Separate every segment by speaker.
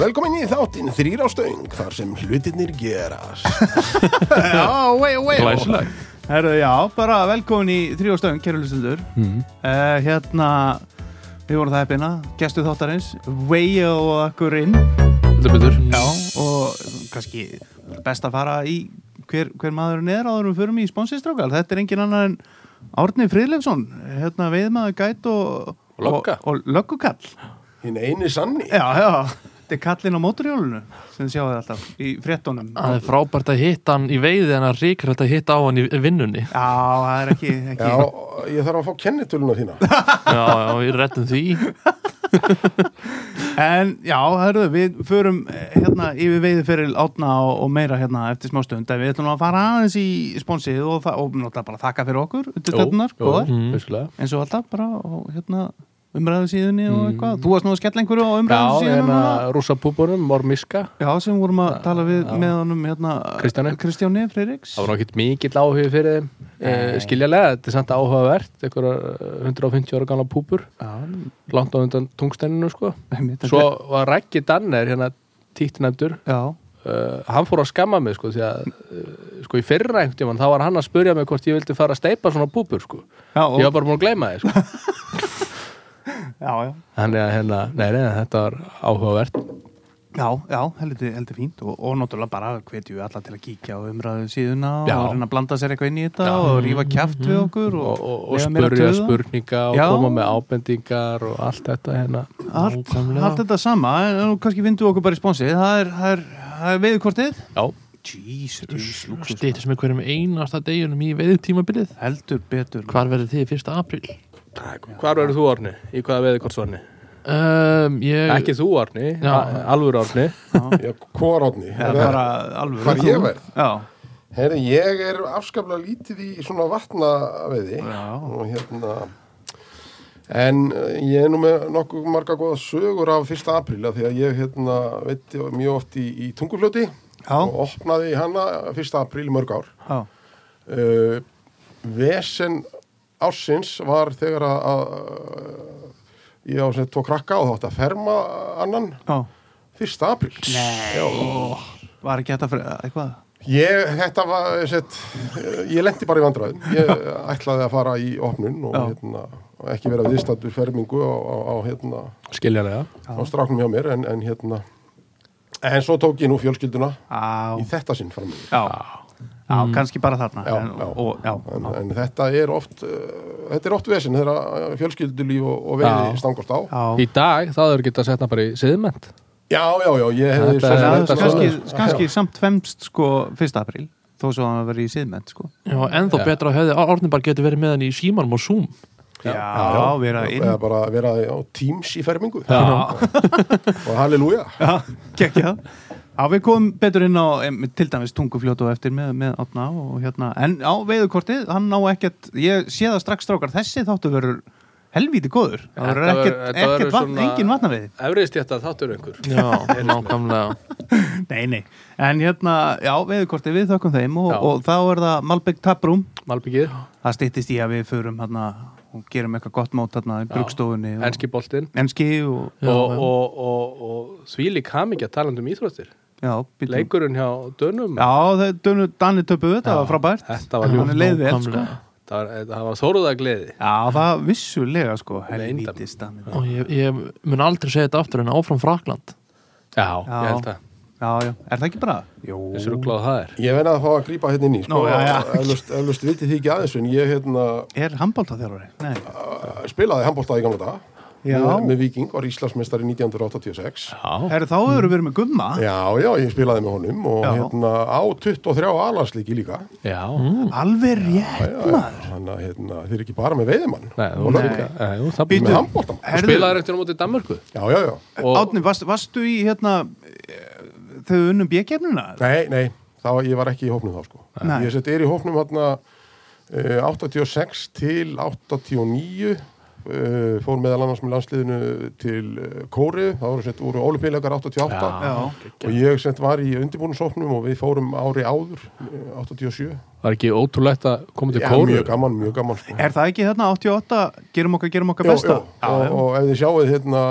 Speaker 1: Velkomin í þáttinn þrýr á stöng þar sem hlutirnir gerast
Speaker 2: Já, way, way
Speaker 3: Glæsileg
Speaker 2: Herru, já, bara velkomin í þrjóðstöðum, kæru lustildur
Speaker 3: Mhm.
Speaker 2: mm. Hérna, við vorum það eppina Gestu þáttarins, way og akkur inn
Speaker 3: Heldur betur
Speaker 2: Já, og kannski best að fara í hver, hver maður neður áður en við förum í sponsistrákal Þetta er engin annar en Árni Friðleifsson Hérna, veiðmaður gæt og
Speaker 3: Og lögga.
Speaker 2: og, og löggukall
Speaker 1: Hinn eini sanni
Speaker 2: Já, já, þetta er kallinn á mótorjólunu sem þið sjáið alltaf í fréttunum
Speaker 3: Það er frábært að hitta hann í veiði en að ríkir að hitta á hann í vinnunni
Speaker 2: Já, það er ekki, ekki
Speaker 1: Já, ég þarf að fá kennitölunar þína
Speaker 3: Já, já, við rettum því
Speaker 2: En já, hörðu, við förum eh, hérna yfir veiði fyrir átna og, og meira hérna eftir smá stund en við ætlum nú að fara aðeins í sponsið og, þa- og náttúrulega bara þakka fyrir okkur undir tættunar, góðar,
Speaker 4: vissulega. Mm.
Speaker 2: eins og alltaf bara og hérna umræðu síðunni og eitthvað Þú varst nú að skella einhverju á umræðu
Speaker 4: Já, en
Speaker 2: síðunni
Speaker 4: að rúsa púbunum, mormiska
Speaker 2: Já, sem vorum að tala við með honum hérna
Speaker 4: Kristjáni.
Speaker 2: Kristjáni Freiriks
Speaker 4: Það var nákvæmt mikill áhugi fyrir þeim e, Skiljalega, þetta er samt áhugavert einhverjar 150 ára gamla púbur langt á undan tungstenninu sko
Speaker 2: Einmitt,
Speaker 4: Svo var Rækki Danner hérna títtnæmdur
Speaker 2: Já,
Speaker 4: uh, hann fór að skamma mig sko því að uh, sko í fyrra einhvern tímann þá var hann að spurja mig hvort ég vildi fara að steipa svona púbur sko
Speaker 2: já,
Speaker 4: Ég
Speaker 2: og,
Speaker 4: var bara búin að gleyma þið sko
Speaker 2: já, já
Speaker 4: Þannig að hérna, nei, nei, þetta var áhugavert
Speaker 2: Já, já, heldur, heldur fínt og, og náttúrulega bara hvetjum við alla til að kíkja á umræðu síðuna
Speaker 4: Já.
Speaker 2: og reyna að blanda sér eitthvað inn í þetta og rífa kjæft við okkur og,
Speaker 4: og, og, og
Speaker 2: leyfa mér að
Speaker 4: spurja
Speaker 2: tuða.
Speaker 4: spurninga og
Speaker 2: Já.
Speaker 4: koma með ábendingar og allt þetta hérna
Speaker 2: allt, allt þetta sama, en nú kannski vindu okkur bara í sponsið, það er, það er, það er veiðkortið
Speaker 4: Já,
Speaker 2: Jesus,
Speaker 3: Stýttis með hverjum einasta deginum í veiðtímabilið
Speaker 2: heldur betur
Speaker 3: Hvar verður þið 1. apríl?
Speaker 4: Hvar verður þú Orni? Í hvaða veði hvort Orni?
Speaker 3: Um, ég...
Speaker 4: Ekki þú Orni,
Speaker 3: Já.
Speaker 4: a- alvöru Orni
Speaker 1: Já, Hvorotni
Speaker 2: Það er bara alveg
Speaker 1: Hvar ég verð?
Speaker 2: Já,
Speaker 1: Herri, ég er afskaplega lítið í svona vatnaveiði
Speaker 2: Já.
Speaker 1: og hérna en eh, ég er nú með nokkuð marga góða sögur af 1. apríla því að ég hérna veitti mjög oft í, í tungufljóti
Speaker 2: Já.
Speaker 1: og opnaði hana 1. apríl í mörg ár
Speaker 2: já,
Speaker 1: uh, Vesen ársins var þegar að, að ég á sem tvo krakka og þátt að ferma annan
Speaker 2: já
Speaker 1: 1. apríl Nei Já,
Speaker 2: Var ekki þetta fyrir eitthvað?
Speaker 1: Ég, þetta var, set, ég lendi bara í vandræðum. Ég ætlaði að fara í opnun og
Speaker 2: Já.
Speaker 1: hérna, ekki vera viðstattur fermingu á, á, á, hérna,
Speaker 4: Skiljanlega
Speaker 1: á stráknum hjá mér, en, en hérna, en svo tók ég nú fjölskylduna
Speaker 2: Á,
Speaker 1: í þetta sinn fram í.
Speaker 2: já, já, kannski bara þarna
Speaker 1: Já,
Speaker 2: en,
Speaker 1: já.
Speaker 2: Og, já,
Speaker 1: En, en þetta er oft, uh, þetta er oft vesinn þegar fjölskyldulíf og, og veiði
Speaker 4: Já.
Speaker 1: stangast á.
Speaker 2: já
Speaker 4: Í dag, það eru getað að setna bara í siðment
Speaker 1: Já, já, já, ég hefði svo
Speaker 4: Þetta er-
Speaker 1: sem
Speaker 2: Já,
Speaker 4: þetta
Speaker 1: þetta
Speaker 2: kannski,
Speaker 1: svona-
Speaker 2: kannski samt femst sko 1. apríl þó svo hann verið í siðmenn sko
Speaker 3: Já, ennþá
Speaker 4: Já.
Speaker 3: betra að hefði Orni bara getur verið með hann í símanum og Zoom
Speaker 2: Já,
Speaker 1: Já,
Speaker 2: vera inn
Speaker 1: eða bara vera á Teams í fermingu
Speaker 2: Já,
Speaker 1: og halleluja
Speaker 2: gekkja Já, við komum betur inn á em, til dæmis tungufljótu á eftir með, með átna og hérna, en á veiðukortið, hann ná ekkert ég sé það strax strákar, þessi þáttu verður helvíti góður, það
Speaker 4: Þetta
Speaker 2: verður
Speaker 4: verður-
Speaker 2: ekkert,
Speaker 4: þetta
Speaker 2: ekkert
Speaker 4: verður
Speaker 2: vatn,
Speaker 4: svona-
Speaker 2: engin vatnaveiði
Speaker 4: Efriðst ég þetta þáttur einhver
Speaker 3: Já, nákvæmlega
Speaker 2: Nei, nei, en hérna, já, veiðukortið við þökkum þeim og,
Speaker 4: Já.
Speaker 2: og þá er það Malbygg Taprúm
Speaker 4: Malbyggið,
Speaker 2: það stýttist í að við förum hérna og gerum eitthvað gott mót hérna í brugstofunni og-
Speaker 4: enski boltinn
Speaker 2: enski og
Speaker 4: og, og, og, og, og þvílík hamingja talandi um íþróttir
Speaker 2: já, býtum-
Speaker 4: Leikurinn hjá Dönum
Speaker 2: já það, Dunu, Dani töpuðu, þetta var frábært
Speaker 4: Þetta var ljúft.
Speaker 2: hann leið vel sko
Speaker 3: nákvæmlega.
Speaker 4: það var, það var þóruða gleði
Speaker 2: já, það vissulega sko
Speaker 4: Leyndarmál.
Speaker 2: helvítist Dani
Speaker 3: Og ég, ég mun aldrei segja þetta aftur en áfram Frakland
Speaker 4: Já, ég held það
Speaker 2: já, já, er það ekki bara? Jú,
Speaker 4: Þessu rugglað það er
Speaker 1: Ég verði að fá að grípa hérna inn í sko,
Speaker 2: Nú, já, já.
Speaker 1: Eflust, eflust vitið þið ekki aðeins en ég hérna,
Speaker 2: er handbóltaþjálfari? Nei,
Speaker 1: uh, spilaði handbólta í gamla dag
Speaker 2: Já.
Speaker 1: með, með Viking, var Íslandsmeistari 1986 Já,
Speaker 4: Já,
Speaker 2: Heru, þá hefur við verið með gumma
Speaker 1: já, ég spilaði með honum og
Speaker 2: Já.
Speaker 1: hérna á 23 alanslíki líka
Speaker 4: já
Speaker 2: alveg rétt maður
Speaker 1: Þannig að hérna, þið er ekki bara með veiðimann
Speaker 4: Nei, þú var líka Nei, jú, það
Speaker 1: með handbóltamann
Speaker 4: Þú spilaðir eftir á móti Danmörku
Speaker 1: Já, já, já
Speaker 4: og-
Speaker 2: Átni, varst, varstu í hérna eh, þau unnum bjökjefnuna?
Speaker 1: Nei, nei, þá ég var ekki í hópnum þá sko.
Speaker 2: Nei.
Speaker 1: Ég sett er í hópnum hérna eh, 86 til 89 eh, fór meðal annars með landsliðinu til eh, Kóri, þá voru sett úr ólipílegar 88
Speaker 2: Já.
Speaker 1: og ég sett var í undirbúnusóknum og við fórum ári áður eh, 87.
Speaker 4: Var ekki ótrúlegt að koma til
Speaker 1: Já,
Speaker 4: kóru
Speaker 1: mjög gaman, mjög gaman sko.
Speaker 2: Er hérna, það ekki þarna 88, gerum okkar, gerum okkar
Speaker 1: Jú,
Speaker 2: besta?
Speaker 1: jú, og, og ef þið sjáuð hérna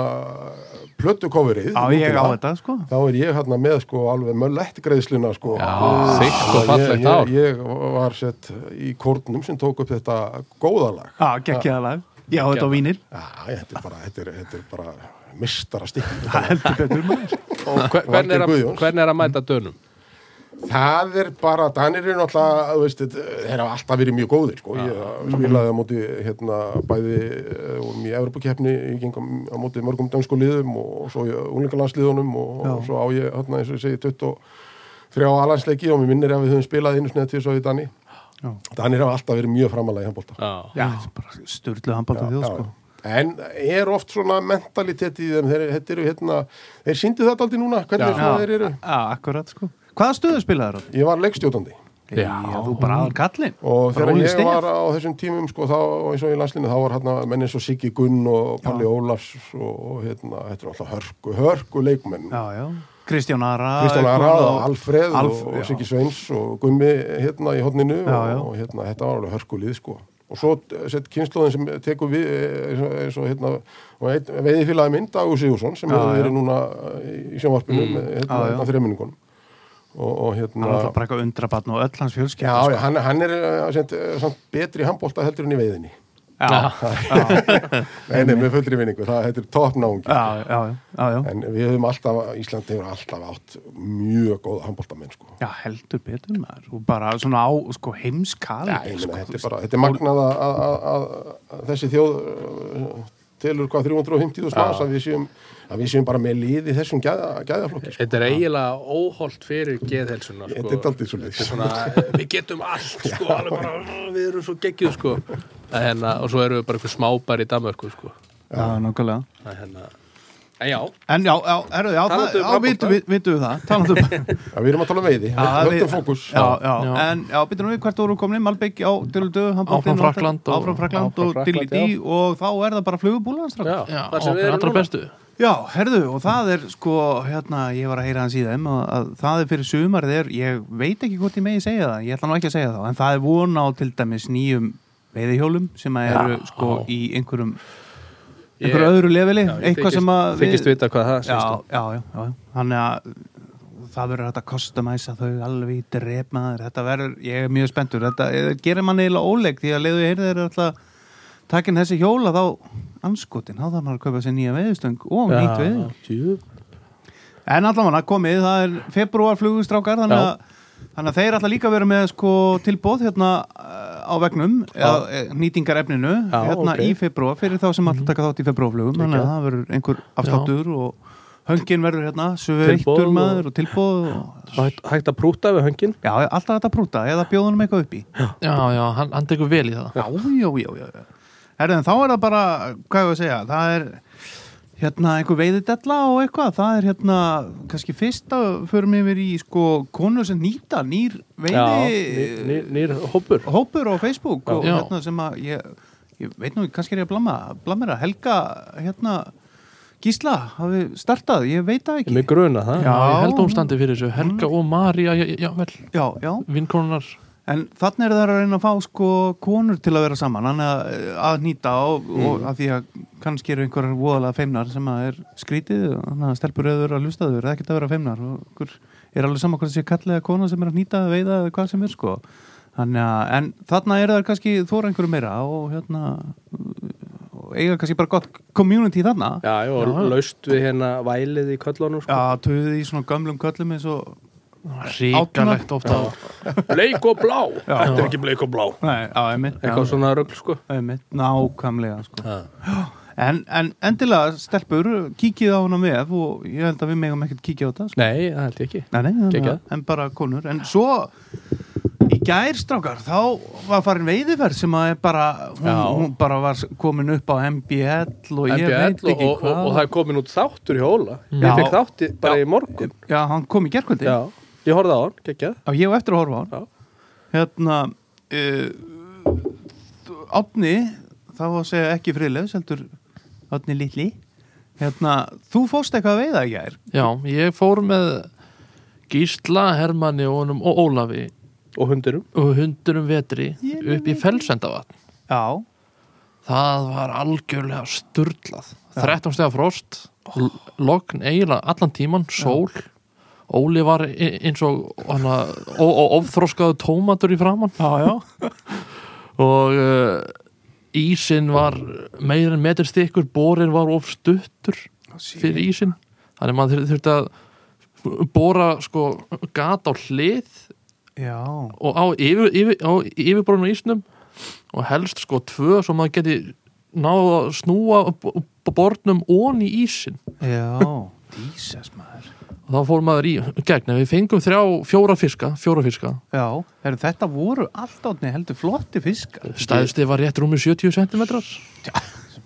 Speaker 1: plötu coverið
Speaker 2: á ég á þetta sko
Speaker 1: þá er ég hérna með sko alveg möllett greiðsluna sko
Speaker 4: Já,
Speaker 1: Og-
Speaker 4: þykkt og
Speaker 1: Ég-
Speaker 4: fallegt
Speaker 1: ég-
Speaker 4: ár.
Speaker 1: ég var sett í kórnum sem tók upp þetta góðalag
Speaker 2: á geggjaðalag, já þetta á vínil
Speaker 1: Já, þetta er bara, þetta er, þetta er bara mistara stikk
Speaker 2: það heldur betur maður
Speaker 4: Hver- Hvernig er, að-
Speaker 1: Guðjóns. Mm.
Speaker 4: hvernig er að mæta dönum?
Speaker 1: Það er bara, Danir eru náttúrulega, þú veist, þetta- þeir hafa alltaf verið mjög góðir, sko. Ég spilaði á móti, hérna, bæði eh, vorum í Evropakeppni, ég geng á- á móti mörgum dansku liðum og svo í unglingalandsliðunum og, og
Speaker 2: Já.
Speaker 1: svo á ég, hérna, eins og ég segi, 23 alansleiki og mér minnir að við höfum spilað einu snið til svo í Dani.
Speaker 2: Já.
Speaker 1: Danir hafa alltaf verið mjög framalega í handbólta.
Speaker 4: Já,
Speaker 2: já, bara sturlu handbalta þjóð sko
Speaker 1: En er oft svona mentalitet í þeim, þeir, þetta eru hérna, þeir síndu þetta aldrei núna, hvernig svona þeir
Speaker 2: já,
Speaker 1: eru.
Speaker 2: já, akkurat sko hvaða stöðu spilaði
Speaker 1: Ég var leikstjótandi
Speaker 2: það? þú bara aðal kallinn
Speaker 1: og
Speaker 2: Bara
Speaker 1: þegar
Speaker 2: Óli
Speaker 1: ég
Speaker 2: Stef.
Speaker 1: var á þessum tímum sko, þá, eins og í landslinu, þá var hérna menn eins og Siggi Gunn og Palli Ólafs og, og hérna, þetta er alltaf hörku, hörku leikmenn.
Speaker 2: já, já, Kristján Ara
Speaker 1: Kristján
Speaker 2: kom
Speaker 1: Ara
Speaker 2: og-
Speaker 1: og Alfreð
Speaker 2: Alf-
Speaker 1: og,
Speaker 2: já.
Speaker 1: og Siggi Sveins og Gummi hérna í hodninu
Speaker 2: Já, já.
Speaker 1: og, og hérna, þetta var alveg hörkulið sko. Og svo eh, sett kynnslóðin sem tekur við eh, eins og, eins og hérna, og veiðfélagi minn, Dagur Sigursson, sem
Speaker 2: Já,
Speaker 1: hefur verið
Speaker 2: já. Mm.
Speaker 1: núna eh, í sjónvarpinu með hérna,
Speaker 2: Já, já.
Speaker 1: hérna þreminningunum. Og, og
Speaker 2: hann var
Speaker 1: hérna...
Speaker 2: alltaf bara eitthvað undrabatn og öll hans sko. fjölskyld
Speaker 1: Já, já, hann, hann er eh, samt, eh, samt betri í handbólta heldur en í veiðinni.
Speaker 2: já, já,
Speaker 1: Nei, nei, með fullri vinningu, það þetta er toppnáungi.
Speaker 2: já, já, já, já.
Speaker 1: En við höfum alltaf, Ísland hefur alltaf átt mjög góða handbóltamenn, sko.
Speaker 2: Já, heldur betur maður og bara svona á sko, heimskal
Speaker 1: Já, ég meina, þetta
Speaker 2: sko,
Speaker 1: er bara, þetta er magnað að- að- að- að að þessi þjóð uh, telur hvað 350 og smás að við séum, að við séum bara með lið í þessum gæða, gæðaflokki, sko.
Speaker 4: Þetta er eiginlega óholt fyrir geðhelsuna sko.
Speaker 1: Þetta er dálítið svoleiðis.
Speaker 4: Þetta er svona, Við getum allt sko, alveg bara, "Ugh, Við erum svo geggjuð sko. En hérna, Og svo erum við bara einhver smábær í Danmörku sko.
Speaker 2: Já, nákvæmlega
Speaker 4: En hérna, en já,
Speaker 2: En já, já, herru, já,
Speaker 4: Talandi
Speaker 2: það,
Speaker 4: um
Speaker 2: já,
Speaker 4: handbolta.
Speaker 2: vitum við, vitum við það Talandu
Speaker 1: Já, við erum að tala um veiði, höldum fókus.
Speaker 2: Já, já,
Speaker 3: Já.
Speaker 2: en já, býtum við hvert voru komin Malbygg á Döludu,
Speaker 3: Áfram Frakkland og-
Speaker 2: Áfram Frakland
Speaker 4: Áfram
Speaker 2: og
Speaker 4: Frakkland,
Speaker 2: Dillidí og þá er það bara flugubúlan
Speaker 4: já,
Speaker 2: strákar.
Speaker 3: Já,
Speaker 4: þar sem við
Speaker 3: okkar
Speaker 4: erum
Speaker 3: allra
Speaker 4: núna.
Speaker 3: bestu
Speaker 2: já, herðu, og það er sko, hérna, ég var að heyra hans í þeim að, að það er fyrir sumarið er, ég veit ekki hvort ég megi segja það, ég ætla nú ekki að segja það en það er von á til dæmis nýjum veiðihjólum sem að eru sko í einhverjum einhverju
Speaker 4: Ég-
Speaker 2: öðru leveli,
Speaker 4: Já, ég
Speaker 2: eitthvað
Speaker 4: þykist-
Speaker 2: sem að
Speaker 4: þykist vita hvað það
Speaker 2: já,
Speaker 4: snýst um.
Speaker 2: já, já, já, þannig að það verður hægt að customæsa þau alveg í drefmaður, þetta verður, ég er mjög spenntur þetta eh, gerir manni eiginlega óleik því að leiðu heyrðir er alltaf takin þessi hjóla þá anskotin, þá þarf maður að kaupa sér nýja veiðustöng og nýtt veið
Speaker 4: Jú.
Speaker 2: en allavega komið, það er februarflugustrákar þannig
Speaker 4: Já.
Speaker 2: að Þannig að þeir alltaf líka verið með sko tilbóð hérna eh, á vegnum eða eh, nýtingarefninu
Speaker 4: Já,
Speaker 2: hérna
Speaker 4: ókei.
Speaker 2: í februar fyrir þá sem alltaf taka þátt í februarflugum þannig að það verður einhver afsláttur og höngin verður hérna
Speaker 4: Tilboð
Speaker 2: söveittur
Speaker 4: og-
Speaker 2: maður og tilbóð og...
Speaker 4: Hægt, hægt að prúta við höngin
Speaker 2: Já, alltaf þetta brúta eða bjóðunum eitthvað upp í
Speaker 3: Já, já, hann, hann tekur vel í það
Speaker 2: Já, já, já, já, já. Herðu, en þá er það bara, hvað ég var að segja, það er hérna einhver veiðidella og eitthvað, það er hérna, kannski fyrst að förum yfir í sko konur sem nýta, nýr
Speaker 4: Já,
Speaker 2: veiði
Speaker 4: nýr- nýr- nýr hópur
Speaker 2: hópur á Facebook og
Speaker 3: Já.
Speaker 2: hérna sem að ég, ég veit nú, ekki, kannski er ég að blamma, blamma Helga, hérna, Gísla, hafi startað, ég veit það ekki.
Speaker 4: Mér gruna það
Speaker 2: Já.
Speaker 3: Ég held ámstandi fyrir þessu, Helga og María já, já, vel,
Speaker 2: Já, já.
Speaker 3: vinkonunar
Speaker 2: En þannig er það að reyna að fá sko konur til að vera saman, hann að, eh, að nýta og, og að því að kannski eru einhverjar voðalega feimnar sem að er skrítið og þannig að stelpur eður að lusta þau, það er ekkert að vera feimnar og okkur er alveg sama hvort það sé kallega kona sem er að nýta að veiða eða hvað sem er sko. Þannig að, en þannig er það kannski þóra einhverju meira og hérna, og eiga kannski bara gott community þannig.
Speaker 4: Já, já, og laust við hérna vælið í köllunum sko.
Speaker 2: Já, töðið í svona gamlum köllum eins og,
Speaker 3: Ríkalegt ofta
Speaker 4: Bleik og blá
Speaker 2: Já.
Speaker 4: Þetta er ekki bleik og blá
Speaker 2: nei, á, einmitt.
Speaker 4: Eitthvað
Speaker 2: já.
Speaker 4: svona rugl sko
Speaker 2: Einmitt, nákvæmlega sko. en, en endilega stelpur kíkið á hana með og ég held að við megum ekkert kíkja á þetta sko.
Speaker 4: Nei, það held ég ekki
Speaker 2: nei, nei, nei,
Speaker 4: Geggjað.
Speaker 2: en bara konur en svo í gær strákar þá var farin veiðiferð sem að er bara hún,
Speaker 4: Já.
Speaker 2: hún bara var komin upp á MBL og ég veit
Speaker 4: MBL og,
Speaker 2: ekki
Speaker 4: og, og,
Speaker 2: hvað
Speaker 4: og það er komin út þáttur í hóla
Speaker 2: Já.
Speaker 4: Ég fekk þátti bara í morgun
Speaker 2: já, hann kom í gerkvöldi
Speaker 4: Já, ég horfði á hann, geggjað
Speaker 2: Já, ég á eftir að horfa á hann
Speaker 4: Já.
Speaker 2: Hérna uh, Átni þá var að segja ekki friðlegs heldur Átni Lilli Hérna, þú fórst eitthvað að veiða í gær
Speaker 3: Já, ég fór með Gísla, Hermanni og, honum, og Ólafi
Speaker 4: Og hundurum
Speaker 3: og hundurum vetri
Speaker 2: Ég
Speaker 3: upp í felsendavatn
Speaker 2: Já,
Speaker 3: Það var algjörlega sturlað 13 stega frost oh. logn eiginlega allan tíman, sól Óli var e- eins og hana, ó, ó, ofþroskaðu tómatur í framann
Speaker 2: Já, já,
Speaker 3: og uh, ísin var meira en metur stykkur borin var of stuttur fyrir ísin þannig að maður þur- þurfti að bora sko gat á hlið
Speaker 2: já
Speaker 3: og á, yfir, yfir, á yfirborunum á ísnum og helst sko tvö svo maður geti náðu að snúa b- b- bornum ón í ísin
Speaker 2: Já, dísas maður
Speaker 3: og þá fór maður í gegn en við fengum þrjá, fjóra fiska, fjóra fiska
Speaker 2: Já, heru, þetta voru allt átni heldur flotti fiskar
Speaker 3: stæðsti var rétt rúmi 70 cm ég,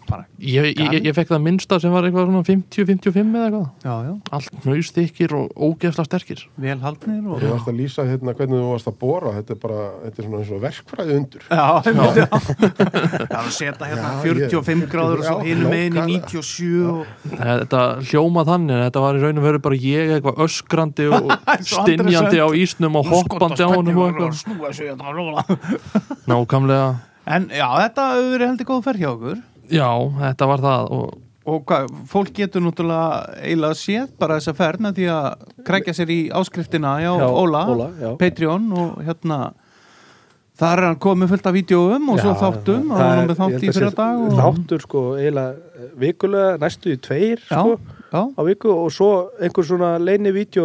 Speaker 2: Bara,
Speaker 3: ég, ég fekk það minnsta sem var eitthvað svona 50-55 eða eitthvað
Speaker 2: Já, já,
Speaker 3: allt nöystykir og ógeðsla sterkir
Speaker 2: vel haldnir og...
Speaker 1: Þú varst að lýsa hérna hvernig þú varst að bóra þetta er bara, þetta er svona eins og verkfræði undur
Speaker 2: Já, já. já. Það er að setja hérna
Speaker 1: Já,
Speaker 2: 45 gráður og svo
Speaker 1: Já,
Speaker 2: hinum einu
Speaker 1: nákvæmlega.
Speaker 2: 97 og...
Speaker 3: þetta hljómað þannig en þetta var í raun og veru bara ég eitthvað öskrandi og
Speaker 2: Eins og Andrés
Speaker 3: stinjandi á
Speaker 2: Önd.
Speaker 3: ísnum og hoppandi á honum og eitthvað
Speaker 2: Snúa sig
Speaker 3: hérna
Speaker 2: þetta að róla
Speaker 3: nákvæmlega,
Speaker 2: En já, þetta hefur verið heldur góð ferð hjá okkur
Speaker 3: já, þetta var það og
Speaker 2: Og hvað, fólk getur náttúrulega eiginlega séð bara þessa ferð með því að krækja sér í áskriftina hjá
Speaker 4: Já,
Speaker 2: Óla,
Speaker 4: Óla, já.
Speaker 2: Patreon og hérna þar er hann komið fullt af vídjóum og svo þáttum og hann er með þátt í fyrir dag og...
Speaker 4: Þáttur sko eiginlega eh, vikulega, næstu í tveir
Speaker 2: já,
Speaker 4: sko
Speaker 2: já,
Speaker 4: á viku og svo einhver svona leini vídeo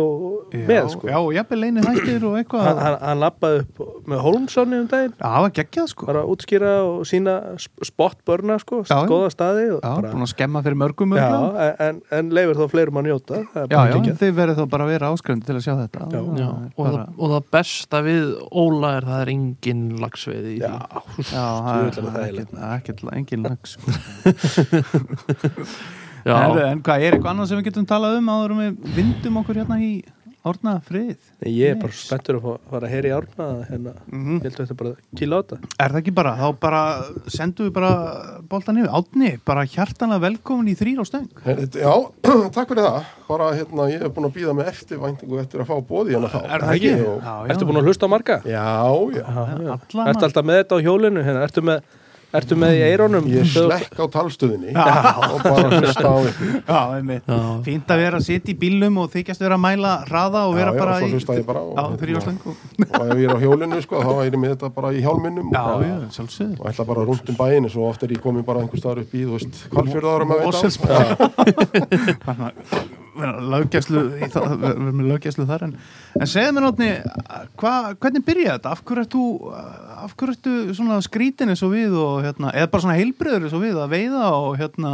Speaker 4: með sko
Speaker 2: Já, og jafnvel einu þættir og
Speaker 4: hann,
Speaker 2: eitthvað
Speaker 4: hann, hann lappaði upp með Holmsson um daginn
Speaker 2: Já, það var geggjað sko
Speaker 4: bara að útskýra og sína spotbörna sko,
Speaker 2: Já, já.
Speaker 4: góða staði og
Speaker 2: Já,
Speaker 4: bara,
Speaker 2: búin að skemma fyrir mörgum
Speaker 4: já,
Speaker 2: örugglega.
Speaker 4: en, en leifir þá fleirum að njóta það er
Speaker 2: já,
Speaker 4: bara
Speaker 2: já,
Speaker 4: geggjað.
Speaker 2: en þið verður þá bara að vera áskrifandi til að sjá þetta
Speaker 4: Já.
Speaker 2: Það
Speaker 3: Já,
Speaker 2: er
Speaker 3: og, það,
Speaker 2: bara-
Speaker 3: og það besta við Óla er það er engin lagsveiði í því.
Speaker 4: já,
Speaker 2: Já, það er-
Speaker 4: Djöfull er það
Speaker 2: það er ekkert- ekkert engin lags
Speaker 3: Já,
Speaker 2: Heru, En hvað er eitthvað annað sem við getum talað um áður um við vindum okkur hérna í orna frið
Speaker 4: Nei, ég er bara spenntur að fá- fara að heyra í árna hérna,
Speaker 2: Mhm.
Speaker 4: ég held að þetta bara kýla á þetta
Speaker 2: Er það ekki bara, þá bara sendum við bara boltan yfir, átni bara hjartanlega velkomin í þrýr á stöng
Speaker 1: Já, takk fyrir það bara hérna, ég hef búin að býða með eftirvæntingu eftir að fá bóði hérna þá
Speaker 2: Er það ekki?
Speaker 1: Og-
Speaker 2: Já,
Speaker 4: Ertu búin að hlusta á marga?
Speaker 1: Já, já
Speaker 2: alla
Speaker 4: Ertu alltaf með þetta á hjólinu? Hérna? Ertu, með, ertu með í eirónum?
Speaker 1: Ég slekk á talstöðinni
Speaker 2: Já.
Speaker 1: og bara hlusta á ykkur
Speaker 2: Já, einmitt.
Speaker 3: Já.
Speaker 2: Fínt að vera að sitja í bílnum og þykjast vera að mæla hraða og
Speaker 1: Já,
Speaker 2: vera
Speaker 1: já,
Speaker 2: bara
Speaker 1: svo
Speaker 2: í
Speaker 1: hlusta ég bara og-
Speaker 2: á, þrýr á stöng og...
Speaker 1: og ef ég er á hjólinu sko, þá er ég með þetta bara í hjálminum
Speaker 2: Já,
Speaker 1: og,
Speaker 2: já, sjálfsögðu
Speaker 1: og ætla bara rúnt um bæinu svo oft er ég komin bara einhver staðar upp í, þú veist, kvalfjörðarum að
Speaker 2: Og
Speaker 1: veita
Speaker 2: sjálfsögðu Löggæslu í það- við erum með löggæslu þar en, en segðu mér nátni hvernig byrjaði þetta? Af hverju ertu af hverju ertu svona skrítin eins og við og hérna, eða bara svona heilbröður eins og við að veiða og hérna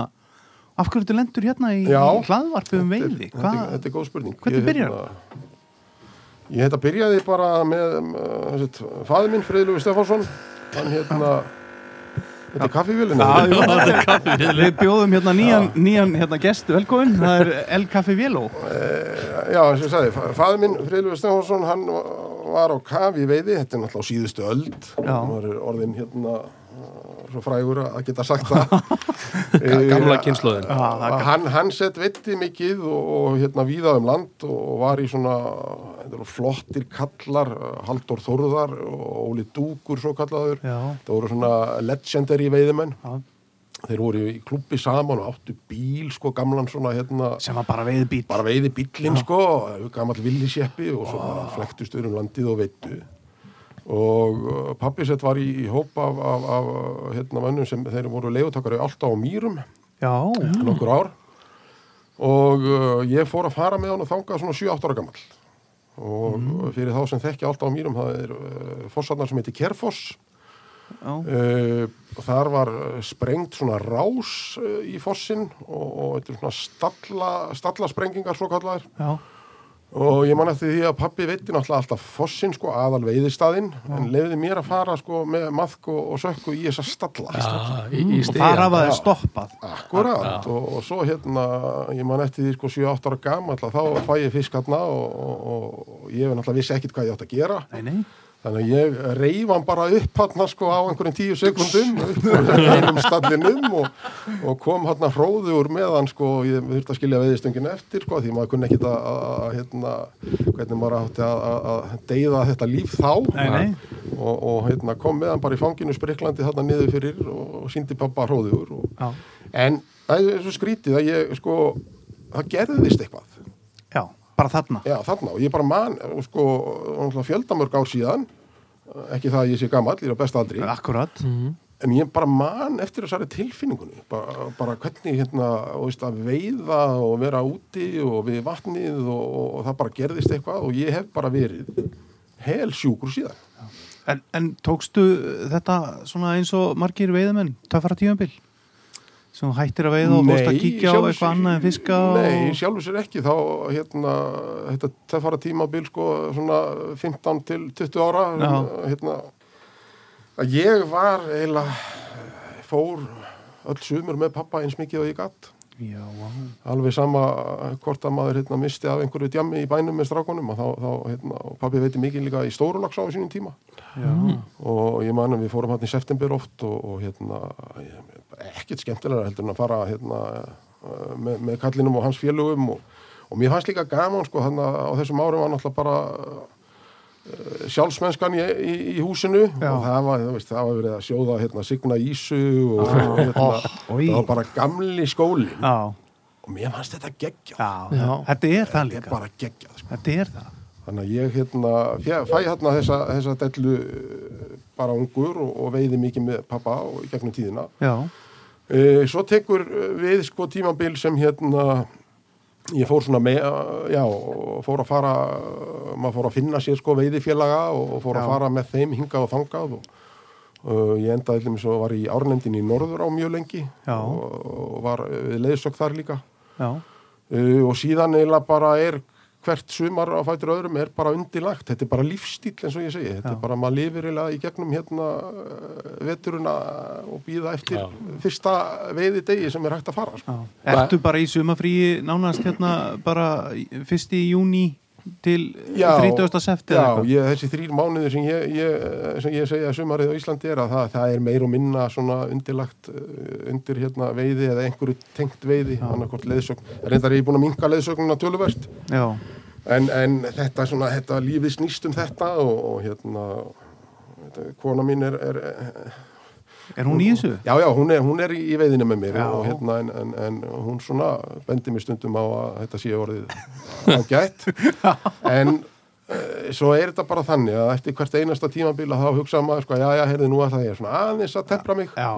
Speaker 2: af hverju ertu lendur hérna í,
Speaker 1: Já.
Speaker 2: í hlaðvarpi um veiði?
Speaker 1: Þetta er-
Speaker 2: Hvað?
Speaker 1: þetta er góð spurning
Speaker 2: Hvernig
Speaker 1: Ég,
Speaker 2: byrjar
Speaker 1: hérna, Ég þetta byrjaði bara með um, uh, þessi, fæði minn, Freyðlúfi Stefánsson hann hérna þetta er kaffivélina
Speaker 2: Já, jú, þetta er Við bjóðum hérna nýjan, nýjan hérna gest velkomin, það er El Café Vélo
Speaker 1: Eh, Já, eins og ég sagði, fa- faðir minn, Freyðlúfi Stefánsson hann va- var á kafi í veiði þetta er náttúrulega á síðustu öld
Speaker 2: Já.
Speaker 1: maður er orðin hérna uh, svo frægur að geta sagt það Eh,
Speaker 4: Gamla kynnslóðin
Speaker 2: Já, það er
Speaker 1: að hann, hann sett veitti mikið og, og hérna víðað um land og, og var í svona þetta eru flottir kallar, eh, Halldór Þórðar og Óli Dúkur svo kallaður
Speaker 2: Já.
Speaker 1: það voru svona legendary veiðimenn
Speaker 2: gaman.
Speaker 1: þeir voru í klubbi saman og áttu bíl sko gamlan svona hérna
Speaker 2: sem var bara veiði bíl
Speaker 1: bara veiði bíllinn sko gamall villisjeppi og svo bara flektust um landið og veittu og pappisett var í, í hóp af, af, af hérna mönnum sem þeir voru leigutakari alltaf á mýrum
Speaker 2: Já,
Speaker 1: nokkur ár og uh, ég fór að fara með hann og þangað svona 7-8 ára gamall og fyrir þá sem þekki alltaf á mýrum það er uh, fossarnar sem heitir Kerfoss
Speaker 2: já,
Speaker 1: uh, þar var uh, sprengt svona rás uh, í fossin og, og þetta er svona stalla, stalla sprengingar svo kallaðir
Speaker 2: já,
Speaker 1: og ég man eftir því að pappi veitti náttúrulega alltaf fossin sko aðal veiðistæðin en lefði mér að fara sko með maðk og, og sökku í þessa stalla
Speaker 2: Ah,
Speaker 4: í, í
Speaker 2: og
Speaker 4: stiga
Speaker 2: þar hafa þeir stoppað
Speaker 1: Akkurát og, og svo hérna, ég man eftir því sko 7-8 ára gamall að þá fæ ég fisk hérna og, og, og ég hef náttúrulega vissi ekkit hvað ég átt að gera
Speaker 2: Nei, nei,
Speaker 1: þannig að ég reyf hann bara upp hérna sko á einhverjum 10 sekundum upp úr einum stallinum og, og kom hérna hróður með hann sko og ég þurfti að skilja veiðistöngin eftir sko því maður kunni ekkit að, að, að hérna, hvernig maður átti að, að, að deyða þetta líf þá
Speaker 2: nei, nei
Speaker 1: og, og hérna, kom með hann bara í fanginu spriklandi þarna niður fyrir og, og síndi pappa hróður og
Speaker 2: Já,
Speaker 1: En það er svo skrítið að ég sko það gerðist eitthvað
Speaker 2: já, bara þarna
Speaker 1: Já, þarna og ég bara man og sko, náttúrulega fjöldamörg ár síðan ekki það að ég sé gamall, ég er á besta aldri
Speaker 2: akkurat,
Speaker 1: Mm. en ég bara man eftir þessari tilfinningunni bara, bara hvernig hérna þú veist, að veiða og vera úti og við vatnið og, og, og það bara gerðist eitthvað og ég hef bara verið hel sjúkur síðan
Speaker 2: en, en tókstu þetta svona eins og margir veiðamenn töffara tíumbil sem þú hættir að veiða og hóst að kíkja á
Speaker 1: sjálfu sér-
Speaker 2: eitthvað annað en fiska
Speaker 1: Nei,
Speaker 2: og...
Speaker 1: sjálfur sér ekki þá hérna, þetta það fara tímabil sko svona 15 til 20 ára
Speaker 2: Já.
Speaker 1: hérna að ég var eiginlega fór öll sumur með pappa eins mikið og ég gatt
Speaker 2: já, vá.
Speaker 1: alveg sama hvort að maður hérna, misti af einhverju djammi í bænum með strákunum og, þá, þá, hérna, og pappi veitir mikið líka í stórulags á sínum tíma Mm.
Speaker 2: já,
Speaker 1: og ég man að við fórum hann í september oft og, og hérna ég- ekkert skemmtilega heldur en að fara hérna eh, með, með kallinum og hans félögum og, og mér fannst líka gaman sko þannig að á þessum árum var náttúrulega bara eh, sjálfsmennskan í, í, í húsinu
Speaker 2: Já.
Speaker 1: og það var, þú veist, það var verið að sjóða hérna signa ísu og,
Speaker 2: Ah.
Speaker 1: og hérna,
Speaker 2: Oj.
Speaker 1: það var bara gamli skólin
Speaker 2: já,
Speaker 1: og mér fannst þetta geggjað
Speaker 2: já,
Speaker 3: Já.
Speaker 2: þetta er það
Speaker 1: þetta er
Speaker 2: líka
Speaker 1: bara geggjað sko.
Speaker 2: þetta er það
Speaker 1: þannig að ég hérna fjæ, fæ hérna þessa, þessa dellu eh, bara ungur og, og veiði mikið með pappa og í gegnum tíðina
Speaker 2: já,
Speaker 1: e, svo tekur eh, við sko tímabil sem hérna ég fór svona með, eh, já, og fór að fara eh, maður fór að finna sér sko veiðifélaga og og fór
Speaker 2: Já.
Speaker 1: að fara með þeim hingað og þangað og Uh, ég endaði allir með svo var í árnefndin í norður á mjög lengi
Speaker 2: Já.
Speaker 1: og, og var eh, við leiðsök þar líka
Speaker 2: já,
Speaker 1: uh, og síðan eiginlega bara er hvert sumar á fætur öðrum er bara undilagt, þetta er bara lífstíl eins og ég segi, þetta er
Speaker 2: Já.
Speaker 1: bara maður lifir eiginlega í gegnum hérna uh, veturuna og býða eftir
Speaker 4: Já.
Speaker 1: fyrsta veiði degi sem er hægt að fara sko.
Speaker 2: já ertu bara í sumafríi nánast hérna bara í- fyrst í júni til 30. septi
Speaker 1: já, ég, þessi þrýr mánuður sem ég, ég, sem ég segja að sumarið á Íslandi er að það, það er meir og minna svona undirlagt uh, undir hérna veiði eða einhverju tengt veiði, annarkort leðsögn reyndar er ég búin að minka leðsögnuna töluvert
Speaker 2: já,
Speaker 1: en, en þetta, svona, þetta lífið snýst um þetta og, og hérna þetta, kona mín er, er
Speaker 2: er hún í þessu?
Speaker 1: já, já, hún er, hún er í veiðinu með mér
Speaker 2: Já.
Speaker 1: og hérna, en, en, en hún svona bendir mér stundum á að þetta sé orðið ágætt en eh, svo er þetta bara þannig að eftir hvert einasta tímabila þá hugsa maður sko, já, já, heyrðu, nú ætla ég svona aðeins að tempra mig
Speaker 2: já,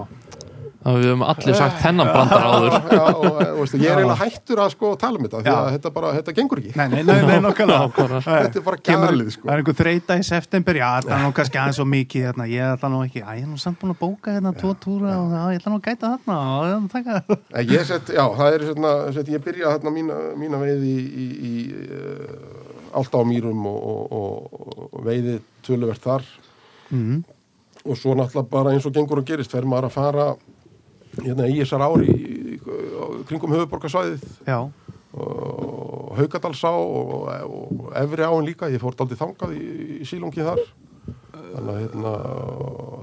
Speaker 3: Það við höfum allir
Speaker 2: Eh.
Speaker 3: sagt þennan brandar áður
Speaker 1: já, og, eh, veistu, ég er eiginlega hættur að sko tala um þetta því
Speaker 2: Já.
Speaker 1: að þetta bara, þetta gengur ekki
Speaker 2: nei, nei, nei, nei nokkulega
Speaker 1: þetta er bara gælið sko
Speaker 2: Það er einhver þreita í september, já, það er nú kannski aðeins svo mikið hérna, ég ætla nú ekki, að ég er nú samt búin að bóka hérna tvo túra og já, ég ætla nú að gæta þarna og já, taka,
Speaker 1: Nei, Ég sett, já, það er svona, sett, ég byrjaði þarna mína, mína veiði í, í, í uh, alltaf á mýrum og, og, og, og veiði töluvert þar
Speaker 2: mm,
Speaker 1: og svo náttúrulega bara eins og gengur og gerist fer maður að fara hérna, í þessar ári í, í, kringum höfuborgarsvæðið
Speaker 2: já,
Speaker 1: og Haukadalsá og, og Efri áin líka, ég fór daldið þangað í, í sílungi þar þannig að, hérna,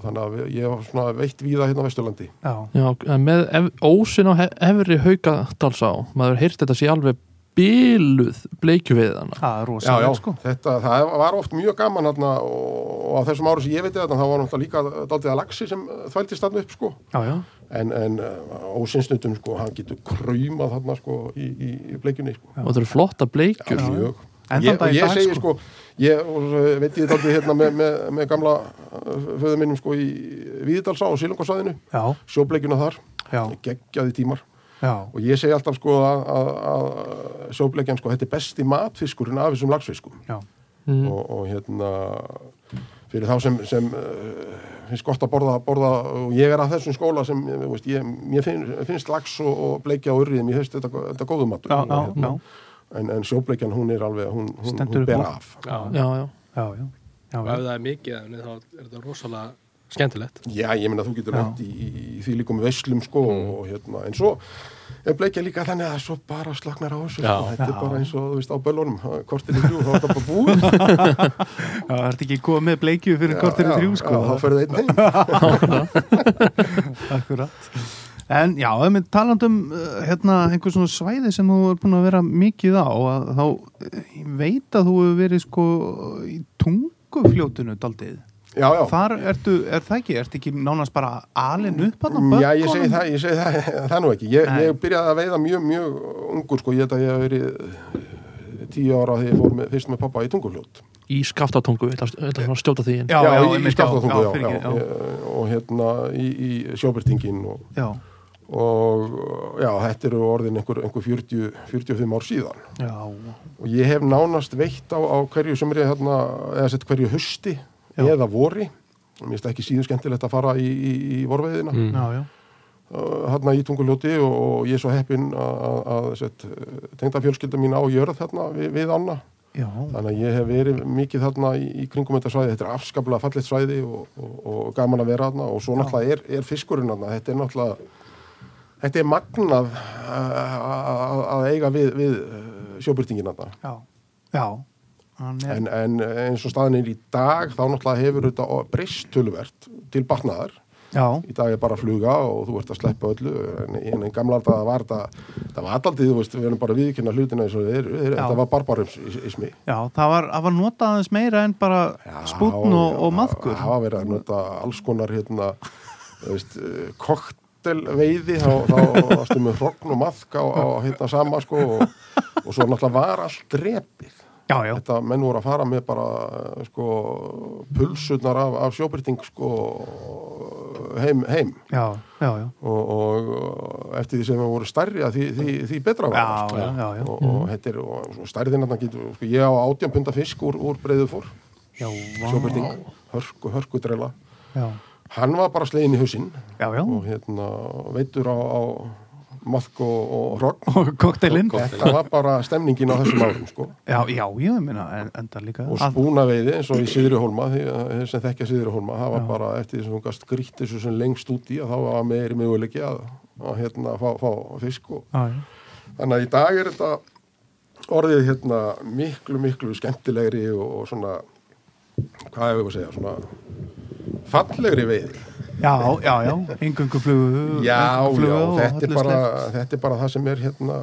Speaker 1: þannig að ég var svona veitt víða hérna á Vesturlandi
Speaker 2: já,
Speaker 3: Já, en með ef, ósin á hef, efri haukadalsá, maður heyrt þetta sé alveg bíluð bleikju við
Speaker 2: það
Speaker 3: hana
Speaker 2: er
Speaker 1: Já, já,
Speaker 2: rosalega sko.
Speaker 1: þetta, það var oft mjög gaman hérna, og, og á þessum árum sem ég veit þetta þá var náttúrulega líka daldið að laxi sem eh, þvældist þarna upp sko
Speaker 2: Já, já,
Speaker 1: en, en eh, ósinsnutum sko, hann getur kröymað þarna sko í, í, í bleikjunni sko.
Speaker 3: og þetta eru flotta bleikjur
Speaker 1: Já, mjög.
Speaker 2: En
Speaker 1: Ég,
Speaker 2: þann dag
Speaker 1: og
Speaker 2: í
Speaker 1: ég
Speaker 2: dag,
Speaker 1: segi
Speaker 2: sko.
Speaker 1: sko, ég og, eh, veit ég daldið hérna með, með, með gamla föðu minnum sko í Víðdalsá og Silungarsvæðinu,
Speaker 2: já,
Speaker 1: sjóbleikjuna þar
Speaker 2: já,
Speaker 1: geggjaði tímar
Speaker 2: já,
Speaker 1: og ég segi alltaf sko að, að, að sjóbleikjan sko, þetta er besti matfiskurinn af þessum lagsfiskum
Speaker 2: já,
Speaker 3: Mm.
Speaker 1: og, og hérna fyrir þá sem, sem uh, finnst gott að borða, borða og ég er að þessum skóla sem eh, þú veist, ég, mér finn, finnst lax og, og bleikja og urriðum, ég finnst þetta, þetta góðum matur
Speaker 2: já,
Speaker 1: Og
Speaker 2: já,
Speaker 1: hérna,
Speaker 2: já,
Speaker 1: En, en sjóbleikjan hún er alveg hún, hún,
Speaker 2: Stendur
Speaker 1: hún
Speaker 2: upp
Speaker 1: ber
Speaker 2: úr.
Speaker 1: af
Speaker 4: Já.
Speaker 3: Já, já,
Speaker 2: já, já,
Speaker 4: Og
Speaker 2: já,
Speaker 4: ef það er mikið af henni, þá er þetta rosalega skemmtilegt
Speaker 1: Já, ég meina þú getur
Speaker 2: Já. Mm.
Speaker 1: lent í, í, í því líkum veislum sko og hérna, en svo er bleikja líka þannig að svo bara slagnar á þessu
Speaker 4: Já.
Speaker 1: sko. þetta
Speaker 2: Já.
Speaker 1: er bara eins og þú veist á bölunum kortin í þrjú, þá er þetta bara búið
Speaker 2: já, það ert ekki komið með bleikju fyrir kortir í þrjú, sko,
Speaker 1: Já, þá fyrir það einn heim
Speaker 2: akkurat. En já, ef við talandum uh, hérna einhver svona svæði sem þú er búin að vera mikið á, að, þá eh, ég veit að þú hefur verið sko í tungufljótinu daldið.
Speaker 1: já, já.
Speaker 2: Þar ertu, er það ekki, ertu ekki nánast bara alin upp að
Speaker 1: Mm, Já, ég segi það, ég segi það, það nú ekki. Ég,
Speaker 2: Nei.
Speaker 1: ég byrjaði að veiða mjög, mjög ungur, sko, ég held að ég hef verið eh, tíu ára þegar ég fór með, fyrst með pappa í tunguljót.
Speaker 3: í skaftatungu, ég ætla ég ætla að stjóta því inn
Speaker 2: Já, já,
Speaker 1: í- í
Speaker 2: einmitt,
Speaker 1: Skaftártungu, já, já,
Speaker 2: fyrirgefðu, já.
Speaker 1: Ég- Og hérna í, í sjóbyrtingin og,
Speaker 2: Já,
Speaker 1: og já, þetta eru orðin einhver, einhver 40, 45 ár síðan.
Speaker 2: já,
Speaker 1: Og ég hef nánast veitt á, á hverju sömri, hérna, eða sett hverju hausti
Speaker 2: Já.
Speaker 1: eða vori. Mér finnst ekki síður skemmtilegt að fara í, í, í vorveiðina.
Speaker 4: Mm.
Speaker 2: já, já.
Speaker 1: hérna í tunguljóti og, og ég er svo heppinn að- að að sett, eh, tengda fjölskylda mín á jörð þarna við, við Anna
Speaker 2: Já,
Speaker 1: þannig að ég hef verið mikið þarna í, í kringum þetta svæði, þetta er afskaplega fallið svæði og, og, og gaman að vera þarna og svo náttúrulega er, er fiskurinn þarna, þetta er náttúrulega þetta er magnað uh, að að eiga við, við sjóbyrtingin þarna
Speaker 2: já, já. Hann er,
Speaker 1: en, en eins og staðan er í dag þá náttúrulega hefur þetta breyst töluvert til batnaðar
Speaker 2: já,
Speaker 1: í dag er bara að fluga og þú ert að sleppa öllu en, en í gamla alda var þetta það var alltaf, þú veist, við erum bara að viðkynna hlutina eins og þeir, þeir,
Speaker 2: Já.
Speaker 1: þetta var barbarismi
Speaker 2: já, það var, það var notað aðeins meira en bara spútn og, og maðkur.
Speaker 1: það var verið að nota alls konar hérna, þú veist, koktelveiði þá, þá varstu með hrogn og maðka á, á hérna sama sko og, og svo náttúrulega var allt drepið
Speaker 2: Já, já,
Speaker 1: þetta menn voru að fara með bara sko pulsunar af, af sjóbyrting sko heim, heim
Speaker 2: já, já, já.
Speaker 1: og, og eftir því sem það voru stærri að því, því, því betra var
Speaker 2: Já,
Speaker 1: sko.
Speaker 2: já, já, Mhm. já.
Speaker 1: og, og þetta er og, og stærðin þarna getur, sko, ég á átján punda fisk úr, úr breiðu fór,
Speaker 2: Já, vá.
Speaker 1: sjóbyrting hörku, hörku drela,
Speaker 2: Já,
Speaker 1: hann var bara slegin í hausinn
Speaker 2: já, já.
Speaker 1: og hérna veitur á, á maðk og, og hrogn
Speaker 2: Og kokteilinn.
Speaker 1: þetta var bara stemningin á þessum árum sko
Speaker 2: Já, já, ég meina, en, enda líka.
Speaker 1: og
Speaker 2: að-
Speaker 1: spúnaveiði eins og í Sýðri Hólma því að þeir sem þekkja Sýðri Hólma það var bara eftir því sem hún gast grýtt þessu sem lengst út í að þá var meiri möguleiki að, að hérna fá, fá fisk og
Speaker 2: Já, já.
Speaker 1: Þannig að í dag er þetta orðið hérna miklu, miklu skemmtilegri og, og svona, hvað hefur við að segja, svona fallegri veiði.
Speaker 2: Já, já, já, yngönguflugu
Speaker 1: Já, já, þetta er, bara, þetta er bara það sem er hérna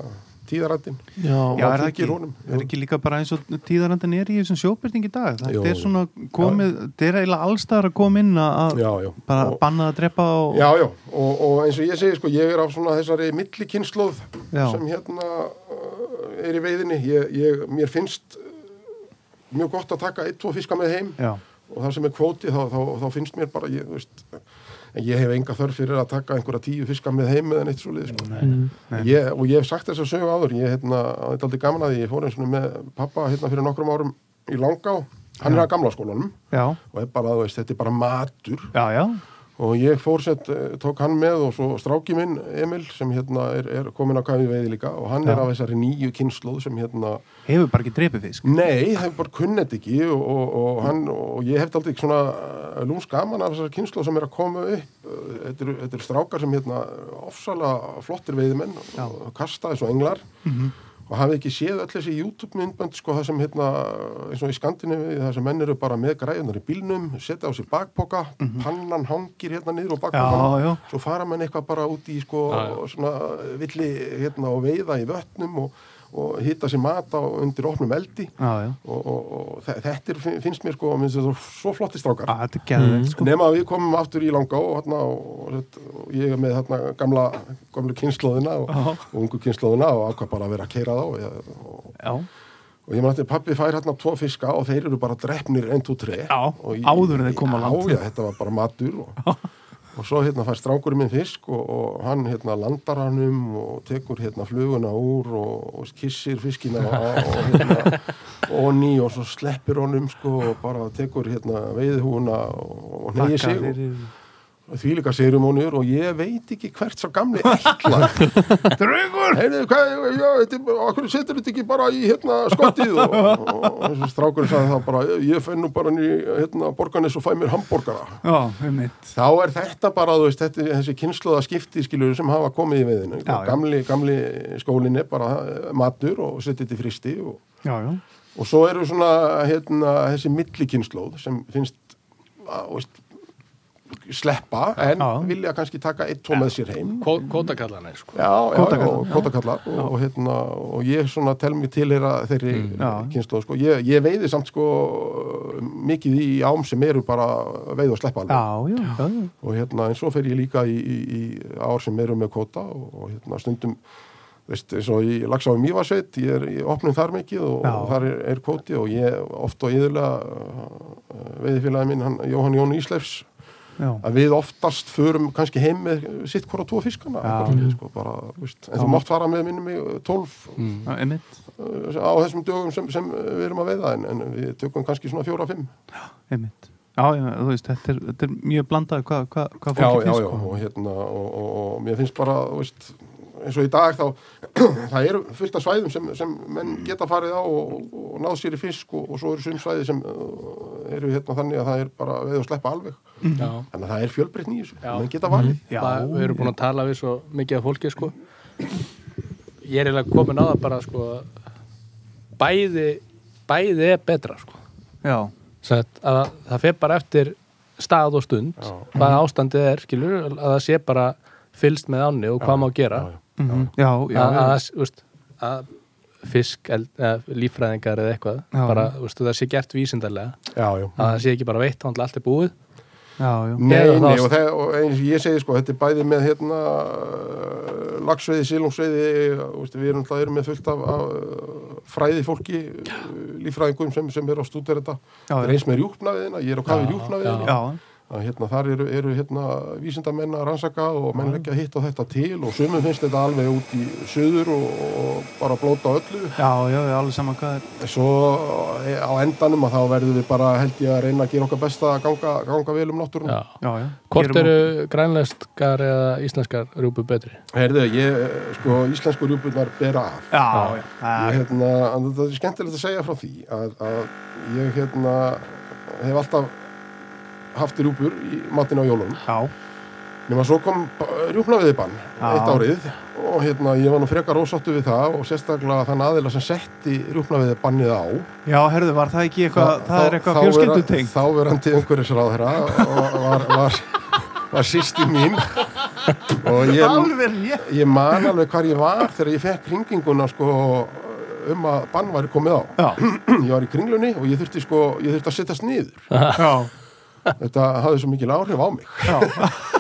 Speaker 1: tíðarættin.
Speaker 3: Já,
Speaker 2: Já,
Speaker 1: maður
Speaker 2: er það
Speaker 1: fylgir
Speaker 2: ekki,
Speaker 1: honum, jú.
Speaker 2: er ekki líka bara eins og tíðarandin er í þessum sjóbyrting í dag þetta
Speaker 1: Jú,
Speaker 2: er
Speaker 1: jú.
Speaker 2: svona komið, þetta er eiginlega allstaðar að koma inn að
Speaker 1: Já, já.
Speaker 2: bara
Speaker 1: Og-
Speaker 2: bannað að drepa og
Speaker 1: Já, já, og, og eins og ég segi, sko, ég er á svona þessari millikynnslóð
Speaker 2: Já.
Speaker 1: sem hérna uh, er í veiðinni. Ég, ég, mér finnst uh, mjög gott að taka eitt, tvo fiska með heim.
Speaker 2: já,
Speaker 1: og það sem er kvóti þá, þá, þá finnst mér bara ég, þú veist, en ég hef enga þörf fyrir að taka einhverja tíu fiska með heim eða neitt svo lið sko. ég, og ég hef sagt þess að sögu áður ég hérna, þetta er aldrei gaman að því ég fór eins og með pappa hérna fyrir nokkrum árum í Langá, hann er að gamla skólanum
Speaker 2: já,
Speaker 1: og er bara, þú veist, þetta er bara matur
Speaker 2: já, já,
Speaker 1: og ég fór sett, eh, tók hann með og svo stráki minn, Emil, sem hérna er, er komin á kæmi veiði líka og hann
Speaker 2: Já.
Speaker 1: er af þessari nýju kynnslóð sem hérna
Speaker 2: hefur bara ekki drepið
Speaker 1: Mm.
Speaker 2: fisk
Speaker 1: Nei, það er bara kunnett ekki og, og, og, hann, og ég hef aldrei svona lúns gaman af þessar kynslu sem er að koma upp. Þetta eru, þetta eru strákar sem hérna ofsalega flottir veiðimenn
Speaker 2: Já. Mhm.
Speaker 1: og kasta eins og englar og hafið ekki séð öll þessi YouTube-myndbönd sko það sem hérna eins og í Skandinavi það sem menn eru bara með græðunar í bílnum, setja á sér bakpoka, pannan hangir hérna niður og bakpoka.
Speaker 2: Mhm. Já, já.
Speaker 1: Svo fara menn eitthvað bara út í sko
Speaker 3: Já, já.
Speaker 1: og svona villi hérna og veiða í vötnum og, og hitta sér mat á undir opnum eldi
Speaker 2: já, já,
Speaker 1: og, og, og þe- þetta er, fin- finnst mér sko minnst þetta svo flotti strákar
Speaker 2: að þetta er geðvegt sko
Speaker 1: nema að við komum aftur í langa og, hérna, og, og, og ég er með hérna, gamla, gamla kynnslóðina og,
Speaker 2: Já.
Speaker 1: og ungu kynnslóðina og ákvað bara að vera að keira þá ég, og,
Speaker 2: já,
Speaker 1: og ég man eftir pappi fær hérna tvo fiska og þeir eru bara drefnir 1, 2, 3
Speaker 2: Já, áður en þeir koma á land.
Speaker 1: já, þetta var bara matur og, og svo hérna fær strákurinn minn fisk og, og hann hérna landar hann um og tekur hérna fluguna úr og, og kissir fiskina á- og hérna og ný og svo sleppir honum sko og bara tekur hérna veiðhúna og, og neyir sig og, og því líka sérum honur og ég veit ekki hvert svo gamli ætla
Speaker 2: Draugur!
Speaker 1: heyrðu, hvað, já, þetta er, okkur setur þetta ekki bara í hérna skottið og, og, og, og strákurinn sagði það bara, ég fenn nú bara ný, hérna, borganis og fæ mér hambúrgara.
Speaker 2: Já, um mitt
Speaker 1: Þá er þetta bara, þú veist, þetta, er þessi kynnslóða skipti skilur sem hafa komið í veðinu.
Speaker 2: Já, já.
Speaker 1: Gamli, gamli skólinn er bara eh, matur og setið til fristi og,
Speaker 2: Já, já,
Speaker 1: og svo eru svona, hérna, þessi millikynnslóð sem finnst, að, þú veist, sleppa en
Speaker 2: Já.
Speaker 1: vilja kannski taka eitt tvo með sér heim
Speaker 4: Kó- Kótakallarnir sko
Speaker 1: Já, já,
Speaker 2: Kótakallar.
Speaker 1: já, kótakallar og, og, hérna, og ég svona tel mig til þeirra þeirri mm,
Speaker 2: Já.
Speaker 1: kynslu sko. ég, ég veiði samt sko mikið í ám sem eru bara veið og sleppa alveg
Speaker 2: Já, já, já, já.
Speaker 1: og hérna en svo fer ég líka í, í, í ár sem eru með kóta og, og hérna stundum veist, eins og ég lagsa á Mývasveit ég er í opnum þar mikið og,
Speaker 2: Já.
Speaker 1: og þar er, er kóti og ég oft og yðurlega uh, veiðifélagi minn, hann, Jóhann Jón Ísleifs
Speaker 2: já.
Speaker 1: að við oftast förum kannski heim með sitt hvora tvo fiskana
Speaker 2: Já.
Speaker 1: eitthvað svoleiðis, sko, bara, þú veist, en þú mátt fara með minnum í 12
Speaker 2: Já, einmitt,
Speaker 1: uh, á þessum dögum sem, sem við erum að veiða en, en við tökum kannski svona fjóra-fimm
Speaker 2: einmitt. Já, já, þú veist, þetta er, þetta er mjög blandað hvað hva, hva
Speaker 1: já,
Speaker 2: fólki
Speaker 1: já,
Speaker 2: finnst.
Speaker 1: já,
Speaker 2: sko.
Speaker 1: og hérna og, og, og mér finnst bara, þú veist eins og í dag þá, það eru fullt af svæðum sem, sem menn geta farið á og, og, og náð sér í fisk og, og svo eru sum svæði sem uh, eru hérna þannig að það er bara veið að sleppa alveg
Speaker 4: Já
Speaker 1: þannig að það er fjölbreytni í þessu,
Speaker 4: Já.
Speaker 1: menn geta valið
Speaker 2: Mhm. Já.
Speaker 4: það, við erum búin að tala við svo mikið af fólki sko. ég er eiginlega komin á það bara sko, bæði bæði er betra sko.
Speaker 2: já.
Speaker 4: Sæt, að, það fer bara eftir stað og stund
Speaker 1: Já.
Speaker 4: hvaða ástandið er skilur, að það sé bara fylst með ánni og hvað má gera
Speaker 1: já, já.
Speaker 2: mhm, já, já,
Speaker 4: að,
Speaker 2: já.
Speaker 4: að, úst, að fisk eld, að, líffræðingar eða eitthvað
Speaker 2: Já.
Speaker 4: bara, úst, það sé gert vísindarlega
Speaker 1: já, já
Speaker 4: að það sé ekki bara veitt þannig að allt er búið
Speaker 2: já, já.
Speaker 1: Nei,
Speaker 4: Eða
Speaker 1: nei,
Speaker 4: það-
Speaker 1: og, það, og eins og ég segi sko, þetta er bæði með hérna uh, lagsveiði, sílungsveiði veist, við erum alltaf erum með fullt af, af uh, fræði fólki, uh, líffræðingum sem, sem er á stúdera þetta
Speaker 2: Já,
Speaker 1: það
Speaker 2: já.
Speaker 1: er eins með rjúpnaviðina, ég er á kafi
Speaker 4: Já,
Speaker 1: rjúpnaviðina
Speaker 2: Já,
Speaker 1: að hérna þar eru, eru hérna vísindamenn að rannsaka og menn leggja hitt og þetta til og sumum finnst þetta alveg út í söður og, og bara blóta öllu
Speaker 2: já, já, já, alveg saman hvað er.
Speaker 1: svo eh, á endanum að þá verðum við bara held ég að reyna að gera okkar besta að ganga, ganga vel um náttúrun
Speaker 4: Já.
Speaker 2: Já, já.
Speaker 4: hvort
Speaker 2: Gerum-
Speaker 4: eru grænleskar eða íslenskar rjúpu betri
Speaker 1: Herðu, ég, eh, sko, íslensku rjúpunar bera af.
Speaker 2: Já, já.
Speaker 1: Ég,
Speaker 2: já.
Speaker 1: hérna, en það er skemmtilegt að segja frá því að, að ég, hérna, hef alltaf haft rjúpur í matinn á jólunum.
Speaker 2: Já,
Speaker 1: Nefna svo kom rjúpnaviði bann,
Speaker 2: Já.
Speaker 1: eitt árið, og hérna, ég var nú frekar ósáttu við það og sérstaklega þann aðila sem setti rjúpnaviði bannið á.
Speaker 2: já, herðu, var það ekki eitthvað, það, er eitthvað
Speaker 1: þá- þá vera-
Speaker 2: fjölskyldutengt.
Speaker 1: Þá verandi umhverfisráðherra og var, var, var sýsti mín og ég...
Speaker 2: Alveg rétt.
Speaker 1: Ég man alveg hvar ég var þegar ég fekk hringinguna sko um að bann væri komið á.
Speaker 2: Já,
Speaker 1: Ég var í kringlunni og ég þurfti sko, ég þurfti að sittast niður.
Speaker 2: já,
Speaker 1: Þetta hafði svo mikil áhrif á mig.
Speaker 2: já,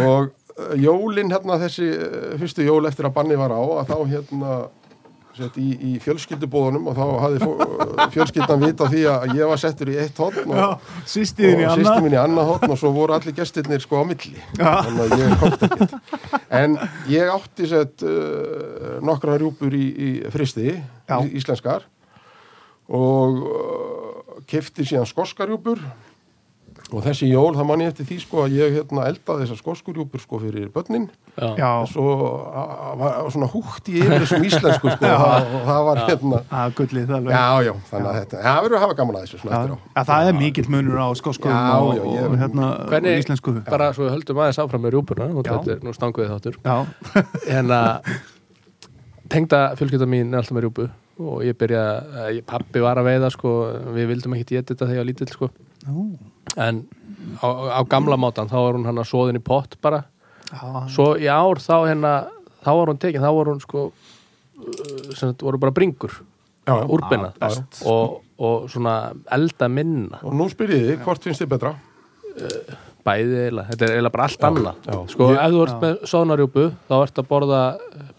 Speaker 1: Og eh, jólin hérna þessi eh, fyrstu jól eftir að banni var á að þá hérna sett í, í fjölskyldubóðunum og þá hafði fó- eh, fjölskyldan vita því að ég var settur í eitt hotn
Speaker 2: já.
Speaker 1: og,
Speaker 2: Sýstiðin í
Speaker 1: og
Speaker 2: annað.
Speaker 1: sýsti mín í annað hotn og svo voru allir gestirnir sko á milli
Speaker 2: Já.
Speaker 1: þannig að ég komst ekkert en ég átti sett uh, nokkra rjúpur í, í fristi
Speaker 2: Já.
Speaker 1: í, íslenskar og uh, kefti síðan skoskarjúpur og þessi jól það mann ég eftir því sko að ég hérna eldaði þessar skoskurjúpur sko fyrir börnin
Speaker 2: Já,
Speaker 1: og svo a- var svona húkt í yfir þessum íslensku sko og það, og það var hérna
Speaker 2: að gullið það alveg.
Speaker 1: Já, já, þannig að þetta, það verður að hafa gaman að þessu svona
Speaker 2: Já,
Speaker 1: eftir á.
Speaker 2: já, það er mikill munur á skoskuðum
Speaker 1: Já,
Speaker 2: og,
Speaker 1: já, ég-
Speaker 2: og hérna,
Speaker 4: Hvernig-
Speaker 2: og íslensku.
Speaker 4: bara svo við höldum aðeins áfram með rjúpuna og
Speaker 2: Já.
Speaker 4: þetta er nú stanguðið þáttur
Speaker 2: Já,
Speaker 4: hérna tengda fjölskylda mín er alltaf með rjúpu og ég byrja, eh, ég, pappi var að veiða sko, við vildum ekki geta þetta þegar ég var lítill sko.
Speaker 2: Nú.
Speaker 4: en á, á gamla mátan þá var hún hann að soðin í pott bara
Speaker 2: já,
Speaker 4: svo í ár þá hérna þá var hún tekin, þá var hún sko uh, sem þetta voru bara bringur
Speaker 1: Já, já.
Speaker 4: úrbeina
Speaker 2: Ah, best.
Speaker 4: og, og svona elda minna
Speaker 1: Og nú spyr ég þig, hvort finnst þið betra?
Speaker 4: bæði eiginlega, þetta er eiginlega bara allt annað
Speaker 1: já.
Speaker 4: sko
Speaker 1: Ég-
Speaker 4: ef þú ert með sónarjúpu þá ert að borða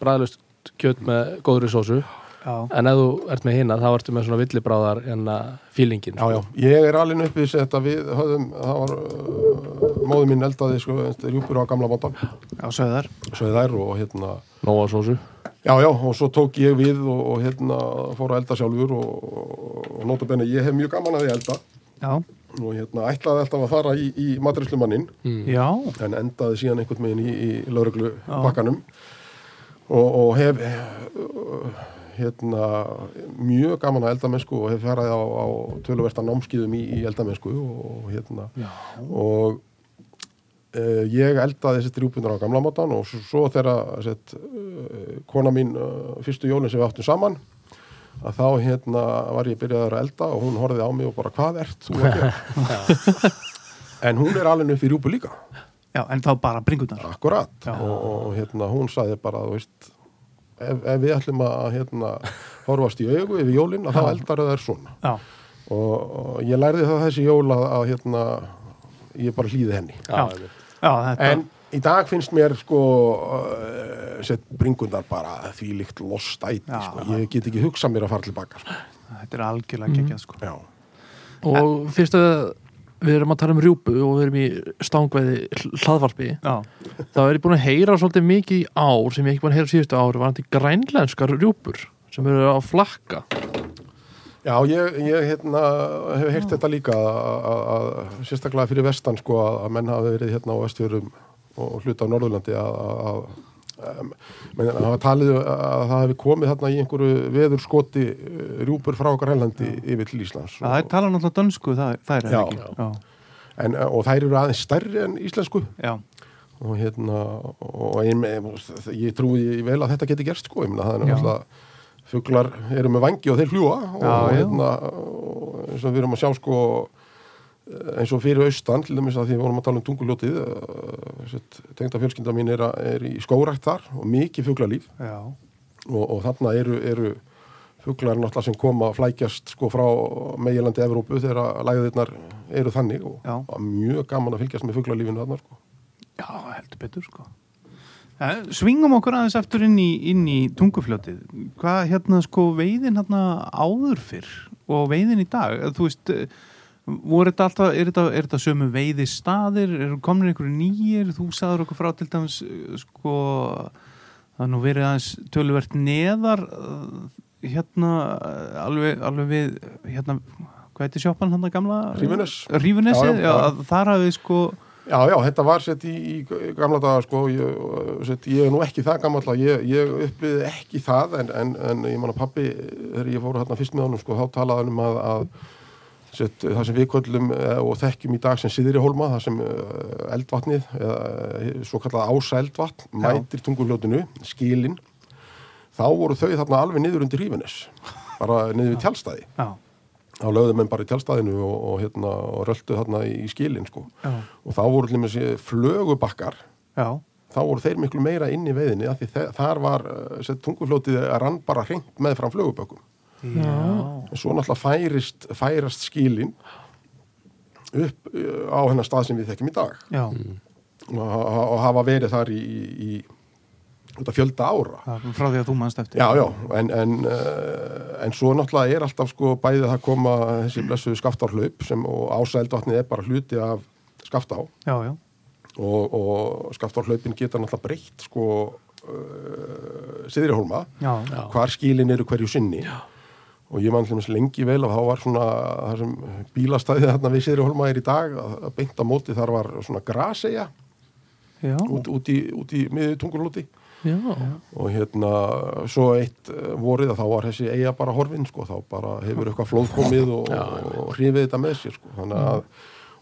Speaker 4: bræðlust kjöt með góðri sósu
Speaker 2: já,
Speaker 4: en ef þú ert með hina þá ertu með svona villibráðar en að fílingin sko.
Speaker 1: Já, já, ég er alveg uppið þess að þetta við höfðum, það var uh, móðu mín eldaði, sko, rjúpur á gamla mátan
Speaker 2: já, söðar.
Speaker 1: svo þær og hérna
Speaker 4: nóa sósu
Speaker 1: já, já, og svo tók ég við og, og hérna fór að elda sjálfur og, og, og notabenni, ég hef mjög gaman að því að elda
Speaker 2: Já,
Speaker 1: og hérna ætlaði alltaf að fara í, í matrislumannin
Speaker 2: já,
Speaker 1: en endaði síðan einhvern megin í, í lauruglu bakkanum og, og hef eh, hérna mjög gaman að eldamennsku og hef færaði á, á töluversta námskiðum í, í eldamennsku og hérna og Uh, ég eldaði þessi drjúpunar á gamla mátan og s- svo þegar sett, uh, kona mín uh, fyrstu jólinn sem við áttum saman að þá hérna var ég byrjaður að elda og hún horfið á mig og bara hvað ert þú að gera en hún er alveg upp í rjúpu líka
Speaker 2: Já, en þá bara bringunar
Speaker 1: akkurat
Speaker 2: Já.
Speaker 1: og, og hérna, hún sagði bara þú veist, ef, ef við ætlum að hérna, horfast í augu yfir jólin að þá eldar það er svona
Speaker 2: Já,
Speaker 1: og, og ég lærði það þessi jól að, að hérna, ég bara hlýði henni
Speaker 2: Já.
Speaker 4: einmitt.
Speaker 2: já þetta
Speaker 1: en í dag finnst mér sko uh, sett bringundar bara því líkt lostæti
Speaker 2: Já.
Speaker 1: sko. ég get ekki hugsað mér að fara tilbaka sko.
Speaker 2: Þetta er algjörlega geggjað sko
Speaker 1: Mhm. já,
Speaker 3: og fyrst að við erum að tala um rjúpu og við erum í stangveði hlaðvarpi
Speaker 2: Já,
Speaker 3: þá er ég búin að heyra svolítið mikið í ár sem ég ekki búin að heyra síðustu ári var þetta grænlenskar rjúpur sem eru að flakka
Speaker 1: já ég, ég hérna, hef heyrt þetta líka að- að- að- sérstaklega fyrir vestan sko, að að menn hafi verið hérna á vestfjörum og hluta á Norðurlandi að, að, að em, menn að hafa talið að það hefði komið þarna í einhverju veður skoti rjúpur frá Grænlandi yfir til Íslands
Speaker 2: það er talað náttúrulega dönsku það, það er
Speaker 1: Já.
Speaker 2: ekki Já,
Speaker 1: en, og þær eru aðeins stærri en íslensku
Speaker 2: já,
Speaker 1: og hérna og ég, ég, ég trúi vel að þetta geti gerst sko, ég meina það er
Speaker 2: Já.
Speaker 1: náttúrulega fuglar eru með vangi og þeir hljúa og,
Speaker 2: Já, já.
Speaker 1: hérna og eins og við erum að sjá sko eins og fyrir austan til dæmis að því við vorum að tala um tunguljótið eh, tengda fjölskynda mín er, að- er í skórætt þar og mikið fuglalíf
Speaker 2: já
Speaker 1: og, og þarna eru, eru fuglar náttúrulega sem koma að flækjast sko frá meginlandi Evrópu þegar að læðirnar eru þannig og,
Speaker 2: Já.
Speaker 1: og mjög gaman að fylgjast með fuglalífinu þarna sko
Speaker 2: Já, heldur betur sko ja, Svingum okkur aðeins eftir inn í, inn í tungufljótið Hvað hérna sko veiðin hérna áður fyrr og veiðin í dag Eh, Þú veist, eh, voru þetta alltaf er þetta, er þetta sömu veiði staðir eru komin einhverju nýjir, þú sagður okkur frá til dæmis eh, sko það er nú verið aðeins töluvert neðar eh, hérna eh, alveg, alveg við hérna, hvað heitir sjoppan hann gamla?
Speaker 1: Hrífunes. Já,
Speaker 2: Rífunesið,
Speaker 1: já,
Speaker 2: já,
Speaker 1: já.
Speaker 2: að þar hafið sko
Speaker 1: Já, já, þetta var sett í, í gamla daga sko, ég, sett, ég er nú ekki það gammal ég, ég upplýði ekki það en, en, en ég manna pappi þegar ég fór hérna fyrst með honum sko, þá talaði hann um að, að sett, það sem við köllum eh, og þekkjum í dag sem síðri hólma, það sem eh, eldvatnið, eða, eh, svo kallað ása eldvatn, mætir tunguljótinu skilin, þá voru þau þarna alveg niður undir hrífinnes bara niður í tjálstæði
Speaker 2: Já,
Speaker 1: þá lögðu menn bara í tjálstæðinu og, og, hérna, og röldu þarna í, í skilin sko.
Speaker 2: Já.
Speaker 1: og þá voru allir með sér flögubakkar
Speaker 2: já
Speaker 1: þá voru þeir miklu meira inn í veiðinni af því þe- þar var eh, sett, tungufljótið að rann bara hreint með fram flögubökkum
Speaker 2: Já,
Speaker 1: en svo náttúrulega færist, færast skilin upp eh, á hennar stað sem við þekkjum í dag
Speaker 2: já,
Speaker 1: og, og, og hafa verið þar í, í, í út af fjölda ára
Speaker 2: það er frá því að þú mannst eftir
Speaker 1: Já, já, en, en, eh, en svo náttúrulega er alltaf sko bæðið að koma þessi blessuðu skaftarhlaup sem og ásældatnið er bara hluti af skaftá og,
Speaker 2: já, já,
Speaker 1: og skaftarhlaupin geta náttúrulega breytt sko uh, siðri hólma
Speaker 2: já,
Speaker 4: Já.
Speaker 1: hvar skilin eru hverju sinni já. og ég mann hlumins lengi vel að þá var svona það sem bílastæðið þarna við siðri hólma er í dag að, að beint á móti þar var svona graseja
Speaker 2: já,
Speaker 1: út, út í, út í miðið tungurlóti
Speaker 3: já,
Speaker 1: og hérna svo eitt eh, vorið að þá var þessi eiga bara horfin sko, þá bara hefur eitthvað flóð komið og, og hrifið þetta með sér sko, þannig að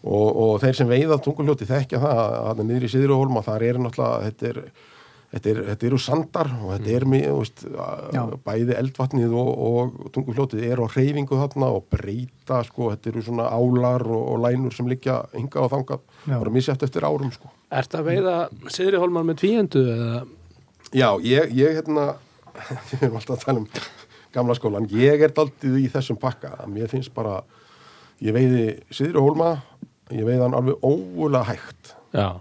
Speaker 1: og, og þeir sem veiða tunguljóti þekkja það að þarna niður í Siðurhólma, þar er náttúrulega þetta er Þetta, er, þetta eru sandar og þetta er mjög, þú veist, að-
Speaker 2: Mm. Já.
Speaker 1: bæði eldvatnið og, og tungufljótið er á reyfingu þarna og breyta, sko, þetta eru svona álar og, og lænur sem liggja hingað og þangað,
Speaker 2: Já.
Speaker 1: bara misjæft eftir árum, sko.
Speaker 4: Er þetta að veiða Siðri Holmar með tvíendu eða
Speaker 1: Já, ég, ég hérna, við erum alltaf að tala um gamla skólan, ég er daldið í þessum pakka, að mér finnst bara, ég veiði Siðri Hólma, ég veiði hann alveg óvöla hægt,
Speaker 4: Já,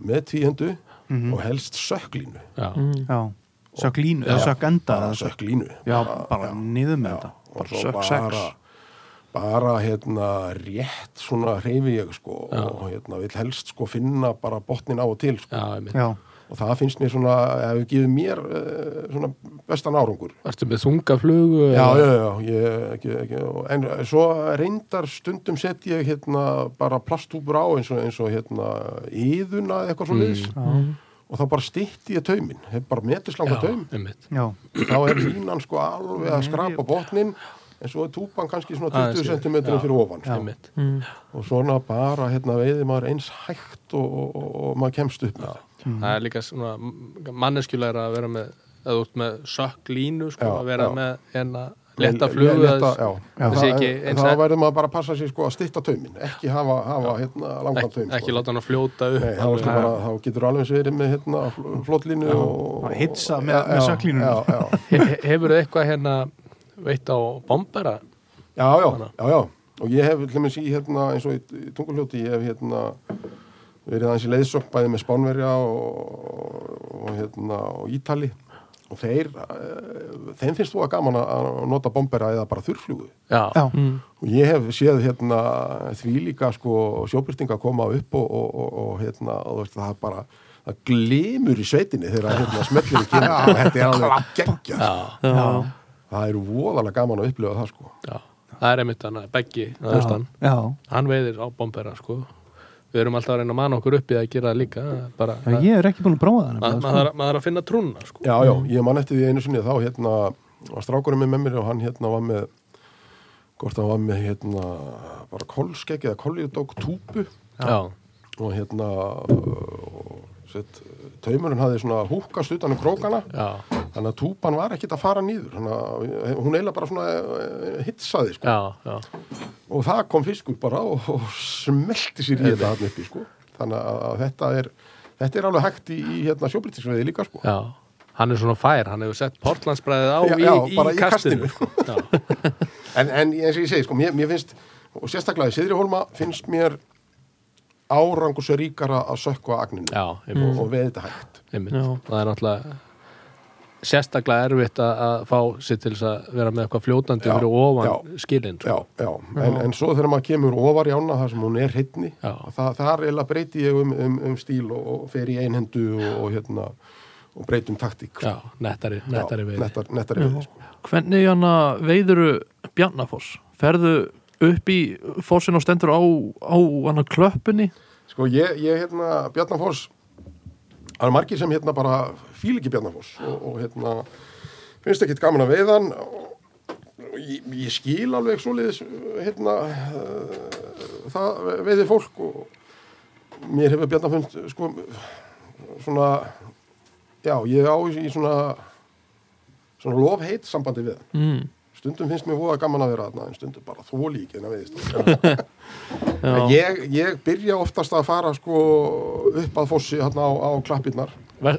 Speaker 1: með tvíhendu
Speaker 2: Mhm.
Speaker 1: og helst sökklínu.
Speaker 4: já,
Speaker 1: Mm.
Speaker 2: já Sök línu, eða sök enda
Speaker 1: Bara sökklínu.
Speaker 2: Já, bara niður með þetta
Speaker 1: og
Speaker 2: Bara
Speaker 1: svo
Speaker 2: sök
Speaker 1: bara,
Speaker 2: sex
Speaker 1: bara hérna rétt svona hreyfi ég sko og hérna vil helst sko finna bara botnin á og til sko.
Speaker 4: já, einmitt.
Speaker 2: Já,
Speaker 1: og það finnst mér svona, hefur gefið mér uh, svona bestan árangur
Speaker 4: Ertu með þungaflugu?
Speaker 1: Já,
Speaker 4: eða-
Speaker 1: já, já, ég, ekki, ekki, en svo reyndar stundum sett ég hérna bara plastúpur á eins og, eins og hérna íðuna eitthvað svo liðs
Speaker 4: Mm,
Speaker 1: og þá bara stytti ég taumin, hef bara metislangar taum,
Speaker 4: einmitt.
Speaker 2: já,
Speaker 1: þá er línan sko alveg að skrapa botnin en svo er túpan kannski svona
Speaker 4: Mm. Aðeins
Speaker 1: 20
Speaker 4: yfir,
Speaker 1: cm
Speaker 4: já.
Speaker 1: fyrir ofan sko.
Speaker 4: Einmitt.
Speaker 3: Mm.
Speaker 1: og svona bara hérna veiði maður eins hægt og, og, og, og maður kemst upp með það.
Speaker 4: Það er líka svona manneskjulegra að vera með að þú ert með sökklínu sko,
Speaker 1: Já,
Speaker 4: að vera
Speaker 1: já.
Speaker 4: með en að letta flugu
Speaker 1: Létta-
Speaker 4: að-
Speaker 1: já.
Speaker 2: Já.
Speaker 1: Það
Speaker 4: Þessi
Speaker 1: er-
Speaker 4: ekki eins
Speaker 1: þá
Speaker 4: að-
Speaker 1: verður maður bara að passa sér sko að stytta taumin ekki hafa, hafa hérna, langan
Speaker 4: ekki,
Speaker 1: taum
Speaker 4: ekki
Speaker 1: sko.
Speaker 4: láta hann að fljóta upp
Speaker 1: Nei, þá, ertu
Speaker 4: alveg.
Speaker 1: bara, þá getur alveg eins verið með hérna, fl- flotlínu og
Speaker 2: Að hitsa með- með
Speaker 1: Já,
Speaker 2: sökklínuna.
Speaker 1: já, já,
Speaker 4: He- hefur þið eitthvað hérna veitt á bombara
Speaker 1: já, já, já, já. og ég hef hlumis í hérna, eins og í tunguljóti ég hef hérna, verið aðeins í leiðsokk bæði með Spánverja og, og, hérna, og Ítali og þeir eh, þeim finnst þú að gaman að að nota bombera eða bara þurrfljúgu
Speaker 4: já,
Speaker 2: Já.
Speaker 1: og ég hef séð hérna því líka sko sjóbyrtinga koma upp og, og, og, og hérna og þú veist, það er bara það glimur í sveitinni þegar hérna smellinu kemur og þetta er alveg geggja
Speaker 4: já,
Speaker 3: já,
Speaker 1: það er voðalega gaman að upplifa það sko
Speaker 4: já. það er einmitt hann að beggi
Speaker 2: Já.
Speaker 4: hann
Speaker 2: Já.
Speaker 4: hann veiðir á bombera sko. við erum alltaf að reyna að manna okkur upp í að gera það líka bara,
Speaker 2: Já, ég er ekki búin að prófa það sko.
Speaker 4: ma-
Speaker 2: nefnilega,
Speaker 4: maður þarf að- maður þarf að finna trúna sko.
Speaker 1: já, já, ég man eftir því einu sinni þá hérna var strákurinn minn með mér og hann hérna var með hvort hann var með hérna bara kolskegg eða koljudók túpu
Speaker 4: já,
Speaker 1: og hérna og, sett, taumurinn hafði svona húkast utan um krókana
Speaker 4: já,
Speaker 1: Þannig að túpan var ekkit að fara nýður Þannig að hún eiginlega bara svona eh, hitsaði sko.
Speaker 4: já, já.
Speaker 1: og það kom fiskur bara og, og smelti sér í þetta hann uppi sko. þannig að, að þetta er þetta er alveg hægt í, í hérna, sjóbrytisveiði líka sko.
Speaker 4: já. hann er svona fær, hann hefur sett portlandsbræðið á
Speaker 1: Já,
Speaker 4: í,
Speaker 1: já, bara
Speaker 4: í
Speaker 1: í kastinu.
Speaker 4: kastinu, Sko. Já,
Speaker 1: en, en eins og ég segi, sko, mér, mér finnst og sérstaklega í Siðri Hólma finnst mér árangur sér ríkara að sökva agninu
Speaker 4: já, Mm. einmitt,
Speaker 1: og, og veið þetta hægt
Speaker 4: einmitt.
Speaker 3: Já.
Speaker 4: það er náttúrulega sérstaklega erfitt að- að fá sér til þess að vera með eitthvað fljótandi
Speaker 1: Já,
Speaker 4: fyrir ofan
Speaker 1: já.
Speaker 4: skilin sko.
Speaker 1: já, já. En, en svo þegar maður kemur ofar í ána þar sem hún er hittni
Speaker 4: Já.
Speaker 1: það, þar eiginlega breyti ég um, um, um stíl og, og fer í einhendu og, og hérna og breytum taktík sko.
Speaker 4: já, nettari, nettari
Speaker 1: Já,
Speaker 4: veiði Mhm.
Speaker 1: nettar, nettari veiði sko.
Speaker 3: hvernig hann veiðuru Bjarnafoss ferðu upp í fossin og stendur á, á hann klöppunni
Speaker 1: sko ég, ég hérna Bjarnafoss það er margir sem hérna bara fíl ekki Bjarnafoss og, og hérna finnst ekkit gaman að veiðan og og ég, ég skil alveg svoleiðis hérna eh, það veiði fólk og mér hefur Bjarnafund sko svona já ég á í, í svona svona lofheit sambandi við hann
Speaker 3: mm.
Speaker 1: stundum finnst mér voða gaman að vera þarna en stundum bara þóli ekki en að veiðist
Speaker 3: Já.
Speaker 1: ég, ég byrja oftast að fara sko upp að fossi hérna á, á klappirnar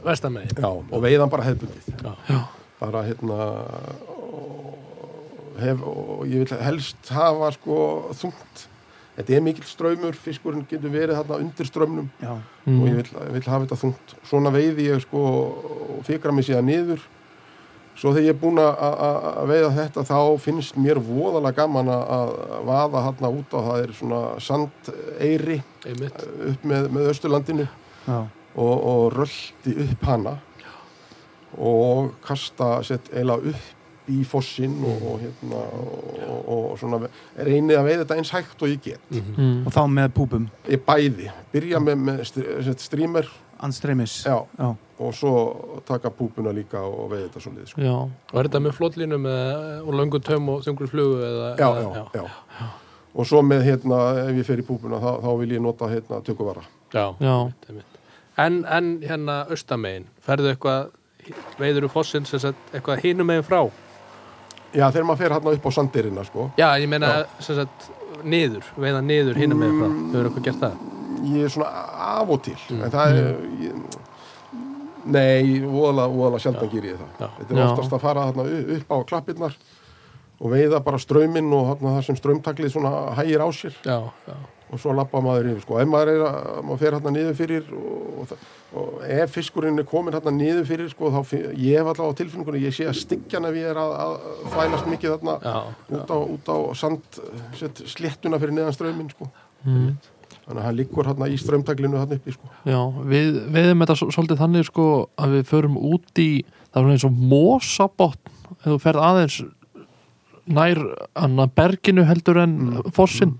Speaker 4: vestamegin
Speaker 1: já. og veiðan bara hefbundið
Speaker 4: Já.
Speaker 1: bara hérna og, hef, og ég vil helst hafa sko þungt þetta er mikill ströymur, fiskurinn getur verið hérna undir strömmnum
Speaker 2: Já.
Speaker 4: Mm.
Speaker 1: og ég vil, vil hafa þetta þungt svona veiði ég sko og fikra mig síðan niður svo þegar ég er búin að- að að veiða þetta þá finnst mér voðalega gaman að- að vaða hérna út á það er svona sandeyri
Speaker 4: einmitt,
Speaker 1: upp með, með Östurlandinu
Speaker 2: Já.
Speaker 1: og, og röldi upp hana og kasta sett eiginlega upp í fossin og, og hérna og, og, og svona reynið að veiða þetta eins hægt og ég get
Speaker 3: Mm.
Speaker 2: Og þá með púpum,
Speaker 1: ég bæði, byrja með, með str- sett, streamer
Speaker 2: anstreimis
Speaker 1: já,
Speaker 2: Já.
Speaker 1: og svo taka púpuna líka og veiða þetta svolítið sko.
Speaker 3: já,
Speaker 4: og er þetta með flótlínum eða- og löngu töm og þungur flugu eða,
Speaker 1: já, já,
Speaker 4: eða,
Speaker 1: já, og svo með hérna, ef ég fer í púpuna þá, þá vil ég nota hérna tökuvara
Speaker 4: Já,
Speaker 3: Já.
Speaker 4: einmitt, einmitt. En, en hérna austamegin, ferðu eitthvað veiður úr fossin sem sagt eitthvað hinum megin frá?
Speaker 1: já, þegar maður fer hérna upp á sandirina sko.
Speaker 4: Já, Mm. ég meina sem sagt niður, veiða niður hinum megin frá Þau eru eitthvað gert það?
Speaker 1: ég er svona af og til en það er ég, nei, voðalega, voðalega sjaldan gýr ég það
Speaker 4: Já.
Speaker 1: þetta er
Speaker 3: Já.
Speaker 1: oftast að fara hérna, upp á klappirnar og veiða bara ströyminn og hérna, það sem ströymtaklið svona hægir á sér
Speaker 4: Já, já,
Speaker 1: og svo lappa maður yfir sko. ef maður, er að, maður fer hérna niður fyrir og, og, það- og ef fiskurinn er komin hérna niður fyrir sko, þá finn, ég hef allavega á tilfinningunni, ég sé að styggjan ef ég er að, að þvælast mikið þarna
Speaker 4: já,
Speaker 1: út á, út á sand set, sléttuna fyrir neðan strömmin sko. þannig að hann liggur hérna í strömtaklinu hérna uppi sko.
Speaker 3: já við veiðum þetta svo- svolítið þannig sko að við förum út í það er svona eins og mosabotn ef þú ferð aðeins nær anna berginu heldur en mm. fossin,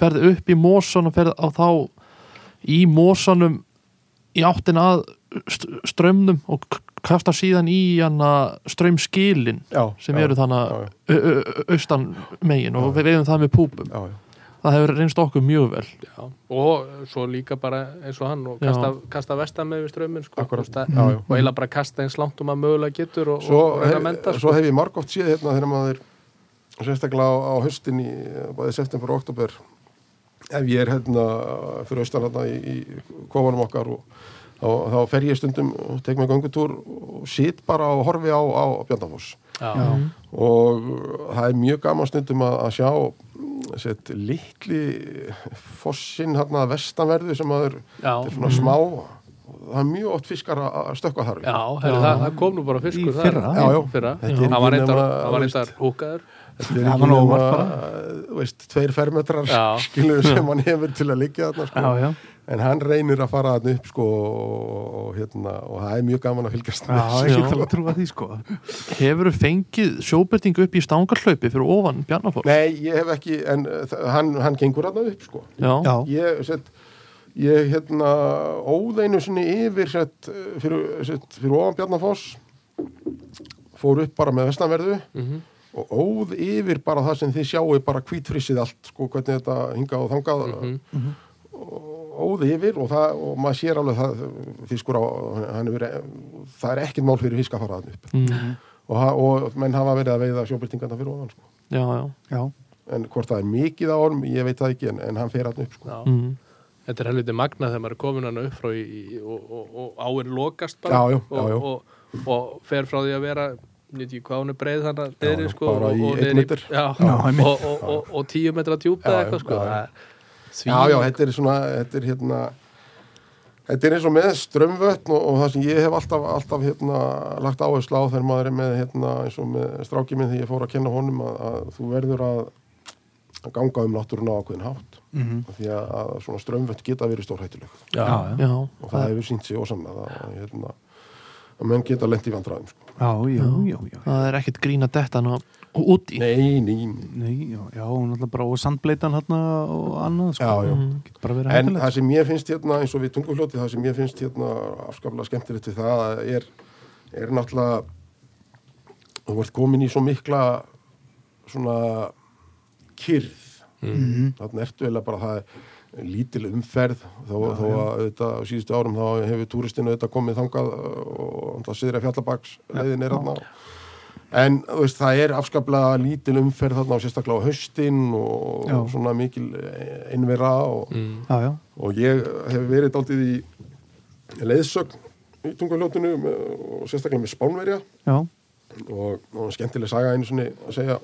Speaker 3: ferð upp í mosan og ferð á þá í mosanum í áttin að st- straumnum og k- kasta síðan í anna straumskilin
Speaker 1: já,
Speaker 3: sem eru
Speaker 1: já,
Speaker 3: þannig austan megin og við veiðum það með púpum
Speaker 1: já, já.
Speaker 3: það hefur reynst okkur mjög vel
Speaker 4: já Og svo líka bara eins og hann og
Speaker 3: Já.
Speaker 4: kasta, kasta vestamegin við strömmin sko,
Speaker 1: Akkúrat.
Speaker 4: Þú veist að-
Speaker 1: Já, já.
Speaker 4: Og eiginlega bara kasta eins langt um að mögulega getur og,
Speaker 1: Svo,
Speaker 4: og reyna að menda
Speaker 1: hef, svo hef ég margótt séð hérna þegar maður sérstaklega á, á höstin í eh, bæði september og oktober ef ég er hérna fyrir austan hérna í, í kofanum okkar og þá, þá fer ég stundum og tek mig göngutúr og sit bara og horfi á, á Bjöndafoss
Speaker 4: já,
Speaker 1: og það er mjög gaman stundum að, að sjá sett, litli fossin hérna vestanverðu sem að er,
Speaker 4: Já. Mhm.
Speaker 1: þetta er svona smá og það er mjög oft fiskar að- að stökkva þar við.
Speaker 4: já heru, það, það kom nú bara fiskur
Speaker 2: Í
Speaker 4: þar.
Speaker 2: fyrra.
Speaker 1: Já, já.
Speaker 4: fyrra.
Speaker 1: Þetta er
Speaker 4: hann var
Speaker 1: ekki
Speaker 4: reyndar,
Speaker 1: nema,
Speaker 4: hann var
Speaker 1: veist-
Speaker 4: reyndar húkaður
Speaker 1: Þetta er
Speaker 2: Já,
Speaker 1: ekki
Speaker 2: það var
Speaker 1: nema,
Speaker 2: óvart
Speaker 1: þú veist, tveir fermetrar
Speaker 4: Já.
Speaker 1: skilur sem hann hefur til að liggja þarna sko.
Speaker 2: já, já.
Speaker 1: en hann reynir að fara þarna upp sko, og, og, hérna, og það er mjög gaman að fylgjast
Speaker 2: Já,
Speaker 1: með.
Speaker 2: ég
Speaker 3: Já.
Speaker 2: get alveg trúa því sko
Speaker 3: Hefur þú fengið sjóbyrting upp í stangarhlaupi fyrir ofan Bjarnafoss?
Speaker 1: Nei, ég hef ekki, en uh, þa- hann, hann gengur þarna upp sko.
Speaker 3: Já,
Speaker 2: Já,
Speaker 1: Ég, sett, ég hérna, óðeinu sinni yfir sett, uh, fyrir, sett, fyrir ofan Bjarnafoss fór upp bara með vestanverðu og óð yfir bara það sem þið sjáu bara hvítfrissið allt sko, hvernig þetta hingað og þangað óði yfir og, það, og maður sér alveg það fiskur á, hann- hann er, það er ekkert mál fyrir fisk að fara þannig upp
Speaker 3: Mhm.
Speaker 1: og, ha- og menn hafa verið að veiða sjóbyrtingarna fyrir ofan sko.
Speaker 3: já, já.
Speaker 2: já,
Speaker 1: en hvort það er mikið á honum, ég veit það ekki en, en hann fer hann upp sko.
Speaker 4: já.
Speaker 3: Mm.
Speaker 4: þetta er helviti magna þegar maður er komin hann upp frá í, í, og, og, og áin lokast bara
Speaker 1: Já, já, já, já.
Speaker 4: Og, og, og fer frá því að vera ég veit ekki hvað hún er breið þannig að
Speaker 1: já,
Speaker 4: þeirri sko
Speaker 1: bara
Speaker 4: og,
Speaker 1: í
Speaker 4: og
Speaker 1: einn
Speaker 4: niður
Speaker 1: meter.
Speaker 4: já,
Speaker 2: Já, einmitt.
Speaker 4: og, og, og, og tíu metra djúpa
Speaker 1: Já,
Speaker 4: eða
Speaker 1: já,
Speaker 4: eitthvað
Speaker 1: já,
Speaker 4: sko
Speaker 1: já.
Speaker 4: það er
Speaker 1: já,
Speaker 4: svín-
Speaker 1: já, þetta er svona þetta er hérna Þetta er eins og með strömvötn og, og það sem ég hef alltaf, alltaf hérna, lagt áherslu á þegar maður er með, hérna, eins og með strákið minn þegar ég fór að kenna honum að, að þú verður að, að ganga um náttúruna á ákveðin hátt.
Speaker 2: mhm,
Speaker 1: Af því að, að svona strömmvöld geta verið stórhættileg
Speaker 4: já,
Speaker 2: já, já,
Speaker 3: já.
Speaker 1: og það hefur sínt sig ósamlega að, hérna, að menn geta lent í vandræðum sko.
Speaker 2: já, já, já, já.
Speaker 3: Það er ekkert grín að detta hana út í.
Speaker 1: Nei, nei, nei.
Speaker 2: Nei, já, já, hún alltaf bara og sandbleitan hérna og annað sko.
Speaker 1: Já, já.
Speaker 2: Mhm. Getur bara verið
Speaker 1: En
Speaker 2: hættulegt
Speaker 1: það sem ég finnst hérna eins og við tungufljóti, það sem ég finnst hérna afskaplega skemmtilegt við það er, er náttúrulega þú ert komin í svo mikla svona kyrð mm.
Speaker 2: Mhm.
Speaker 1: þarna ertu eða bara það er lítil umferð þó, þó að auðvitað, á síðustu árum þá hefur túristinu auðvitað komið þangað uh, og það siðra fjallabaks leiðin er þarna En þú veist, það er afskaplega lítil umferð þarna á sérstaklega á haustin og
Speaker 2: Já. Mm.
Speaker 1: svona mikil innvera og,
Speaker 2: Já, já,
Speaker 1: og ég hef verið dálítið í leiðsögn í tunguljótinu og sérstaklega með Spánverja
Speaker 2: já,
Speaker 1: og, og skemmtileg saga einu sinni að segja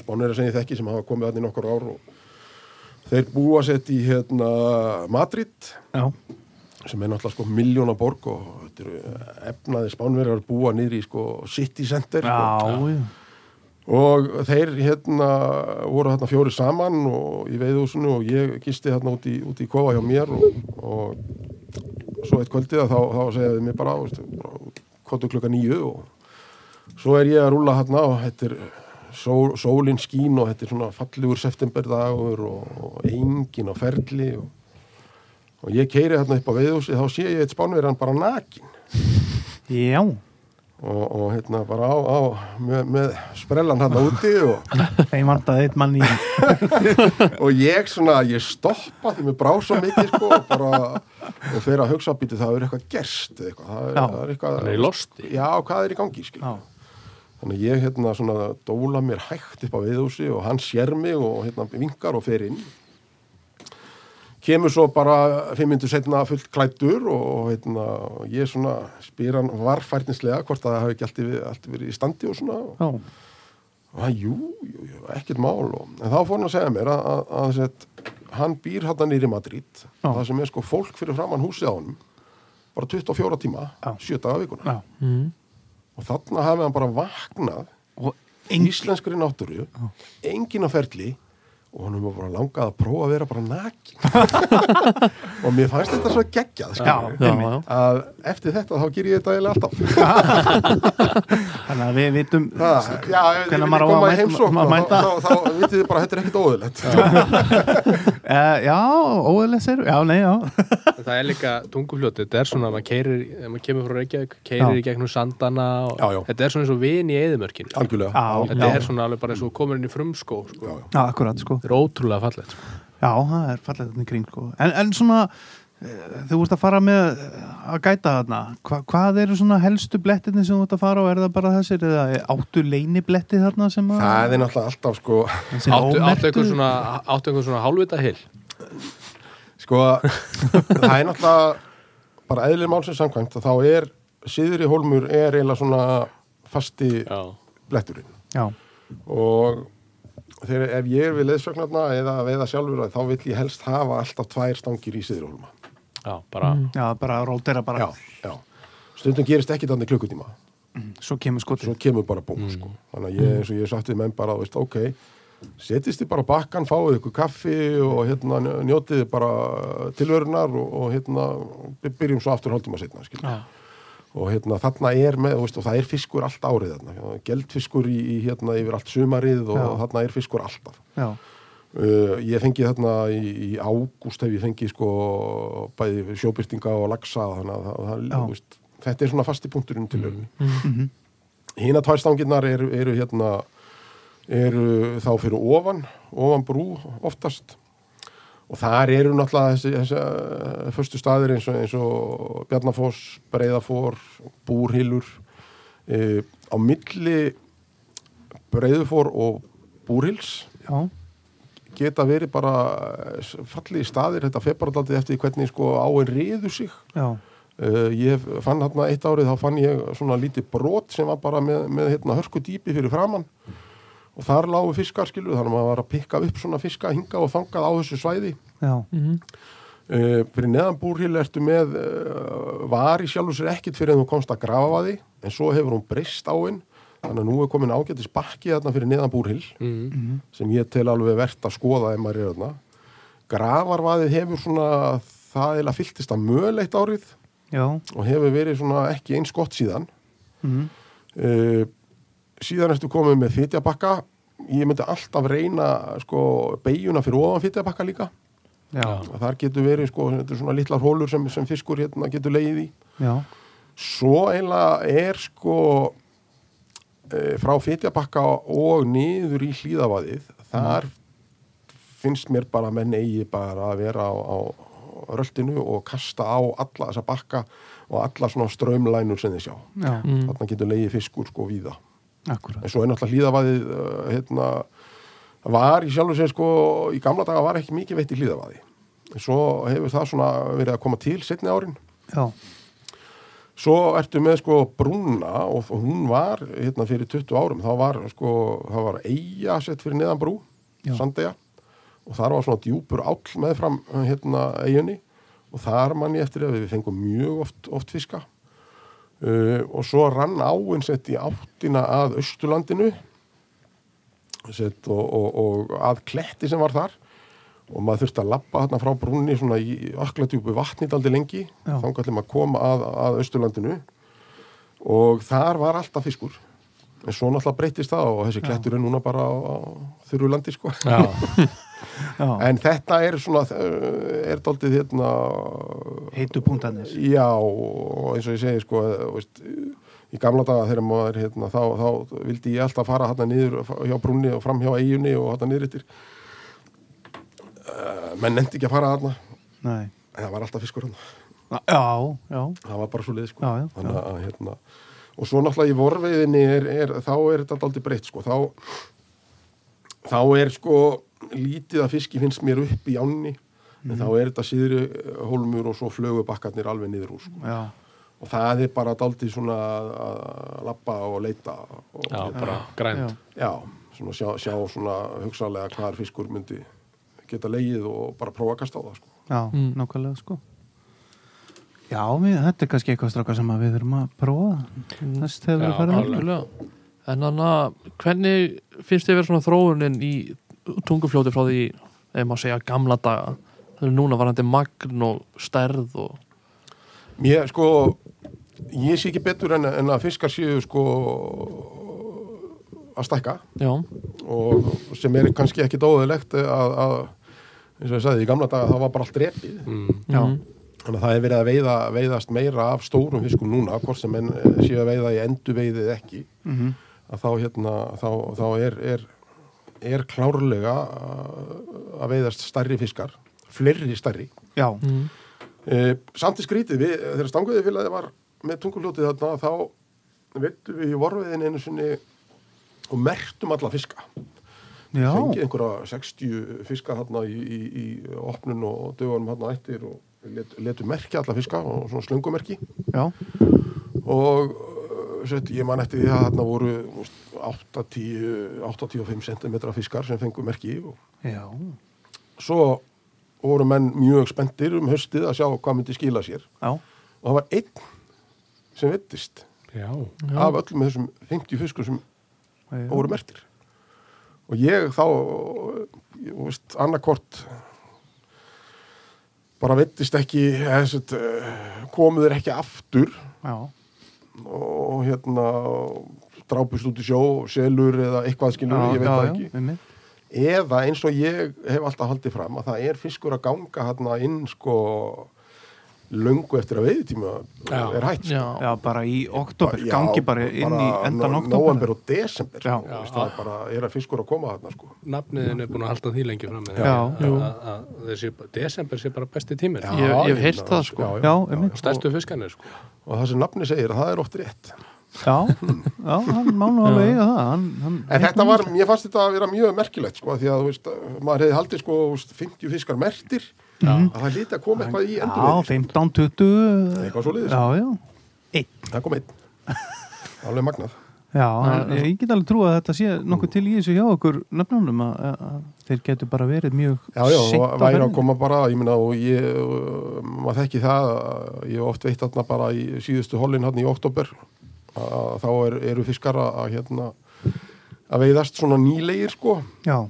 Speaker 1: Spánverja sem ég þekki sem hafa komið þarna í nokkur ár og þeir búa sett í hérna, Madrid
Speaker 2: já,
Speaker 1: sem er náttúrulega sko miljóna borg og þetta eru efnaði Spánverjar búa niður í sko city center sko.
Speaker 2: já, já.
Speaker 1: og þeir hérna voru hérna fjóri saman og í veiðhúsinu og ég gisti hérna út í, út í kofa hjá mér og, og svo eitt kvöldið að þá, þá segjaði mér bara, veist, bara kvotu klukka nýju og svo er ég að rúla hérna og þetta er sól, sólin skín og þetta er svona fallegur septemberdagur og, og engin á ferli og, og ég keiri hérna upp á veiðhúsi þá sé ég eitt spánverjan bara nakin
Speaker 2: Já,
Speaker 1: og, og hérna bara á, á með, með sprellan hérna úti og
Speaker 2: þeim vantaði eitt mann í
Speaker 1: og ég svona, ég stoppa því mér brá svo mikið sko og bara, og fer að hugsa býti það er eitthvað gerst eða eitthvað, það er,
Speaker 2: Já.
Speaker 1: það er eitthvað
Speaker 4: Hann er í losti.
Speaker 1: já, hvað er í gangi skil
Speaker 2: Já,
Speaker 1: þannig að ég hérna svona dóla mér hægt upp á viðhúsi og hann sér mig og hérna vinkar og fer inn kemur svo bara fimm myndu setna fullt klættur og hérna, og ég svona spyr hann varfærtinslega hvort að það hafi ekki allt, yfir, allt verið í standi og svona og
Speaker 2: já,
Speaker 1: og það, jú, jú, jú, ekkert mál og, en þá fór hann að segja mér að, að, að sett, hann býr hann nýri Madrid
Speaker 2: Já.
Speaker 1: það sem er sko fólk fyrir framann húsið á honum bara 24 tíma,
Speaker 2: Já.
Speaker 1: 7 daga vikuna
Speaker 2: já
Speaker 1: og þarna hafi hann bara vaknað
Speaker 2: Mm. Og
Speaker 1: í
Speaker 2: engin
Speaker 1: íslenskri náttúru engin á ferli og hann var bara langað að prófa að vera bara nakin og mér fannst þetta svo geggjað skilurðu,
Speaker 3: Já, já.
Speaker 1: að eftir þetta þá ger ég þetta eiginlega alltaf
Speaker 2: Þannig að við vitum
Speaker 1: Það, Ah, já, ef þið
Speaker 2: Hvenær
Speaker 1: viljið
Speaker 2: maður á að
Speaker 1: koma í
Speaker 2: mæta-
Speaker 1: heimsókn
Speaker 2: maður
Speaker 1: þá,
Speaker 2: mæta?
Speaker 1: þá, þá, þá vitið þið bara að þetta er ekkert óðurlegt
Speaker 2: uh, Já, óðurlega sér Já, nei, já
Speaker 4: En það er líka tungufljóti, þetta er svona að maður keirir, ef maður kemur frá Reykjavík,
Speaker 2: Já.
Speaker 4: keirir í gegnum sandana og
Speaker 1: Já, já.
Speaker 4: þetta er svona eins og vin í sko. eðumörkinu.
Speaker 1: algjörlega
Speaker 2: Já,
Speaker 4: Þetta
Speaker 2: já,
Speaker 4: er svona alveg bara eins og komur inn í frumskó,
Speaker 1: Já,
Speaker 4: sko.
Speaker 1: já.
Speaker 2: já akkurat sko
Speaker 4: Þetta er ótrúlega fallegt, sko.
Speaker 2: Já, það er fallið þetta í kring sko. en, en svona þú ert að fara með eh, að gæta þarna Hva, hvað eru svona helstu blettinni sem þú ert að fara á er það bara þessir eða áttu leinibletti þarna sem að
Speaker 1: Það er náttúrulega alltaf sko
Speaker 2: sem
Speaker 4: Áttu, áttu
Speaker 2: ómerktu?
Speaker 4: einhver svona, áttu einhver svona hálfvita hil
Speaker 1: sko það er náttúrulega bara eðlið málsins samkvæmt að þá er síðri hólmur er eiginlega svona fasti
Speaker 4: Já,
Speaker 1: bletturinn
Speaker 2: já,
Speaker 1: og þegar ef ég er við leðsögnarna eða að veiða sjálfur að þá vill ég helst hafa alltaf tvær stangir í síðri hólma
Speaker 4: já, bara
Speaker 2: já, bara rótera
Speaker 1: já,
Speaker 2: bara
Speaker 1: já. stundum gerist ekki þannig klukkutíma
Speaker 2: svo kemur skotið
Speaker 1: svo kemur bara búm sko. þannig að ég, eins og ég hef sagt við menn bara veist, ok, setjist þið bara á bakkan fáið ykkur kaffi og hérna njó- njótið þið bara uh, tilverunar og, og hérna, við byrjum svo aftur hálftíma setna, skilja og hérna þarna er með, þú veist, og það er fiskur allt árið þarna, geldfiskur í, í hérna yfir allt sumarið og
Speaker 2: Já.
Speaker 1: þarna er fiskur alltaf
Speaker 2: já,
Speaker 1: Uh, ég fengi þarna í, í ágúst hef ég fengið sko bæði sjóbyrtinga og lagsa þannig að það, það,
Speaker 2: Já.
Speaker 1: þú veist, þetta er svona fasti punkturinn til öllu mm. Hina tvær stangirnar eru, eru hérna eru þá fyrir ofan ofan brú oftast og þar eru náttúrulega þessi, þessi uh, förstu staðir eins og, eins og Bjarnafoss, Breiðafor Búrhylur uh, á milli Breiðafor og Búrhyls
Speaker 2: já,
Speaker 1: geta verið bara fallið í staðir, þetta febaraldaldið eftir því hvernig sko áin riður sig
Speaker 2: já,
Speaker 1: uh, ég hef- fann hérna eitt árið þá fann ég svona lítið brot sem var bara með, með hérna, hörku dýpi fyrir framann og þar lágu fiskar skilur þannig að maður var að pikka upp svona fiska hinga og þangað á þessu svæði
Speaker 2: já,
Speaker 1: uh, fyrir neðan búrhýl ertu með uh, var í sjálfur sér ekkit fyrir en þú komst að grafa að því en svo hefur hún breyst áin þannig að nú er komin ágætis bakki þarna fyrir neðan búrhýl
Speaker 4: mm.
Speaker 1: sem ég tel alveg verðt að skoða ef maður er þarna. Gravarvaðið hefur svona, það eða fylltist að möl eitt árið
Speaker 2: já
Speaker 1: og hefur verið svona ekki eins gott síðan.
Speaker 2: mhm,
Speaker 1: Uh, síðan ertu komið með fytjabakka, ég myndi alltaf reyna sko beigjuna fyrir ofan fytjabakka líka.
Speaker 2: já,
Speaker 1: Þar getur verið sko þetta eru svona litlar hólur sem, sem fiskur hérna getur leiðið í.
Speaker 2: já,
Speaker 1: Svo eiginlega er sko eh, frá fytjabakka og niður í hlýðavaðið þar finnst mér bara að menn eigi bara að vera á, á röltinu og kasta á alla þessa bakka og alla svona strömlænur sem þið sjá.
Speaker 2: já
Speaker 1: Þarna getur leiði fiskur sko víða.
Speaker 2: akkurat,
Speaker 1: En svo er náttúrulega hlýðavaðið eh, hérna, var í sjálfu sér sko í gamla daga var ekki mikið veitt í hlýðavaði. En Svo hefur það svona verið að koma til setni árin.
Speaker 2: já,
Speaker 1: Svo ertu með sko brúna og hún var hérna fyrir 20 árum, þá var sko, það var eiga sett fyrir neðan brú,
Speaker 2: Já.
Speaker 1: sandega og þar var svona djúpur áll meðfram hérna eiginni og þar mann ég eftir að við fengum mjög oft, oft fiska uh, og svo rann áin sett í áttina að Östurlandinu sett og, og, og að kletti sem var þar og maður þurfti að labba þarna frá brúnni svona í ökladjúpu vatni daldi lengi
Speaker 2: Já.
Speaker 1: þá gæti maður að koma að, að Östurlandinu og þar var alltaf fiskur en svo náttúrulega breytist það og þessi klettur er núna bara á, á þurrulandi sko
Speaker 4: Já,
Speaker 2: já,
Speaker 1: en þetta er svona er daldið hérna
Speaker 2: heitu punktarnir
Speaker 1: já og eins og ég segi sko veist, í gamla daga þegar maður hérna, þá, þá vildi ég alltaf fara hérna niður hjá brúnni og fram hjá eiginni og hérna niður yttir uh, menn nefndi ekki að fara hérna
Speaker 2: nei,
Speaker 1: en það var alltaf fiskur hérna
Speaker 2: já, já
Speaker 1: það var bara svo leið sko
Speaker 2: Já, já,
Speaker 1: Þannig að, hérna, og svo náttúrulega í vorveiðinni er, er, þá er þetta aldrei breytt sko þá, þá er sko lítið að fiski finnst mér upp í ánni
Speaker 2: Mhm.
Speaker 1: en þá er þetta síðri eh, hólmur og svo flögu bakkarnir alveg niður úr sko.
Speaker 2: já,
Speaker 1: og það er bara daldið svona að, að lappa og leita og, hérna.
Speaker 4: já, bara grænt
Speaker 2: já,
Speaker 1: já, svona sjá, sjá svona hugsalega hvar fiskur myndi geta leið og bara prófa að kasta á það sko
Speaker 2: já, nákvæmlega sko Já, mér, þetta er kannski eitthvað strákar sem að við þurfum að prófa næst þegar við
Speaker 4: Já,
Speaker 2: færum það
Speaker 3: Algjörlega. En hann að, hvernig finnst þið verið svona þróunin í tungufljóti frá því, ef maður segja gamla daga, þannig að núna varandi magn og stærð og
Speaker 1: Mér, sko, ég sé ekki betur en, en að fiskar séu, sko, að stækka
Speaker 3: já,
Speaker 1: og sem er kannski ekki dóðilegt að, að, eins og ég sagði, í gamla daga það var bara allt repið.
Speaker 2: Já,
Speaker 1: Þannig að það er verið að veiða, veiðast meira af stórum fiskum núna, hvort sem enn séu að veiða í enduveiðið ekki,
Speaker 2: mhm,
Speaker 1: að þá, hérna, þá, þá er, er, er klárlega að að veiðast stærri fiskar, fleiri stærri
Speaker 2: já,
Speaker 3: mm,
Speaker 1: E, samt í skrítið, við, þegar stanguðið félagið var með tunguljótið þarna, þá veittum við í vorfiðin einu sinni og mertum alla fiska.
Speaker 2: Já,
Speaker 1: Fengið einhverja 60 fiska þarna í, í, í opnun og dögunum þarna eftir og let, letum merkja alla fiska og svona slöngumerki
Speaker 2: já,
Speaker 1: og uh, sveit, ég man eftir því að þarna voru 8-10-85 cm fiskar sem fengu merki og
Speaker 2: já,
Speaker 1: svo voru menn mjög spenntir um höstið að sjá hvað myndi skila sér
Speaker 2: já,
Speaker 1: og það var einn sem vettist
Speaker 4: Já.
Speaker 1: af öllum þessum 50 fiskur sem
Speaker 2: já.
Speaker 1: voru merktir og ég þá ég, veist, annarkort bara vettist ekki þessat, komuður eh, ekki aftur
Speaker 2: já.
Speaker 1: og hérna drápust út í sjó, selur eða eitthvað skilur, ég veit það ekki
Speaker 2: einmitt.
Speaker 1: eða eins og ég hef alltaf haldið fram að það er fiskur að ganga hérna inn sko löngu eftir að veiðtíma
Speaker 4: Já.
Speaker 1: er hætt sko.
Speaker 3: Já.
Speaker 2: Já, bara í oktober, gangi bara inn í endan
Speaker 1: november
Speaker 2: oktober
Speaker 1: og desember
Speaker 2: Já.
Speaker 1: sko, þú veist, það er bara, er að fiskur að koma hérna sko
Speaker 4: Nafniðin er búin að halda því lengi fram með
Speaker 2: Já.
Speaker 3: Jú.
Speaker 4: að þessi desember sé bara besti tíminn
Speaker 3: Ég- ég hef heyrt það, sko.
Speaker 1: já, já.
Speaker 2: Já, einmitt
Speaker 4: stærstu fiskarnir sko
Speaker 1: og það sem nafni segir, það er oft rétt
Speaker 2: Já, já, hann má nú alveg eiga það hann, hann,
Speaker 1: En þetta var, mér fannst þetta að vera mjög merkilegt sko, því að, þú veist, maður hefði haldið sko, þú veist, 50 fiskar mertir að það líti að koma eitthvað í
Speaker 2: Já,
Speaker 1: endurveiði
Speaker 2: 15, 20
Speaker 1: Eitthvað svoleiðis.
Speaker 2: Já, já,
Speaker 1: sko. það kom einn alveg magnað
Speaker 2: já en ég get alveg trú að þetta sé nokkuð til í þessu hjá okkur nöfnunum að, að- að þeir getur bara verið mjög
Speaker 1: Já, já,
Speaker 2: seint
Speaker 1: og
Speaker 2: á
Speaker 1: væri að
Speaker 2: ferðinni.
Speaker 1: koma bara, ég minna, og ég, uh, maður þekki það, uh, ég hef oft veitt þarna bara í síðustu hollin hann í oktober, að þá er, eru fiskar að, að, hérna, að veiðast svona nýlegir, sko,
Speaker 2: Já,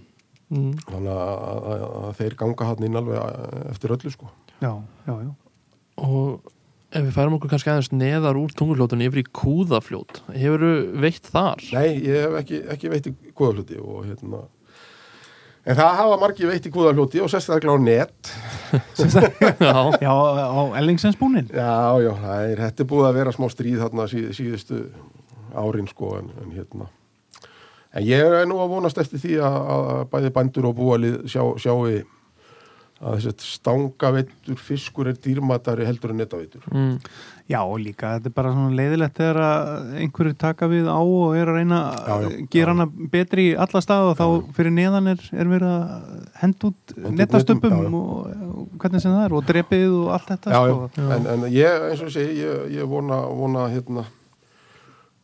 Speaker 3: Mm.
Speaker 1: þannig að, að, að þeir ganga hann inn alveg uh, eftir öllu, sko.
Speaker 2: já, já, já
Speaker 3: og ef við færum okkur kannski aðeins neðar úr tungufljótunni yfir í kúðafljót hefur veitt þar
Speaker 1: Nei, ég hef ekki, ekki veitt í kúðafljóti og hérna, en það hafa margir veitt í kúðafljóti og sérstaklega á net,
Speaker 3: já,
Speaker 2: Já, á Ellingsensbúnin
Speaker 1: Já, já, það er, þetta er búið að vera smá stríð þarna síð, síðustu árin sko en, en hérna. En ég er nú að vonast eftir því að, að bæði bændur og búalið sjá, sjáu að þessi stangaveittur fiskur er dýrmatari heldur en nettaveittur.
Speaker 3: mm.
Speaker 2: Já, og líka, þetta er bara svona leiðilegt þegar að einhverju taka við á og er að reyna að
Speaker 1: Já, já,
Speaker 2: gera hana betri í alla staða og þá fyrir neðan er, er verið að henda út
Speaker 1: Henda út netum, já,
Speaker 2: netastöpum
Speaker 1: já.
Speaker 2: og, og hvernig sem það er og drepið og allt þetta
Speaker 1: Já, já,
Speaker 2: sko.
Speaker 1: en, en ég, eins og ég segi, ég, ég vona, vona hérna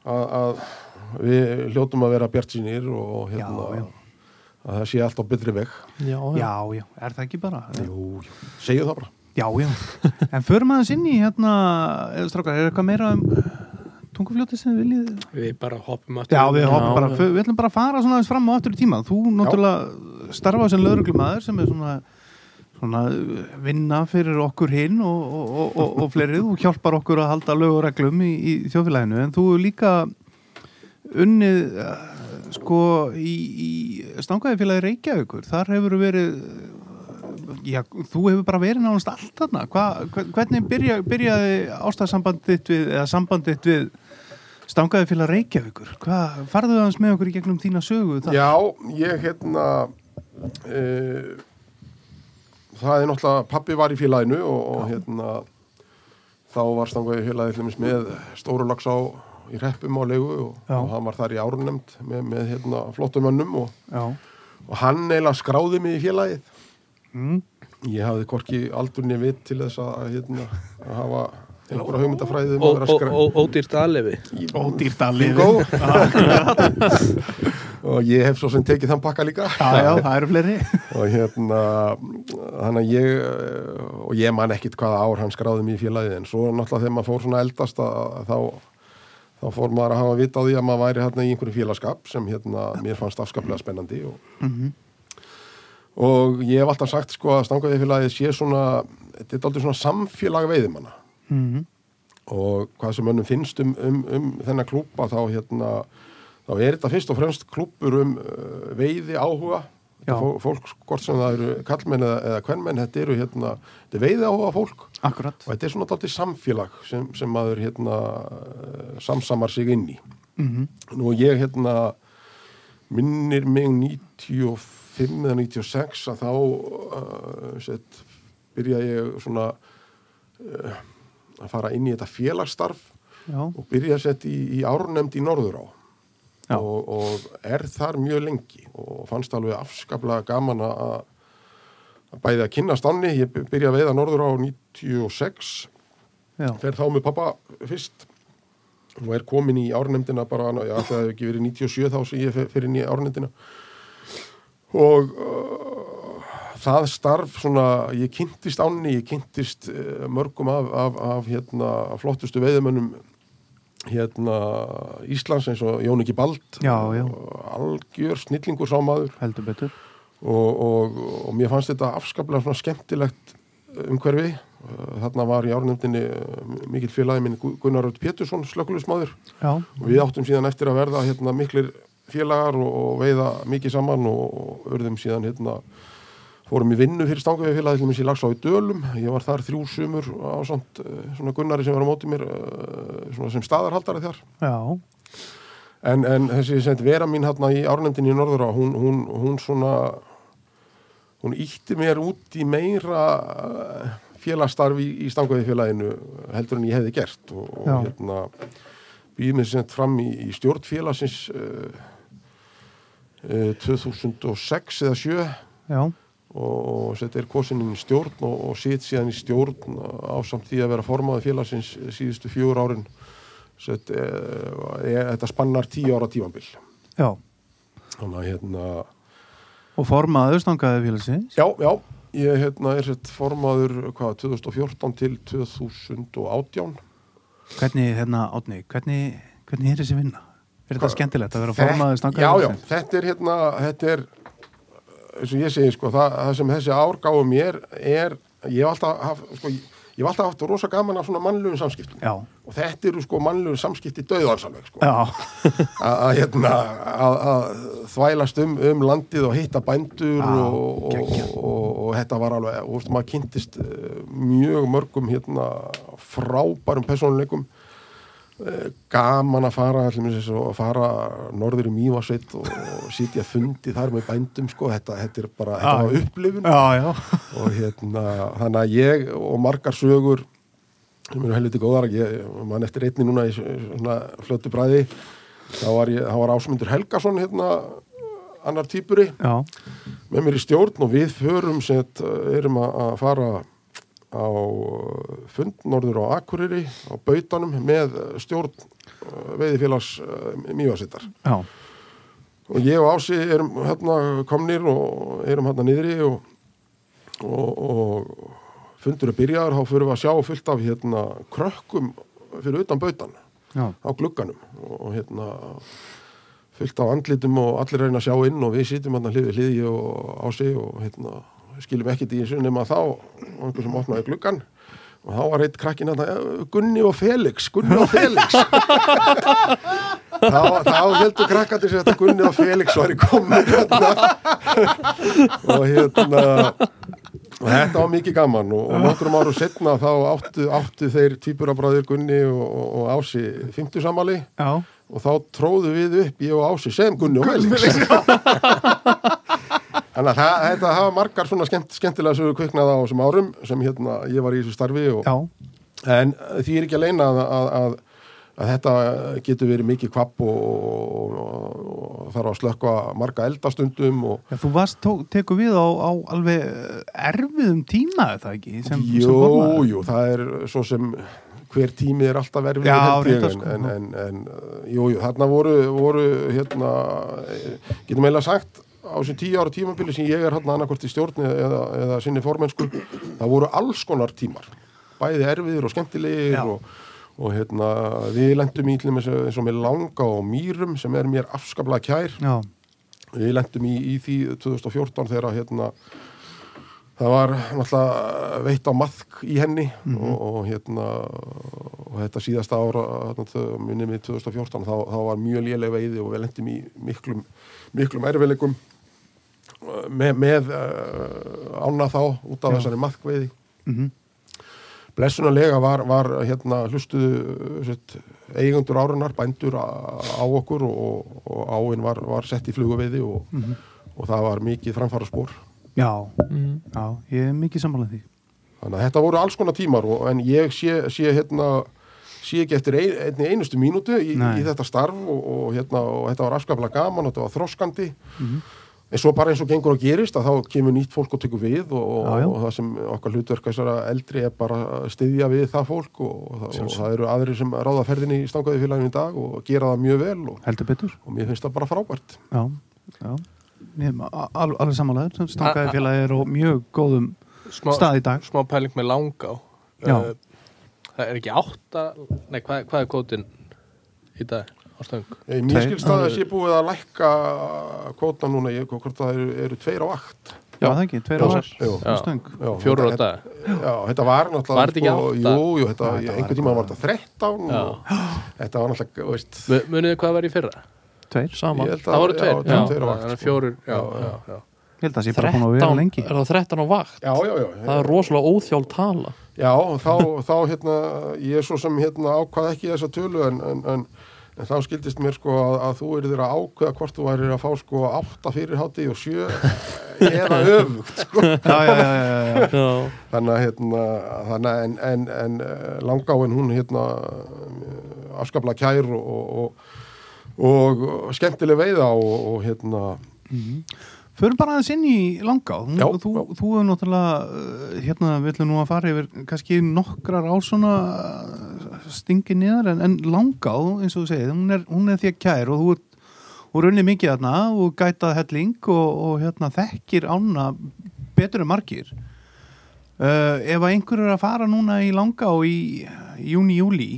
Speaker 1: að, að við hljótum að vera bjart sínir og hérna
Speaker 2: Já, já.
Speaker 1: að það sé allt á betri veg.
Speaker 3: já, já.
Speaker 2: já, já, er það ekki bara?
Speaker 1: Jú, jú. segju það bara.
Speaker 2: Já, já, en förum aðeins inn í hérna, eða strákar, er eitthvað meira um tungufljóti sem þið viljið?
Speaker 4: við bara hoppum aftur
Speaker 2: Já, við,
Speaker 3: Já,
Speaker 2: hoppum bara,
Speaker 3: já.
Speaker 2: við ætlum bara að fara svona aðeins fram og aftur í tíma. Þú náttúrulega starfaði sem lögreglumæður sem er svona, svona vinna fyrir okkur hinn og, og, og, og, og fleiri. Þú hjálpar okkur að halda lög og reglum í, í þjófélaginu en þú hefur líka unnið eh, sko í, í stangaðifélagi Reykjavíkur. Þar hefur verið eh, Já, þú hefur bara verið nánast allt þarna. Hva, hve- hvernig byrja, byrjaði ástæðsambandið þitt við, eða sambandið þitt við Stangaði félag Reykjavíkur, hvað farðu aðeins með okkur í gegnum þína sögu? þar?
Speaker 1: Já, ég hérna e, það er náttúrulega pappi var í félaginu og, og hérna þá var stangaði félagið hlumins með stóru lags á í reppum á leigu og,
Speaker 2: Já.
Speaker 1: og hann var þar í árnemnd með, með hérna, flottum önnum og,
Speaker 2: Já.
Speaker 1: og hann eiginlega skráði mig í félagið
Speaker 2: Mm.
Speaker 1: ég hafði korki aldurni vit til þess að, hérna, að hafa einhverja um hugmyndafræðum
Speaker 4: Ó- ó- ó- ódýrt aðlefi
Speaker 2: Ódýrt að lifa.
Speaker 1: Bingo og ég hef svo sem tekið þann pakka líka
Speaker 2: Já, já, það eru fleiri.
Speaker 1: og hérna þannig að ég eh, og ég man ekkit hvaða ár hann skráði mér í félagið en svo náttúrulega þegar maður fór svona eldast að, að þá, þá fór maður að hafa vita á því að maður væri hérna í einhverju félagskap sem hérna mér fannst afskaplega spennandi og, og ég hef alltaf sagt sko að stangaði félagið sé svona þetta er aldrei svona samfélag veiðimanna
Speaker 2: Mm.
Speaker 1: og hvað sem önnum finnst um, um, um þennan klúpa þá hérna þá er þetta fyrst og fremst klúpur um uh, veiði áhuga
Speaker 2: Já.
Speaker 1: Þetta fó- fólk, hvort sem það eru kallmenn eða, eða kvennmenn, þetta eru hérna þetta er veiði áhuga fólk og
Speaker 2: Akkurat.
Speaker 1: þetta er svona dálítið samfélag sem, sem maður hérna eh, samsamar sig inn í
Speaker 2: Mm.
Speaker 1: nú ég hérna minnir mig eh, 95 eða 96 að þá uh, set, byrja ég svona að fara inn í þetta félagsstarf
Speaker 2: já,
Speaker 1: og byrja að setja í, í árnemnd í Norðurá
Speaker 2: Já.
Speaker 1: og, og er þar mjög lengi og fannst alveg afskaplega gaman að að bæði að kynna stanni, ég byrja að veiða Norðurá 96,
Speaker 2: já,
Speaker 1: fer þá með pappa fyrst og er komin í árnemndina bara, já það hefði ekki verið 97 þá sem ég fer- fer inn í árnemndina og uh, það starf svona, ég kynntist ánni, ég kynntist eh, mörgum af, af, af hérna, flottustu veiðumönnum hérna Íslands eins og Jón Ekki Bald
Speaker 2: Já, já.
Speaker 1: algjör snillingur sá maður
Speaker 2: heldur betur
Speaker 1: og, og, og mér fannst þetta afskaplega svona skemmtilegt umhverfi Eh, þarna var í árnefndinni eh, mikill félagi minn Gu- Gunnar Rödd Pétursson slökulismáður
Speaker 2: já,
Speaker 1: og við áttum síðan eftir að verða hérna, miklir félagar og, og veiða mikið saman og, og urðum síðan hérna, fórum í vinnu fyrir stangavegi félagi til mér sér lagsá í Dölum ég var þar þrjú sumur á samt svona Gunnari sem var á móti mér eh, svona sem staðarhaldari þar
Speaker 2: já,
Speaker 1: En, en þessi sent vera mín hérna í árnefndinni í Norðurá, hún, hún, hún svona, hún ítti mér út í meira eh, félagsstarf í, í stangaði félaginu heldur en ég hefði gert og, og
Speaker 2: Já.
Speaker 1: hérna býðið mér sent fram í, í stjórnfélagsins uh, uh, 2006 eða 7
Speaker 2: já,
Speaker 1: og, og þetta er kosin inn í stjórn og, og sitt síðan í stjórn á samt því að vera formaði félagsins síðustu fjögur árin Sett, e, e, þetta spannar tíu ára tífambil
Speaker 2: já
Speaker 1: þannig að hérna
Speaker 2: og formaður stangaði félagsins
Speaker 1: já, já, ég hérna, er sett formaður hvað, 2014 til 2018
Speaker 2: hvernig, hérna, Átni, hvernig hvernig er þessi vinna? Er þetta skemmtilegt að vera formaður
Speaker 1: Þetta- já,
Speaker 2: stangaði
Speaker 1: já, þetta er hérna þetta er, eins og ég segi sko, það, það sem þessi ár gáði mér er, ég hef alltaf haft, sko, ég, ég hef alltaf haft rosa gaman af svona mannlegum samskiptum
Speaker 2: Já,
Speaker 1: og þetta eru sko mannlegur samskipti döðansalveg sko.
Speaker 2: já,
Speaker 1: Að- að hérna, að að þvælast um, um landið og hitta bændur
Speaker 2: Já,
Speaker 1: og, og,
Speaker 2: geggjað.
Speaker 1: og, og þetta var alveg og veist, maður kynntist eh, mjög mörgum hérna, frábærum persónuleikum Eh, gaman að fara allir mér þess að fara norður í Mývasveit og, og sitja fundi þar með bændum sko, þetta, þetta er bara,
Speaker 2: Já.
Speaker 1: þetta var upplifun
Speaker 2: já, já
Speaker 1: og hérna, þannig að ég og margar sögur sem eru helviti góðar ég man eftir einni núna í svona flötu bræði þá var, ég, þá var Ásmundur Helgason hérna, annar týpuri
Speaker 2: Já,
Speaker 1: með mér í stjórn og við förum set, erum að að fara á uh, fund norður á Akureyri á Bautanum með stjórn eh, veiðifélags mývasittar
Speaker 2: já,
Speaker 1: og ég og Ási erum hérna komnir og erum hérna niðri og, og, og fundur er byrjaður þá fyrir við að sjá fullt af hérna krökkum fyrir utan bautan
Speaker 2: já,
Speaker 1: á glugganum og, og hérna fullt af andlitum og allir reyna að sjá inn og við sitjum hérna hliði hliði ég og Ási og hérna skilum ekkert í þessu nema þá og einhver sem opnaði gluggan og þá var eitt krakkin hérna "Eh, Gunni og Felix, Gunni og Felix þá, þá heldur krakkandi sér þetta Gunni og Felix var í komin hérna. og hérna og þetta var mikið gaman og, og nokkrum árum setna þá áttu, áttu þeir týpurabræður Gunni og, og, og Ási 50 samali
Speaker 2: já
Speaker 1: og þá tróðu við upp ég og Ási sem Gunni og Felix Þannig að það, þetta hafa margar svona skemmt, skemmtilega sögur kviknað á þessum árum sem hérna ég var í þessu starfi og,
Speaker 2: Já,
Speaker 1: En uh, því er ekki að leina að, að, að, að þetta getur verið mikið kvapp og, og, og, og þarf að slökka marga eldastundum og
Speaker 2: Já, þú varst, tók, tekur við á, á alveg eh, erfiðum tíma er það ekki? Sem, sem
Speaker 1: jú,
Speaker 2: formaður?
Speaker 1: jú, það er svo sem hver tími er alltaf verfið
Speaker 2: Já,
Speaker 1: en,
Speaker 2: reyndar, sko.
Speaker 1: en, en, en uh, jú, jú, þarna voru, voru hérna, eh, getum eiginlega sagt á þessum tíu ára tímabili sem ég er hérna annarkvort í stjórn eða, eða sinni formennsku það voru alls konar tímar bæði erfiðir og skemmtilegir
Speaker 2: Já.
Speaker 1: og, og hérna, við lendum í til dæmis eins og með langa og mýrum sem er mér afskaplega kær
Speaker 2: Já,
Speaker 1: Við lendum í, í því 2014 þegar að, hérna, það var náttúrulega veitt á maðk í henni og, og, hérna, og þetta síðasta ára hérna, þau- minni mig 2014 þá, þá var mjög léleg veiði og við lendum í miklum, miklum erfileikum eh, með, með uh, ána þá út af
Speaker 2: Já.
Speaker 1: þessari maðkveiði
Speaker 2: mhm,
Speaker 1: blessunarlega var, var hérna, hlustuðu sett, eigundur árunar, bændur á á okkur og, og áinn var, var sett í fluguveiði og, og það var mikið framfara spór
Speaker 3: Mm.
Speaker 2: já, já, ég er mikið samanlega því
Speaker 1: þannig að þetta voru alls konar tímar og, en ég sé, sé hérna sé ekki eftir ein, einni einustu mínútu í,
Speaker 2: Nei.
Speaker 1: í þetta starf og, og, hérna, og þetta var afskaplega gaman og þetta var þroskandi
Speaker 2: Mhm.
Speaker 1: en svo bara eins og gengur og gerist að þá kemur nýtt fólk og tekur við og, og,
Speaker 2: Já, já.
Speaker 1: og það sem okkar hlutverk þessara eldri er bara að styðja við það fólk og, og, það, og það eru aðrir sem ráða ferðinni í stangaði félaginu í dag og gera það mjög vel og,
Speaker 2: heldur betur
Speaker 1: og mér finnst það bara frábært
Speaker 2: já, já. Ég er al- al- alveg samanlegaður, stangaði félagir og mjög góðum
Speaker 4: smá,
Speaker 2: stað í dag
Speaker 4: smá pæling með langá
Speaker 2: Já.
Speaker 4: Eh, það er ekki átta nei, hvað, hvað er kótin í dag á stöng
Speaker 1: Eh, Mér
Speaker 2: Tveir.
Speaker 1: skilst að það sé búið að lækka kvóta núna, ég, hvort það eru, eru tveir á vakt.
Speaker 2: já, það ekki, tveir
Speaker 1: Já,
Speaker 2: árar
Speaker 1: já.
Speaker 2: á stöng
Speaker 1: Já,
Speaker 4: fjóru á
Speaker 1: þetta-
Speaker 4: dag
Speaker 1: Já, þetta var náttúrulega... sko,
Speaker 4: Var þetta ekki átta?
Speaker 1: Jú, jú, þetta,
Speaker 2: Já, þetta var
Speaker 1: einhvern tíma var þetta 13
Speaker 4: Já.
Speaker 1: og þetta var náttúrulega, þú veist...
Speaker 4: Mu- munið þið hvað var í fyrra?
Speaker 2: tveir,
Speaker 3: sama
Speaker 1: ég held að-
Speaker 4: það voru tveir,
Speaker 1: Já, það voru
Speaker 4: já,
Speaker 1: tveir á vakt.
Speaker 4: þannig
Speaker 1: sko.
Speaker 4: fjórir já,
Speaker 1: Já,
Speaker 4: já,
Speaker 1: já.
Speaker 4: já.
Speaker 2: ég held að það sé bara búin að vera
Speaker 3: 13,
Speaker 2: lengi
Speaker 3: er það 13 á vakt
Speaker 1: Já, já, já.
Speaker 3: það er rosalega óþjál tala
Speaker 1: Já, þá, þá hérna, ég er svo sem hérna ákvað ekki þessa tölu en, en, en, en þá skildist mér sko að, að þú eru þeirra ákveða hvort þú værir að fá sko átta fyrir hátti og sjö eða öfugt sko.
Speaker 2: já, já, já, já, já.
Speaker 3: já,
Speaker 1: þannig að hérna, þannig að en, en, en eh, langáin hún hérna eh, afskaplega kær og, og, og, og skemmtileg veiða og, og hérna
Speaker 2: Förum bara aðeins inn í langa þú,
Speaker 1: Já,
Speaker 2: þú,
Speaker 1: já.
Speaker 2: þú er náttúrulega, uh, hérna við ætlum nú að fara yfir kannski nokkrar á svona uh, stingi niðar en, en langa, eins og þú segir hún er, hún er því að kær og þú ert og runni mikið þarna og gætað helling og, og hérna þekkir ána betur en margir uh, ef að einhver er að fara núna í langa og í júni-júli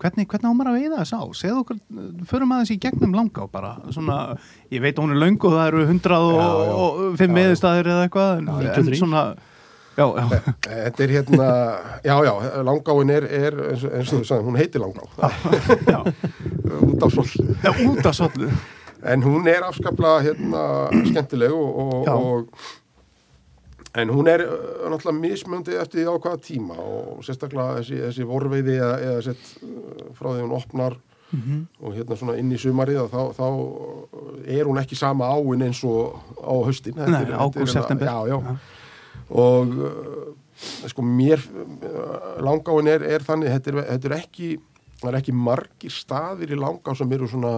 Speaker 2: hvernig, hvernig á maður að veiða þess á? Segðu okkur, uh, förum aðeins í gegnum langa bara, svona, ég veit að hún er löng og það eru 105 meðistæðir eða eitthvað, en, en
Speaker 3: 93.
Speaker 2: svona já, já,
Speaker 1: eh, þetta er hérna, já, já, langáin er, er eins, og- eins og þú sagði, hún heitir langá
Speaker 2: já,
Speaker 1: út af svolítið
Speaker 2: já út af svollu
Speaker 1: en hún er afskaplega hérna, skemmtileg og, og,
Speaker 2: Já.
Speaker 1: og en hún er uh, náttúrulega mismöndi eftir því á hvaða tíma og sérstaklega þessi, þessi vorveiði eða, eða sett uh, frá því hún opnar
Speaker 2: Mhm.
Speaker 1: og hérna svona inn í sumarið að þá, þá er hún ekki sama áin eins og á höstin Þetta
Speaker 2: Nei,
Speaker 1: er- þetta er
Speaker 2: ágúst,
Speaker 1: hérna-
Speaker 2: september.
Speaker 1: já, já. og uh, sko mér uh, langáin er, er þannig þetta er, þetta er ekki það er ekki margir staðir í langá sem eru svona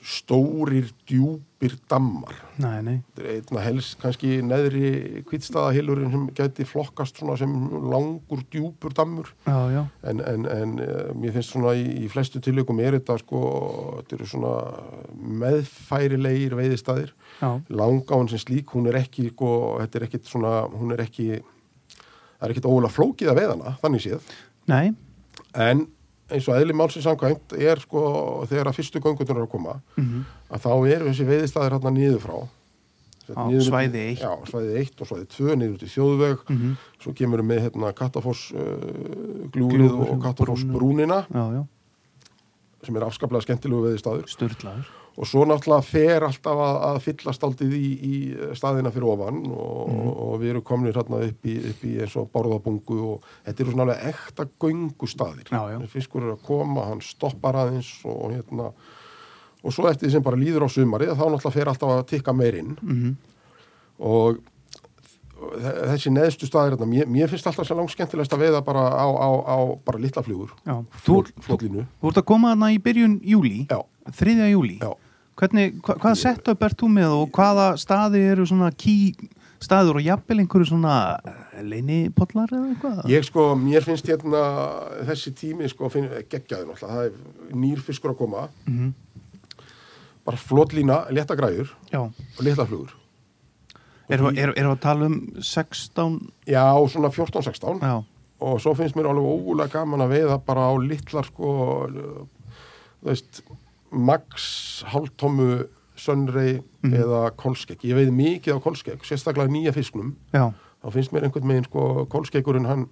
Speaker 1: stórir, djúpir dammar.
Speaker 2: nei, nei,
Speaker 1: Þetta er einna helst kannski neðri kvittstaðahilurinn sem gæti flokkast svona sem langur, djúpur dammur
Speaker 2: já, já
Speaker 1: en, en, en eh, mér finnst svona í, í flestu tilökum er þetta sko þetta eru svona meðfærilegir veiðistæðir
Speaker 2: já,
Speaker 1: langáin sem slík, hún er ekki sko, þetta er ekkit svona, hún er ekki það er ekkit ólega flókið að veiðana þannig séð,
Speaker 2: nei,
Speaker 1: en eins og eðli málsins samkvæmt er sko þegar að fyrstu göngunar eru að koma
Speaker 2: mhm,
Speaker 1: að þá eru þessi veiðistæðir hérna niður frá Sett
Speaker 2: Á
Speaker 1: niður-
Speaker 2: svæði eitt.
Speaker 1: já, svæði 1 og svæði 2 niður út í þjóðveg
Speaker 2: Mhm.
Speaker 1: svo kemur við með hérna Kattafoss uh, glúrið
Speaker 2: Gljúfur,
Speaker 1: og Kattafoss
Speaker 2: brúnina.
Speaker 1: brúnina
Speaker 2: já, já,
Speaker 1: sem er afskaplega skemmtilegu veiðistæður
Speaker 2: sturlaður
Speaker 1: og svo náttúrulega fer alltaf að, að fyllast aldrei í, í staðina fyrir ofan og,
Speaker 2: Mhm.
Speaker 1: og við erum komnir hérna upp í, upp í eins og borðabungu og þetta eru svona alveg ekta göngustaðir
Speaker 2: Já, já.
Speaker 1: fiskur er að koma, hann stoppar aðeins og hérna og svo eftir því sem bara líður á sumarið þá náttúrulega fer alltaf að tikka meir inn
Speaker 2: mhm,
Speaker 1: og þe- þessi neðstu staðir hérna, mér, mér finnst alltaf sem langt skemmtilegst að veiða bara á, á, á bara litla flugur
Speaker 2: já, þú,
Speaker 1: flótlínu,
Speaker 2: Þú ert að koma þarna í byrjun júli,
Speaker 1: Já.
Speaker 2: þriðja júli.
Speaker 1: já
Speaker 2: Hvernig, hva, hvaða setup ert þú með og hvaða staði eru svona key staður og jafnvel einhverju svona eh, leynipollar eða eitthvað?
Speaker 1: Ég sko, mér finnst hérna þessi tími sko, finn, geggjaði náttúrulega, það er nýr fiskur að koma,
Speaker 2: Mhm.
Speaker 1: bara flotlína, létta græður
Speaker 2: Já.
Speaker 1: og létta flugur.
Speaker 2: Erum er, er að tala um 16,
Speaker 1: Já, svona 14-16
Speaker 2: já,
Speaker 1: og svo finnst mér alveg ógulega gaman að veiða bara á litlar sko, uh, þú veist, max hálftómu sönrei
Speaker 2: Mhm.
Speaker 1: eða kolskegg. Ég veið mikið á kolskegg, sérstaklega nýja fisknum.
Speaker 2: já,
Speaker 1: þá finnst mér einhvern veginn sko kólskegurinn hann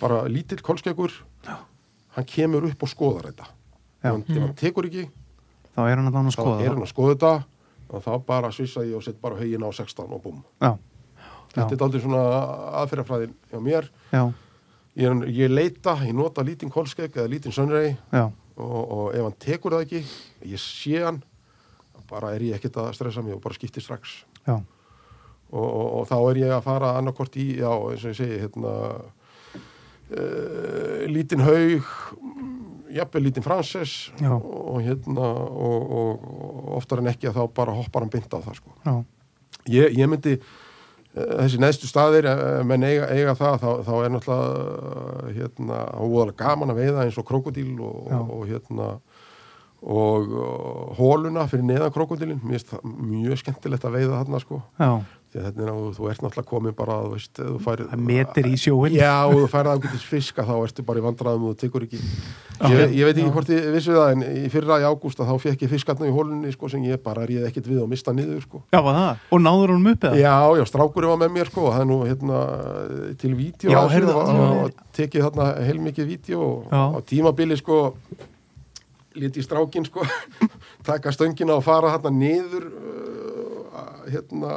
Speaker 1: bara lítill kólskegur hann kemur upp og skoðar þetta
Speaker 2: Já. Mhm.
Speaker 1: ef hann, ef hann tekur ekki
Speaker 2: þá er hann að lána að
Speaker 1: þá
Speaker 2: skoða.
Speaker 1: er hann að skoða þetta og þá bara svissa ég og sett bara haugin á 16 og búm
Speaker 2: Já, já,
Speaker 1: þetta er aldrei svona aðferðafræðin hjá mér
Speaker 2: já,
Speaker 1: ég, er- ég leita, ég nota lítinn kólskeg eða lítinn sönrei
Speaker 2: já,
Speaker 1: og, og ef hann tekur það ekki ég sé hann bara er ég ekkert að stressa mig og bara skipti strax
Speaker 2: já,
Speaker 1: og, og, og þá er ég að fara annarkort í, já, eins og ég segi hérna uh, lítinn haug jafnveg lítinn franses
Speaker 2: Já.
Speaker 1: og hérna og, og, og oftar en ekki að þá bara hoppar hann bynd á það sko.
Speaker 2: já,
Speaker 1: ég, ég myndi eh, þessi neðstu staðir, eh, menn eiga, eiga það þá, þá er náttúrulega eh, hérna, óðalega gaman að veiða eins og krokodil og,
Speaker 2: Já.
Speaker 1: og, hérna og eh, hóluna fyrir neðan krokodilin, mér finnst það mjög skemmtilegt að veiða þarna sko
Speaker 2: já,
Speaker 1: því að þetta er ná, þú ert náttúrulega komin bara þú veist, ef þú færi
Speaker 2: það metir í sjóin
Speaker 1: Já, og þú færið ágætis fiska þá ertu bara í vandræðum og þú tekur ekki ég, ég veit ekki hvort ég vissi það en í fyrra í ágústa þá fekk ég fiskarna í hólunni sko, sem ég bara réð ekkert við og mista niður sko.
Speaker 2: já, var það, og náður honum upp eða
Speaker 1: Já, já, strákurinn var með mér sko og það er nú hérna til vídeo
Speaker 2: Já,
Speaker 1: af þessu
Speaker 2: heyrðu,
Speaker 1: og,
Speaker 2: já.
Speaker 1: og tekið þarna heilmikið vídeo og
Speaker 2: Já.
Speaker 1: á tímabili sko liti strákin sko taka stöngina og fara þarna niður uh, að- hérna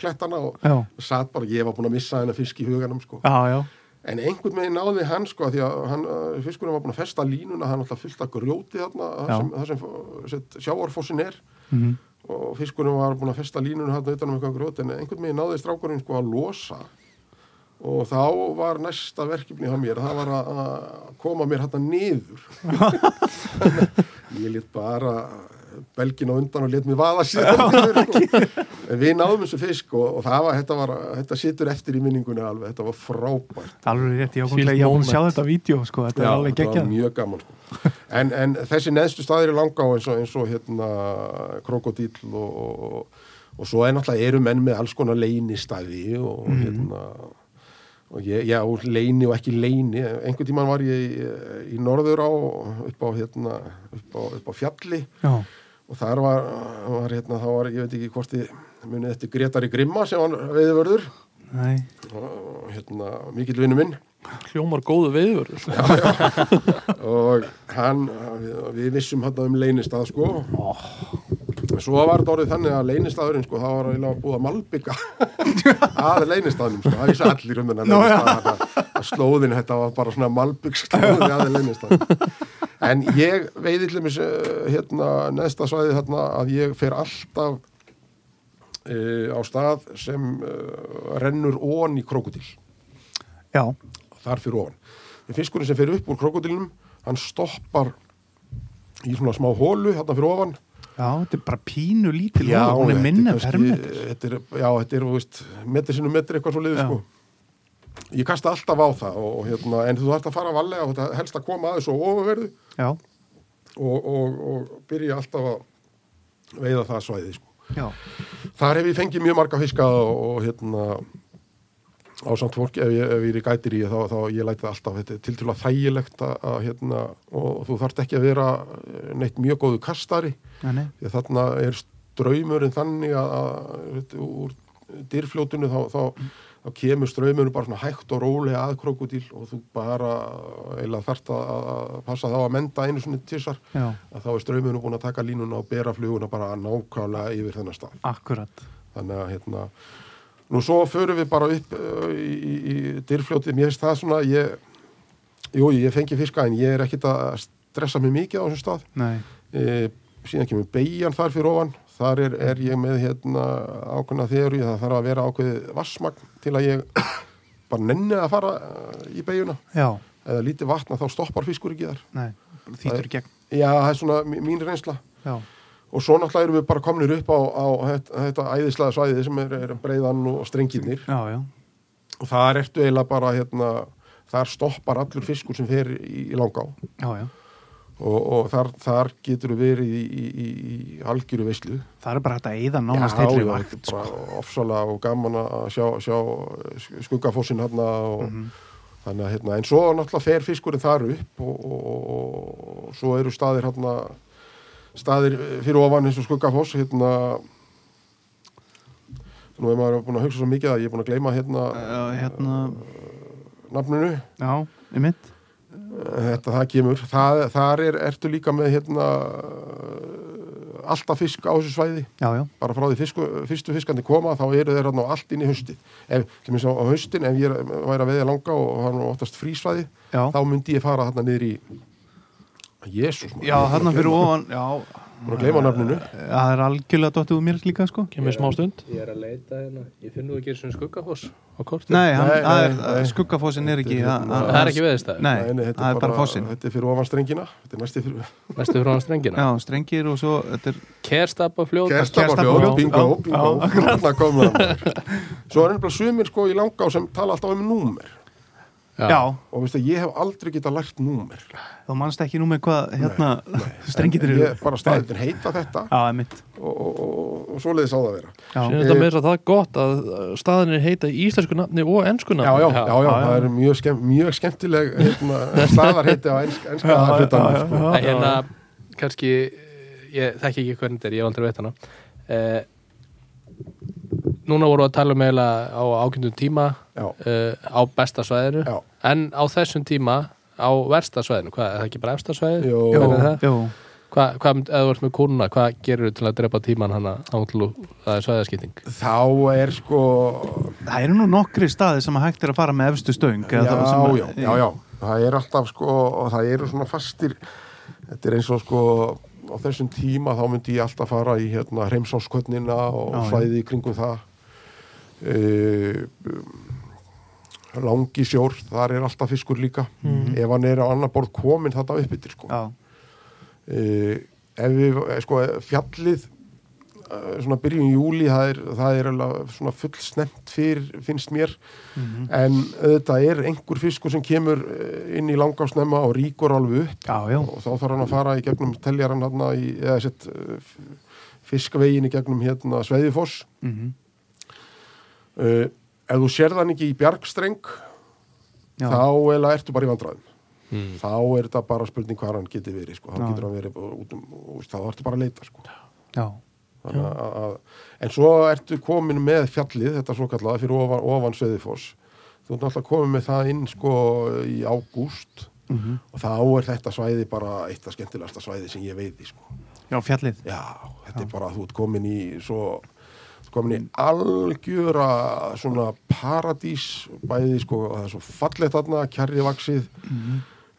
Speaker 1: klettana og
Speaker 2: Já.
Speaker 1: satt bara, ég var búin að missa hennar fisk í huganum sko
Speaker 2: já, já,
Speaker 1: en einhvern veginn náði hann sko því að hann, uh, fiskurinn var búin að festa línuna hann alltaf fyllt að grjóti þarna það
Speaker 2: Já.
Speaker 1: sem, það sem, uh, sem sjáarfossin er
Speaker 2: mhm,
Speaker 1: og fiskurinn var búin að festa línunum hann utan um eitthvað grjót en einhvern veginn náði strákurinn sko að losa og þá var næsta verkefni á mér það var að að koma mér hann niður ég lit bara belgin á undan og let mér vaða sér niður, sko. en við náðum þessu fisk og, og það var, þetta var, þetta situr eftir í minningunni alveg, þetta var frábært
Speaker 2: alveg rétt, ég ákvæmlega, ég
Speaker 3: Síld
Speaker 2: ákvæmlega að sjá
Speaker 3: moment.
Speaker 2: þetta vídeo, sko, þetta er alveg
Speaker 1: þetta var
Speaker 2: geggjað
Speaker 1: mjög gaman sko. en, en þessi neðstu staðir er langa eins og, eins og hérna krokodíl og, og, og svo er náttúrulega eru menn með alls konar leynistæði og
Speaker 2: Mhm.
Speaker 1: hérna og ég, já, leini og ekki leini einhvern tíman var ég í, í norður á upp á hérna upp á, upp á fjalli
Speaker 2: já,
Speaker 1: og þar var, var hérna, þá var, ég veit ekki hvort þið munið eftir Gretari Grimma sem var veiðvörður
Speaker 2: nei,
Speaker 1: og hérna, mikill vinnu minn
Speaker 3: Hljómar góðu sko. veiður
Speaker 1: og hann, við, við vissum hann um leynistað sko svo var þetta orðið þannig að leynistaðurinn sko, það var eiginlega búið að malbygga að leynistaðnum sko, það vissi allir um þennan
Speaker 2: Nú, já.
Speaker 1: leynistað að slóðin þetta var bara svona malbygg slóði að leynistaðnum en ég veiði til þess hérna, neðsta svæði þarna að ég fer alltaf uh, á stað sem uh, rennur ón í krokodil
Speaker 2: já,
Speaker 1: þar fyrir ofan. En fiskurinn sem fer upp úr krokodilinum, hann stoppar í svona smá hólu þarna fyrir ofan.
Speaker 2: já, þetta er bara pínu lítil hol, hún er
Speaker 1: þetta
Speaker 2: minna
Speaker 1: kannski-
Speaker 2: permetur
Speaker 1: Þetta er, já, þetta er, þú veist, metri sinum metri eitthvað svo liðið,
Speaker 2: Já.
Speaker 1: sko. Ég kasta alltaf á það og, og hérna, en þú þarfst að fara valega og þetta helst að koma aðeins og ofaverðu
Speaker 2: já,
Speaker 1: og, og, og byrja alltaf að veiða það svæði, sko.
Speaker 2: já,
Speaker 1: Þar hef ég fengið mjög marga fiska og, og hérna á samt fólk ef ég, ef ég er í gætir í þá, þá ég læti það alltaf, þetta er tiltrúlega þægilegt að, að hérna, og þú þarft ekki að vera eh, neitt mjög góðu kastari
Speaker 2: nei, nei,
Speaker 1: því að þarna er ströymurinn þannig að, að veit, úr dyrfljótinu þá, þá, þá kemur ströymurinn bara svona hægt og rólega að krokodil og þú bara eila þarft að, að passa þá að menda einu svona tísar
Speaker 2: já,
Speaker 1: að þá er ströymurinn búin að taka línuna og bera fluguna bara nákvæmlega yfir þennan stað
Speaker 2: akkurat
Speaker 1: þannig að hérna nú svo förum við bara upp uh, í, í, í dyrfljótið, mér finnst það svona ég, jú, ég fengi fiska en ég er ekkit að stressa mig mikið á þessum stað
Speaker 2: nei,
Speaker 1: e, síðan kemur beigjan þar fyrir ofan þar er, er ég með hérna ákveðna þeirri, það þarf að vera ákveðið vassmagn til að ég bara nenni að fara eh, í beigjuna
Speaker 2: já,
Speaker 1: eða lítið vatna þá stoppar fiskur ekki þar
Speaker 2: nei,
Speaker 1: Það-
Speaker 2: þýtur í gegn
Speaker 1: já, það er svona mín- mín reynsla
Speaker 2: já,
Speaker 1: og svo náttúrulega erum við bara komnir upp á, á þetta, þetta æðislega svæði sem er, er breiðan og strengirnir
Speaker 2: já, já,
Speaker 1: og þar ertu eiginlega bara hérna, þar stoppar allur fiskur sem fer í, í langá og,
Speaker 2: já, já
Speaker 1: og þar, þar getur við verið í, í, í, í algjöru veislu
Speaker 2: það er bara hægt að eyða nánast heilri vakt sko.
Speaker 1: þetta er bara ofsalega og gaman að sjá, sjá skuggafossin hérna og
Speaker 2: Mhm.
Speaker 1: þannig að hérna, en svo náttúrulega fer fiskurinn þar upp og, og, og, og svo eru staðir hérna staðir fyrir ofan eins og skuggafoss hérna nú er maður búin að hugsa svo mikið að ég er búin að gleyma hérna
Speaker 2: Já, hérna,
Speaker 1: nafninu
Speaker 2: já, í mitt
Speaker 1: þetta það kemur, það, þar er, ertu líka með hérna alltaf fisk á þessu svæði
Speaker 2: já, já,
Speaker 1: bara frá því fisku, fyrstu fiskandi koma þá eru þeir hann á allt inn í haustið ef, sem ég sá á haustin, ef ég er- væri að veðja langa og hann óttast frísvæði
Speaker 2: Já.
Speaker 1: þá myndi ég fara hann niður í Jésús
Speaker 2: já, þarna fyrir ofan já,
Speaker 1: Búin að gleyma nafninu.
Speaker 2: það er algjörlega dottið úr mér líka sko
Speaker 3: kemur smá stund
Speaker 4: Ég er að leita hérna Ég finn nú ekki eins og skuggafoss á kortið
Speaker 2: Nei, hann,
Speaker 1: Nei,
Speaker 2: það er,
Speaker 1: nei, hérna- nei.
Speaker 2: skuggafossin er ekki það,
Speaker 4: Það er ekki veðist það
Speaker 2: Nei,
Speaker 1: Nei, nei, þetta
Speaker 2: það er bara fossin
Speaker 1: Þetta er fyrir ofan strengina Þetta er næsti fyrir
Speaker 4: Næstu frá hann strengina
Speaker 2: Já, strengir og svo þetta er,
Speaker 4: Kerstapa fljót
Speaker 1: Kerstafafljóð,
Speaker 2: Kerstafafljóð.
Speaker 1: bingo,
Speaker 2: Já,
Speaker 1: bingo
Speaker 2: já,
Speaker 1: Þarna kom það maður. Svo er nefnilega sumir sko í langá sem tala alltaf um númer
Speaker 2: já.
Speaker 1: og veistu, ég hef aldrei getað lært númer
Speaker 2: þú manst ekki nú með hvað hérna strengir
Speaker 1: En
Speaker 2: eru
Speaker 1: ég bara staðin heita þetta
Speaker 2: Já, emitt
Speaker 1: og, og, og, og svoleiðis á það að vera
Speaker 3: Sér
Speaker 2: Já,
Speaker 3: þetta með þess að það er gott að uh, staðinir heita í íslensku nafni og ennsku
Speaker 1: Já,
Speaker 3: nafni
Speaker 1: já, já, já, það er mjög, skemm, mjög skemmtileg hérna, staðarheiti á enska, enska hlutanum sko.
Speaker 4: Nei, hérna, kannski eh, Ég þekki ekki hvernig þetta er, ég hef aldrei veit hana eh, Núna voru að tala um eiginlega á ákjöndum tíma
Speaker 1: Já,
Speaker 4: eh, á besta svæðinu
Speaker 1: já,
Speaker 4: en á þessum tíma á versta svæðinu, hvað, er það ekki bara efsta svæðinu?
Speaker 1: Jó.
Speaker 4: Hvernig er það?
Speaker 2: já,
Speaker 4: Hvað, hva, eða þú ert með konuna, hvað gerir þú til að drepa tíman hana ántlú, það er svæðaskipting?
Speaker 1: þá er sko
Speaker 2: það eru nú nokkri staði sem að hægt er að fara með efstu stöng
Speaker 1: já,
Speaker 2: eða það sem að-
Speaker 1: já, já, já, það er alltaf sko, og það eru svona fastir þetta er eins og sko á þessum tíma þá myndi ég alltaf fara í hérna hreimsáskvötnina og
Speaker 2: Já, já.
Speaker 1: svæði í kringum það uh, langi sjór, þar er alltaf fiskur líka
Speaker 2: Mhm.
Speaker 1: ef hann er á annar borð komin þetta uppbyttir sko
Speaker 2: já,
Speaker 1: uh, ef við, eh, sko, fjallið eh, svona byrjun júli það er, það er alveg svona fullsnemt fyrir finnst mér
Speaker 2: Mhm.
Speaker 1: en auðvitað er einhver fiskur sem kemur eh, inn í langásnemma og ríkur alveg upp
Speaker 2: já, já.
Speaker 1: og þá þarf hann að fara í gegnum teljaran hann í, eða sett eh, f- fiskvegin í gegnum hérna Sveiðifoss
Speaker 2: Mhm.
Speaker 1: uh, ef þú sér þann ekki í bjargstreng
Speaker 2: já.
Speaker 1: þá eða ertu bara í vandræðum þá er þetta bara spurning hvað hann getur verið sko. þá
Speaker 2: Já.
Speaker 1: getur hann verið bara út um úst, þá ertu bara að leita sko.
Speaker 2: já.
Speaker 1: Þannig að, að, en svo ertu komin með fjallið, þetta svo kallaða fyrir ofan, ofan Söðifoss þú ert náttúrulega komin með það inn sko í ágúst og þá er þetta svæði bara eitt af skemmtilegasta svæði sem ég veiði sko.
Speaker 2: já, fjallið
Speaker 1: já, þetta er bara að þú ert komin í svo þú ert komin í algjöra svona paradís bæði sko, það er svo fallegt þarna kjarri vaksið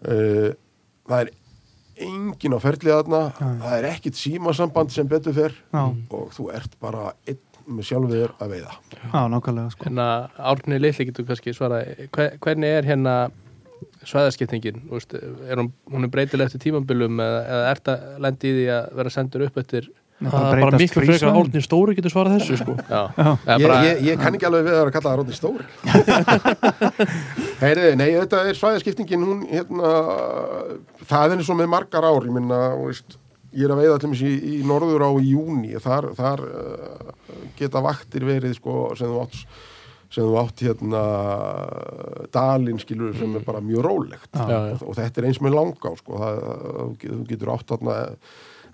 Speaker 1: uh, það er engin á ferlið þarna, það er ekkit símasamband sem betur fer
Speaker 2: Já.
Speaker 1: og þú ert bara einn með sjálfur að veiða
Speaker 2: Já, nákvæmlega sko
Speaker 4: Hérna, Árni Lilli getur kannski svaraði, hver, hvernig er hérna svæðaskiptingin? Þú veist, Er hún, hún er breytileg eftir tímabilum eða, eða ert að lendi í því að vera sendur upp eftir
Speaker 3: það er bara miklu frekar Árni Stóri getur svarað þessu sko.
Speaker 4: Já, eða
Speaker 1: ég,
Speaker 4: bara,
Speaker 1: ég, ég kann ekki alveg við að vera að kalla það Róðni Stóri Heyriði, nei, þetta er svæðaskiptingin hún, hérna það er eins og með margar ár, ég minna veist, ég er að veiða allir í, í norður á í júni, þar, þar uh, geta vaktir verið sko sem þú átt sem þú átt hérna dalinn skilur sem er bara mjög rólegt
Speaker 4: Mm. Já, já.
Speaker 1: og, og þetta er eins með langá sko, það, það- þú getur átt þarna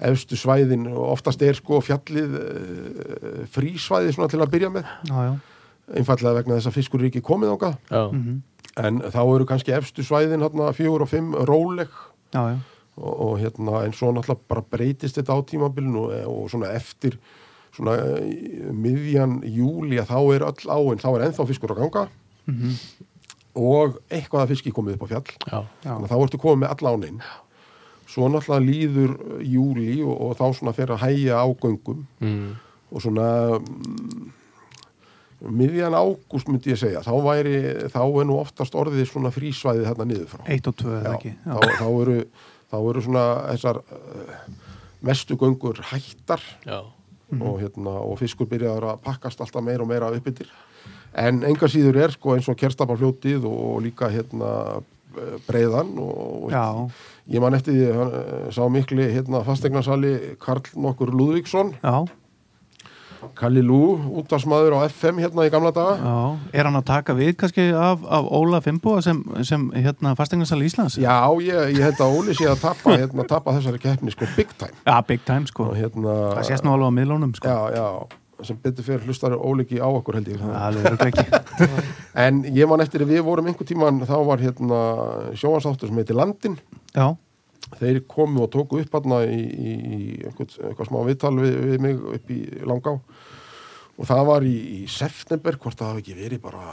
Speaker 1: efstu svæðin og oftast er sko fjallið eh, frísvæði svona til að byrja með
Speaker 2: Já, já,
Speaker 1: einfallega vegna þess að fiskur er ekki komið ánga
Speaker 4: já,
Speaker 1: en þá eru kannski efstu svæðin hérna fjögur og fimm róleg
Speaker 2: já, já,
Speaker 1: og, og hérna en svo náttúrulega bara breytist þetta á tímabilinu og, og svona eftir svona eh, miðjan júli að þá er öll áin, þá er ennþá fiskur að ganga og eitthvað að fiski komið upp á fjall
Speaker 4: Mhm. já.
Speaker 2: já.
Speaker 1: þannig að þá ertu komið með alla áninn svo náttúrulega líður uh, júli og, og þá svona fer að hægja ágöngum
Speaker 4: Mm.
Speaker 1: og svona mm, miðjan ágúst myndi ég segja þá, væri, þá er nú oftast orðið svona frísvæðið þarna niður frá
Speaker 2: Eitt og tvö eða
Speaker 1: Já,
Speaker 2: ekki Já,
Speaker 1: þá, þá, eru, þá eru svona þessar uh, mestu göngur hættar
Speaker 4: já.
Speaker 2: Mhm.
Speaker 1: og, hérna, og fiskur byrjaður að pakkast alltaf meira og meira uppbyttir en enga síður er sko eins og kerstapafljótið og, og líka hérna eh, breiðan og,
Speaker 2: já,
Speaker 1: og ég man eftir því hann, eh, sá mikli hérna fastegnarsali Karl nokkur Lúðvíksson
Speaker 2: já,
Speaker 1: Kalli Lú, útvarsmaður á FM hérna í gamla daga
Speaker 2: já Er hann að taka við kannski af, af Óla Fimboa sem, sem hérna fasteignarsali Íslands?
Speaker 1: Já, ég, ég held að Óli sé að tappa, hérna, tappa þessari keppni sko big time
Speaker 2: Já, big time sko
Speaker 1: og hérna
Speaker 2: Það sést nú alveg á miðlónum sko
Speaker 1: já, já, sem betur fyrir hlustar Óli ekki á okkur held ég
Speaker 2: Alveg örugglega ekki
Speaker 1: en ég man eftir að við vorum einhver tíman þá var hérna sjóansáttur sem heitir Landin
Speaker 2: Já,
Speaker 1: þeir komu og tóku upp hérna í, í, í einhvern, eitthvað smá viðtal við, við mig upp í Langá og það var í, í september hvort það hafi ekki verið bara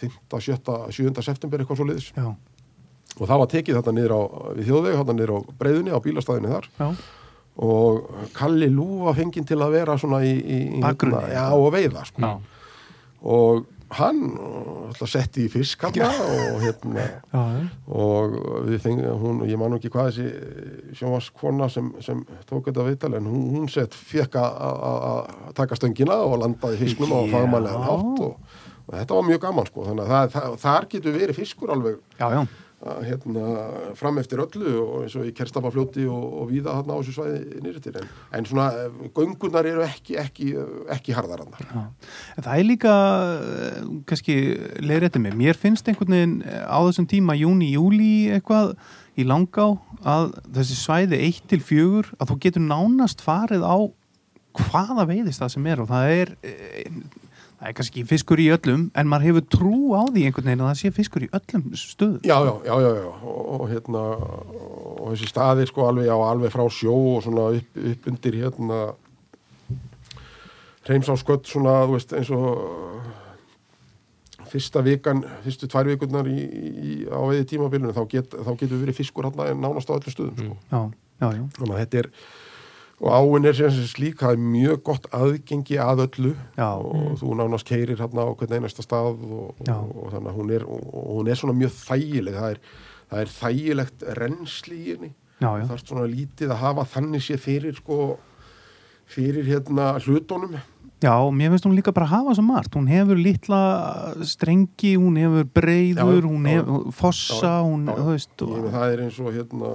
Speaker 1: 5., 7., 7. september eitthvað svo liðis
Speaker 2: já,
Speaker 1: og það var tekið þetta niður á við þjóðveg, þetta niður á breiðunni á bílastæðinni þar
Speaker 2: já
Speaker 1: og Kalli Lú var fenginn til að vera svona í, í í-
Speaker 2: Bakgrunni.
Speaker 1: hérna, já, og veiða sko.
Speaker 2: Já.
Speaker 1: og hann uh, ætla, setti í fisk hérna og hérna
Speaker 2: Já, já.
Speaker 1: og við fengið hún, ég man nú ekki hvað þessi sjónvaskona sem, sem tók þetta viðtal en hún, hún sett fekk að- að að taka stöngina og landaði fisknum á
Speaker 2: Já.
Speaker 1: fagmælega nátt og, og þetta var mjög gaman sko þannig að það, það, þar getur verið fiskur alveg
Speaker 2: já, já.
Speaker 1: að, hérna, fram eftir öllu og eins og í kerstapafljóti og, og víða þarna á þessu svæði nýrtir en, en svona eh, göngunar eru ekki, ekki, ekki harðarannar
Speaker 2: Já. En það er líka eh, kannski leiðrétti mig, mér finnst einhvern veginn eh, á þessum tíma, júni, júli eitthvað í langá að þessi svæði 1 til 4 að þú getur nánast farið á hvaða veiðist það sem er og það er eh, það er kannski fiskur í öllum en maður hefur trú á því einhvern veginn að það sé fiskur í öllum stöðum
Speaker 1: Já, já, já, já, já. Og, og hérna og þessi staði sko alveg, já, alveg frá sjó og svona upp, upp undir hérna reymsáskött svona, þú veist, eins og uh, fyrsta vikan, fyrstu tvær vikurnar í, í, á veiði tímabilinu, þá, get, þá getur verið fiskur hérna en nánast á öllum stöðum sko.
Speaker 2: Já, já, já,
Speaker 1: Þannig að þetta er og áin er sem sem slík, það er mjög gott aðgengi að öllu
Speaker 2: Já.
Speaker 1: og þú nánast keirir hérna á hvern einasta stað og, og,
Speaker 2: Já.
Speaker 1: og þannig að hún er og, og hún er svona mjög þægileg það er, það er þægilegt rennsli í henni
Speaker 2: já, já.
Speaker 1: það er svona lítið að hafa þannig sé fyrir sko fyrir hérna hlutunum
Speaker 2: Já, mér finnst hún líka bara hafa svo margt. Hún hefur litla strengi, hún hefur breyður,
Speaker 1: Já, já,
Speaker 2: hún
Speaker 1: já,
Speaker 2: hefur fossa, hún,
Speaker 1: Já, já.
Speaker 2: þú veist,
Speaker 1: Ég meina,
Speaker 2: og,
Speaker 1: það er eins og hérna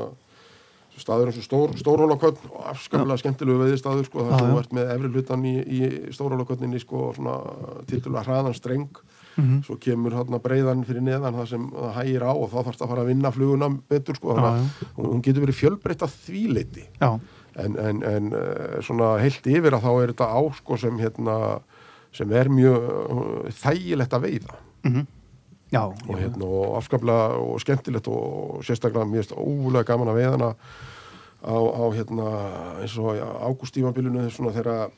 Speaker 1: svo staður eins og stór, stórhólakötn og afskaplega skemmtilegu veiðistæður sko,
Speaker 2: Já,
Speaker 1: það sem
Speaker 2: já.
Speaker 1: þú ert með efri hlutan í, í stórhólakötninni sko, svona tildulega hraðan streng
Speaker 2: Mhm.
Speaker 1: svo kemur hérna breyðan fyrir neðan það sem það hægir á og þá þarfst að fara að vinna fluguna betur sko, þannig
Speaker 2: Já,
Speaker 1: að hún- hún getur verið fjölbreytt að þvíleiti
Speaker 2: já,
Speaker 1: en, en, en eh, svona heilt yfir að þá er þetta á sko, sem hérna sem er mjög eh, þægilegt að veiða
Speaker 2: já,
Speaker 1: og,
Speaker 2: já,
Speaker 1: hérna, og afskaplega og skemmtilegt og sérstaklega mér finnst ólega gaman að veið hana á, á hérna, eins og ágústímabilinu svona þegar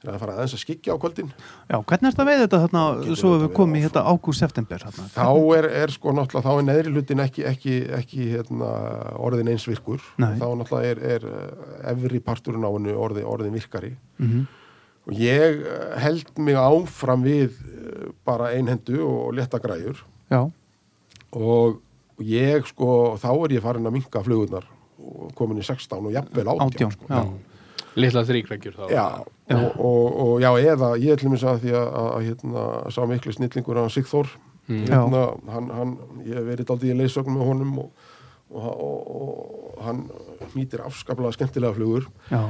Speaker 1: þegar það fara aðeins að skikja á kvöldin
Speaker 2: já, hvernig er þetta veið þetta þarna,
Speaker 1: Getur
Speaker 2: svo
Speaker 1: þetta
Speaker 2: hefur
Speaker 1: verið
Speaker 2: komið í
Speaker 1: áfram?
Speaker 2: þetta ágúst-september þarna?
Speaker 1: þá er, er sko náttúrulega þá er neðri hlutin ekki, ekki, ekki hérna, orðin eins virkur
Speaker 2: Nei.
Speaker 1: þá náttúrulega er, er eh, efri parturinn á hennu orði, orðin virkari
Speaker 2: Mhm.
Speaker 1: og ég eh, held mig áfram við eh, bara einhendu og leta græjur
Speaker 2: Já,
Speaker 1: og ég sko, þá er ég farin að minka flugurnar og komin í 16 og jafnvel 18,
Speaker 2: átján,
Speaker 1: sko.
Speaker 2: já,
Speaker 4: Lilla þrýkrækjur þá.
Speaker 1: Já, Og, og, og já, eða ég ætlum þess að því að, að, að hérna, sá miklu snillingur hann Sigþór
Speaker 2: Mm.
Speaker 1: hérna, hann, hann, ég hef verið aldrei í leysögn með honum og, og, og, og hann nýtir afskaplega skemmtilega flugur
Speaker 2: já,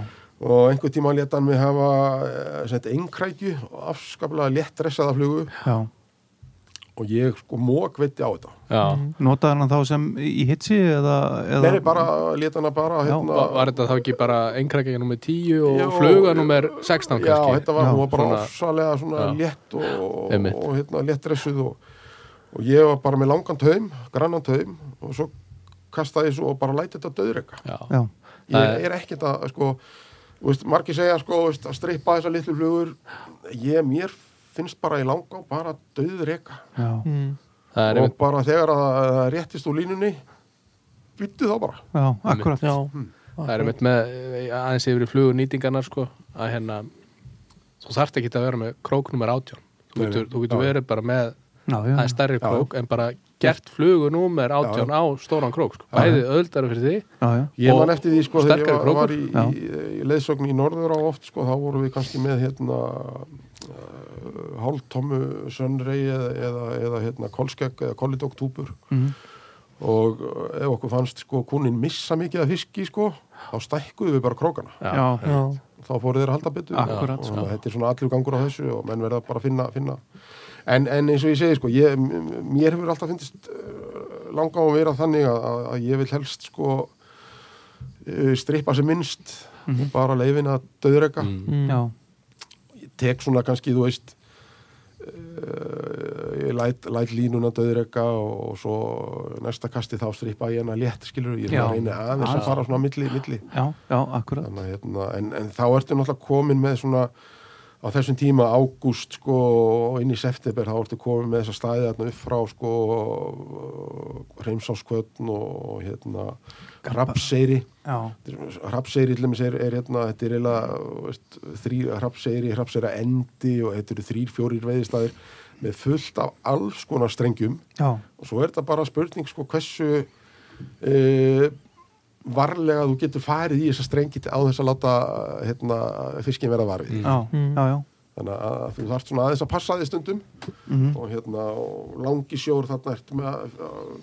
Speaker 1: og einhver tíma leta hann mig hafa eh, sem þetta engkrækju og afskaplega létt ressaða flugu
Speaker 2: já.
Speaker 1: og ég sko mók veitti á þetta
Speaker 4: Já.
Speaker 2: Notaði hann þá sem í hitsi eða, eða,
Speaker 1: Nei, nei, bara leta hana bara
Speaker 2: Já,
Speaker 1: hérna,
Speaker 4: Va- Var þetta þá ekki bara engkrækja nummer 10
Speaker 1: Já,
Speaker 4: og fluga
Speaker 1: já.
Speaker 4: nummer 16
Speaker 1: Já,
Speaker 4: kannski?
Speaker 1: þetta var, hún var bara
Speaker 4: Svona-
Speaker 1: ofsalega svona
Speaker 4: Já.
Speaker 1: létt og,
Speaker 4: Einmitt.
Speaker 1: og hérna, létt dressuð og, og ég var bara með langan taum, grannan taum og svo kastaði ég svo og bara læti þetta döðreika.
Speaker 4: Já.
Speaker 2: já,
Speaker 1: Ég er ekkert að, sko, þú veist, margir segja, sko, þú veist, að strippa þessa litlu flugur, ég, mér finnst bara í langa bara döðreika
Speaker 2: já,
Speaker 3: Mm,
Speaker 4: Það er
Speaker 1: og
Speaker 4: einmitt.
Speaker 1: bara þegar að það réttist úr línunni, byttu þá bara.
Speaker 2: já, akkurat,
Speaker 3: já,
Speaker 4: Það er einmitt með eh, aðeins yfir í flugunýtingarnar sko, að hérna þú þarft ekki að vera með krók nummer 18 þú
Speaker 1: Nei,
Speaker 4: getur,
Speaker 1: nei.
Speaker 4: þú getur
Speaker 1: Já.
Speaker 4: verið bara með
Speaker 2: já, já,
Speaker 4: aðeins stærri
Speaker 1: Já.
Speaker 4: krók en bara gert flugunúmer 18 á stóran krók sko. bæði öðuldara fyrir því
Speaker 2: já, já,
Speaker 1: Ég
Speaker 4: Og
Speaker 1: man eftir því sko þegar
Speaker 4: sterkari
Speaker 1: ég var, var
Speaker 4: krókur.
Speaker 1: í,
Speaker 2: Já.
Speaker 1: í, í leiðsögn í norður á oft sko þá vorum við kannski með hérna uh, hálftommu sönrei eða, eða, eða hérna kolskegg eða kollidoktúpur
Speaker 2: Mhm.
Speaker 1: og eh, ef okkur fannst sko kunin missa mikið af fiski sko þá stækkuðu við bara krókana
Speaker 2: já,
Speaker 3: já.
Speaker 1: þá fóru þeir að halda betur
Speaker 2: Akkúrat,
Speaker 1: og
Speaker 2: sko.
Speaker 1: þannig að þetta er svona allur gangur á þessu og menn verða bara að finna, finna. En, en eins og ég segi sko ég, m- mér hefur alltaf fyndist eh, langa á að vera þannig að, að- að ég vil helst sko eh, strippa sem minnst
Speaker 2: Mhm.
Speaker 1: og bara leifin að döðreka
Speaker 3: Mm,
Speaker 2: hmm. já,
Speaker 1: ég tek svona kannski þú veist eh, ég læt, læt línuna döðreka og, og svo næsta kasti þá strippa ég hana létt skilur ég
Speaker 2: Já.
Speaker 1: reyni aðeins
Speaker 2: Aðeins.
Speaker 1: að fara svona á milli, milli
Speaker 2: já, já, akkurat,
Speaker 1: Þannig, að, hérna, en, en þá ertu náttúrulega komin með svona á þessum tíma ágúst sko og inn í september þá ertu komið með þessa staði þarna upp frá sko reymsáskvötn og hérna rapseyri
Speaker 2: já,
Speaker 1: Hrapseyri til dæmis er, er hérna, þetta er eiginlega þrý, Hrapseyri, Hrapseyra endi og þetta eru þrýr, fjórir veiðistæðir með fullt af alls konar strengjum
Speaker 2: já,
Speaker 1: og svo er þetta bara spurning sko hversu e, varlega þú getur farið í þessa strengi á þess að láta hérna, fiskin vera varfið.
Speaker 2: já, já, já.
Speaker 1: Þannig að þú þarft svona aðeins að passa því stundum
Speaker 2: Mhm.
Speaker 1: og hérna og langi sjór þarna ertu með uh,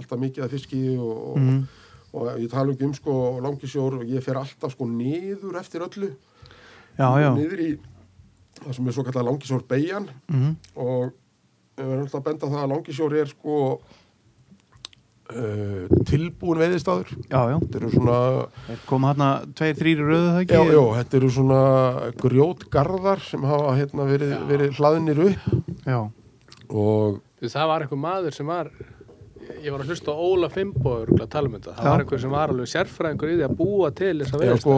Speaker 1: alltaf mikið að fiski og,
Speaker 2: Mhm.
Speaker 1: og, og ég tala ekki um sko langi sjór og ég fer alltaf sko niður eftir öllu
Speaker 2: já, já.
Speaker 1: niður í það sem er svo kallar langi sjór beigjan
Speaker 2: Mhm.
Speaker 1: og við verðum alltaf að benda á það að langi sjór er sko uh, tilbúin veiðistadur
Speaker 2: já, já.
Speaker 1: þetta eru svona
Speaker 2: Þeir koma hérna tveir, þrýri röðu það ekki
Speaker 1: Já, já, þetta eru svona grjótgarðar sem hafa hérna verið, verið hlaðinir upp
Speaker 2: já,
Speaker 1: og
Speaker 4: það var einhver maður sem var ég var að hlusta á Óla Fimbo örugglega að tala um þetta, það
Speaker 2: Já.
Speaker 4: var einhver sem var alveg sérfræðingur í því að búa til þess að
Speaker 1: Já,
Speaker 4: vera
Speaker 1: sko,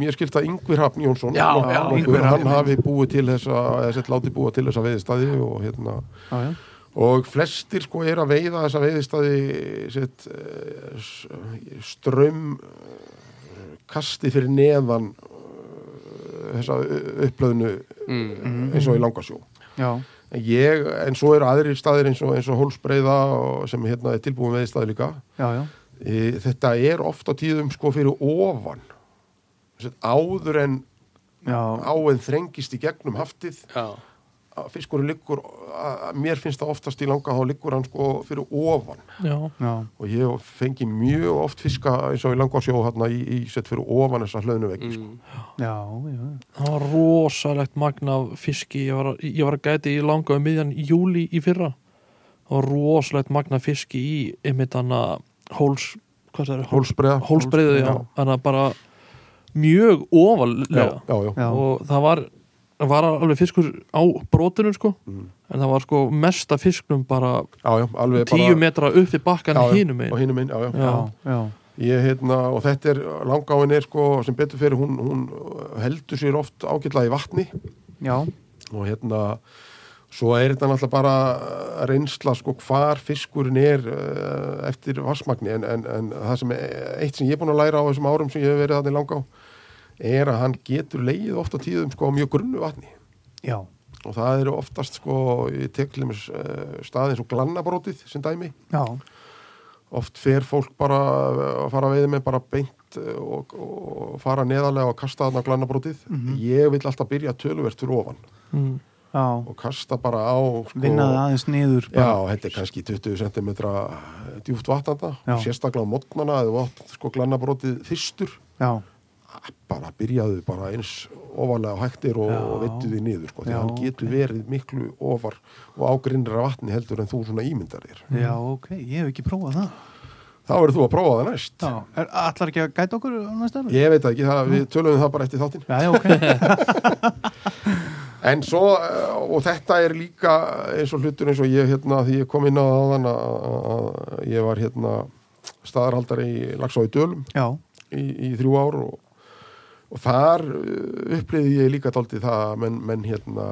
Speaker 1: mér skilst að Yngvir Hafn Jónsson
Speaker 4: Já, já,
Speaker 1: nokkur,
Speaker 2: Yngvi
Speaker 1: hann
Speaker 2: Hrafn.
Speaker 1: hafi búið til þessa eða sett látið búið til þessa veiðistæði og hérna
Speaker 2: já, já.
Speaker 1: og flestir sko er að veiða þessa veiðistæði sett eh, s- strömm eh, kasti fyrir neðan eh, þessa u- upplöðnu eh, eins og í langasjó
Speaker 2: já.
Speaker 1: en, ég, en svo eru aðrir staðir eins og, eins og hólsbreiða og, sem hérna er tilbúin veiðistæði líka
Speaker 2: já, já.
Speaker 1: E, þetta er oft á tíðum sko fyrir ofan Sem sagt, áður en
Speaker 2: já.
Speaker 1: áin þrengist í gegnum haftið
Speaker 4: Já,
Speaker 1: að fiskurinn liggur að- að mér finnst það oftast í langa þá liggur hann sko fyrir ofan
Speaker 3: já,
Speaker 2: já.
Speaker 1: og ég fengi mjög oft fiska eins og í langa sjó hérna í, í sett fyrir ofan þessa hlöðnuveggi sko.
Speaker 4: mm.
Speaker 2: Já, já,
Speaker 3: það var rosalegt magn af fiski, ég var, að- ég var að gæti í langa um miðjan júli í fyrra það var rosalegt magn af fiski í einmitt hann að hóls hvað það er,
Speaker 1: hólsbreiða
Speaker 3: hólsbreiðu já,
Speaker 1: já,
Speaker 3: þannig að bara mjög
Speaker 1: já,
Speaker 3: ofalega
Speaker 1: já, já.
Speaker 2: já.
Speaker 3: og það var, það var alveg fiskur á brotinu sko en það var sko mesta fisknum bara
Speaker 1: Já, já, alveg
Speaker 3: tíu metra upp í bakkan
Speaker 1: já, já,
Speaker 3: hínum
Speaker 1: og
Speaker 3: einn
Speaker 1: hinum einn já, já.
Speaker 2: já, já,
Speaker 1: Ég, hérna, og þetta er langáin er sko sem betur fyrir hún, hún heldur sér oft ágætlega í vatni
Speaker 2: já,
Speaker 1: og hérna svo er þetta náttúrulega bara uh, reynsla sko hvar fiskurinn er uh, eftir vassmagni en, en, en það sem er, eitt sem ég er búin að læra á þessum árum sem ég hef verið þannig langa á er að hann getur leið ofta tíðum sko á mjög grunnu vatni
Speaker 2: já,
Speaker 1: og það eru oftast sko ég tek til dæmis uh, staðin svo glannabrótið sem dæmi
Speaker 2: já,
Speaker 1: oft fer fólk bara uh, að fara að veiði með bara beint uh, og, og fara neðarlega og kasta þarna á glannabrótið ég vil alltaf byrja töluvert fyrir ofan
Speaker 3: mm.
Speaker 2: já,
Speaker 1: og kasta bara á sko,
Speaker 2: vinnaði aðeins niður
Speaker 1: Já,
Speaker 2: bara.
Speaker 1: þetta er kannski 20 cm djúft vatnanda,
Speaker 2: Já.
Speaker 1: sérstaklega á mótnana eða vatn, sko glannabrótið fyrstur
Speaker 2: já,
Speaker 1: bara byrjaðu bara eins ofarlega á hægtir og,
Speaker 2: Já.
Speaker 1: og vittu því niður sko, því
Speaker 2: Já,
Speaker 1: hann getur
Speaker 2: ok.
Speaker 1: verið miklu ofar og ágrinnir af vatni heldur en þú svona ímyndar þér.
Speaker 2: já, ok, ég hef ekki prófað það
Speaker 1: Þá verður þú að prófa það næst.
Speaker 2: Já, er allar ekki að gæta okkur á næsta ári?
Speaker 1: Ég veit það ekki, það, við tölum það bara eftir þáttinn.
Speaker 2: Já, já, ok, já,
Speaker 1: En svo, eh, og þetta er líka eins og hlutur eins og ég hérna, því ég kom inn á þann að, að ég var hérna staðarhaldari í Lagsá í Dölum
Speaker 2: já,
Speaker 1: í, í þrjú ár og, og þar uh, upplýði ég líka dálítið það að menn, menn hérna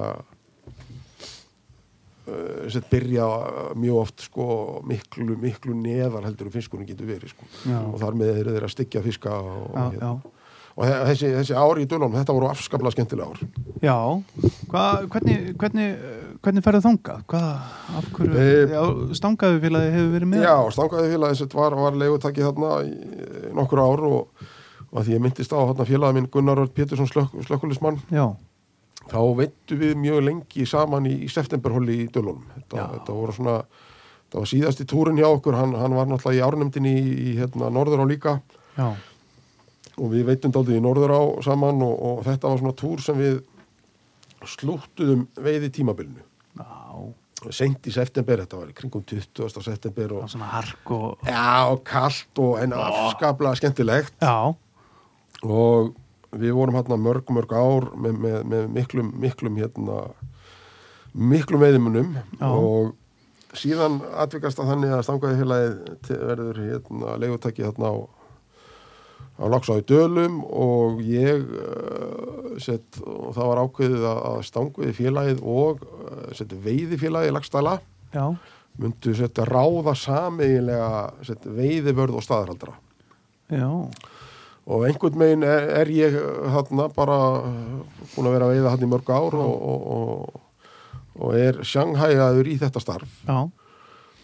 Speaker 1: uh, sett byrja mjög oft sko miklu, miklu neðar heldur um fiskunum getur verið sko
Speaker 2: Já.
Speaker 1: og þar með eru þeir að styggja fiska og, hérna.
Speaker 2: já, já,
Speaker 1: og þe- þessi, þessi ári í Dölunum, þetta voru afskaplega skemmtilega ár
Speaker 2: já. Hva, hvernig, hvernig, eh, hvernig ferðu þangað? Hvað, af hverju,
Speaker 1: Eh,
Speaker 2: já, stangaðu félagi hefur verið með?
Speaker 1: Já, stangaði félagið sitt var, var leigutakki þarna í nokkur ár og, og að því ég myndist á þarna félagið minn Gunnar Örd Pétursson slökk, slökkulismann
Speaker 2: já,
Speaker 1: þá veittu við mjög lengi saman í, í septemberhólli í Dölunum þetta,
Speaker 2: Já.
Speaker 1: þetta voru svona það var síðasti túrin hjá okkur, hann, hann var náttúrulega í árnemdinni í, í hérna, Norður á líka
Speaker 2: já,
Speaker 1: og við veitum daldið í Norður á saman og, og þetta var svona túr sem við slúttuðum veiði tímabilinu
Speaker 2: já,
Speaker 1: sent í september, þetta var í kringum 20. september og
Speaker 2: og svona hark og,
Speaker 1: Já, og kallt og en afskaplega skemmtilegt
Speaker 2: já,
Speaker 1: og við vorum hérna mörg, mörg ár með, með, með miklum, miklum hérna, miklum veiðimunum
Speaker 2: Já.
Speaker 1: og síðan atvikast að þannig að stangaði félagið verður hérna leigutæki hérna á á Laxáðu Dölum og ég uh, sett, og það var ákveðið að, að stanguði félagið og uh, sett, veiði félagið Laxdala
Speaker 2: já,
Speaker 1: myndu sett, ráða sameiginlega sett, veiðivörð og staðarhaldara
Speaker 2: já,
Speaker 1: og einhvern megin er, er ég þarna bara búin að vera að veiða hann í mörg ár og, og, og, og er sjanghæjaður í þetta starf
Speaker 2: já,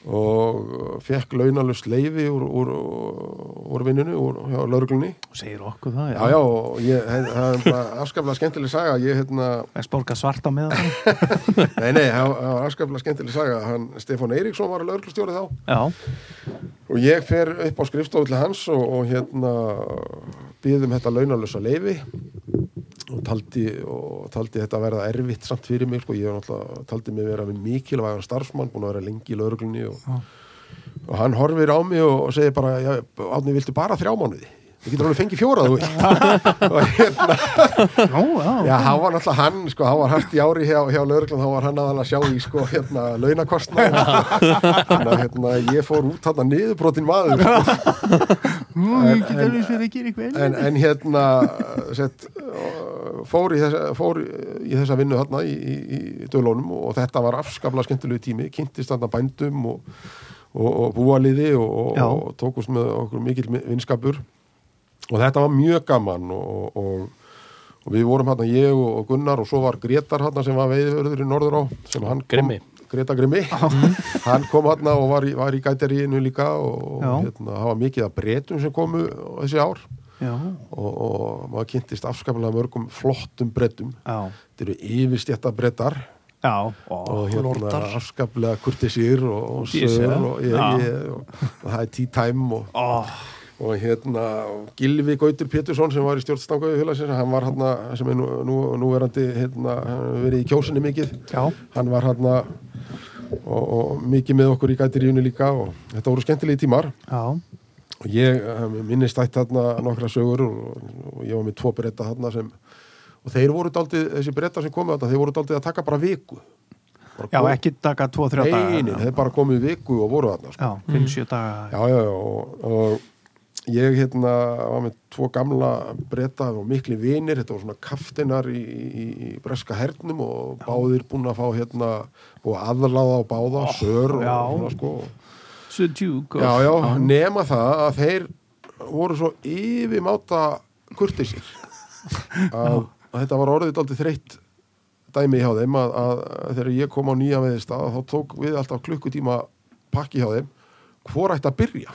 Speaker 1: og fekk launalust leifi úr, úr, úr vinnunni, úr hjá lauruglunni
Speaker 2: og segir okkur það
Speaker 1: Já, já, og ég, he- það er bara afskaplega skemmtileg saga, ég hérna,
Speaker 2: Veist borga svart á meðan það?
Speaker 1: nei, nei, það það var afskaplega skemmtileg saga, hann, Stefán Eiríksson var lögreglustjóri þá
Speaker 2: já,
Speaker 1: og ég fer upp á skrifstofu til hans og, og hérna býðum þetta launalösa leifi og taldi, og taldi þetta verða erfitt samt fyrir mig, sko, ég var náttúrulega taldi mig vera við mikilvægan starfsmann, búin að vera lengi í lauruglunni og, og hann horfir á mig og, og segir bara, já, átni, viltu bara þrjá mánuði? Við getur alveg fengið fjóra, þú vilt. og hérna,
Speaker 2: já, já,
Speaker 1: Já, hann var náttúrulega hann, sko, hann var hægt í ári hjá, hjá lauruglan, þá var hann aðalega að sjá í, sko, hérna, launakostna. Þannig að, hérna, ég fór út hann að niðurbrotin maður, sko,
Speaker 2: ég get alveg sér að gera eitthvað
Speaker 1: en, en hérna, sett, eh, fór í þessa, fór í þessa vinnu hérna í, í, í dölunum og þetta var afskaplega skemmtilegu tími, kynntist hann að bændum og, og, og búaliði og, og,
Speaker 2: Já.
Speaker 1: og tókust með okkur mikil vinskapur og þetta var mjög gaman og, og, og við vorum hérna ég og Gunnar og svo var Gretar hérna sem var veiðurður í Norðurá sem hann kom,
Speaker 4: Grimmi.
Speaker 1: Greta Grimmi hann kom hérna og var í, var í gæteríinu líka og
Speaker 2: Já.
Speaker 1: hérna, það var mikið að breytum sem komu þessi ár
Speaker 2: Já,
Speaker 1: og, og maður kynntist afskaplega mörgum flottum breytum
Speaker 2: já,
Speaker 1: þetta eru yfirstjætta breytar
Speaker 2: já, ó,
Speaker 1: og hérna
Speaker 3: lordar.
Speaker 1: afskaplega kurtisýr og, og
Speaker 2: Ég sé
Speaker 1: sögur
Speaker 2: það.
Speaker 1: og, ég,
Speaker 2: Já.
Speaker 1: ég, og, og það er tea time og
Speaker 2: ó,
Speaker 1: og hérna Gilvi Gautur Pétursson sem var í stjórnstangu félagsins, hann var hérna sem er nú, nú, núverandi hérna, hann hefur verið í kjósinni mikið
Speaker 2: já,
Speaker 1: hann var hérna og, og mikið með okkur í gætiríunni líka og þetta voru skemmtilegi tímar
Speaker 2: já,
Speaker 1: og ég eh, minnist ætt hérna nokkra sögur og, og ég var með tvo breyta hérna sem og þeir voru daldið, þessi breyta sem komu þetta, þeir voru daldið að taka bara viku bara
Speaker 2: já,
Speaker 1: kom-
Speaker 2: ekki taka 2-3 daga
Speaker 1: Nei, nei, þeir bara komið viku og voru þarna sko.
Speaker 2: Já, 5-7 daga
Speaker 1: Já, já, já, og, og ég hérna var með tvo gamla breyta og mikli vinir, þetta var svona kaftinar í, í, í breska hernum og báðir búin að fá hérna og aðláða á báða, sör og
Speaker 2: Oh, já.
Speaker 1: svona sko.
Speaker 2: Sudjúk
Speaker 1: Já, já, nema það að þeir voru svo yfirmáta kurtisir að, að þetta var orðið aldrei þreytt dæmi hjá þeim að, að þegar ég kom á nýja veðista þá tók við alltaf klukkutíma pakki hjá þeim hvor ætti að byrja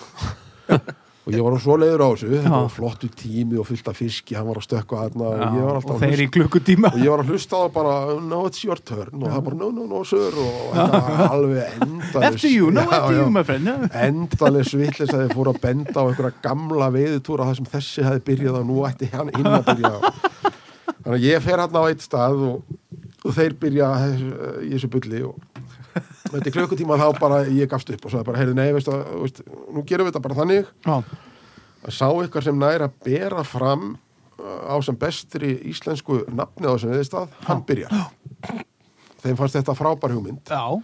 Speaker 1: og ég var nú svo leiður á þessu þetta
Speaker 2: Já.
Speaker 1: var flottu tími og fullt af fiski hann var að stökka þarna og ég var alltaf
Speaker 2: og
Speaker 1: að
Speaker 2: þeir
Speaker 1: hlusta
Speaker 2: í klukkutíma
Speaker 1: og ég var að hlusta á það bara no it's your turn og það bara no no no sir og þetta var alveg endalis
Speaker 2: After you, no after you, my friend já.
Speaker 1: endaleg svitlis að þið fóru að benda á einhverja gamla veiðutúra þar sem þessi hefði byrjað og nú ætti hann inn að byrja á. þannig að ég fer hann á eitt stað og, og þeir byrja þess- í þessu bulli og þetta er klukkutíma þá bara ég gafst upp og sagði bara heyrðu nei, veist, að, veist, nú gerum við þetta bara þannig
Speaker 2: Já,
Speaker 1: að sá ykkur sem næra að bera fram uh, á sem bestri íslensku nafni á þessum viðstað, hann byrjar þeim fannst þetta frábær hugmynd
Speaker 2: já,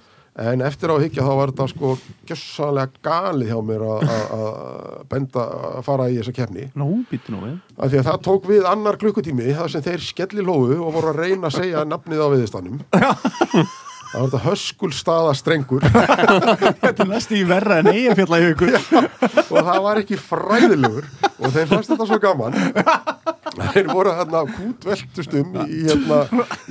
Speaker 1: En eftir á að higgja þá var þetta sko gjössalega galið hjá mér að- að að benda að fara í þessa kefni.
Speaker 2: nú, býttu nú við
Speaker 1: Af því að það tók við annar klukkutími þar sem þeir skelli lóðu og voru að reyna að segja nafnið á viðistanum. Það var þetta höskulstaða strengur
Speaker 2: Þetta er næstu í verra en eigin fjalla í ykkur
Speaker 1: og það var ekki fræðilegur og þeir fannst þetta svo gaman. Þeir voru hérna kútveltustum í, hérna,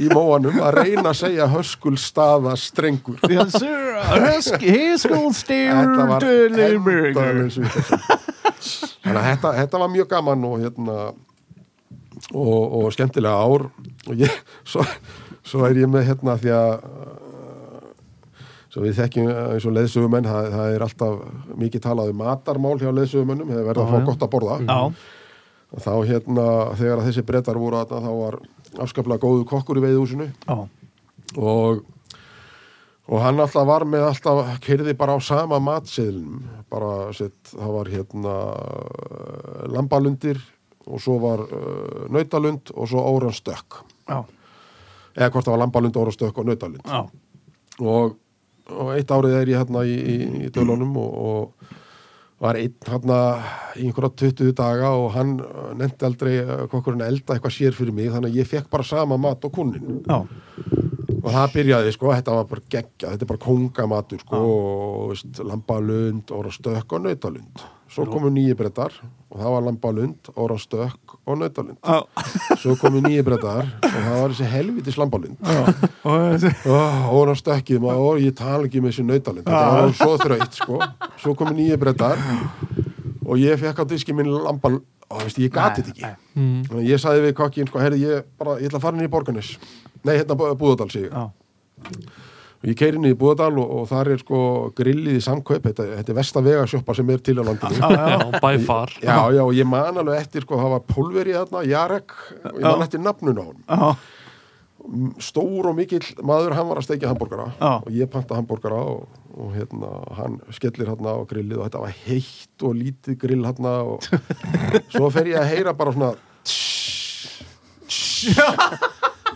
Speaker 1: í móanum að reyna að segja höskulstaða strengur.
Speaker 2: Yes, sir, Husk- Hiskul
Speaker 1: Þetta
Speaker 2: Steer
Speaker 1: var
Speaker 2: Deliburger
Speaker 1: endalaus vitleysa. Þannig að þetta, þetta var mjög gaman og hérna og, og skemmtilega ár og ég, svo, svo er ég með hérna því að uh, svo við þekkjum uh, eins og leðsögumenn það, það er alltaf mikið talað um matarmál hjá leðsögumennum, þeir verða að
Speaker 2: Já,
Speaker 1: fá
Speaker 2: já.
Speaker 1: gott að borða
Speaker 2: Já,
Speaker 1: og þá hérna, þegar þessi brettar voru þarna, þá var afskaplega góðu kokkur í veiðhúsinu
Speaker 2: já,
Speaker 1: og og hann alltaf var með alltaf kyrði bara á sama matseðlum bara sett, það var hérna eh, lambalundir og svo var uh, nautalund og svo óranstökk
Speaker 2: já,
Speaker 1: eða hvort það var lambalund, óranstökk og nautalund
Speaker 2: já
Speaker 1: og, og eitt árið er ég hérna í, í, í dölunum og, og, var einn hann í einhverja 20 daga og hann nefndi aldrei eh, kokkurinn að elda eitthvað sér fyrir mig þannig að ég fekk bara sama mat og kunnin
Speaker 2: já,
Speaker 1: og það byrjaði sko, þetta var bara geggja þetta er bara kongamatur sko og veist, lambalund, orastökk og nautalund svo komu nýju brettar og það var lambalund, orastökk og nautalund
Speaker 2: já,
Speaker 1: svo komu nýju brettar og það var þessi helvitis lambalund
Speaker 2: og þessi-
Speaker 1: og hún á stökkið maður, og ég tala ekki með þessi nautalind þetta var svo þrautt sko svo komu nýju brettar og ég fekk á diski minn lambal og veist, ég gati þetta ekki Þannig að ég sagði við kokkin, sko, herri, ég, bara, ég ætla að fara inn í borganis nei, hérna Bú- Búðardal, segi ég
Speaker 2: já,
Speaker 1: og ég keiri inn í Búðardal og, og þar er sko grillið í samkaup, þetta, þetta er versta vegasjoppa sem er til á landinu
Speaker 3: já, by far
Speaker 1: já, já, og ég man alveg eftir sko, það var pólverið þarna, Jarek og ég man eftir nafnun á honum
Speaker 2: já,
Speaker 1: stór og mikill maður, hann var að steikja hambúrgara
Speaker 2: Já.
Speaker 1: og ég panta hambúrgara og, og hérna, hann skellir hérna á grillið og þetta var heitt og lítið grill hérna og svo fer ég að heyra bara svona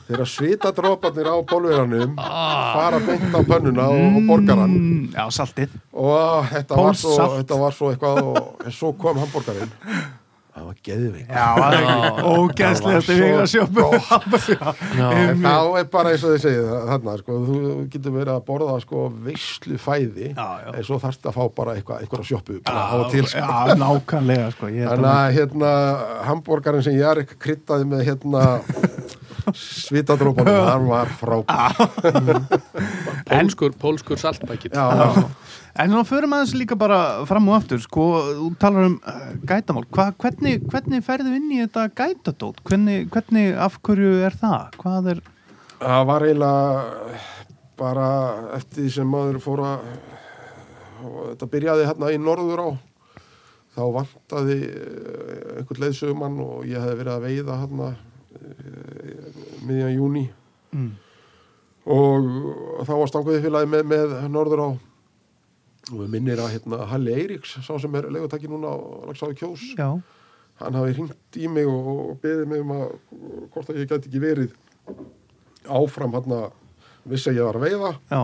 Speaker 1: þegar svitadróparnir á bólveranum fara beint á pönnuna og, og borgaran
Speaker 2: Ah. Mm, já, saltið
Speaker 1: og þetta var, svo,
Speaker 2: Pólsalt.
Speaker 1: þetta var svo eitthvað og en svo kom hambúrgarinn það var geðveik
Speaker 2: já, það er ógæðslegast
Speaker 1: Það var
Speaker 2: við
Speaker 1: svo
Speaker 2: að sjópa
Speaker 3: já,
Speaker 1: En þá er bara eins og þið segið þarna, sko, þú getur verið að borða sko, veislu fæði
Speaker 2: Já, já.
Speaker 1: en svo þarfst að fá bara eitthvað, einhverja sjoppu bara á og til, sko.
Speaker 2: já, nákvæmlega sko, ég held
Speaker 1: Þannig
Speaker 2: að-
Speaker 1: að hérna, hambúrgarinn sem Jarek kryddaði með hérna svitadrópanum, hann var frábær.
Speaker 4: Pólskur, pólskur saltbækit
Speaker 1: Já,
Speaker 2: En nú förum aðeins líka bara fram og aftur sko, þú talar um uh, gætamál Hva, hvernig, hvernig ferðu inn í þetta gætadót? Hvernig, hvernig, af hverju er það? Hvað er,
Speaker 1: það var eiginlega bara eftir því sem maður fór að og þetta byrjaði hérna í norður á þá vantaði eh, einhvern leiðsögumann og ég hefði verið að veiða hérna eh, miðjan júni
Speaker 2: Mm.
Speaker 1: og þá var stanguði félagi með, með norður á og við minnir að hérna Halli Eiríks sá sem er legutakki núna á Laxáði Kjós
Speaker 2: já,
Speaker 1: hann hafi hringt í mig og, og beðið mig um að hvort að ég gæti ekki verið áfram hann að vissi að ég var að veiða
Speaker 2: já,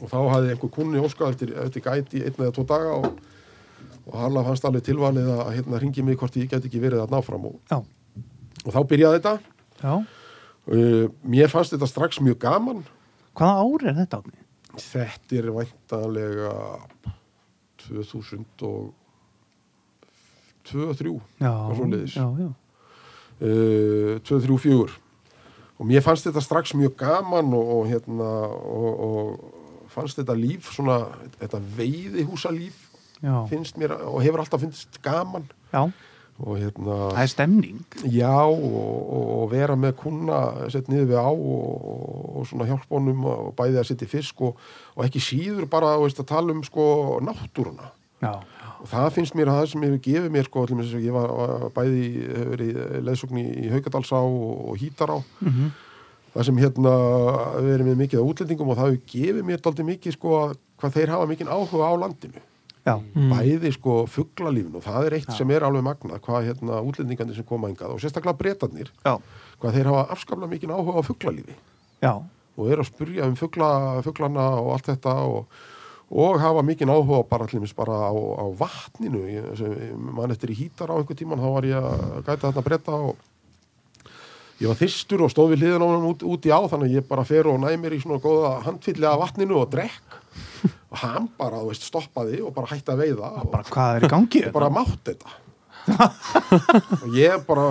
Speaker 1: og þá hafði einhver kunni óskað eftir, eftir gæti í einn eða tvo daga og, og hann fannst alveg tilvalið að hérna hringi mig hvort ég gæti ekki verið að náfram og,
Speaker 2: já,
Speaker 1: og þá byrjaði þetta
Speaker 2: já
Speaker 1: uh, mér fannst þetta strax mjög gaman
Speaker 2: Hvaða ári er þetta átni?
Speaker 1: þetta er væntanlega 2000 og 2003
Speaker 2: Já,
Speaker 1: Hvað svoleiðis?
Speaker 2: já, já,
Speaker 1: uh, 2, 3, 4 og mér fannst þetta strax mjög gaman og, og hérna og, og fannst þetta líf svona, þetta veiði húsa líf
Speaker 2: já,
Speaker 1: finnst mér og hefur alltaf finnst gaman
Speaker 2: já.
Speaker 1: og hérna
Speaker 2: Það er stemning
Speaker 1: Já, og, og- og vera með kuna sett niður við á og, og- og svona hjálp honum og bæði að setja í fisk og, og ekki síður bara þú veist, að tala um sko náttúruna
Speaker 2: Já,
Speaker 1: og það finnst mér að það sem hefur gefið mér sko, allir, ég var var bæði í- hefur verið leðsugni í Haukadalsá og, og Hítará það sem hérna við erum með mikið á útlendingum og það hefur gefið mér daldið mikið sko að- hvað þeir hafa mikið áhuga á landinu
Speaker 2: já,
Speaker 1: bæði sko fugglalífin og það er eitt sem er alveg magnað hvað hérna útlendingandi sem koma engað og sérstaklega bretarnir
Speaker 2: já,
Speaker 1: hvað þeir hafa afskaplega mikið áhuga á fugglalífi
Speaker 2: já,
Speaker 1: og eru að spurja um fugla, fuglana og allt þetta og, og hafa mikinn áhuga bara, allimis, bara á, á vatninu ég, sem, mann eftir í hítar á einhver tíman þá var ég að gæta þarna breyta og ég var þyrstur og stóð við hliðan á hann út, út í á þannig að ég bara fer og næ mér í svona góða handfylli af vatninu og drekk og hann bara, þú veist, stoppaði og bara hætti að veiða og
Speaker 2: bara hvað er í gangi?
Speaker 1: ég bara mátt þetta og ég bara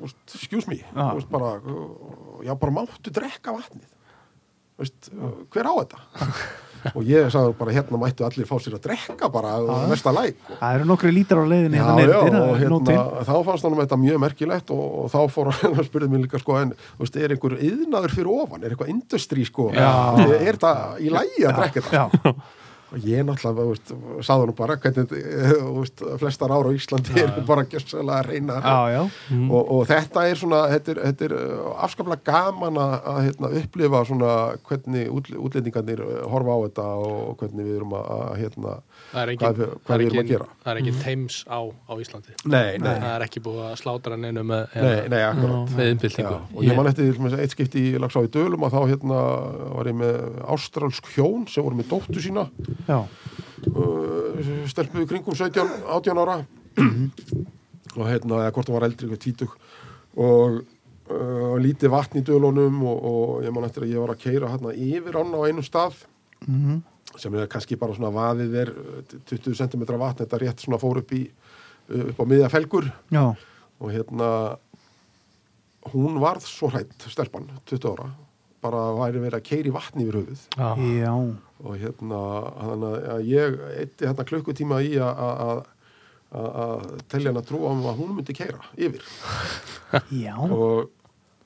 Speaker 1: úst, excuse me
Speaker 2: Já.
Speaker 1: úst, bara, uh, já bara máttu drekka vatnið Vist, uh, hver á þetta og ég sagði bara hérna mættu allir fá sér að drekka bara uh, mesta læk og
Speaker 2: Það eru nokkri lítar á leiðinni
Speaker 1: Já,
Speaker 2: hérna
Speaker 1: já,
Speaker 2: nefndir, það
Speaker 1: og
Speaker 2: er nóg til.
Speaker 1: hérna, þá fannst hann þetta mjög merkilegt og, og þá fór hann að spurði mér líka sko, en þú veist, er einhver yðnaður fyrir ofan, er eitthvað industrí sko,
Speaker 2: Já.
Speaker 1: er er þetta í lægi að drekka þetta?
Speaker 2: Já,
Speaker 1: Og ég náttúrulega, þú veist, sagði hann bara hvernig, eh, þú veist, flestar ára á Íslandi eru bara gjössalega reynar
Speaker 2: já, já,
Speaker 1: Mm. og, og þetta er svona, þetta er, þetta er eh, afskaplega gaman að, að hérna, upplifa svona hvernig útl- útlendingarnir eh, horfa á þetta og hvernig við erum að, að hérna,
Speaker 4: Það
Speaker 1: hvað,
Speaker 4: er engin,
Speaker 1: við-
Speaker 4: það
Speaker 1: hvað
Speaker 4: er
Speaker 1: við erum að
Speaker 4: engin,
Speaker 1: gera.
Speaker 4: það er
Speaker 2: Mm.
Speaker 4: engin teims á, á Íslandi
Speaker 1: Nei, nei,
Speaker 4: Það er ekki búið að slátra neinu með
Speaker 1: nei, nei, akkurat.
Speaker 4: með
Speaker 1: Já,
Speaker 4: innbyltingu
Speaker 1: og ég man eftir til dæmis, eitt skipti í Lagsá í Dölum að þá hérna var ég með ástralsk hjón sem voru með dóttu sína
Speaker 2: já,
Speaker 1: uh, eh, stelpu í kringum 17, 18 ára og hérna, eða hvort það var eldri eitthvað tvítug og uh, lítið vatn í dölunum og, og ég man eftir að ég var að keira hérna yfir ána á einum stað
Speaker 2: Mhm.
Speaker 1: sem er kannski bara svona vaðið er eh, 20 cm vatn, þetta rétt svona fór upp í eh, upp á miðja felgur
Speaker 2: já,
Speaker 1: og hérna hún varð svo hrætt stelpan, 20 ára bara væri verið að keiri vatn yfir höfuð
Speaker 4: Já.
Speaker 2: já,
Speaker 1: og hérna þannig að ég eitti hérna klukkutíma í að- að að- að- að telja hann að trúa um að hún myndi keira yfir
Speaker 2: já
Speaker 1: og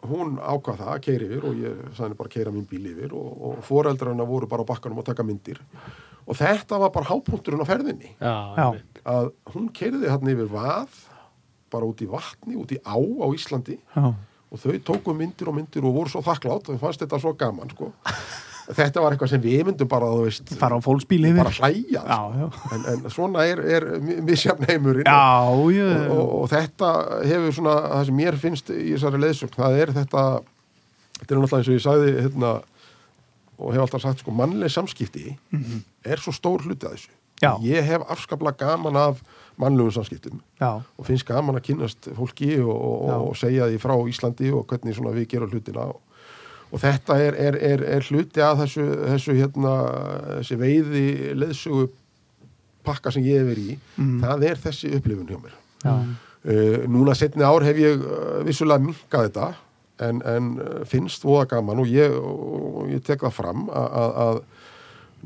Speaker 1: hún ákvað það að keira yfir og ég sagði henni bara að keira mín bíl yfir og, og foreldrar hennar voru bara á bakkanum að taka myndir og þetta var bara hápunkturinn á ferðinni
Speaker 2: já,
Speaker 4: Já.
Speaker 1: að hún keiriði hann yfir vað bara út í vatni, út í á á Íslandi
Speaker 2: já,
Speaker 1: og þau tóku myndir og myndir og voru svo þakklátt og fannst þetta svo gaman sko. þetta var eitthvað sem við myndum bara þú veist,
Speaker 2: fara á fólksbíl
Speaker 1: bara
Speaker 2: yfir
Speaker 1: hlæja
Speaker 2: já,
Speaker 1: sko.
Speaker 2: já,
Speaker 1: en, en svona er, er misjafn heimurinn
Speaker 2: já,
Speaker 1: og, og,
Speaker 2: já
Speaker 1: og þetta hefur svona það sem mér finnst í þessari leiðsögn það er þetta þetta er náttúrulega eins og ég sagði hérna, og hef alltaf sagt sko mannleg samskipti er svo stór hluti að þessu
Speaker 2: Mhm. Já.
Speaker 1: ég hef afskaplega gaman af mannlegum samskiptum
Speaker 2: já,
Speaker 1: og finnst gaman að kynnast fólki og,
Speaker 2: Já.
Speaker 1: og, og segja því frá Íslandi og hvernig svona við gerum hlutina og, og þetta er, er, er, er hluti að þessu, þessu hérna, þessi veiði leðsugu pakka sem ég hef verið í það er þessi upplifun hjá mér
Speaker 2: já,
Speaker 1: uh, núna setni ár hef ég uh, vissulega minkað þetta en, en eh, finnst voða gaman og ég, og ég tek það fram að, að, að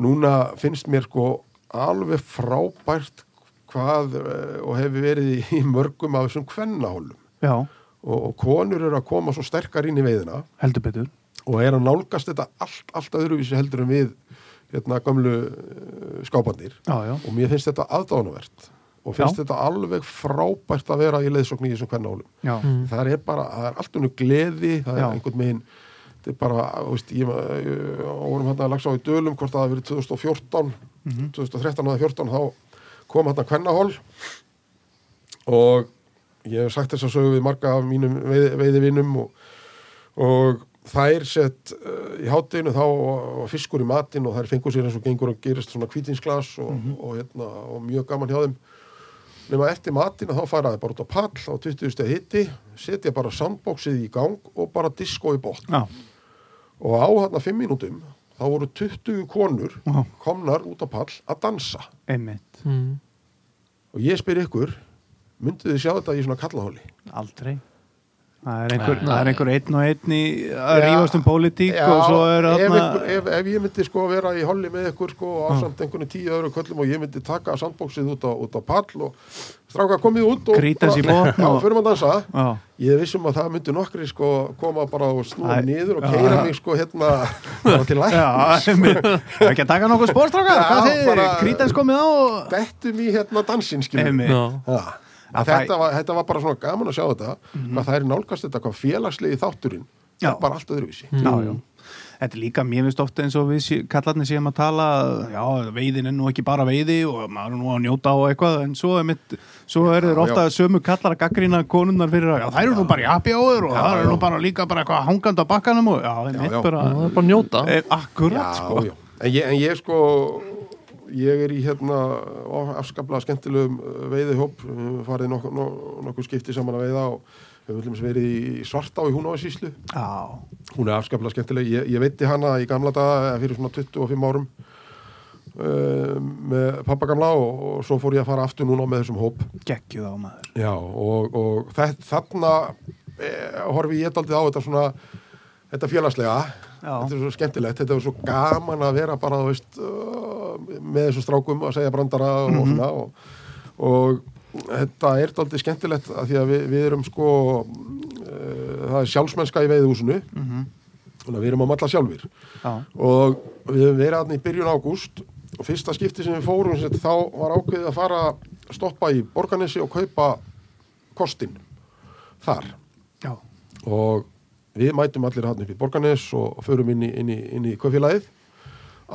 Speaker 1: núna finnst mér sko alveg frábært hvað eh, og hefur verið í- í mörgum af þessum kvennahólum
Speaker 2: já,
Speaker 1: og, og konur eru að koma svo sterkar inn í veiðina
Speaker 2: heldur betur
Speaker 1: og er að nálgast þetta allt, allt öðruvísi heldur en við hérna gamlu uh, skápandir
Speaker 2: já, já,
Speaker 1: og mér finnst þetta aðdánavert og finnst
Speaker 2: Já.
Speaker 1: þetta alveg frábært að vera í leiðsókn í þessum kvennahólum
Speaker 2: já,
Speaker 1: það er bara, það er allt unnu gleði það er
Speaker 2: Mm. Já.
Speaker 1: einhvern veginn þetta er bara, þú veist, ég ég- vorum hérna að lagsa á í dölum hvort það hafi verið 2014
Speaker 2: Mhm.
Speaker 1: 2013 eða 14 þá kom hérna kvennahól og ég hef sagt þess að sögu við marga af mínum veið, veiðivinnum og, og þær sett uh, í hátinu þá var fiskur í matinn og þær fengur sér eins og gengur og gerist svona kvítinsglas og, og, hérna, og mjög gaman hjá þeim nema eftir matinn þá fara þær bara út á pall á 20. hitti, setja bara sandbóksið í gang og bara disko í botn
Speaker 2: já,
Speaker 1: og á þarna 5 mínútum þá voru 20 konur
Speaker 2: Vá.
Speaker 1: komnar út á pall að dansa
Speaker 2: einmitt
Speaker 3: mm.
Speaker 1: og ég spyr ykkur, mynduð þið sjá þetta í svona kallahóli?
Speaker 2: aldrei það er einhver,
Speaker 3: Nei.
Speaker 2: það er einhver einn og einn í að
Speaker 1: Já,
Speaker 2: rífast um pólitík
Speaker 1: Já,
Speaker 2: og svo er
Speaker 1: ef,
Speaker 2: þarna
Speaker 1: ykkur, ef, ef ég myndi sko vera í holli með ykkur sko og ásamt einhvern tíu öðru köllum og ég myndi taka sandbóksið út á, út á pall og stráka komið út og
Speaker 2: Krýta sig í
Speaker 1: bara-
Speaker 2: botn
Speaker 1: já,
Speaker 2: og-
Speaker 1: förum að dansa
Speaker 2: já,
Speaker 1: ég er vissum að það myndi nokkri sko koma bara og snúa
Speaker 2: Æ,
Speaker 1: niður og
Speaker 2: já.
Speaker 1: keira mig sko hérna bara til
Speaker 2: já,
Speaker 1: læknis
Speaker 2: einmitt það er ekki að taka nokkuð
Speaker 1: Já,
Speaker 2: spórstrákar, hvað þið
Speaker 1: bara-
Speaker 2: krítans komið á og
Speaker 1: dettum í hérna dansin skilur
Speaker 2: Einmitt.
Speaker 3: já,
Speaker 1: Já.
Speaker 2: Að
Speaker 1: Að
Speaker 2: það- Mhm.
Speaker 1: Þetta, var, þetta var bara svona gaman að sjá þetta hvað það er nálgast þetta, hvað félagslegi þátturinn
Speaker 2: Já.
Speaker 1: það er bara allt öðruvísi
Speaker 2: já, já. Þetta er líka, mér finnst ofta eins og við sé- kallarnir séum að tala, já, veiðin er nú ekki bara veiði og maður er nú að njóta og eitthvað, en svo er, mitt, svo er þeir
Speaker 1: Já,
Speaker 2: ofta sömu kallar að gaggrina konunnar fyrir að, já, þær eru nú bara í api áður og það eru nú bara líka bara eitthvað hangandi á bakkanum og, já, það er
Speaker 1: já.
Speaker 2: mitt bara,
Speaker 3: það er bara að njóta
Speaker 2: Eh,
Speaker 1: já,
Speaker 2: akkurat, sko.
Speaker 1: já. En, ég, en ég sko ég er í hérna afskaplega skemmtilegum uh, veiðihóp við höfum farið nokkuð nok nokkur skipti saman að veiða og við höfum til dæmis verið í svartá í Húnáðsíslu
Speaker 2: Já,
Speaker 1: hún er afskaplega skemmtileg ég, ég veitti hana í gamla daga eða fyrir svona 25 árum uh, með pappa gamla og, og svo fór ég að fara aftur núna með þessum hóp
Speaker 2: geggjuð á maður.
Speaker 1: Já, og, og þett, þarna e, horfi ég daldið á þetta svona þetta félagslega
Speaker 2: Já.
Speaker 1: þetta er svo skemmtilegt, þetta er svo gaman að vera bara, þú veist uh, með þessu strákum að segja brandara
Speaker 2: Mhm.
Speaker 1: og svona og, og þetta er daldið skemmtilegt að því að við, við erum sko uh, það er sjálfsmennska í veiðhúsinu mm við erum að matla sjálfur
Speaker 2: Mhm. Já,
Speaker 1: og við höfum verið aðna í byrjun ágúst og fyrsta skipti sem við fórum sem sagt, þá var ákveðið að fara að stoppa í Borganesi og kaupa kostinn þar
Speaker 2: já,
Speaker 1: og við mætum allir hann upp í Borganes og förum inn í, inn í, inn í kaufélagið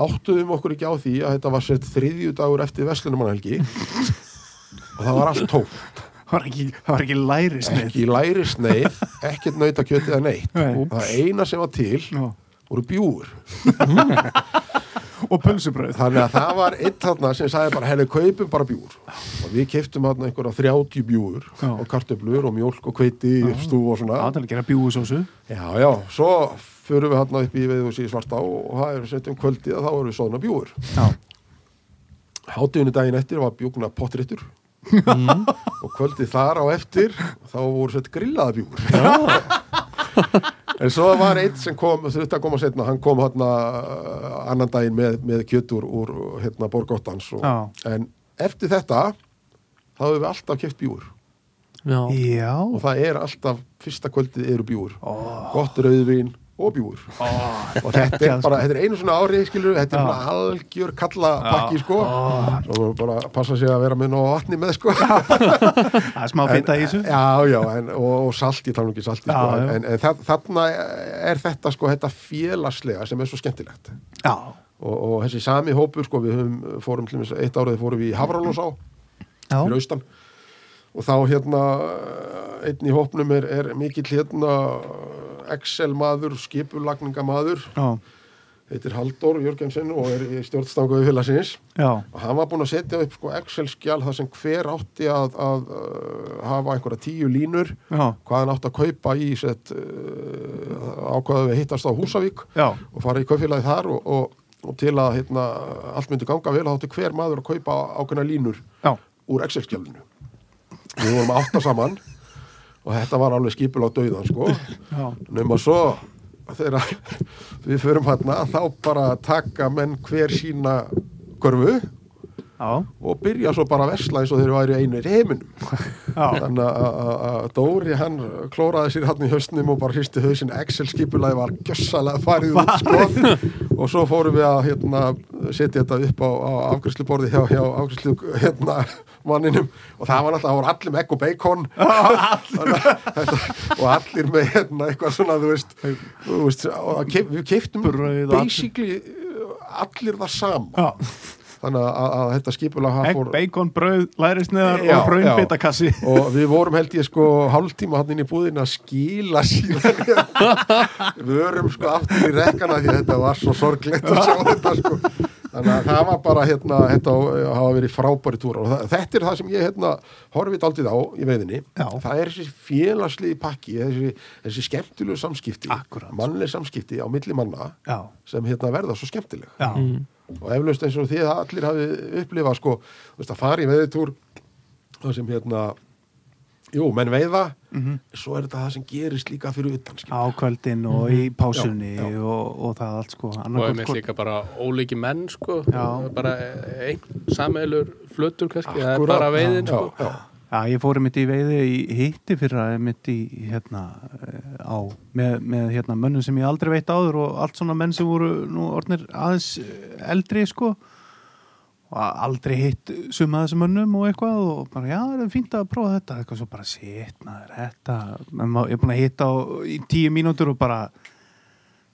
Speaker 1: áttuðum okkur ekki á því að þetta var sett þriðju dagur eftir Veslunumannahelgi og það var allt tómt
Speaker 2: það var ekki, það var ekki lærisnið.
Speaker 1: ekki læri sneið, ekkert nautakjöt eða neitt
Speaker 2: Nei.
Speaker 1: og það eina sem var til
Speaker 2: Já.
Speaker 1: voru bjúur
Speaker 5: og pulsubröð
Speaker 1: Þannig að það var einn þarna sem sagði bara henni kaupum bara bjúr og við keiptum þarna einhverja 30 bjúr
Speaker 5: Já.
Speaker 1: og kartöflur og mjólk og hveiti í uppstúf og svona
Speaker 5: að gera bjúusósu
Speaker 1: Já, já, svo förum við hann upp í veið í svartá og það er sett um kvöldið að þá erum við svona bjúur.
Speaker 5: Já.
Speaker 1: Hátíðinu daginn eftir var bjúkna pottréttur og kvöldið þar á eftir þá voru sett grillaða bjúur. En svo var einn sem kom, þurfti að koma setna, hann kom hann annan daginn með, með kjötur úr hérna borgóttans. Og,
Speaker 2: Já.
Speaker 1: en eftir þetta þá hefur við alltaf keft bjúur
Speaker 3: já,
Speaker 2: Já,
Speaker 1: og það er alltaf fyrsta kvöldið eru bjúur oh. gott rauðvín og bjúur og þetta er
Speaker 2: sko.
Speaker 1: bara, þetta er einu svona ári skilur, þetta er bara algjör kalla pakki sko, svo maður bara passa sig að vera með nóg af vatni með sko
Speaker 2: það er smá fita í þessu
Speaker 1: já, já, en, og, og salt, ég tala nú ekki salti
Speaker 2: Já,
Speaker 1: sko, en,
Speaker 2: já.
Speaker 1: en, en þa- þarna er þetta sko, þetta félagslega sem er svo skemmtilegt
Speaker 2: Já,
Speaker 1: og, og þessi sami hópur sko, við höfum, fórum til þess að eitt árið fórum við í Hafralósá
Speaker 2: já,
Speaker 1: fyrir austan og þá hérna einn í hópnum er, er mikill hérna Excel maður, skipulagningamaður
Speaker 2: já,
Speaker 1: heitir Halldór Jörgensen og er í stjórnstanguði félagsins
Speaker 2: já,
Speaker 1: og hann var búinn að setja upp sko Excel-skjál þar sem hver átti að, að uh, hafa einhverja tíu línur
Speaker 2: já,
Speaker 1: hvað hann átti að kaupa í sett, uh, ákvaðu við hittast á Húsavík
Speaker 2: já,
Speaker 1: og fara í kaupfélagi þar og, og, og til að hérna, allt myndi ganga vel þá átti hver maður að kaupa ákveðna línur
Speaker 2: Já.
Speaker 1: úr Excel-skjálinu við vorum átta saman og þetta var alveg skipul á döiðan sko
Speaker 2: já,
Speaker 1: nema svo þegar við förum hérna þá bara taka menn hver sína körfu
Speaker 2: já,
Speaker 1: og byrja svo bara að vesla eins og þeir væri einir í heiminum
Speaker 2: já,
Speaker 1: þannig að- að að Dóri hann klóraði sér hann í hausnum og bara hristi hausinn Excel skipulaði var gjössalega farið út sko og svo fórum við að hérna, setja þetta upp á, á afgjörsluborði hjá, hjá afgjörslu hérna, manninum og það var náttúrulega, það voru allir með egg og bacon Þannig að þetta, og allir með hérna, eitthvað svona þú veist, þú veist og kef, við keiftum
Speaker 5: Brauð og allir.
Speaker 1: basically uh, allir það sama
Speaker 5: Já.
Speaker 1: þannig að, að, að þetta skipulag
Speaker 5: egg, bacon, bröð, lærisneðar
Speaker 1: Já,
Speaker 5: og bröðinbitakassi
Speaker 1: já. og við vorum held ég sko hálftíma hann inn í búðin að skila síðan við vorum sko aftur í rekkana því að þetta var svo sorglegt að sjá þetta sko þannig að það var bara hérna þetta á- hafa verið frábæri túra og það- þetta er það sem ég hérna horfið aldrei á í veiðinni
Speaker 2: Já.
Speaker 1: það er þessi félagslegi pakki þessi, þessi skemmtilegu samskipti
Speaker 2: Akkúrat.
Speaker 1: mannleg samskipti á milli manna
Speaker 2: já,
Speaker 1: sem hérna verða svo skemmtileg
Speaker 2: já,
Speaker 4: Mm.
Speaker 1: og eflaust eins og því að allir hafi upplifað sko, þú veist að fara í veðutúr það sem hérna jú, menn veiða
Speaker 4: Mhm.
Speaker 1: svo er þetta það sem gerist líka fyrir utan skilur.
Speaker 2: á kvöldin og
Speaker 5: Mhm.
Speaker 2: í pásunni
Speaker 1: Já, já.
Speaker 2: Og, og það allt sko
Speaker 4: og
Speaker 2: annarkvöld
Speaker 4: einmitt
Speaker 2: sko
Speaker 4: líka bara ólíki menn sko,
Speaker 2: Já.
Speaker 4: bara einn sameilur flutur kannski, það er
Speaker 1: Akkúrat.
Speaker 4: bara veiðin sko.
Speaker 1: já, já,
Speaker 2: Já, ég fór einmitt í veiði í hitti fyrir að einmitt í hérna eh, á, með, með hérna mönnum sem ég aldrei veit áður og allt svona menn sem voru nú orðnir aðeins eh, eldri sko og a- aldrei hitt suma þessum mönnum og eitthvað og bara já, það er fínt að prófa þetta eitthvað svo bara sitna, þetta menn má- ég er búin að hitta á, í tíu mínútur og bara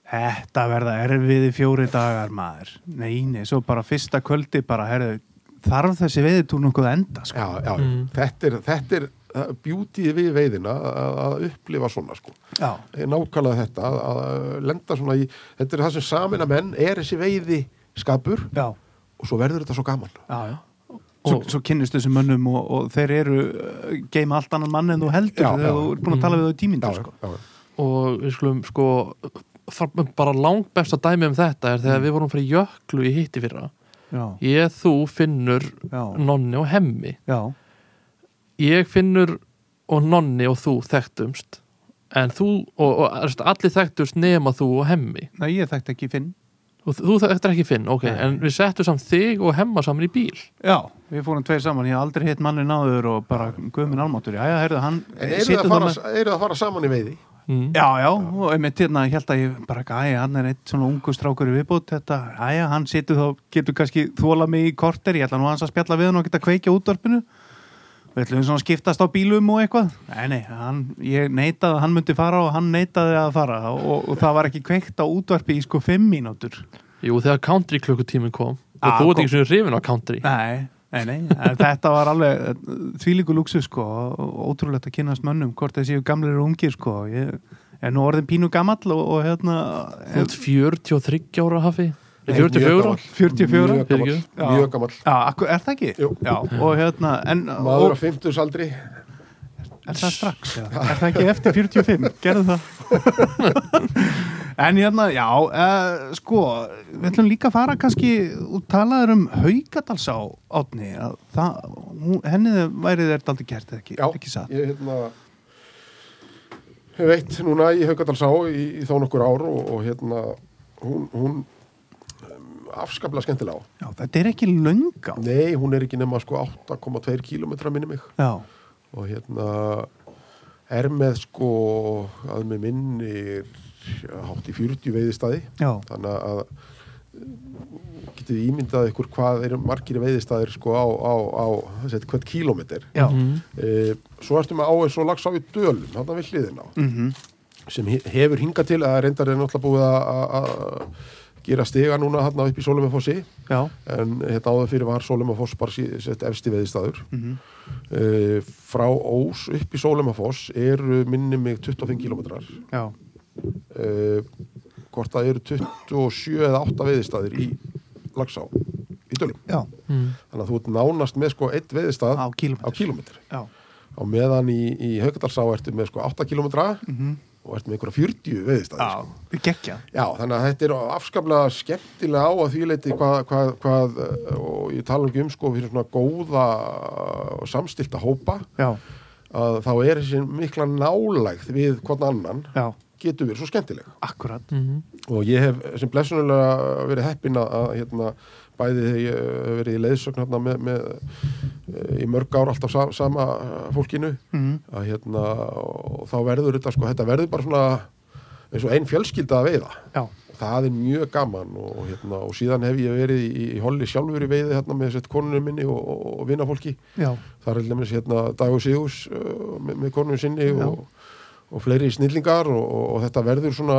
Speaker 2: Þetta verða erfiði fjóri dagar maður. Nei, nei, svo bara fyrsta kvöldi bara, herðu, þarf þessi veiðitúr nokkuð að enda, sko.
Speaker 1: já, já.
Speaker 4: Mhm.
Speaker 1: þetta er, þetta er uh, beauty við veiðina að, að upplifa svona sko
Speaker 2: Já.
Speaker 1: nákvæmlega þetta að, að lenda svona í þetta er það sem samina menn er þessi veiði skapur
Speaker 2: Já,
Speaker 1: og svo verður þetta svo gaman
Speaker 2: já, já. Svo, svo kynnist þessum mönnum og, og þeir eru uh, geima allt annan mann en þú heldur
Speaker 1: Já, já. Mm.
Speaker 2: þegar þú er búin að tala við þau tímindur sko.
Speaker 1: já, já.
Speaker 3: og við skulum sko þarf bara langt besta dæmi um þetta er þegar við vorum fyrir jöklu í hitti fyrra
Speaker 2: Já,
Speaker 3: ég, þú, Finnur,
Speaker 2: já,
Speaker 1: Mm.
Speaker 3: Nonni og Hemmi
Speaker 2: já,
Speaker 3: ég, Finnur og Nonni og þú þekktumst en þú og, og þú veist, allir þekktust nema þú og Hemmi
Speaker 2: nei ég þekkt ekki Finn
Speaker 3: og þú þekktur ekki Finn, ok,
Speaker 2: Nei.
Speaker 3: en við settum samt þig og Hemma saman í bíl
Speaker 2: Já, við fórum tveir saman, ég hef aldrei hitt mannin áður og bara guðminn almáttur, já, já, heyrðu, hann
Speaker 1: en eru það,
Speaker 2: situr
Speaker 1: að
Speaker 2: þarna-
Speaker 1: fara, eru það að fara saman í veiði
Speaker 3: mm.
Speaker 2: Já, já, og einmitt hérna, ég held að ég bara, æja, hann er eitt svona ungu strákur í viðbútt, þetta, æja, hann situr þá, getur kannski þóla mig í korter, ég ætla nú hans að spjalla við hann og geta kveikja útvarpinu, við ætlum svona að skiptast á bílum og eitthvað, nei, nei, hann, ég neitaði að hann myndi fara og hann neitaði að fara og, og það var ekki kveikt á útvarpi í sko fimm mínútur.
Speaker 3: jú, þegar country klukkutíminn kom og
Speaker 2: Ah,
Speaker 3: þú ert
Speaker 2: kom-
Speaker 3: ekki svona hrifin á country
Speaker 2: Nei, nei, nei, en þetta var alveg þvílíku lúksu sko og ótrúlegt að kynast mönnum, hvort þeir séu gamlir og ungir sko, ég er nú orðin pínu gamall og, og hérna
Speaker 3: þú ert 43 ára hafi Nei, 44
Speaker 1: gamall.
Speaker 5: 44?
Speaker 1: Mjög gamall.
Speaker 3: Fyrirgefðu.
Speaker 5: Já.
Speaker 1: Mjög gammal
Speaker 2: Já, akkur, er það ekki?
Speaker 1: Jú.
Speaker 2: Já, og hérna, en
Speaker 1: Maður á
Speaker 2: og,
Speaker 1: 50 saldri
Speaker 2: er það strax? eða?
Speaker 5: Er það ekki eftir 45? Gerðu það
Speaker 2: En hérna, já, uh, sko, við ætlum líka að fara kannski og talaður um Haukadalsá átni, að það, hún- henni væri þér daldi gert eða ekki,
Speaker 1: Já,
Speaker 2: ekki satt.
Speaker 1: ég hérna hef veitt núna í Haukadalsá í, í þá nokkur ár og, og hérna hún, hún um, afskaplega skemmtilega á.
Speaker 2: Já, þetta er ekki lönga.
Speaker 1: Nei, hún er ekki nema sko 8,2 kílómetra minni mig
Speaker 2: Já,
Speaker 1: og hérna er með sko að með minnir hátt í 40 veiðistæði
Speaker 2: já,
Speaker 1: þannig að getið ímyndað ykkur hvað eru margir veiðistæðir sko á, á, á set, hvert kílómeter
Speaker 2: já,
Speaker 1: e, svo ertu með áeins og lagsá í dölum þarna við hliðina á
Speaker 2: mhm,
Speaker 1: sem he- hefur hingað til að reyndar er náttúrulega búið að- að að gera stiga núna hann upp í Sólumafossi
Speaker 2: já,
Speaker 1: en hérna áður fyrir var Sólumafoss bara sí- sett efsti veðistæður
Speaker 2: mhm,
Speaker 1: e, frá Ós upp í Sólumafoss eru minni mig 25 kilometrar
Speaker 2: já,
Speaker 1: e, hvort það eru 27 eða 8 veðistæðir í Lagsá, í Dölum
Speaker 2: já,
Speaker 1: þannig að þú ert nánast með sko eitt veðistæð
Speaker 2: á
Speaker 1: á
Speaker 2: kílómetri.
Speaker 1: kilometri
Speaker 2: Já,
Speaker 1: á meðan í, í Haugardalsá ertu með sko 8 kilometra
Speaker 2: mhm,
Speaker 1: og ertu með einhverja 40 veðistæðir
Speaker 2: já, við gekkja.
Speaker 1: Já, þannig að þetta er afskaplega skemmtilega á að því leiti hvað, hvað, hvað eh, og ég tala ekki um sko fyrir svona góða og samstilta hópa
Speaker 2: Já,
Speaker 1: að þá er þessi mikla nálægð við hvern annan
Speaker 2: já,
Speaker 1: getur verið svo skemmtileg
Speaker 2: akkurat.
Speaker 1: og ég hef sem blessunulega verið heppin að, að hérna, bæði þegar ég eh, hef verið í leiðsögn hérna, með, með, eh, í mörg ár alltaf sa, sama eh, fólkinu
Speaker 2: Mhm,
Speaker 1: að hérna, og þá verður þetta sko, þetta verður bara svona eins og ein fjölskylda að veiða
Speaker 2: já,
Speaker 1: Og það er mjög gaman og, hérna, og síðan hef ég verið í, í holli sjálfur í veiði hérna, með sett konunum minni og, og, og vinnafólki
Speaker 2: já,
Speaker 1: þar er lemins hérna, Dagur Sigurs uh, með, með konunum sinni og, og fleiri snillingar og, og, og þetta verður svona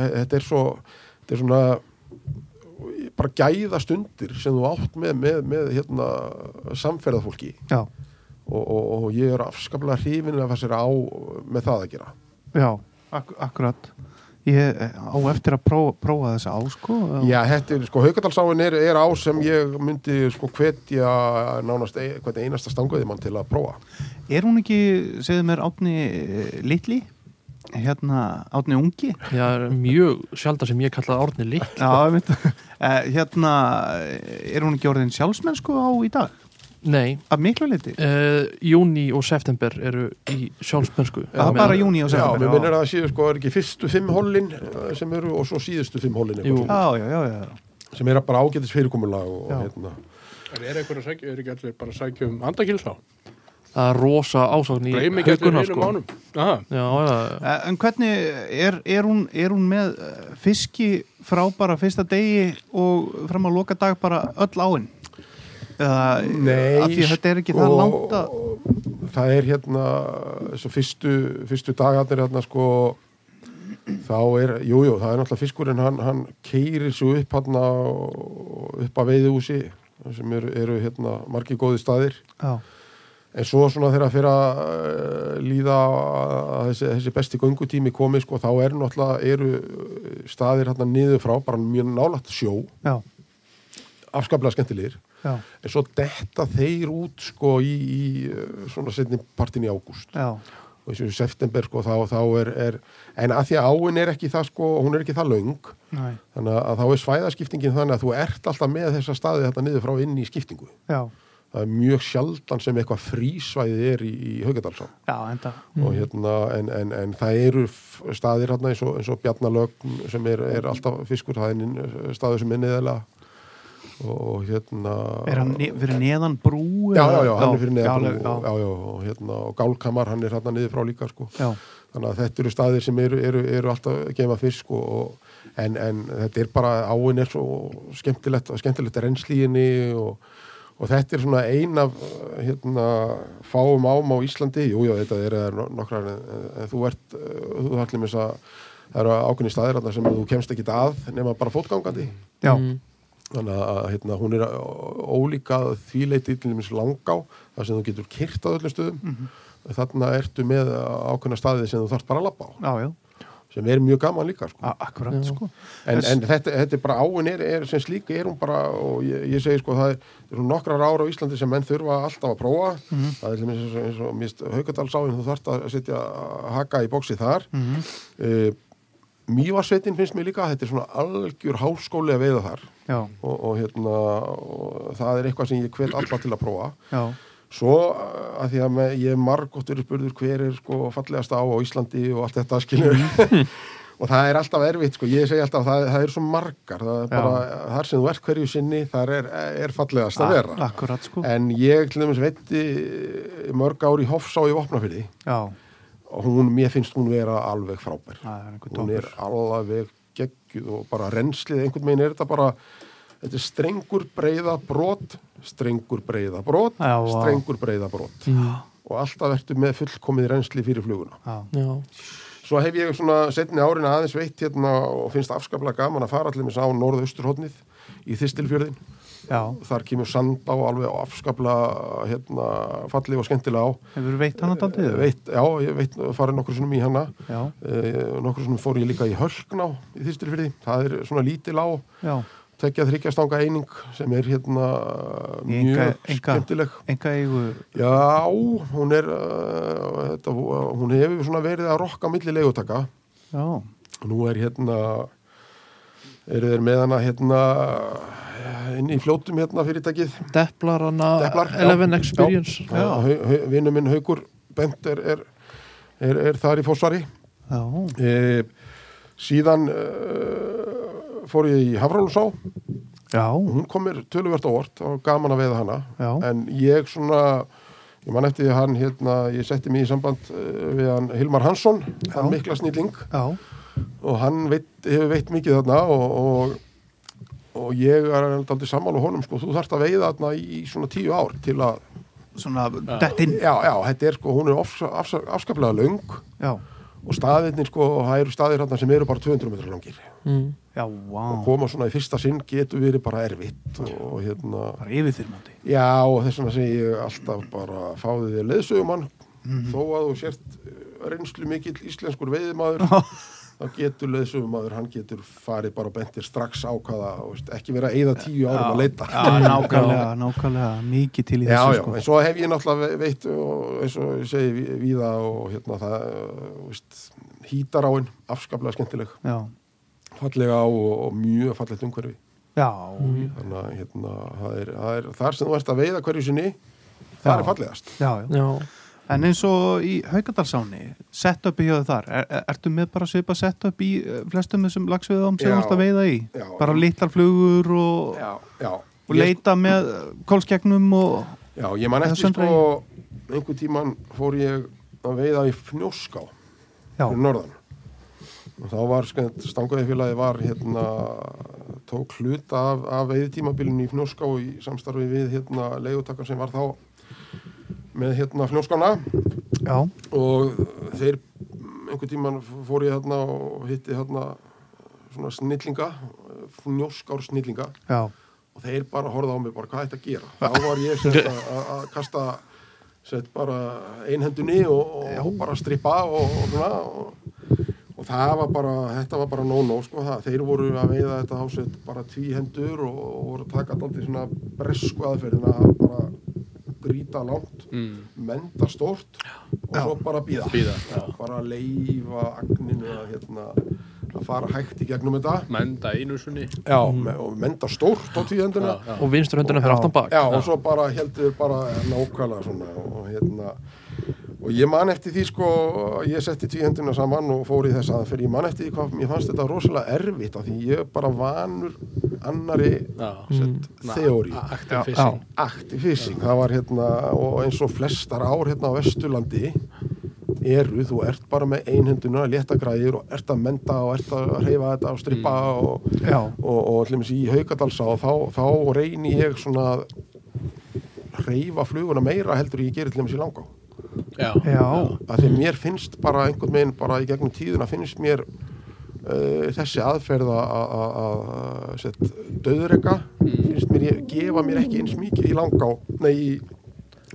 Speaker 1: he- þetta er svo þetta er svona bara gæða stundir sem þú átt með, með, með hérna, samferðafólki
Speaker 2: já,
Speaker 1: og, og, og ég er afskaplega hrifin af þessir á með það að gera
Speaker 2: já, ak akkurat. Ég eh, á eftir að prófa, prófa þessa á, sko.
Speaker 1: Já, þetta er, sko, Haukadalsáin er, er á sem ég myndi, sko, hvetja nánast ein, hvernig einasta stanguði mann til að prófa.
Speaker 2: Er hún ekki, segðu mér, Átni eh, Litli? Hérna, Átni Ungi?
Speaker 3: Já, er mjög sjálf sem ég kallaði árni lík
Speaker 2: Já, ég veit. Eh, Hérna, er hún ekki orðin sjálfsmennsku á í dag?
Speaker 3: Nei,
Speaker 2: Af miklu liti?
Speaker 3: uh, júni og september eru í sjálfsmennsku
Speaker 2: Það er bara júni og
Speaker 1: Já,
Speaker 2: september.
Speaker 1: mér minnir að það séu, sko, er ekki fyrstu fimm hólin sem eru og svo síðustu fimm hólin
Speaker 3: Jú.
Speaker 1: eitthvað,
Speaker 2: Já, já, já, já.
Speaker 1: svona, sem eru bara ágætis fyrirkomulag og,
Speaker 2: Já.
Speaker 1: og hérna.
Speaker 4: En er einhver að sækja, er ekki allir bara að sækja um andakilsá?
Speaker 3: Það er rosa ásókn í
Speaker 4: Gleim ekki allir
Speaker 3: hauguna
Speaker 4: einum
Speaker 3: sko.
Speaker 4: mánum. Aha,
Speaker 3: Já, já,
Speaker 2: Eh, En hvernig, er, er, hún, er hún með eh, fiski frá bara fyrsta degi og fram að loka dag bara öll áinn? Eða, af því að þetta er ekki það langt að...
Speaker 1: sko, Það er hérna, svo fyrstu, fyrstu dagarnir hérna, sko, þá er, jú, jú, það er náttúrulega fiskurinn, hann, hann keirir svo upp hérna, upp að veiðuhúsi sem eru, eru hérna, margir góði staðir.
Speaker 2: Já,
Speaker 1: En svo svona þegar að fyrir að eh, líða að þessi, þessi besti göngutími komi sko, þá er náttúrulega eru eh, staðir hérna niður frá, bara mjög nálægt sjó,
Speaker 2: já,
Speaker 1: afskaplega skemmtilegir.
Speaker 2: já,
Speaker 1: En svo detta þeir út sko í, í eh, svona setni partin í ágúst
Speaker 2: já,
Speaker 1: og eins og í september sko þá, þá er, er, en að því að áin er ekki það sko, hún er ekki það löng,
Speaker 2: næ,
Speaker 1: þannig að þá er svæðaskiptingin þannig að þú ert alltaf með þessa staði þetta niður frá inn í skiptingu.
Speaker 2: já,
Speaker 1: Það er mjög sjaldan sem eitthvað frísvæði er í, í Haugadalsá.
Speaker 2: já, enda,
Speaker 1: og hérna, en, en, en það eru f- staðir hérna eins og, eins og Bjarnalögn sem er, er alltaf fiskur það er nin- staður sem er niðurlega og hérna
Speaker 2: er hann ne fyrir neðan brú?
Speaker 1: já, já,
Speaker 2: eða-
Speaker 1: já, hann er fyrir neðan
Speaker 2: alveg,
Speaker 1: og, já, já, og, hérna, og Gálkamar, hann er hérna niður frá líka sko.
Speaker 2: já,
Speaker 1: þannig að þetta eru staðir sem eru, eru, eru alltaf að gefa fisk og, og, en, en þetta er bara áin er svo skemmtilegt, skemmtilegt reynslíginni og, og þetta er svona ein af eh, hérna, fáum ám á Íslandi jú, já, þetta er eh, no- nokkrar en, en þú ert, eh, þú ætlum þess að það eru ákveðni staðir þarna sem þú kemst ekki að nema bara fótgangandi
Speaker 2: já,
Speaker 3: Mm.
Speaker 1: þannig að hérna, hún er ólíka þvíleiti til nýmis langá þar sem þú getur kyrt á öllum stöðum þarna ertu með ákveðna staði sem þú þarft bara að labba á
Speaker 2: já, já,
Speaker 1: sem er mjög gaman líka sko.
Speaker 2: A- Akkurat,
Speaker 3: Já.
Speaker 2: sko
Speaker 1: en,
Speaker 3: þess-
Speaker 1: en þetta, þetta er bara áin er, er sem slíka er hún bara og ég, ég segi sko það er, það eru nokkrar ára á Íslandi sem menn þurfa alltaf að prófa það er til dæmis eins og- eins og mist Haukadalsáin þú þarft að setja haka í bóksi þar mm -hmm. Mývarsveitin finnst mér líka þetta er svona algjör háskóli að veiða þar
Speaker 2: Já,
Speaker 1: og, og hérna og það er eitthvað sem ég hvet alla til að prófa
Speaker 2: já,
Speaker 1: Svo að því að með, ég er margótt verið spurður hver er sko fallegasta á á Íslandi og allt þetta skilur
Speaker 2: Mhm.
Speaker 1: og það er alltaf erfitt sko, ég segi alltaf það, það er svo margar, það er
Speaker 2: Já.
Speaker 1: bara þar sem þú ert hverju sinni, þar er, er fallegast að vera.
Speaker 2: akkurat, sko
Speaker 1: En ég til dæmis veitti mörg ár í Hofsá í Vopnafyrði
Speaker 2: Já,
Speaker 1: og hún, mér finnst hún vera alveg frábær
Speaker 2: það er einhver
Speaker 1: hún er
Speaker 2: tókur
Speaker 1: alveg geggjuð og bara renslið einhvern veginn er þetta bara þetta er strengur breyða brot strengur breyða brot
Speaker 2: Já, vá.
Speaker 1: strengur breyða brot og alltaf ertu með fullkomið rensli fyrir fluguna
Speaker 2: Já,
Speaker 3: já,
Speaker 1: svo hef ég svona setni árin aðeins veitt hérna og finnst afskaplega gaman að fara allir með sá norðausturhóttnið í Þistilfjörðin
Speaker 2: já,
Speaker 1: þar kemur sand á alveg afskaplega hérna, falleg og skemmtilega á
Speaker 2: hefur veitt hann að daldið
Speaker 1: veitt, já, ég veit farið nokkur sinnum í hana
Speaker 2: Já,
Speaker 1: Eh, nokkur svona fór ég líka í Hölkná í Þýsturfyrði, það er svona lítil á
Speaker 2: já,
Speaker 1: tekja þryggjastanga eining sem er hérna eh,
Speaker 2: Í
Speaker 1: mjög
Speaker 2: einka- einka-
Speaker 1: skemmtileg
Speaker 2: enga eigu
Speaker 1: já, hún er uh, þetta, hún hefur svona verið að rokka milli leigutaka
Speaker 2: Já,
Speaker 1: nú er hérna eru þeir með hana hérna eh, inn í fljótum hérna fyrirtækið
Speaker 3: Deplar hana
Speaker 1: Deplar, já.
Speaker 3: 11 Experience
Speaker 2: Já.
Speaker 1: vinnu minn Haugur Bent er, er, er, er þar í fósari
Speaker 2: já,
Speaker 1: e, síðan e, fór ég í Hafrálsá
Speaker 2: já,
Speaker 1: hún kom mér töluvert á orð og gaman að veiða hana
Speaker 2: Já.
Speaker 1: en ég svona ég man eftir því að hann hérna ég setti mig í samband e, við hann Hilmar Hansson hann mikla snilling
Speaker 2: já
Speaker 1: og hann veit, hefur veitt mikið þarna og, og, og ég er aldrei sammála honum sko þú þarft að veiða þarna í svona tíu ár til að
Speaker 2: Svona dett inn
Speaker 1: já já þetta er sko hún er ofs, afs, afskaplega löng
Speaker 2: Já,
Speaker 1: og staðirnir sko það eru staðir þarna sem eru bara 200 metrar langir
Speaker 3: mm.
Speaker 2: já,
Speaker 1: og
Speaker 2: vá
Speaker 1: koma svona í fyrsta sinn getur verið bara erfitt og hérna
Speaker 2: Bara yfirþyrmandi
Speaker 1: já og þess vegna segi ég alltaf bara fáðið þér leðsögumann
Speaker 2: Mhm.
Speaker 1: þó að þú sért eh, reynslu mikill íslenskur veiðimaður þá getur leðsögumadur, hann getur farið bara og bentir strax á hvaða þú veist, ekki vera að eyða tíu árum að leita
Speaker 2: Já, nákvæmlega, nákvæmlega, mikið til í
Speaker 1: Já,
Speaker 2: þessu
Speaker 1: já,
Speaker 2: sko
Speaker 1: en svo hef ég náttúrulega veitt og eins og ég segi ví- víða og hérna það, eh, þú veist, hítaráin, afskaplega skemmtileg
Speaker 2: Já,
Speaker 1: fallega á og, og mjög fallegt umhverfi
Speaker 2: já,
Speaker 1: þannig að hérna, það, er, það er þar sem þú ert að veiða hverju sinni það
Speaker 2: Já.
Speaker 1: er fallegast
Speaker 2: já, já
Speaker 3: já,
Speaker 2: En eins og í Haukadalsáni, setupi hjá þér þar, er, er, ertu með bara svipa setup í eh, flestum þessum lagsveiðum sem
Speaker 1: Já.
Speaker 2: þú ert að veiða í?
Speaker 1: Já.
Speaker 2: bara litlar flugur og,
Speaker 1: já, já,
Speaker 2: og leita með kólskegnum og...
Speaker 1: ég, já, ég man
Speaker 2: Eða
Speaker 1: eftir
Speaker 2: söndra
Speaker 1: sko einhver tíman fór ég að veiða í fnjóská
Speaker 2: Já,
Speaker 1: fyrir norðan og þá var stangaðifélagi var hérna tók hluta af, af veiðtímabilinu í fnjóská í samstarfi við hérna leigutakar sem var þá með hérna fnjóskána
Speaker 2: já,
Speaker 1: og þeir einhvern tíman fór ég þarna og hitti þarna svona snillinga njóskár snillinga
Speaker 2: já,
Speaker 1: og þeir bara horfða á mig bara hvað þetta að gera þá var ég sem sagt að- að að kasta sett bara einhendunni og, og bara strippa og, og svona og, og það var bara, þetta var bara no-no sko, það, þeir voru að veiða þetta ásett bara tvíhendur og, og voru að taka alltaf svona bresku aðferðina að bara grýta langt
Speaker 4: Mm.
Speaker 1: menda stórt og svo bara býða
Speaker 4: Bíða, já.
Speaker 1: bara leifa agninu að, hérna, að fara hægt í gegnum þetta
Speaker 4: Menda einu sunni
Speaker 1: já, me og menda stórt á tvíhenduna
Speaker 3: og vinstur höndina fyrir aftan bak
Speaker 1: já, og svo bara heldur bara nákvæmlega svona og hérna og ég man eftir því sko ég setti tvíhenduna saman og fór í þess aðferð ég man eftir því hvað, mér fannst þetta rosalega erfitt af því ég er bara vanur annari
Speaker 4: Já.
Speaker 1: sett, þeóri
Speaker 4: Active
Speaker 2: já,
Speaker 4: fishing
Speaker 1: aktivfísing, það var hérna og eins og flestar ár hérna á Vesturlandi eru, þú ert bara með einhenduna, létta græðir og ert að menda og ert að reyfa þetta og strippa og,
Speaker 2: já,
Speaker 1: og, og allir í Haukadalsá þá, þá reyni ég svona að reyfa fluguna meira heldur en ég gerir allir í langa
Speaker 4: Já,
Speaker 2: já,
Speaker 1: að því að mér finnst bara einhvern veginn bara í gegnum tíðuna finnst mér uh, þessi aðferð að- að að sett Mm. döðureka finnst mér ég, gefa mér ekki eins mikið í langá nei í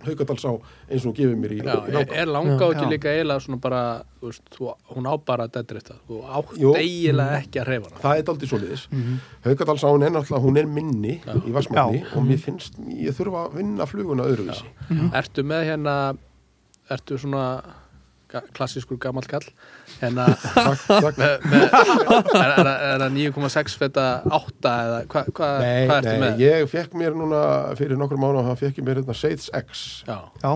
Speaker 1: Haukadalsá eins og hún gefur mér í,
Speaker 4: Já,
Speaker 1: í
Speaker 4: er-
Speaker 1: langa.
Speaker 4: er langa
Speaker 2: Já.
Speaker 4: ekki líka eiginlega svona bara, þú veist, þú, hún á bara að deadrifta, þú átt
Speaker 1: Jú.
Speaker 4: eiginlega ekki að reyfa hana.
Speaker 1: Það er daldið svoleiðis. Mm Haukadalsáin er náttúrulega, hún er minni í Vassmanni
Speaker 2: Já.
Speaker 1: og mér finnst, ég þurfa að vinna fluguna öðruvísi.
Speaker 4: Ertu með hérna, ertu svona ga- klassískur gamall kall, hérna,
Speaker 1: Takk, takk.
Speaker 4: með, með, er, er, er það 9,6 feta 8 eða hvað hva,
Speaker 1: Nei,
Speaker 4: hva ertu
Speaker 1: nei,
Speaker 4: með?
Speaker 1: ég fekk mér núna fyrir nokkur mánu og það fekk ég mér hérna Seitz X
Speaker 4: Já,
Speaker 2: já,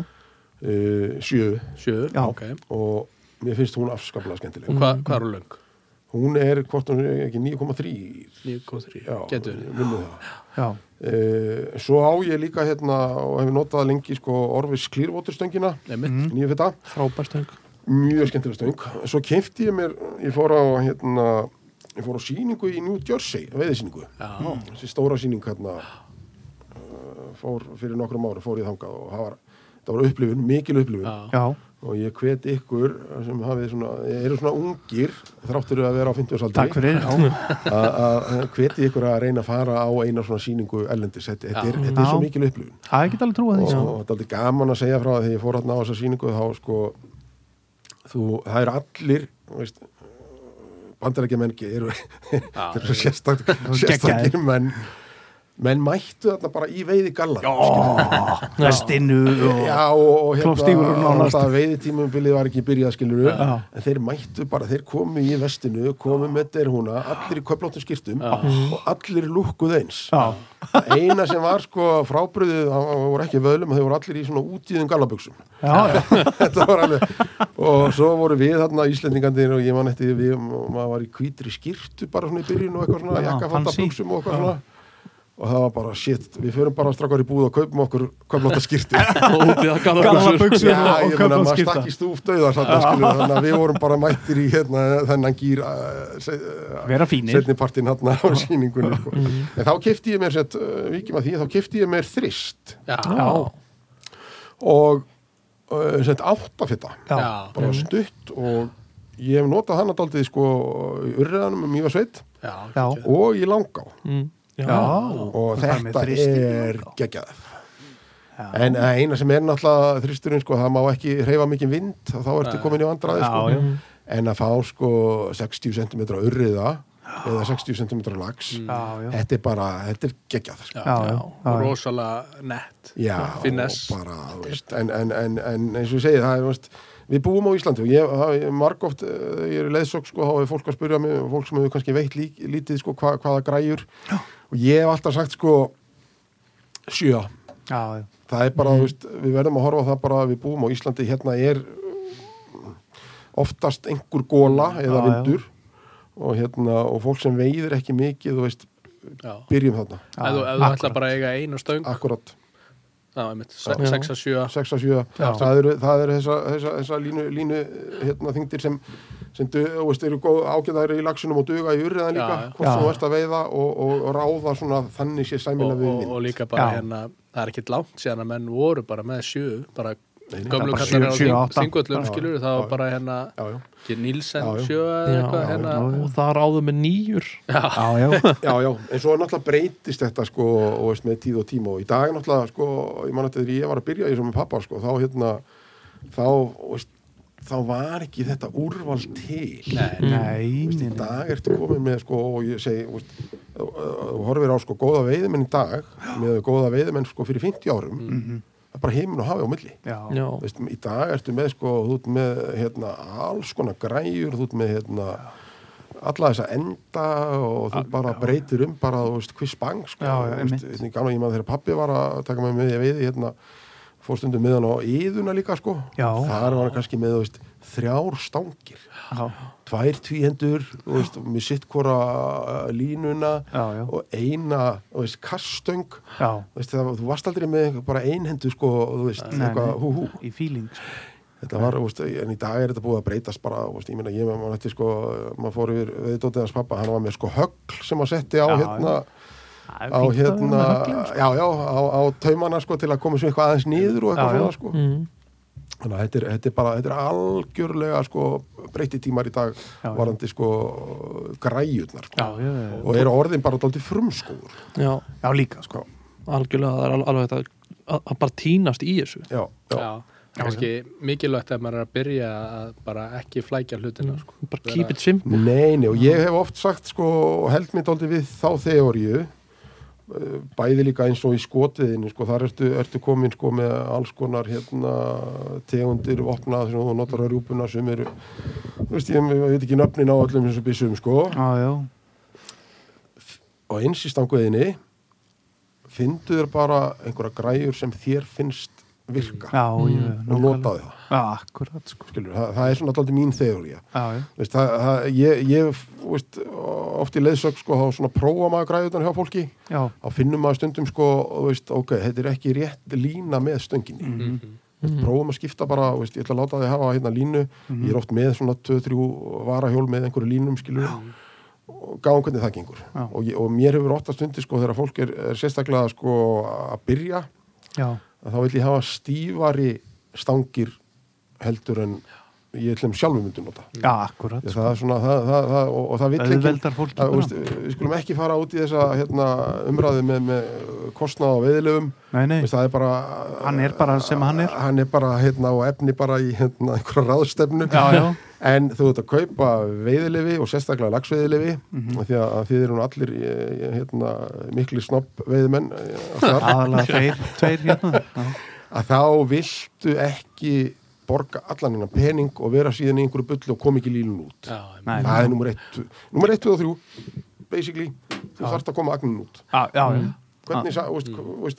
Speaker 1: uh, 7
Speaker 4: sjö,
Speaker 2: Já.
Speaker 4: ok.
Speaker 1: og mér finnst hún afskaplega skemmtileg.
Speaker 4: Og hvað hva er hún löng?
Speaker 1: Hún er hvort hún er ekki 9,3
Speaker 4: 9,3,
Speaker 1: Já,
Speaker 4: getur.
Speaker 1: minnir það.
Speaker 2: já,
Speaker 1: Uh, svo á ég líka hérna og hef notað lengi sko Orvis Klírvóturstöngina
Speaker 4: Nei, mitt.
Speaker 1: nýju fyrta,
Speaker 3: frábært stöng
Speaker 1: mjög skemmtileg stöng svo kefti ég mér, ég fór á hérna, ég fór á síningu í New Jersey veiðisýningu, Mm.
Speaker 4: Já.
Speaker 1: þessi stóra síning hérna uh, fór fyrir nokkrum ára, fór ég þangað og það var, það var upplifun, mikil upplifun
Speaker 4: Já.
Speaker 2: já,
Speaker 1: og ég hvet ykkur sem hafið svona, eru svona ungir þráttur að vera á 50 saldri
Speaker 2: takk fyrir, já,
Speaker 1: að að hveti ykkur að reyna að fara á eina svona síningu ellendis þetta þetta er, þetta er svo
Speaker 2: Já.
Speaker 1: mikil upplifun
Speaker 2: það er ekki alveg trúið
Speaker 1: og
Speaker 2: því, sko.
Speaker 1: og þetta er aldrei gaman að segja frá því þegar ég fór hérna á þessa síningu þá sko þú, það eru allir þú veist, bandarækja menn eru, eru svo sérstak, sérstakir menn menn mættu þarna bara í veiði gallan
Speaker 2: já, vestinu og,
Speaker 1: Já, og, og
Speaker 2: Klofstígur og
Speaker 1: hérna
Speaker 2: nánast.
Speaker 1: alltaf veiðitímumbilið var ekki byrjað skilur
Speaker 2: Já.
Speaker 1: en þeir mættu bara, þeir komu í vestinu komu með þeir húna, allir í köflóttum skýrtum og allir lúkkuð eins
Speaker 2: Mhm. já,
Speaker 1: Það eina sem var sko frábriðið það voru ekki vöðlum, þau voru allir í svona útíðum gallabuxum
Speaker 2: já, já,
Speaker 1: þetta var alveg og svo voru við þarna Íslendingandir og ég man eftir við, og maður var í hvítri skýrtu bara svona í byrjun og eitthvað svona
Speaker 2: Já,
Speaker 1: jakkafatta
Speaker 2: fancy.
Speaker 1: buxum og eitthvað svona og það var bara shit, við förum bara strakkar í búð og kaupum okkur köflóta skýrtu
Speaker 3: og út í það
Speaker 2: gala
Speaker 3: gallabuxur
Speaker 2: buksur
Speaker 1: Já,
Speaker 2: og
Speaker 1: ég meina,
Speaker 2: köflum
Speaker 1: maður
Speaker 2: skipta,
Speaker 1: stakk í stúf döðar þannig að við vorum bara mættir í hérna, þennan gýr uh,
Speaker 2: vera fínir,
Speaker 1: setni partinn hann á síningunni sko. en þá kefti ég mér sett, uh, vikjum að því, þá kefti ég mér þrist
Speaker 4: Já.
Speaker 2: já,
Speaker 1: og uh, sett áttafitta
Speaker 2: já,
Speaker 4: Já.
Speaker 2: Mhm.
Speaker 1: bara stutt og ég hef notað hann að daldið sko í urriðanum um Ívarsveit
Speaker 4: Já,
Speaker 2: já,
Speaker 1: og í Langá
Speaker 3: mm, já.
Speaker 2: já,
Speaker 1: og
Speaker 2: Það er með
Speaker 1: þetta
Speaker 2: þristinn í
Speaker 1: er
Speaker 2: Langá.
Speaker 1: geggjað en eina sem er náttúrulega þristurinn sko, það má ekki hreyfa mikið vind og þá ertu komin í vandraði sko.
Speaker 2: já, já,
Speaker 1: en að fá sko 60 cm urriða eða 60 cm lags
Speaker 2: já, já.
Speaker 1: þetta er bara, þetta er geggjað sko.
Speaker 2: Já, já, já, já.
Speaker 4: rosalega nett
Speaker 1: já,
Speaker 4: Finess.
Speaker 1: og bara, þú veist en, en, en, en eins og ég segi, það er þú veist, við búum á Íslandi og ég, það- ég margóft eh, ég er í leiðsokk sko, þá er fólk að spyrja mig fólk sem hefur kannski veitt lík, lítið sko hva, hvaða græjur já. og ég hef alltaf sagt sko sjö,
Speaker 2: já, já.
Speaker 1: það er
Speaker 2: Mhm.
Speaker 1: bara, þú veist, við verðum að horfa á það bara að við búum á Íslandi, hérna er uh, oftast einhver góla eða
Speaker 2: Mm, Já, já.
Speaker 1: vindur og hérna, og fólk sem veiðir ekki mikið, þú veist,
Speaker 4: Já.
Speaker 1: byrjum þarna
Speaker 4: Ef þú, ef þú ætla bara að eiga einu stöng
Speaker 1: akkurat,
Speaker 4: Já, einmitt, 6 að 7
Speaker 1: 6 að 7 það eru, það eru þessa, þessa, þessa línu, línu hérna, þingdir sem, sem du, þú veist, eru góð ágæðari í laxunum og duga í urriðan líka,
Speaker 4: Já, já.
Speaker 1: hvort
Speaker 2: Já.
Speaker 1: sem þú ert að veiða og, og, og ráða svona þannig sé
Speaker 4: og,
Speaker 1: sæmilega við
Speaker 4: og,
Speaker 1: vind
Speaker 4: og líka bara
Speaker 2: Já.
Speaker 4: hérna það er ekkit langt síðan að menn voru bara með 7 bara gömlu
Speaker 2: bara sjö,
Speaker 4: kallar
Speaker 2: sjö,
Speaker 4: á
Speaker 2: átta.
Speaker 4: þingvöllum
Speaker 1: Já, já,
Speaker 4: skilur það
Speaker 1: já,
Speaker 4: var
Speaker 1: já.
Speaker 4: bara hérna
Speaker 1: já, já.
Speaker 4: ekki Nílsen
Speaker 1: Já, já.
Speaker 4: 7 eða
Speaker 3: Já,
Speaker 4: eitthvað
Speaker 3: já,
Speaker 4: hérna
Speaker 3: og það ráðu með nýjur
Speaker 2: Já, já,
Speaker 1: já, já, en svo náttúrulega breytist þetta sko, og veist, með tíð og tíma og í dag náttúrulega, sko, ég man eftir því ég var að byrja í þessu með pappa, sko, þá hérna þá, veist, þá var ekki þetta úrval til
Speaker 2: Mm.
Speaker 4: Nei,
Speaker 2: nei,
Speaker 1: Veist,
Speaker 2: nei,
Speaker 1: í
Speaker 2: nei.
Speaker 1: dag ertu komin með sko og ég segi, þú veist, þú þú horfir á sko góða veiðimenn í dag með góða veiðimenn sko fyrir 50 árum það er bara heiminn og hafi á milli
Speaker 2: Mhm. já,
Speaker 3: já,
Speaker 1: Þú veist, í dag ertu með sko þú ert með hérna alls konar græjur þú ert með hérna alla þessa enda og þú bara breytir um bara, þú veist, hviss bang sko,
Speaker 2: Já, já,
Speaker 1: Þú veist,
Speaker 2: einmitt.
Speaker 1: hérna, gamla ég maður þegar pappi var að taka mig með í veiði hérna, fór stundum með hann á yðuna líka sko,
Speaker 2: Já.
Speaker 1: þar var hann kannski með þú veist, þrjár stangir
Speaker 2: já,
Speaker 1: tvær tvíhendur þú veist, með sitt hvora uh, línuna
Speaker 2: Já, já.
Speaker 1: og eina þú veist, kaststöng þú
Speaker 2: já,
Speaker 1: veist, það, var- þú varst aldrei með einhver- bara einhendu sko, þú veist,
Speaker 2: Nei,
Speaker 1: eitthvað,
Speaker 2: nei.
Speaker 1: hú hú
Speaker 2: í feeling, sko.
Speaker 1: þetta var, þú veist, en í dag er þetta búið að breytast bara, þú veist, ég meina, ég með maður eftir sko maður fór yfir viðdótið hans pappa, hann var með sko högl sem að setti á
Speaker 2: Já,
Speaker 1: hérna
Speaker 2: Það
Speaker 1: á
Speaker 2: er fínt að vera
Speaker 1: hérna,
Speaker 2: með höglin, sko.
Speaker 1: já, já, á, á taumana sko til að koma svo eitthvað aðeins nýður og
Speaker 2: Já,
Speaker 1: eitthvað
Speaker 2: já.
Speaker 1: svona sko
Speaker 3: Mm.
Speaker 1: þannig að þetta er, þetta er bara, þetta er algjörlega sko breyti tímar í dag
Speaker 2: já.
Speaker 1: varandi sko græjurnar sko.
Speaker 2: Já, já, já, já.
Speaker 1: og eru orðin bara dálítið frumskóður
Speaker 3: já,
Speaker 2: já, líka, sko
Speaker 3: algjörlega það er al- alveg þetta að að bara týnast í þessu
Speaker 1: já, já,
Speaker 4: já, kannski mikilvægt að maður er að byrja að bara ekki flækja hlutina sko.
Speaker 3: bara keep it simple
Speaker 1: Nei, nei, og ég hef oft sagt sko, og held mér dálítið við þá þeoríu bæði líka eins og í skotviðinu sko, þar ertu, ertu komin sko, með alls konar hérna, tegundir vopna sem þú notar að rjúpuna sem eru, þú veist, ég, ég veit ekki nöfnin á öllum þessum byssum sko
Speaker 2: Já, já,
Speaker 1: og eins í stanguðinni fyndu þér bara einhverja græjur sem þér finnst virka
Speaker 2: já, já,
Speaker 1: Hmm. og notaðu það,
Speaker 2: Já, akkurat, sko
Speaker 1: skilur, það, það er svona dálítið mín þeoríu
Speaker 2: Já, já,
Speaker 1: veist, það, það, ég, ég veist, oft í leiðsök sko, þá svona prófa maður græðutan hjá fólki
Speaker 2: já,
Speaker 1: þá finnum maður stundum sko, veist, ok, þetta er ekki rétt lína með stönginni mm -hmm. prófum að skipta bara, veist, ég ætla að láta þið hafa hérna línu, ég er oft með svona 2-3 varahjól með einhverju línum skilur og gáðum hvernig það gengur
Speaker 2: Já.
Speaker 1: og, ég, og mér hefur ofta stundi sko þegar fólk er, er sérstaklega sko að byrja
Speaker 2: já,
Speaker 1: að þá vil ég hafa stífari stangir heldur en ég ætlum sjálfum myndi nota
Speaker 2: já, akkurat
Speaker 1: Já, Sko. það er svona, það, það, það, og, og það vill ekki
Speaker 2: Auðveldar fólki
Speaker 1: það,
Speaker 2: bara.
Speaker 1: veist, Við skulum ekki fara út í þessa hérna, umræðu með, með kostnað og veðilöfum
Speaker 2: Nei, nei,
Speaker 1: veist, það er bara
Speaker 2: Hann er bara sem hann er.
Speaker 1: Hann er bara hérna og efni bara í hérna, einhverja ráðstefnu
Speaker 2: já, já,
Speaker 1: En þú ert að kaupa veiðilefi og sérstaklega lagsveiðilefi mm
Speaker 2: Mhm.
Speaker 1: því að að þið eru nú allir eh, hérna, mikli snopp veiðimenn
Speaker 2: aðalega tveir, tveir hérna já.
Speaker 1: að þá viltu ekki borga allan hennar pening og vera síðan í einhverju bullu og kom ekki lílun út
Speaker 4: já,
Speaker 2: Nei, nei.
Speaker 1: það er nummer 1 nummer 1, 2 og 3 basically, þú þarft að koma agnin út
Speaker 2: Já, já, já Mm.
Speaker 1: hvernig, sa, veist, veist,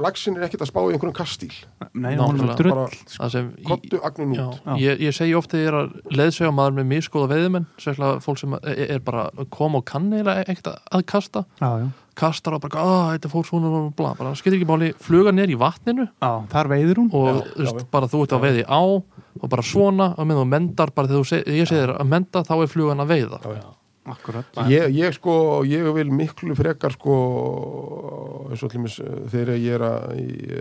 Speaker 1: lagsin er ekkert að spá í einhverjum kastíl
Speaker 2: Nei, hún er
Speaker 3: Nákvæmlega,
Speaker 2: drull
Speaker 1: bara
Speaker 3: það sem í-
Speaker 1: kottu agnin
Speaker 3: Já,
Speaker 1: út
Speaker 2: Sko, Já.
Speaker 3: Ég, ég segi ofta þegar ég er að leðsega maður með miskoða veiðumenn, sérslega fólk sem er, er bara kom og kann eða ekkert að kasta,
Speaker 2: Já, já,
Speaker 3: kastar og bara, að þetta fór svona og bla, bara skiptir ekki máli, fluga ner í vatninu
Speaker 2: já, þar veiðir hún
Speaker 3: og já, veist, bara þú ert að veiði á og bara svona, og með þú mendar bara þegar þú seg, ég segir að menda, þá er flugan að veiða
Speaker 2: Akkurat
Speaker 1: ég, ég sko, ég vil miklu frekar sko eins og allumis þegar ég er að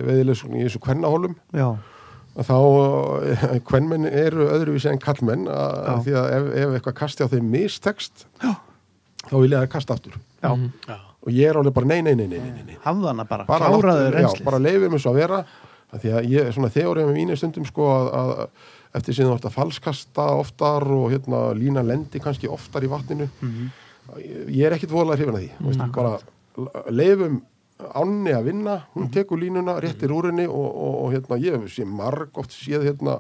Speaker 1: veðilegskun í þessu kvennahólum
Speaker 2: Já,
Speaker 1: að þá eh, kvenmenn eru öðruvísi en kallmenn að,
Speaker 2: Já.
Speaker 1: því að ef, ef eitthvað kasti á þeim mistekst þá vil ég að kasta aftur
Speaker 2: já,
Speaker 1: og ég er alveg bara nei, nei, nei, nei, nei, nei.
Speaker 2: hafða hana bara,
Speaker 1: bara,
Speaker 2: kláraðu
Speaker 1: láttu- já,
Speaker 2: reynslið
Speaker 1: bara leifum þessu að vera Af því að ég, svona þeorið með mínu stundum sko að, að eftir síðan orta falskasta oftar og hérna lína lendi kannski oftar í vatninu
Speaker 2: Mhm.
Speaker 1: ég, ég er ekkit voðalega hrifin að því mm -hmm. bara leifum ánni að vinna, hún
Speaker 2: Mhm.
Speaker 1: tekur línuna réttir úr henni og, og, og hérna ég sé marg oft séð hérna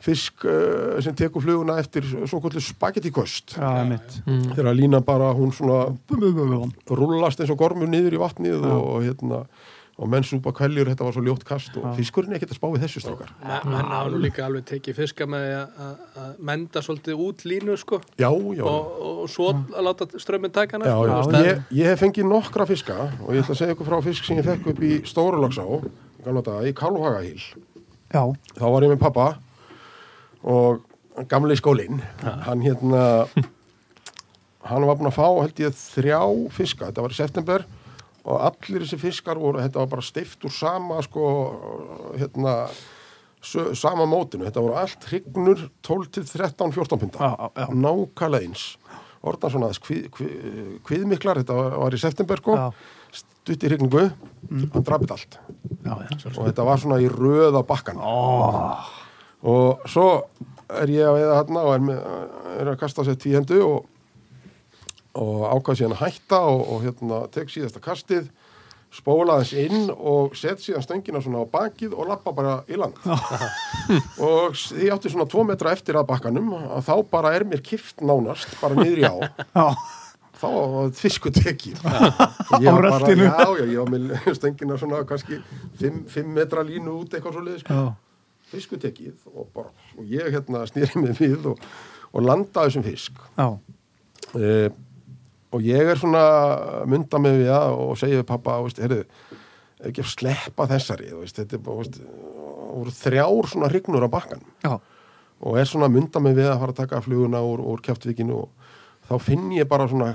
Speaker 1: fisk uh, sem tekur fluguna eftir svo kvöldu spagettíkost
Speaker 2: Já, Mhm. mitt
Speaker 1: þegar lína bara hún svona
Speaker 2: Já,
Speaker 1: rullast eins og gormur niður í vatnið og, og hérna og menn súpa kvæljur, þetta var svo ljótt kast og fiskurinn er ekkert að spá við þessu strákar
Speaker 4: hann hafa nú líka alveg tekið fiska með því að- að að menda svolítið út línu sko
Speaker 1: já, já,
Speaker 4: og, og svo að láta strömmin taka hana
Speaker 1: já,
Speaker 4: sko,
Speaker 1: já.
Speaker 4: þú veist,
Speaker 1: Ég, ég hef fengið nokkra fiska og ég ætla að segja ykkur frá fisk sem ég fekk upp í Stórulagsá í gamla daga, í Kálfhagahíl þá var ég með pappa og gamli skólinn hann hérna hann var búinn að fá held ég þrjá fiska, þetta var í september og allir þessi fiskar voru, þetta var bara steift úr sama sko hérna sö- sama mótinu, þetta voru allt hrygnur 12 til 13, 14
Speaker 2: já,
Speaker 1: punta
Speaker 2: já,
Speaker 1: nákvæmlega eins orðan svona aðeins kvið, kvið, kviðmiklar þetta var, var í september sko
Speaker 2: Já. Mm.
Speaker 1: stutt í hrygningu, hann drafið allt
Speaker 2: já, já.
Speaker 1: og þetta var svona í röð á bakkan oh. og svo er ég að veiða hérna og er, með, er að kasta sér tvíhendu og, og ákvað síðan að hætta og, og hérna tek síðasta kastið spóla þess inn og set síðan stöngina svona á bakið og lappa bara í land og s- ég átti svona tvo metra eftir að bakkanum að þá bara er mér kift nánast bara niður í á
Speaker 2: já.
Speaker 1: þá var fisku tekið ég var bara,
Speaker 2: röltinu.
Speaker 1: já, já, ég var með stöngina svona kannski 5 metra línu út eitthvað svo liðis
Speaker 2: já.
Speaker 1: fisku tekið og bara, og ég hérna snýri mig við og, og landa þessum fisk
Speaker 2: já.
Speaker 1: e, og ég er svona mynda með við það og segja við pappa, veist, heyrðu ef ekki að sleppa þessari, þú veist, þetta er bara, veist, voru þrjár svona hrygnur á bakkanum
Speaker 2: já.
Speaker 1: og er svona að mynda mig við að fara að taka fluguna úr, úr kjáftvikinu og þá finn ég bara svona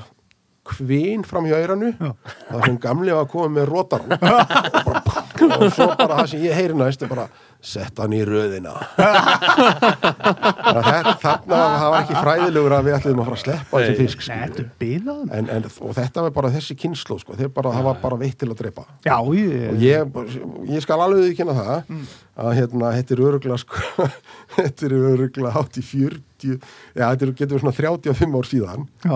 Speaker 1: kvin fram hjá eiranu
Speaker 2: Já.
Speaker 1: það sem gamli var að koma með rótar og bara og svo bara það sem ég heyri næst er bara sett hann í röðina þetta, þarna var- það var ekki fræðilegur að við ætliðum að fara að sleppa þessi fisk
Speaker 2: Nei,
Speaker 1: sko.
Speaker 2: þetta er bilaðan
Speaker 1: en, en, og þetta var bara þessi kynslu sko. þeir bara, það var bara veitt til að drepa
Speaker 2: Já,
Speaker 1: og
Speaker 2: ég,
Speaker 1: ég, ég skal alveg ekki það að hérna, þetta er örugla sko, þetta er örugla hátt í 40, já þetta er, getur verið svona 35 ár síðan
Speaker 2: já,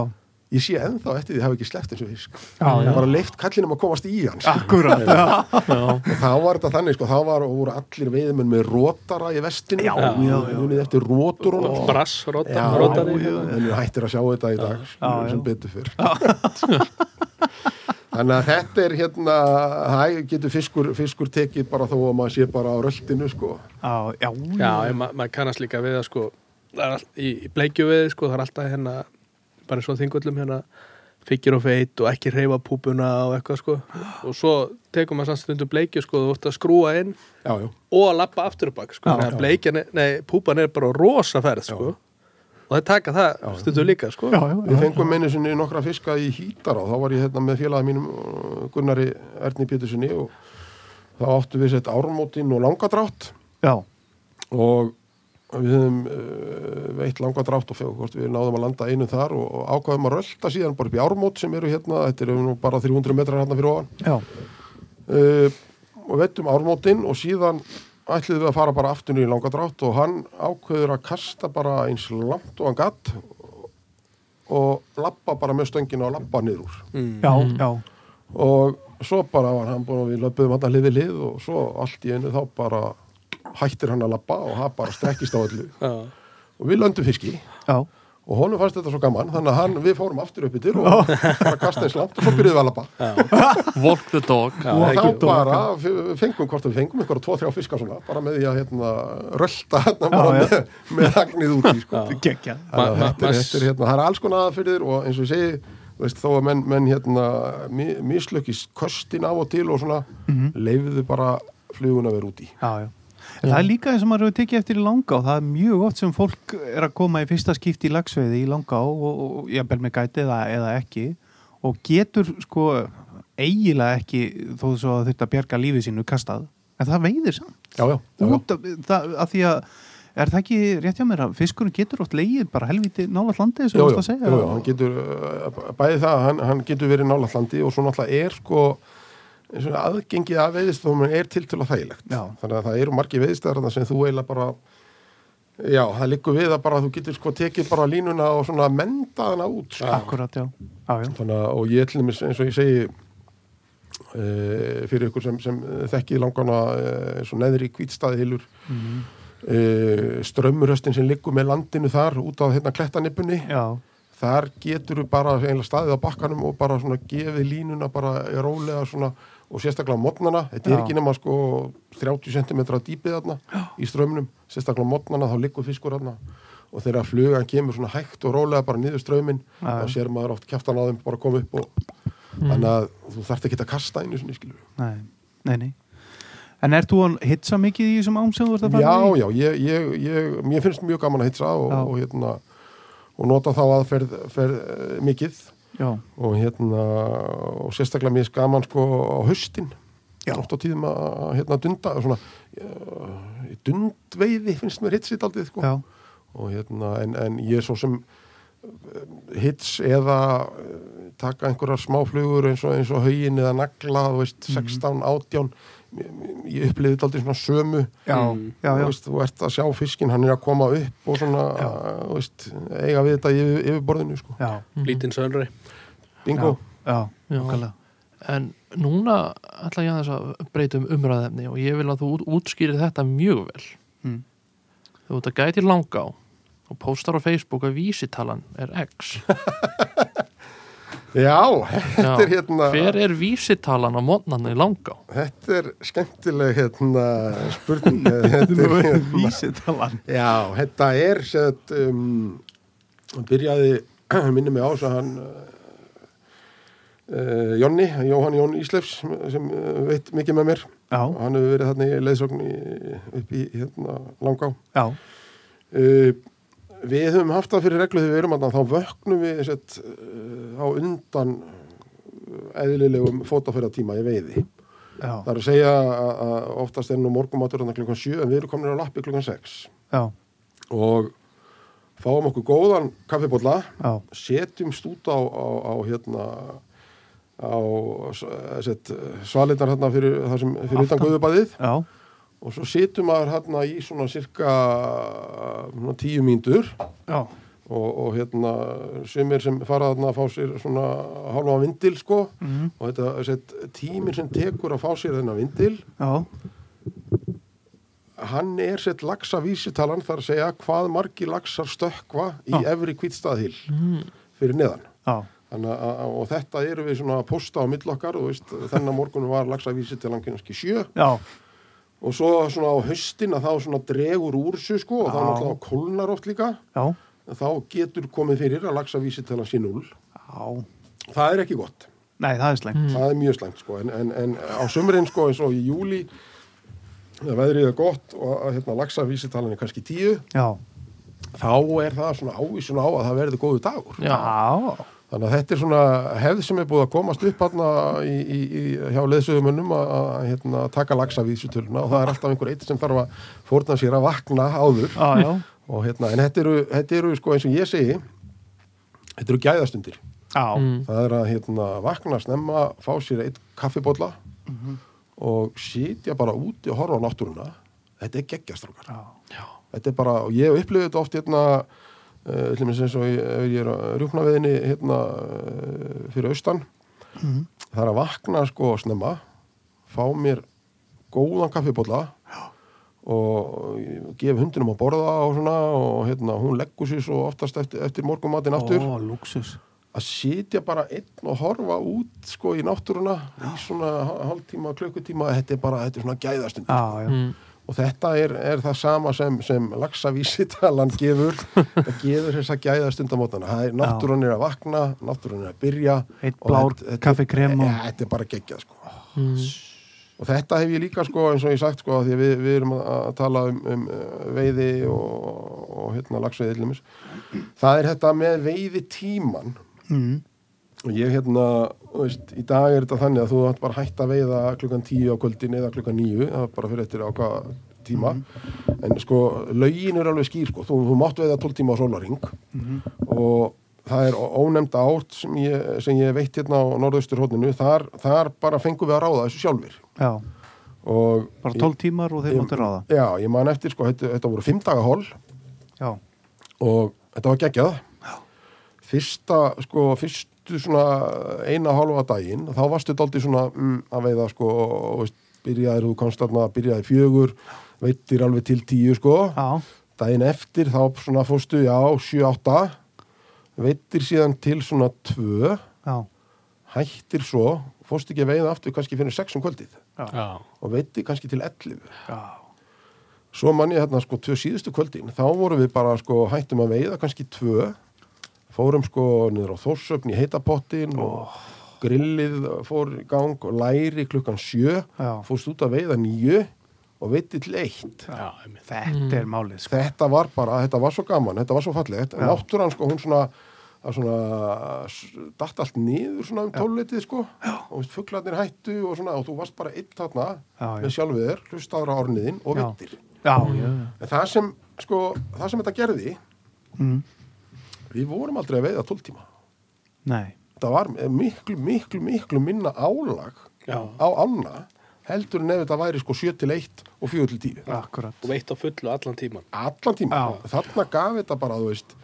Speaker 1: ég sé ennþá eftir því að hafa ekki sleppt eins og fisk
Speaker 2: Já, já.
Speaker 1: bara leift kallinum að komast í hann sko.
Speaker 2: akkurat Já,
Speaker 1: og þá var þetta þannig sko, þá var, voru allir veiðmenn með rótara í vestinu já, já, já. eftir rótur og
Speaker 4: Brass,
Speaker 1: Já,
Speaker 4: rótar,
Speaker 1: já,
Speaker 4: rótar
Speaker 1: já. en við hættir að sjá þetta í dag sko,
Speaker 2: hérna? Já, já.
Speaker 1: sem betur fyrr þannig að þetta er hérna hæ, getur fiskur, fiskur tekið bara þó að maður sé bara á röldinu sko.
Speaker 2: já, já,
Speaker 4: Já, en ma maður kannast líka við að sko það er all- í, í bleikjuveði sko það er alltaf hérna bara eins og þingullum hérna fikkir og feit og ekki reyfa púpuna og eitthvað sko og svo tekum maður samt stundum bleikju sko þú ert að skrúa inn
Speaker 1: já, já,
Speaker 4: og að lappa aftur upp bak sko
Speaker 2: Já,
Speaker 4: þannig
Speaker 1: já.
Speaker 4: að bleikjan, er- nei, púpan er bara á rosa ferð sko og það taka það stundum líka sko
Speaker 2: já, já,
Speaker 1: við fengum einu sinni nokkra fiska í hýtar og þá var ég hérna með félagi mínum uh, Gunnari Erni Pétursinni og þá áttu við sett ármótin og langadrátt
Speaker 2: já,
Speaker 1: og við höfum uh, veitt langa drátt og fjóð hvort við náðum að landa einu þar og, og ákvaðum að rölda síðan bara upp í ármót sem eru hérna, þetta eru nú bara 300 metrar hérna fyrir ofan
Speaker 2: já,
Speaker 1: uh, og vettum ármótin og síðan ætliðum við að fara bara aftur niður í langa drátt og hann ákveður að kasta bara eins langt og hann gatt og lappa bara með stöngina og lappa niður úr
Speaker 2: já, já,
Speaker 1: og svo bara var hann búin að við löpum hann að lifi lið og svo allt í einu þá bara hættir hann að lappa og hann bara strekkist á öllu
Speaker 4: Já.
Speaker 1: og við löndum fiski
Speaker 2: já
Speaker 1: og honum fannst þetta svo gaman þannig að hann, við fórum aftur upp yfir og bara kasta eins langt og svo byrjuðum við að lappa
Speaker 3: Walk the dog
Speaker 1: og þá bara f- fengum hvort við fengum einhverja tvo, þrjá fiska svona bara með því að hérna, rölda hérna bara
Speaker 2: já.
Speaker 1: með, með agnið út í sko.
Speaker 2: Gekja
Speaker 1: Þannig að
Speaker 4: Ma- ma-
Speaker 1: þetta er,
Speaker 4: ma-
Speaker 1: þetta er, hérna, það er alls konar aðferðir og eins og ég segi þú veist, þó að menn, menn hérna, mi- mislökkist köstin af og til og svona mm leifðu bara flugun að vera út í
Speaker 2: Já, já En það er líka eins og maður hefur tekið eftir í langa og það er mjög oft sem fólk er að koma í fyrsta skipti í lagsveiði í langa og, og, og jafnvel með gæti eða, eða ekki og getur sko eiginlega ekki þó svo að þetta bjarga lífi sínu kastað en það veiðir samt
Speaker 1: já, já, já, já.
Speaker 2: út af, það, af því að er það ekki rétt hjá mér að fiskurinn getur oft leið bara helviti nála landið sem
Speaker 1: Jú,
Speaker 2: þú
Speaker 1: jú,
Speaker 2: veist að segja
Speaker 1: jú, jú, hann getur uh, bæði það, hann, hann getur verið nálægt landi og svo náttúrulega er sko eins og aðgengið að veiðistöðum er til til að þægilegt
Speaker 2: Já.
Speaker 1: þannig að það eru margi veiðistöðar sem þú eiginlega bara já, það liggur við að bara þú getur sko tekið bara línuna og svona menda hana út sko.
Speaker 2: Akkurat, já, já, já.
Speaker 1: þannig að og ég til dæmis eins og ég segi uh, fyrir ykkur sem, sem eh, þekkið langana uh, eins og neðri kvítstaðihilur mm
Speaker 2: Mhm.
Speaker 1: -hmm. strömmuröstin sem liggur með landinu þar út á hérna klettanippunni
Speaker 2: já.
Speaker 1: þar getur við bara eiginlega staðið á bakkanum og bara svona gefið línuna bara rólega svona og sérstaklega á modnana, þetta er
Speaker 2: Já.
Speaker 1: ekki nema sko 30 cm dýpið þarna í strömmnum, sérstaklega á modnana þá liggur fiskur þarna og þegar flugan kemur svona hægt og rólega bara niður strömmin
Speaker 2: Já. Mm.
Speaker 1: þá sér maður oft kjaftan á þeim bara koma upp og þannig að þú þarft ekki að kasta einu sinni skilur
Speaker 2: Nei, nei, nei En ert þú að hitsa mikið í þessum ám sem þú ert að fara
Speaker 1: Já,
Speaker 2: í?
Speaker 1: já, ég, ég, ég, mér finnst mjög gaman að hitsa og,
Speaker 2: Já.
Speaker 1: og, hérna, og nota þá aðferð ferð, eh, mikið
Speaker 2: já,
Speaker 1: og hérna og sérstaklega mér finnst gaman sko á haustin
Speaker 2: Já.
Speaker 1: oft á tíðum að að, hérna dunda svona eh, dundveiði finnst mér hitsitt aldrei sko
Speaker 2: já.
Speaker 1: og hérna en, en ég er svo sem eh, hits eða eh, taka einhverjar smáflugur eins og, eins og haugin eða nagla, þú veist,
Speaker 2: Mhm.
Speaker 1: 16, 18 Mér- mér- ég upplifði þetta aldrei svona sömu
Speaker 2: já, já,
Speaker 1: Þú,
Speaker 2: já,
Speaker 1: veist, þú ert að sjá fiskinn, hann er að koma upp og svona, þú veist, eiga við þetta yfir, yfirborðinu, sko,
Speaker 2: já,
Speaker 4: lítinn sönri
Speaker 1: bingo
Speaker 2: já,
Speaker 3: Já.
Speaker 2: okkarlega
Speaker 3: en núna ætla ég aðeins að breyta um umræðefni og ég vil að þú út- útskýrir þetta mjög vel
Speaker 2: Mm.
Speaker 3: þú ert að gæti langa á og postar á Facebook að vísitalan er X
Speaker 1: Já, þetta er hérna
Speaker 3: hver er vísitalan á mótnarni langa á?
Speaker 1: Þetta er skemmtileg hérna, spurning þetta er, hérna,
Speaker 2: vísitalan
Speaker 1: Já, þetta er sett, um, hann byrjaði minni mig á þess að hann uh, Jonni, Jóhann Jón Íslefs sem uh, veit mikið með mér
Speaker 2: Já.
Speaker 1: og hann hefur verið þarna í leiðsögn í, upp í hérna, langá
Speaker 2: já,
Speaker 1: uh, Við höfum haft það fyrir reglu þegar við erum að þá vöknum við sett, uh, á undan eðlilegum fótaferðatíma uh, í veiði
Speaker 2: Já.
Speaker 1: það er að segja að að oftast er nú morgumatur þarna klukkan 7 en við erum komin á lappi klukkan 6
Speaker 2: já,
Speaker 1: og fáum okkur góðan kaffibólla
Speaker 2: já,
Speaker 1: setjumst út á, á, á hérna á set, svalindar hérna fyrir, þar sem, fyrir utan
Speaker 2: Aftan.
Speaker 1: guðubæðið
Speaker 2: já,
Speaker 1: og svo setjum maður hérna í svona cirka svona, tíu mínútur
Speaker 2: já,
Speaker 1: og, og hérna sumir sem fara þarna að fá sér svona hálfa vindil sko
Speaker 2: Mhm.
Speaker 1: og þetta set, tímir sem tekur að fá sér þennan vindil
Speaker 2: já,
Speaker 1: hann er sett lagsa vísitalan þar að segja hvað margi lagsar stökkva í
Speaker 2: Já.
Speaker 1: efri kvítstaðhil fyrir neðan
Speaker 2: já,
Speaker 1: Þannig að, að- og þetta eru við svona að posta á milli okkar og veist, þennan morgunum var lagsavísi til hann kannski sjö
Speaker 2: já,
Speaker 1: og svo svona á haustin að þá svona dregur úr sér sko og þá
Speaker 2: Já.
Speaker 1: náttúrulega kólnar oft líka
Speaker 2: já,
Speaker 1: en þá getur komið fyrir að lagsavísi til hann sé núl
Speaker 2: já.
Speaker 1: það er ekki gott,
Speaker 2: Nei, það er slengt.
Speaker 1: það er mjög slæmt sko en, en, en á sömurinn sko eins og í júli það veðrið er gott og að, hérna, lagsavísi talan er kannski tíu
Speaker 2: Já,
Speaker 1: þá er það svona ávísun á að það verður góðu dagur
Speaker 2: Ah.
Speaker 3: já,
Speaker 2: já,
Speaker 1: Þannig að þetta er svona hefð sem er búið að komast upp hérna í, í, í, hjá leðsögumönnum að, að hérna, taka lagsa vísutöluna og það er alltaf einhver eitt sem þarf að fórna sér að vakna áður
Speaker 2: já, já,
Speaker 1: og hérna, en þetta eru, þetta eru sko eins og ég segi þetta eru gæðastundir
Speaker 2: já,
Speaker 1: það er að hérna, vakna snemma fá sér eitt kaffibólla og sitja bara úti og horfa á náttúruna þetta er geggjastrókar
Speaker 2: já,
Speaker 1: þetta er bara, og ég hef upplifið þetta oft hérna uh, til minns eins og ég, ef ég er að rjúkna viðinni hérna uh, fyrir austan það er að vakna sko snemma fá mér góðan kaffibólla og ég gef hundinum að borða og svona og hérna hún leggur sér svo oftast eftir, eftir morgumatinn aftur
Speaker 2: Ó, lúksus.
Speaker 1: að sitja bara einn og horfa út sko í náttúruna í svona hálftíma, klukkutíma þetta er bara, þetta er svona gæðastund
Speaker 2: Já, já,
Speaker 1: Mm.
Speaker 3: Hmm.
Speaker 1: og þetta er, er það sama sem, sem laxavísitalan gefur það gefur þess að gæða stundamótana það er náttúrun er að vakna, náttúrun er að byrja
Speaker 2: Eitt
Speaker 1: og
Speaker 2: blár kaffikrem og-
Speaker 1: og... þetta- þetta- ja,
Speaker 2: Mm.
Speaker 1: þetta er bara geggjað sko og þetta hef ég líka sko eins og ég sagt sko af því að við, við erum að- að tala um, um eh, veiði og, og hérna laxveiði illumis það er þetta með veiði tíman
Speaker 2: Mm.
Speaker 1: og ég hérna þú veist, í dag er þetta þannig að þú ætti bara að hætta að veiða klukkan tíu á kvöldin eða klukkan níu það er bara fyrir eftir á hvað tíma
Speaker 2: Mhm.
Speaker 1: en sko lögin er alveg skýr sko. þú, þú mátt veiða 12 tíma á sólaring
Speaker 2: Mhm.
Speaker 1: og það er ó- ónefnd átt sem ég, sem ég veit hérna á norðausturhóttinu þar, þar bara fengum við að ráða þessu sjálfur
Speaker 2: já,
Speaker 1: og
Speaker 2: bara 12 tímar og þeir
Speaker 1: Ég-
Speaker 2: máttu ráða.
Speaker 1: já, ég man eftir sko þetta, þetta voru 5 daga hól
Speaker 2: Já,
Speaker 1: og þetta var geggjað fyrsta, sko, fyrstu svona eina hálfa daginn þá varstu daldið svona mm, að veiða sko, og veist, byrjaðir þú komst þarna byrjaðir fjögur, veittir alveg til tíu sko,
Speaker 2: já,
Speaker 1: daginn eftir þá svona fórstu, já, sjö, átta veittir síðan til svona tvö,
Speaker 2: já,
Speaker 1: hættir svo fórstu ekki að veiða aftur, kannski fyrir sex um kvöldið
Speaker 2: já,
Speaker 1: og veittir kannski til ellifu
Speaker 2: já,
Speaker 1: Svo mann ég hérna sko tvö síðustu kvöldin, þá vorum við bara sko hættum að veiða kannski tvö, fórum sko niður á Þórsöfn í heitapottin
Speaker 2: Oh.
Speaker 1: og grillið fór í gang og læri klukkan sjö,
Speaker 2: Já.
Speaker 1: fórst út að veiða nýju og veitti til eitt.
Speaker 2: þetta
Speaker 1: Mm.
Speaker 2: er málið, sko.
Speaker 1: Þetta var bara, þetta var svo gaman, þetta var svo fallegt, en
Speaker 2: Já.
Speaker 1: náttúran sko hún svona, að svona s- datt allt niður svona um tólitið sko já. og veist, fuglarnir hættu og svona og þú varst bara einn þarna
Speaker 2: Já, já.
Speaker 1: með sjálfur þér, hlustaður á orniðin og
Speaker 2: Já.
Speaker 1: vittir.
Speaker 2: Já,
Speaker 1: Mm.
Speaker 2: já,
Speaker 1: En það sem, sko, það sem þetta gerði,
Speaker 2: Mm.
Speaker 1: við vorum aldrei að veiða 12 tíma.
Speaker 2: nei,
Speaker 1: Það var miklu, miklu, miklu minna álag
Speaker 4: Já.
Speaker 1: á anna heldur en ef þetta væri sko 7 til 1 og 4 til 10.
Speaker 2: akkurat.
Speaker 4: og veitt á fullu allan tíman
Speaker 1: Allan tíma.
Speaker 2: Já.
Speaker 1: Þarna gaf þetta bara, þú veist,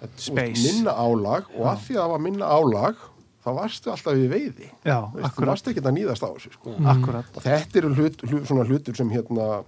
Speaker 1: þetta, þú
Speaker 2: Space.
Speaker 1: minna álag og að því að það var minna álag, þá varstu alltaf í veiði.
Speaker 2: Já,
Speaker 1: Þú veist, Þú
Speaker 2: akkurat,
Speaker 1: varstu ekki að nýðast á þessu, sko.
Speaker 2: akkurat,
Speaker 1: Og þetta eru hlut, hlut, svona hlutur sem hérna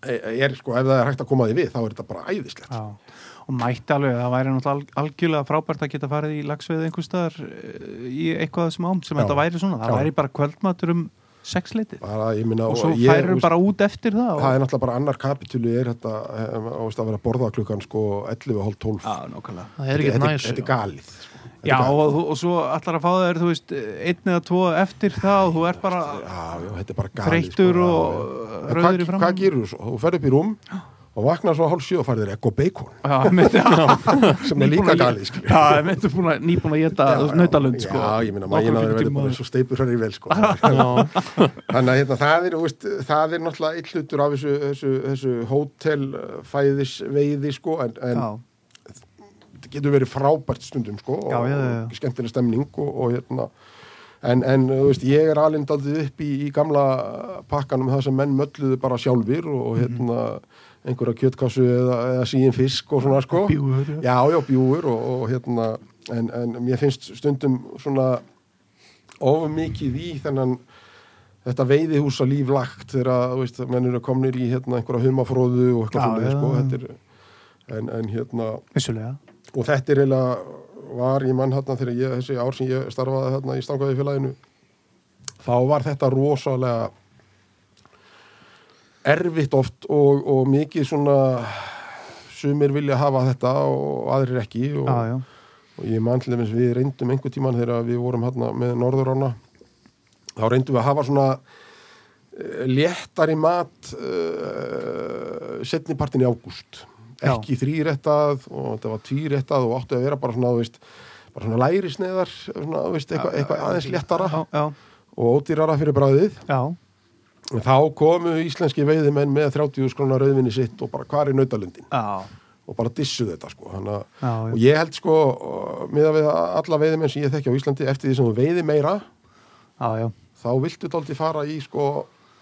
Speaker 1: e- er sko, ef það er hægt að koma því við, þá er þetta bara æðislegt.
Speaker 2: já. Og mætti alveg, það væri náttúrulega al- algjörlega frábært að geta farið í lagsveið einhver staðar eh, í eitthvað af þessum ám sem
Speaker 1: Já.
Speaker 2: þetta væri svona. Það
Speaker 1: Já.
Speaker 2: væri bara kvöldmatur um sex litið.
Speaker 1: bara, ég minna,
Speaker 2: Og svo
Speaker 1: ég,
Speaker 2: færir
Speaker 1: veist,
Speaker 2: bara út eftir
Speaker 1: það
Speaker 2: það. Og...
Speaker 1: er náttúrulega bara annar kapitúli er þetta, eh, á, veist, að vera að borða klukkan sko 11 hálf 12
Speaker 2: Já, nákvæmlega.
Speaker 3: það er ekki
Speaker 1: þetta,
Speaker 3: næs
Speaker 1: þetta er galið sko. Þetta er
Speaker 2: Já,
Speaker 1: galið.
Speaker 2: og, þú- og svo allar að fá þér, þú veist, einn eða tvo eftir það og þú ert bara
Speaker 1: já, já, þetta er bara galið
Speaker 2: þreyttur
Speaker 1: sko, já,
Speaker 2: og
Speaker 1: já. En
Speaker 2: rauður í
Speaker 1: hvað,
Speaker 2: framan.
Speaker 1: hvað gerur þú svo? Þú ferð upp í rúm og vaknar svo hálf sjö og farið ekko bacon
Speaker 2: Já, einmitt, já.
Speaker 1: sem er líka
Speaker 2: Nýbúin að-
Speaker 1: galið skilur.
Speaker 2: Já, ég myndi búin að nýbúin að geta
Speaker 1: Já, já.
Speaker 2: nautalund sko.
Speaker 1: Já, ég minna, maginn að
Speaker 2: Nokkrum
Speaker 1: þeir verður
Speaker 2: klukkutíma
Speaker 1: bara svo steipur hræri vel, sko. Þannig að hérna, það er, þú veist, það er náttúrulega eitt hlutur af þessu, þessu, þessu hótelfæðis veiði, sko, en, en
Speaker 2: Já.
Speaker 1: þetta getur verið frábært stundum, sko,
Speaker 2: Já,
Speaker 1: og,
Speaker 2: já, já, já.
Speaker 1: og skemmtileg stemning og, og hérna, en, en, þú veist, ég er alinn daldið upp í, í gamla pakkanum það sem menn mölluðu bara sjálfir og,
Speaker 2: Mhm.
Speaker 1: og hérna, einhverja kjötkassu eða, eða síin fisk og svona, sko.
Speaker 2: Bjúgur, já.
Speaker 1: Já, já, bjúgur og, og hérna, en, en mér finnst stundum svona of mikið í þennan þetta veiðihúsa líflagt þegar að, þú veist, menn eru komnir í hérna einhverja humafróðu og
Speaker 2: Já,
Speaker 1: eitthvað svona,
Speaker 2: já.
Speaker 1: sko, þetta er en, en hérna,
Speaker 2: Vissulega
Speaker 1: og þetta er eiginlega var ég mann hérna þegar ég, þessi ár sem ég starfaði hérna í stangaði félaginu þá var þetta rosalega erfitt oft og, og mikið svona sumir vilja hafa þetta og aðrir ekki og,
Speaker 2: Já, já,
Speaker 1: og ég man til þess við reyndum einhver tíman þegar við vorum hérna með Norðurána þá reyndum við að hafa svona eh, léttari mat uh, setnipartin í ágúst
Speaker 2: Já.
Speaker 1: ekki þrýrættað og þetta var tvírættað og átti að vera bara svona, þú veist, bara svona lærisneðar svona, þú veist, eitthvað, eitthvað aðeins léttara
Speaker 2: já, já,
Speaker 1: og ódýrara fyrir bræðið
Speaker 2: já.
Speaker 1: og þá komu íslenski veiðimenn með 30 skrónar rauðvinni sitt og bara hvar er nautalundin
Speaker 2: já.
Speaker 1: og bara dissu þetta sko Hanna,
Speaker 2: Já, já.
Speaker 1: og ég held sko miða við alla veiðimenn sem ég þekki á Íslandi eftir því sem þú veiði meira
Speaker 2: já, já.
Speaker 1: þá viltu dálítið fara í sko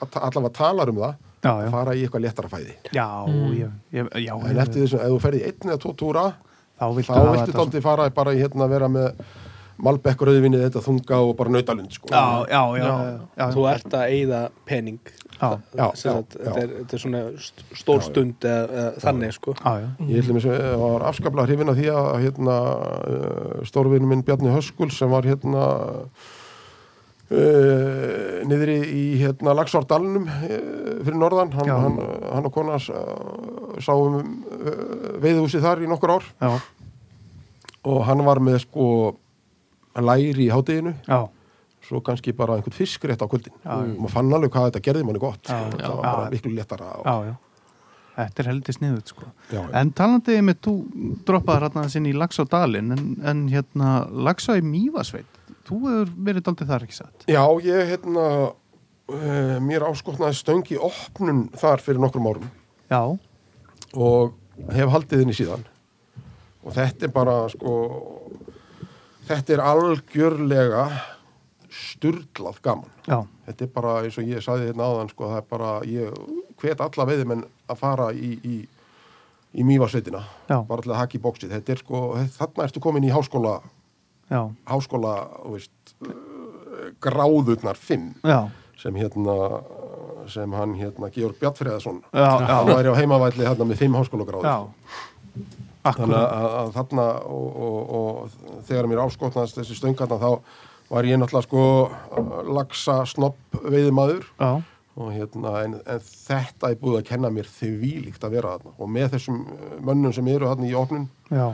Speaker 1: að ta- allavega talar um það
Speaker 2: Já, já.
Speaker 1: fara í eitthvað léttara fæði
Speaker 2: Já,
Speaker 4: Hmm.
Speaker 2: ég, ég, já,
Speaker 1: en eftir því sem ef þú ferði einn eða tvo túra
Speaker 2: þá viltu,
Speaker 1: þá viltu dálítið fara bara í hérna að vera með Malbekk rauðvinni þetta þunga og bara nautalund sko
Speaker 2: Já, já, já, já, já.
Speaker 4: Þú ert að eigða pening
Speaker 2: Já,
Speaker 1: Já,
Speaker 4: Sem
Speaker 1: já,
Speaker 4: sagt,
Speaker 1: já.
Speaker 4: þetta, er, þetta er svona st- stór stund eða, eða, þannig sko
Speaker 2: já, já.
Speaker 1: Ég ætlum að það var afskaplega hrifin af því að hérna, stórvinu minn Bjarni Höskul sem var hérna uh, niðri í hérna, Lagsvárdalunum uh, fyrir norðan hann,
Speaker 2: Já.
Speaker 1: hann, hann og konas uh, sáum uh, veiðhúsi þar í nokkur ár
Speaker 2: já,
Speaker 1: og hann var með sko læri í hádeginu
Speaker 2: já.
Speaker 1: svo kannski bara einhvern fisk rétt á kvöldin
Speaker 2: Já.
Speaker 1: og maður fann alveg hvað þetta gerði manni gott
Speaker 2: Já,
Speaker 1: sko.
Speaker 2: já.
Speaker 1: það var bara
Speaker 2: Já.
Speaker 1: miklu léttara og,
Speaker 2: já, já. Þetta er heldur sniðut sko.
Speaker 1: Já, já.
Speaker 2: En talandi með þú droppaðar hérna sinni í Laxa á Dalin en, en hérna Laxa í Mývasveit þú hefur verið daldið þar ekki satt
Speaker 1: Já, ég hérna uh, mér áskotnaði stöng í opnun þar fyrir nokkrum árum
Speaker 2: Já,
Speaker 1: og hef haldið henni síðan og þetta er bara sko þetta er algjörlega sturdlað gaman
Speaker 2: já,
Speaker 1: þetta er bara eins og ég saði hérna áðan sko, það er bara, ég hvet alla veiðimenn að fara í, í, í mývasveitina,
Speaker 2: Já.
Speaker 1: bara til að haki í bóksið þetta er sko, þarna ertu komin í háskóla
Speaker 2: já,
Speaker 1: háskóla, þú veist eh, gráðurnar fimm
Speaker 2: já,
Speaker 1: sem hérna sem hann hérna Georg Bjartfriðarsson
Speaker 2: já,
Speaker 1: hann
Speaker 2: já,
Speaker 1: væri á heimavæli hérna með fimm háskólagráður
Speaker 2: já.
Speaker 1: þannig
Speaker 2: Akkurat,
Speaker 1: að, að þarna og, og, og þegar mér áskotnaðist þessi stöngarna þá var ég náttúrulega sko lagsa snopp veiðimaður
Speaker 2: já,
Speaker 1: og hérna en, en þetta er búið að kenna mér þvílíkt að vera þarna og með þessum eh, mönnum sem eru þarna í opnun
Speaker 2: já,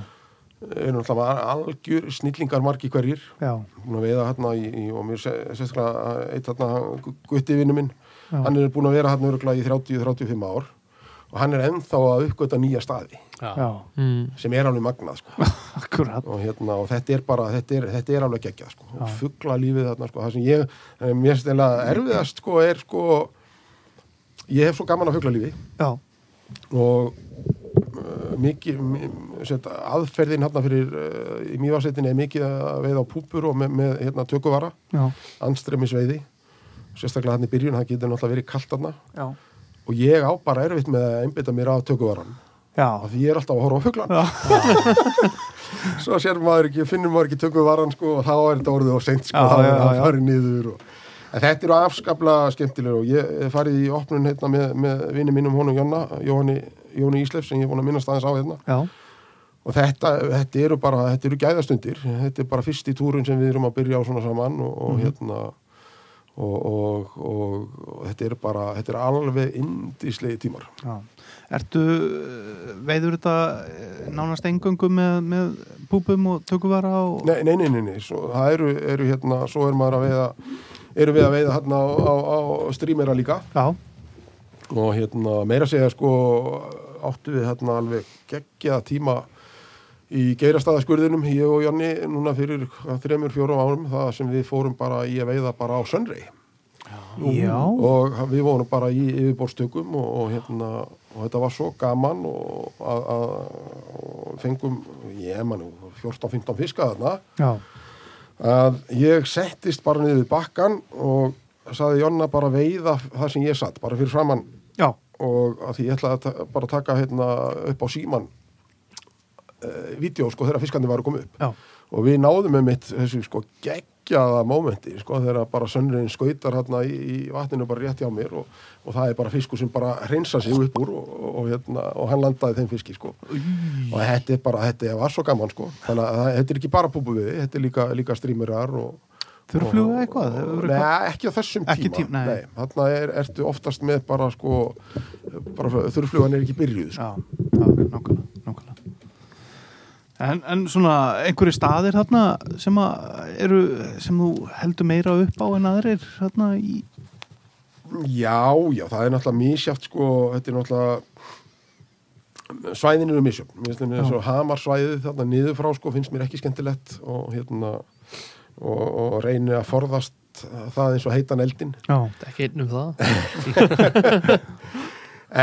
Speaker 1: eru náttúrulega algjör snillingar margi hverjir
Speaker 2: já
Speaker 1: búin að veiða hérna í, í, og mér sé- sérstaklega eitt hérna gutti vinnu minn,
Speaker 2: Já.
Speaker 1: hann er búin að vera hérna örgulega í 30-35 ár og hann er ennþá að uppgöta nýja staði
Speaker 2: Já,
Speaker 3: Mm.
Speaker 1: sem er alveg magnað sko.
Speaker 2: akkurat
Speaker 1: og, hérna, og þetta er bara, þetta er, þetta er alveg geggjað sko. og fuggla lífið þarna sko. það sem ég, eh, mér stela erfiðast sko, er sko ég hef svo gaman að fuggla lífi
Speaker 2: Já,
Speaker 1: og uh, mikið m- sem sagt, aðferðin hérna fyrir uh, í mývarsetin er mikið að veiða á púpur og með, með hérna, tökuvara
Speaker 2: já,
Speaker 1: andstremisveiði sérstaklega hann í byrjun, það getur náttúrulega verið kalt hann
Speaker 2: já
Speaker 1: og ég á bara erfitt með að einbytta mér að tökuvaran
Speaker 2: Já,
Speaker 1: af því ég er alltaf að horfa á fuglan svo sér maður ekki, finnur maður ekki tökuvaran sko og þá er þetta orðið og seint sko
Speaker 2: Já,
Speaker 1: þá er
Speaker 2: já,
Speaker 1: það
Speaker 2: já.
Speaker 1: farið niður og En þetta eru afskaplega skemmtilega og ég hef farið í opnun hérna með, með vini mínum honum Jonna, Jóhanni, Jóni Íslef sem ég er búin að minnast aðeins á hérna
Speaker 2: já,
Speaker 1: og þetta, þetta eru bara, þetta eru gæðastundir þetta er bara fyrst í túrun sem við erum að byrja á svona saman og, og hérna og, og, og, og þetta er bara þetta er alveg indislegi tímar
Speaker 2: já Ertu, eh, veiður þetta eh, nánast engöngu með, með púpum og tökuvara og...
Speaker 1: Nei, nei, nei, nei, nei. Svo, það eru, eru hérna, svo er maður að veiða eru við að veiða hérna á, á, á streamera líka
Speaker 2: Já,
Speaker 1: og hérna meira að segja sko áttu við hérna alveg geggjaða tíma í geirastaðaskurðinum, ég og Janni núna fyrir hvað, þremur, fjórum árum það sem við fórum bara í að veiða bara á sönrei
Speaker 2: Já.
Speaker 1: og við vorum bara í yfirborðstökum og, og hérna og þetta var svo gaman og að, að og fengum ég mann, 14-15 fiska þarna
Speaker 2: Já.
Speaker 1: að ég settist bara niður bakkan og saði Jonna bara veiða það sem ég satt, bara fyrir framann
Speaker 2: Já.
Speaker 1: og að því ég ætlaði að ta- bara taka hérna upp á síman e, vídeo sko þegar fiskandi var að koma upp
Speaker 2: Já.
Speaker 1: og við náðum með mitt þessu sko geggjaða mómenti sko þegar bara sönnurinn skautar hérna í, í vatninu bara rétt hjá mér og, og það er bara fiskur sem bara hreinsa sig upp úr og, og, og, hérna, og hann landaði þeim fiski sko og þetta er bara, þetta var svo gaman sko þannig að það- þetta er ekki bara púpuviði, þetta er líka, líka strímurar og
Speaker 2: Þurrfluga eitthvað?
Speaker 1: Og-
Speaker 2: hefur eitthvað-
Speaker 1: Nei, ekki á þessum
Speaker 2: Ekki
Speaker 1: tíma,
Speaker 2: tím- nei.
Speaker 1: Þarna er, ertu oftast með bara sko bara, þurrflugan er ekki byrjuð sko.
Speaker 2: Já, já, nákvæmlega, nákvæmlega. En, en svona einhverju staðir þarna sem, að eru, sem þú heldur meira upp á en aðrir þarna í...
Speaker 1: Já, já, það er náttúrulega misjátt sko, þetta er náttúrulega svæðin eru misjöfn mér finnst þetta svo hamarsvæðið þarna niður frá sko, finnst mér ekki skemmtilegt og hérna og, og reyni að forðast það eins og heitan eldin
Speaker 2: Já,
Speaker 3: Þetta er ekki einn um það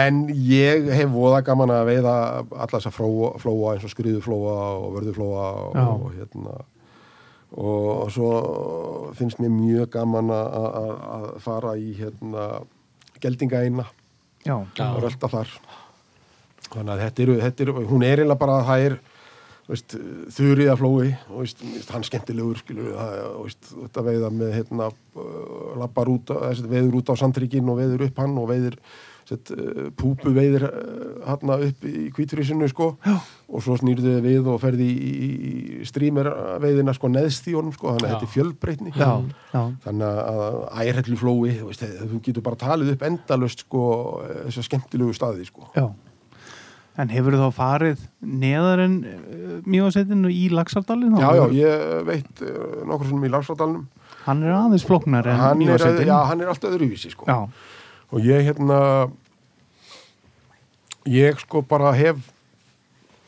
Speaker 1: En ég hef voða gaman að veiða alla þessa flóa, flóa eins og skriðuflóa og vörðuflóa og,
Speaker 2: Já.
Speaker 1: og hérna og svo finnst mér mjög gaman að- að að fara í hérna geldinga eina
Speaker 2: já,
Speaker 1: og rölda þar þannig að þetta eru, þetta eru hún er eiginlega bara að það er veist, þurrið að flói og veist, mér finnst hann skemmtilegur skilur, við, það, og veist, þetta veiða með hérna, uh, lappar út, á- þessi, veiður út á sandrykkin og veiður upp hann og veiður sett, uh, púpu veiður uh, hann upp í kvíturísinu sko, og svo snýrðu þau við og ferði í, í, í streamer veiðina sko, neðst í honum sko, þannig að
Speaker 6: Já.
Speaker 1: þetta er fjölbreytni
Speaker 2: já, já,
Speaker 1: þannig að ærhellu flói þú, veist, þú getur bara talið upp endalust sko, þessar skemmtilegu staði sko.
Speaker 2: já. En hefur þá farið neðar en uh, mjóasettinu í Laxardalinn?
Speaker 1: já, já, ég veit eh, nokkur sinnum í Lagsvartalunum
Speaker 2: Hann er aðeins flóknar
Speaker 1: hann,
Speaker 2: en
Speaker 1: er að-
Speaker 2: mjóasettinu.
Speaker 1: já, hann er alltaf öðruvísi sko.
Speaker 2: já,
Speaker 1: og ég hérna ég sko bara hef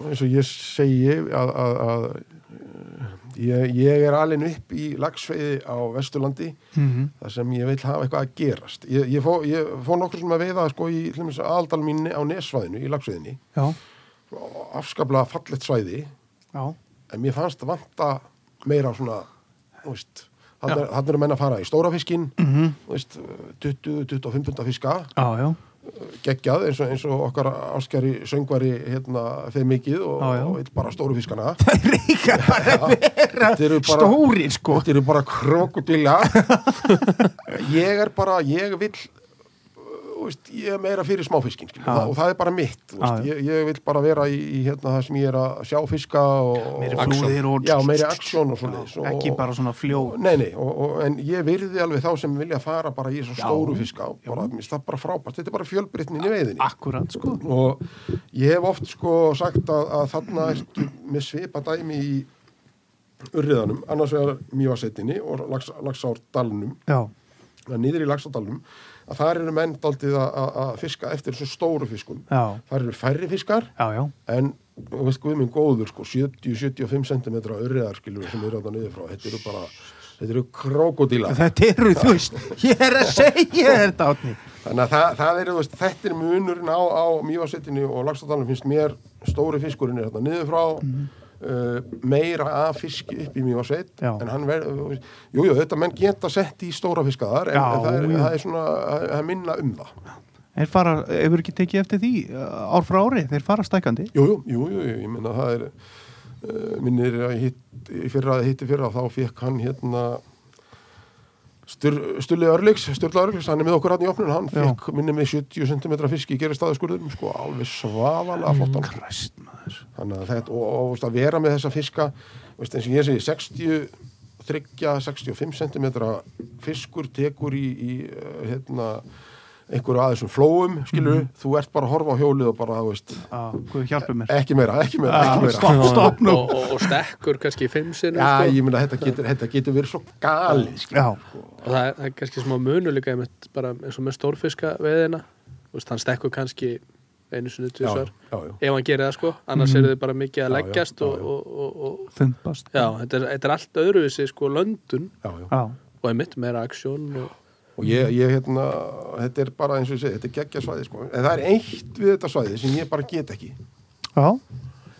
Speaker 1: eins og ég segi að, að, að eh, ég, ég er alin upp í lagsveiði á Vesturlandi
Speaker 2: Mhm.
Speaker 1: þar sem ég vil hafa eitthvað að gerast ég, ég, fó, ég fó nokkur sem að veiða sko, í aðaldal mín á nesvæðinu í lagsveiðinni
Speaker 2: já,
Speaker 1: afskaplega fallegt svæði
Speaker 2: já,
Speaker 1: en mér fannst vanta meira svona þú veist, þannig er, þarna eru menn að fara í stórafiskin mm
Speaker 2: Mhm.
Speaker 1: -hmm. 20-25 fiska
Speaker 2: já, já,
Speaker 1: geggjað eins og, eins og okkar áskjari söngvari hérna þeir mikið og,
Speaker 2: Já, já.
Speaker 1: og vill bara stóru fiskana það er bara vera
Speaker 2: stórir, sko.
Speaker 1: þetta eru bara krokodilla ég er bara, ég vill þú veist, ég er meira fyrir smáfiskin skilur,
Speaker 2: Já.
Speaker 1: og það er bara mitt þú veist,
Speaker 2: Já, já.
Speaker 1: ég, ég vill bara vera í, í hérna, það sem ég er að sjá fiska og,
Speaker 2: Meiri
Speaker 1: og-
Speaker 2: flúðir og-
Speaker 1: já, meiri aksjón og svoleiðis og-
Speaker 2: ekki
Speaker 1: og-
Speaker 2: bara svona fljóð.
Speaker 1: Nei, nei, og, og, en ég virði alveg þá sem vilja fara bara í þessu stóru fiska og bara, mér finnst það bara frábært, þetta er bara fjölbrytnin í veiðinni
Speaker 2: Akkurat, sko.
Speaker 1: og ég hef oft sko sagt að, að þarna ertu með svipa dæmi í urriðanum, annars vegar mjóasettinni og lags, lagsárdalnum
Speaker 2: Já,
Speaker 1: að niður í lagsárdalnum að þar eru menn daldið að, að- að fiska eftir þessu stóru fiskum
Speaker 2: já,
Speaker 1: þar eru færri fiskar
Speaker 2: já, já,
Speaker 1: en þú veist hvað minn góður sko 70-75 cm urriðar skilur sem eru á það niður frá þetta eru bara, þetta eru krokodílar
Speaker 2: Þetta eru, þú veist, ég er að segja þér þetta átni.
Speaker 1: Þannig að það, það er, þú veist, þetta er munurinn á, á mjóasettinu og lagstadalum finnst mér stóri fiskurinn er hérna niður frá
Speaker 2: Mhm.
Speaker 1: uh, meira af fiski upp í mjóasett
Speaker 2: Já.
Speaker 1: en hann verður, þú veist, jú, jú, þetta menn geta sett í stóra fiska þar en,
Speaker 2: Já,
Speaker 1: en það, er,
Speaker 2: já.
Speaker 1: það er svona, það er minna um það
Speaker 2: Þeir fara, hefur ekki tekið eftir því uh, ár frá ári, þeir fara stækandi.
Speaker 1: Jú, jú, jú, jú, jú, ég minna það er uh, minnir að hitt í fyrra, hitti fyrra þá fekk hann hérna Stur, Stulli Örlíks, Sturla Örlíks, hann er með okkur hann í opnun, hann
Speaker 2: Já.
Speaker 1: fekk minni með 70 cm fisk í gera staðaskurðum, sko, alveg svafalega flottan.
Speaker 2: Ræst maður.
Speaker 1: Þannig að þetta, og, og veist, að vera með þessa fiska, veist, eins og ég segi, 60, 30, 65 cm fiskur tekur í, í eh, hérna, einhverju aðeins um flóum, skilur, þú ert bara að horfa á hjólið og bara, þú veist,
Speaker 2: Á, guð hjálpum mér.
Speaker 1: ekki meira, ekki meira, Eh,
Speaker 3: Ah,
Speaker 1: ekki meira.
Speaker 2: Stopp, stopp nú.
Speaker 4: og, og, og stekkur kannski fimm sinni
Speaker 1: Já,
Speaker 4: sko.
Speaker 1: ég meina, þetta getur, þetta getur verið svo galið, sko. skilur.
Speaker 2: Já,
Speaker 4: og það er, það er kannski smá munu líka einmitt, bara eins og með stórfiska veðina veist, hann stekkur kannski einu sinni tvisvar
Speaker 1: já, já.
Speaker 4: ef hann gerir það sko, annars
Speaker 2: Mm.
Speaker 4: eru þau bara mikið að
Speaker 1: Já, já,
Speaker 4: leggjast
Speaker 1: já,
Speaker 4: og,
Speaker 1: já.
Speaker 4: og, og, og
Speaker 2: Þumbast
Speaker 4: já, þetta er, þetta er allt öðruvísi sko löndun
Speaker 1: já, já.
Speaker 2: Já,
Speaker 4: og einmitt meira aksjón og
Speaker 1: og ég, ég hérna, þetta er bara eins og ég segi, þetta er geggja svæði sko. en það er eitt við þetta svæði sem ég bara get ekki
Speaker 2: já,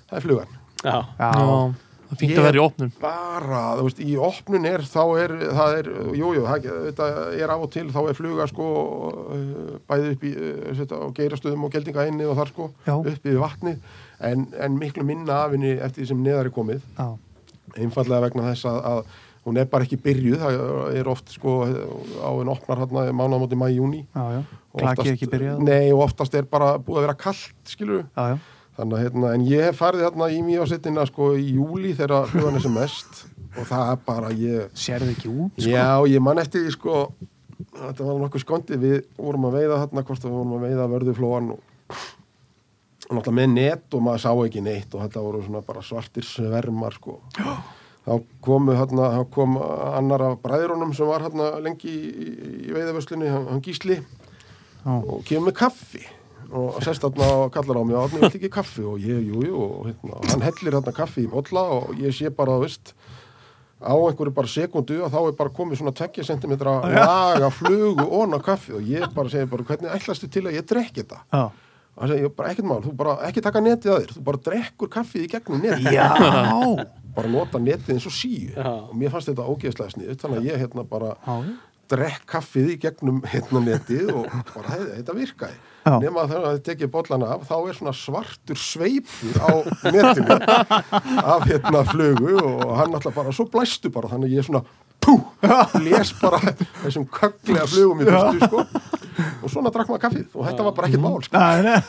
Speaker 1: það er flugan
Speaker 4: já,
Speaker 2: já.
Speaker 3: það er fínt að vera í opnum
Speaker 1: bara, þú veist, í opnun er þá er, það er, jújú, jú, það þetta er af og til, þá er fluga sko eh, bæði upp í eh, þetta, á geirastöðum og geldinga einni og þar sko
Speaker 2: Já.
Speaker 1: upp í vatnið, en, en miklu minna af henni eftir því sem neðar er komið
Speaker 2: já.
Speaker 1: einfallega vegna þess að, að hún er bara ekki byrjuð, það er oft sko á henn opnar hérna mánamóti mæ júni
Speaker 2: já, já. Klaki ekki byrjað
Speaker 1: Nei, og oftast er bara búið að vera kallt skilur
Speaker 2: Já, já,
Speaker 1: Þannig að hérna, en ég hef farið hérna í mjögsettina sko í júli þegar flugan er sem mest og það er bara ég,
Speaker 2: sérðu ekki út sko?
Speaker 1: já ég man eftir því sko, þetta var nokkuð skondi, við vorum að veiða hérna hvort við vorum að veiða vörðuflóan og, og náttúrulega með net og maður sá ekki neitt og þetta voru svona bara svartir svermar sko. Þá komu hérna, þá kom annar af bræðurunum sem var hérna lengi í, í veiðavörslinni, hann, hann Gísli
Speaker 2: Já,
Speaker 1: og kemur með kaffi og sest þarna og kallar á mig og hann vil ekki kaffi og ég, jú, jú, og hérna, og hann hellir þarna kaffi í bolla og ég sé bara, þú veist, á einhverju bara sekundu og þá er bara komið svona 20 cm laga flugu ón á kaffi og ég bara segi bara, hvernig ætlastu til að ég drekki þetta?
Speaker 2: já,
Speaker 1: Og hann segi, "Ég bara ekkert mál, þú bara ekki taka netið að þér, þú bara drekkur kaffið í gegnum netið.
Speaker 2: já.
Speaker 1: Bara nota netið eins og síu.
Speaker 4: Já.
Speaker 1: Og mér fannst þetta ógeðslega sniðut, þannig að ég hérna bara
Speaker 2: já.
Speaker 1: drekk kaffið í gegnum hérna netið og bara hei, þetta virkaði
Speaker 2: Já.
Speaker 1: nema að þegar það tekið bollana af þá er svona svartur sveipur á netinu af hérna flugu og hann alltaf bara svo blæstu bara þannig að ég svona pú, les bara þessum köglega flugum í fyrstu sko og svona drakk maður kaffið og þetta var bara
Speaker 2: Mhm.
Speaker 1: ekkert mál sko.
Speaker 2: Nei, nei.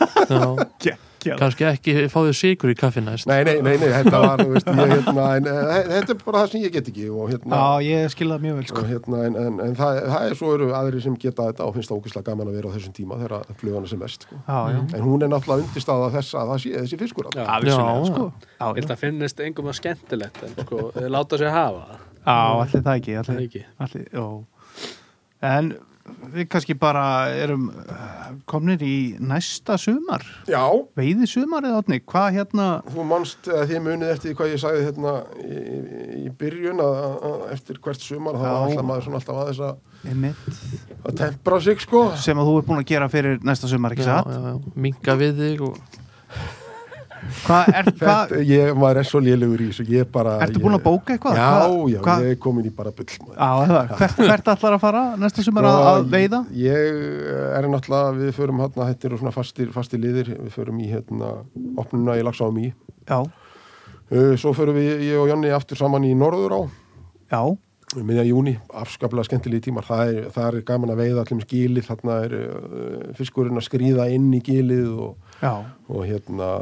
Speaker 3: Já.
Speaker 2: Geggjað.
Speaker 3: kannski ekki fáðu sigur í kaffi næst
Speaker 1: nei, nei, nei, nei, þetta var þú veist, ég, hérna, en, eh, þetta er bara það sem ég get ekki og hérna
Speaker 2: Já, ég skil það mjög vel sko.
Speaker 1: og hérna, en, en, en það, það er svo eru aðri sem geta þetta og finnst það ógeðslega gaman að vera á þessum tíma þegar flugana sem mest sko.
Speaker 2: Já, já,
Speaker 1: en hún er náttúrulega undirstaða þess að það sé þessi fiskur
Speaker 4: Já.
Speaker 1: já.
Speaker 2: já, vissulega,
Speaker 3: Já.
Speaker 2: sko. já, já.
Speaker 4: þetta finnist engum að skemmtilegt en sko, þau láta sér hafa það.
Speaker 2: Já, allir það ekki, allir,
Speaker 4: Það ekki.
Speaker 2: Allir, já. En við kannski bara erum eh, komnir í næsta sumar
Speaker 1: já,
Speaker 2: veiði sumarið átni, hvað hérna
Speaker 1: þú manst að þið munið eftir því hvað ég sagði hérna í, í- í byrjun að, að- að eftir hvert sumar þá
Speaker 2: Já.
Speaker 1: ætla maður svona alltaf aðeins að,
Speaker 2: einmitt,
Speaker 1: að tempra sig sko
Speaker 2: sem að þú er búin að gera fyrir næsta sumar, ekki satt?
Speaker 3: minga við þig og...
Speaker 2: Hvað er, hvað,
Speaker 1: Þetta, ég, maður er svo lélugur í þessu ég bara,
Speaker 2: ertu
Speaker 1: ég-
Speaker 2: búin að bóka eitthvað?
Speaker 1: já,
Speaker 2: Hvað-
Speaker 1: já,
Speaker 2: hvað-
Speaker 1: ég er komin í bara bull maður.
Speaker 2: Já, það er það. hvert, hvert ætlar að fara næsta sumar að,
Speaker 1: Sko,
Speaker 2: að veiða?
Speaker 1: Ég eh, er náttúrulega, við förum hérna, þetta eru svona fastir, fastir liðir, við förum í hérna, opnuna í Laxáum í.
Speaker 2: Já,
Speaker 1: Uh, Svo förum við, ég og Jonni, aftur saman í Norður á,
Speaker 2: já,
Speaker 1: miðja júni, afskaplega skemmtilegi tímar. Það er, það er gaman að veiða allir með gilið, þarna er uh, fiskurinn að skríða inn í gilið og,
Speaker 2: já,
Speaker 1: og hérna,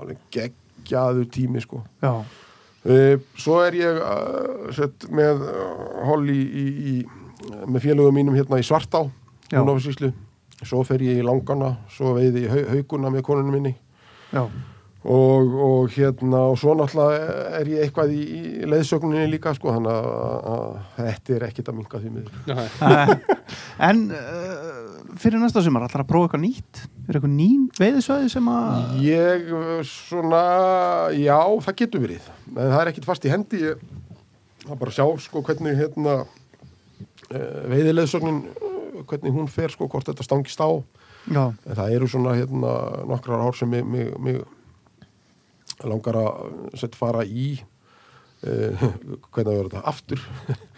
Speaker 1: alveg geggjaður tími, sko.
Speaker 2: já,
Speaker 1: Eh, Svo er ég uh, sett, með uh, Holly í, í, með félögum mínum hérna í Svartá,
Speaker 2: Já.
Speaker 1: Húnafarsíslu. Svo fer ég í Langana, svo veiði ég hau, hauguna með konunum minni
Speaker 2: já,
Speaker 1: og, og hérna og svo náttúrulega er ég eitthvað í, í leiðsögninni líka sko þannig að- að að þetta er ekkit að minga því miður.
Speaker 4: Já,
Speaker 2: Eh, En uh, fyrir næsta sumar ætlar að prófa eitthvað nýtt? Er eitthvað ný veiðisvæði sem að...
Speaker 1: Ég eh, svona, já það getur verið, en það er ekkit fast í hendi, ég það er bara að sjá sko hvernig hérna eh, veiðileiðsögnin, eh, hvernig hún fer sko hvort þetta stangist á.
Speaker 2: Já,
Speaker 1: En það eru svona hérna nokkrar ár sem mig, mig, mig langar að sett fara í uh, hvernig verður þetta aftur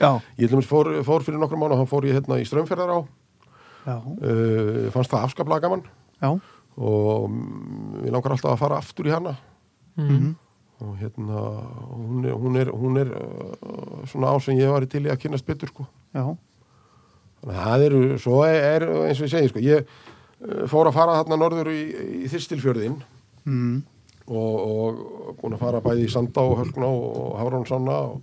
Speaker 2: já,
Speaker 1: ég til dæmis fór, fór fyrir nokkra mánu og hann fór ég hérna í strömferðar á
Speaker 2: já,
Speaker 1: uh, fannst það afskaplega gaman
Speaker 2: já,
Speaker 1: og mm, ég langar alltaf að fara aftur í hana
Speaker 2: mhm,
Speaker 1: og hérna hún er, hún er, hún er uh, svona á sem ég var til í að kynast betur sko
Speaker 2: já,
Speaker 1: Þannig að Það eru, svo er, er eins og ég segi sko, ég eh, fór að fara þarna norður í, í Þistilfjörðin
Speaker 2: mhm,
Speaker 1: og, og búin að fara bæði í Sandá og Hölkná og Hafrónsanna og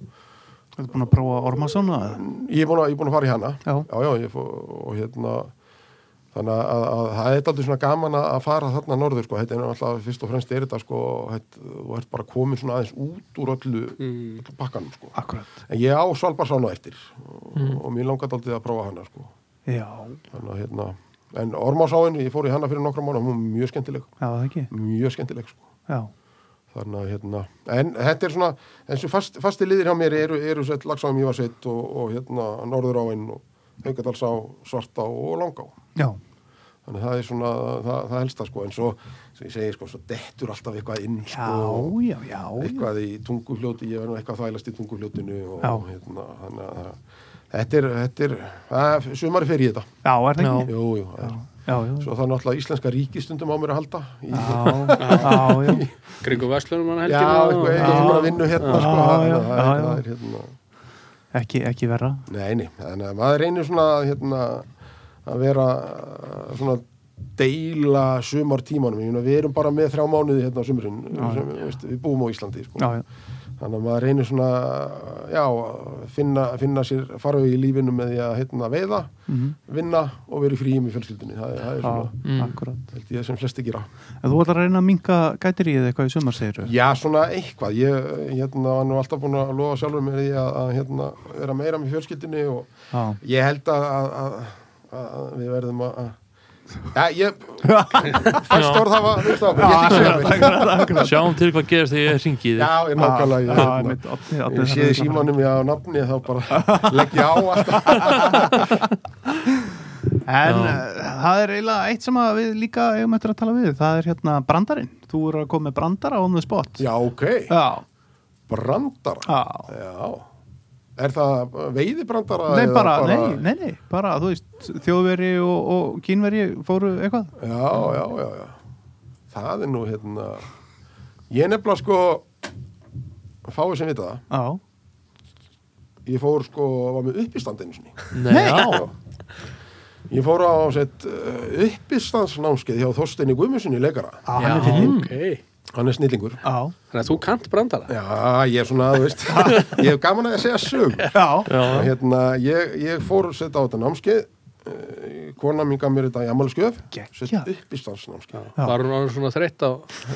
Speaker 2: Þetta búin að prófa Ormarsson að...
Speaker 1: ég er búin að, ég er búin að fara í hana
Speaker 2: Já.
Speaker 1: já, ég fó, og hérna þannig að, að það er alltaf svona gaman að að fara þarna norður sko, þetta er alltaf fyrst og fremst er þetta sko, þetta, þú ert bara komin svona aðeins út úr öllu, öllu pakkanum sko.
Speaker 2: Akkurat,
Speaker 1: en ég á Svalbard sána eftir og, og mér langar alltaf að prófa hana sko.
Speaker 2: já,
Speaker 1: þannig að hérna en ormásáin, ég fór í hana fyrir nokkra mánu hún var mjög skemmtileg,
Speaker 2: Já, það ekki.
Speaker 1: mjög skemmtileg sko.
Speaker 2: Já.
Speaker 1: þannig að hérna en þetta er svona, eins og fast, fasti liðir hjá mér eru, eru sett lagsáum Ívarsveit og, og hérna Norðuráin og Haugadalsá, Svartá og Langá
Speaker 2: Já.
Speaker 1: þannig að það er svona, það, það helsta sko en svo, sem ég segi sko, svo dettur alltaf eitthvað inn
Speaker 2: Já,
Speaker 1: sko,
Speaker 2: já, já. já.
Speaker 1: eitthvað í tungufljóti, ég verður nú eitthvað að þvælast í tungufljótinu og
Speaker 2: Já.
Speaker 1: hérna, þannig að það- þetta er, þetta er, að, sumari fer í þetta
Speaker 2: Já, er það ekki?
Speaker 1: jú, jú, það er.
Speaker 2: Já, já.
Speaker 1: svo það er náttúrulega íslenska ríkistundum á mér að halda í,
Speaker 2: Já, já, já.
Speaker 4: Kringu verslunum hann
Speaker 1: já,
Speaker 4: helgina
Speaker 1: eitthvað,
Speaker 4: og-
Speaker 1: eitthvað svona vinnu hérna sko,
Speaker 2: Já, já,
Speaker 1: þannig að það er-
Speaker 2: já, já.
Speaker 1: það er hérna
Speaker 2: Ekki, ekki verra.
Speaker 1: nei, nei, þannig að maður reynir svona hérna, að vera uh, svona deila sumartímanum, ég meina við erum bara með þrjá mánuði hérna á sumurinn
Speaker 2: Já,
Speaker 1: sem, veist, við búum á Íslandi sko.
Speaker 2: Já, já.
Speaker 1: þannig að maður reynir svona já, að finna, finna sér farveg í lífinu með því að hérna, veiða
Speaker 2: Mhm.
Speaker 1: vinna og vera í fríum í fjölskyldinni það, er- það er
Speaker 2: Já,
Speaker 1: svona,
Speaker 3: Mm.
Speaker 2: akkurat.
Speaker 1: held ég sem flesti gera
Speaker 2: En þú ætlar að reyna að minka gætir í eitthvað í sumar, segir þú?
Speaker 1: já, svona eitthvað ég hérna, var nú alltaf búin að lofa sjálfur mér því að, að hérna, vera meira með fjölskyldinni og
Speaker 2: Já.
Speaker 1: ég held að, að, að, að við verðum að að- Já, ég, fæst orð það var, veist það, ég get ekki segja mér.
Speaker 3: Sjáum til hvað gerist þegar ég hringi í þig.
Speaker 1: Já, ég nákvæmlega, ég,
Speaker 2: Já,
Speaker 1: hérna,
Speaker 2: einmitt, Árni- Árni
Speaker 1: ég
Speaker 2: þarf
Speaker 1: séði
Speaker 2: að-
Speaker 1: símanum ég á nafni þá bara legg ég á alltaf.
Speaker 2: En
Speaker 3: Já.
Speaker 2: uh, það er eiginlega eitt sem að við líka eigum eftir að tala við, það er hérna brandarinn. Þú eru að koma með brandara on the spot.
Speaker 1: Já, ok,
Speaker 2: Já,
Speaker 1: brandara.
Speaker 2: já.
Speaker 1: Já, er það veiðibrandara?
Speaker 2: Nei,
Speaker 1: eða
Speaker 2: bara, nei, nei, nei, bara, þú veist, þjóðveri og, og kínveri fóru eitthvað.
Speaker 1: Já, já, já, já. Það er nú, hérna, ég nefnilega sko, fáið sem vita það,
Speaker 2: Já,
Speaker 1: ég fór sko, var með uppistand einu sinni.
Speaker 3: Nei, já.
Speaker 1: Já. Ég fór á sett uh, uppistansnámskeið hjá Þorsteini Guðmusinni leikara.
Speaker 2: já, hann er
Speaker 3: Já.
Speaker 2: fyndinn.
Speaker 4: Ok,
Speaker 1: Hann er snillingur.
Speaker 2: Já,
Speaker 4: þannig að þú kant brandara
Speaker 1: Já, ég er svona, þú veist, ég hef gaman að segja sög.
Speaker 2: já,
Speaker 1: Og
Speaker 3: Já,
Speaker 1: hérna, ég, ég fór sett á þetta námskeið, uh, kona mín gaf mér þetta í ammálskjöf,
Speaker 2: Geggjað.
Speaker 1: sett uppistansnámskeið.
Speaker 2: Já.
Speaker 4: Var hún orðin svona þreytt á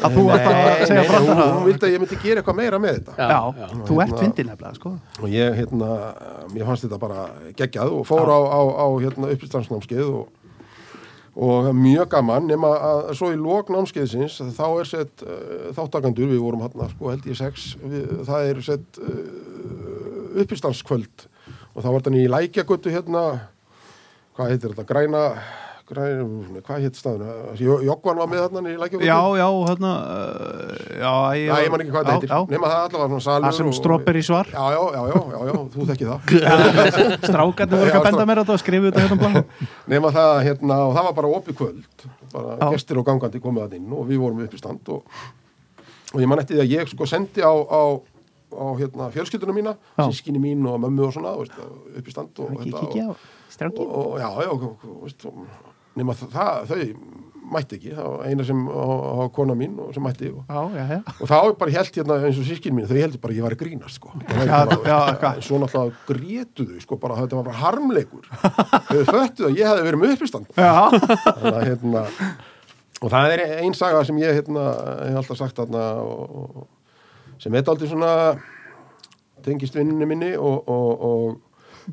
Speaker 2: að þú ert að segja
Speaker 1: hún,
Speaker 2: brandara.
Speaker 1: hún vildi að ég myndi gera eitthvað meira með þetta.
Speaker 2: Já,
Speaker 4: já.
Speaker 2: þú ert
Speaker 1: Hérna-
Speaker 2: fyndin nefnilega, sko.
Speaker 1: Og ég, hérna, mér fannst þetta bara geggjað og fór á, á, á hérna, uppistansnámskeið og, og mjög gaman, nema að svo í lok námskeiðsins, þá er sett uh, þáttakandur, við vorum hérna, sko, held ég sex, við, það er sett uh, uppistanskvöld og þá var þannig í lækjagötu hérna, hvað heitir þetta, græna, græna, hvað heitir staðuna, Jokvan var með þarna í lækjagötu.
Speaker 2: Já, já, hérna, uh, já, ég...
Speaker 1: Já, ég man ekki hvað
Speaker 2: já,
Speaker 1: þetta heitir,
Speaker 2: Já,
Speaker 1: nema það allavega svona salur
Speaker 2: það sem
Speaker 1: og-
Speaker 2: stróperi svar.
Speaker 1: Já, já, já, já, já, já, þú þekki það.
Speaker 2: Strákarnir voru
Speaker 1: Já,
Speaker 2: ekki að benda
Speaker 1: strá-
Speaker 2: mér á þetta og skrifu þetta hérna um blá.
Speaker 1: nema það, hérna, og það var bara opið kvöld bara
Speaker 2: Já.
Speaker 1: gestir og gangandi komið að inn og við vorum upp í stand og, og ég man eftir því að ég sko sendi á, á, á hérna, fjölskyldunum mína
Speaker 2: Já.
Speaker 1: sískinni mín og mömmu og svona þú veist, upp í stand og,
Speaker 2: Ekki
Speaker 1: þetta,
Speaker 2: kíkja á strákin.
Speaker 1: og, og já, já, og, og, veist, og nema það, það, þau mætti ekki, það var eina sem á, á kona mín og sem mætti og,
Speaker 2: Já, já, já.
Speaker 1: og þá er bara held hérna eins og sískinn mín þau heldur bara að ég var að grínast sko já,
Speaker 2: já,
Speaker 1: bara,
Speaker 2: hvað?
Speaker 1: en svo náttúrulega grétu þau sko bara þetta var bara harmleikur þau föttu að ég hefði verið með uppistand
Speaker 2: Já,
Speaker 1: þannig að hérna og það er ein saga sem ég hérna hef alltaf sagt þarna og, og, sem er aldrei svona tengist vinninni minni og, og, og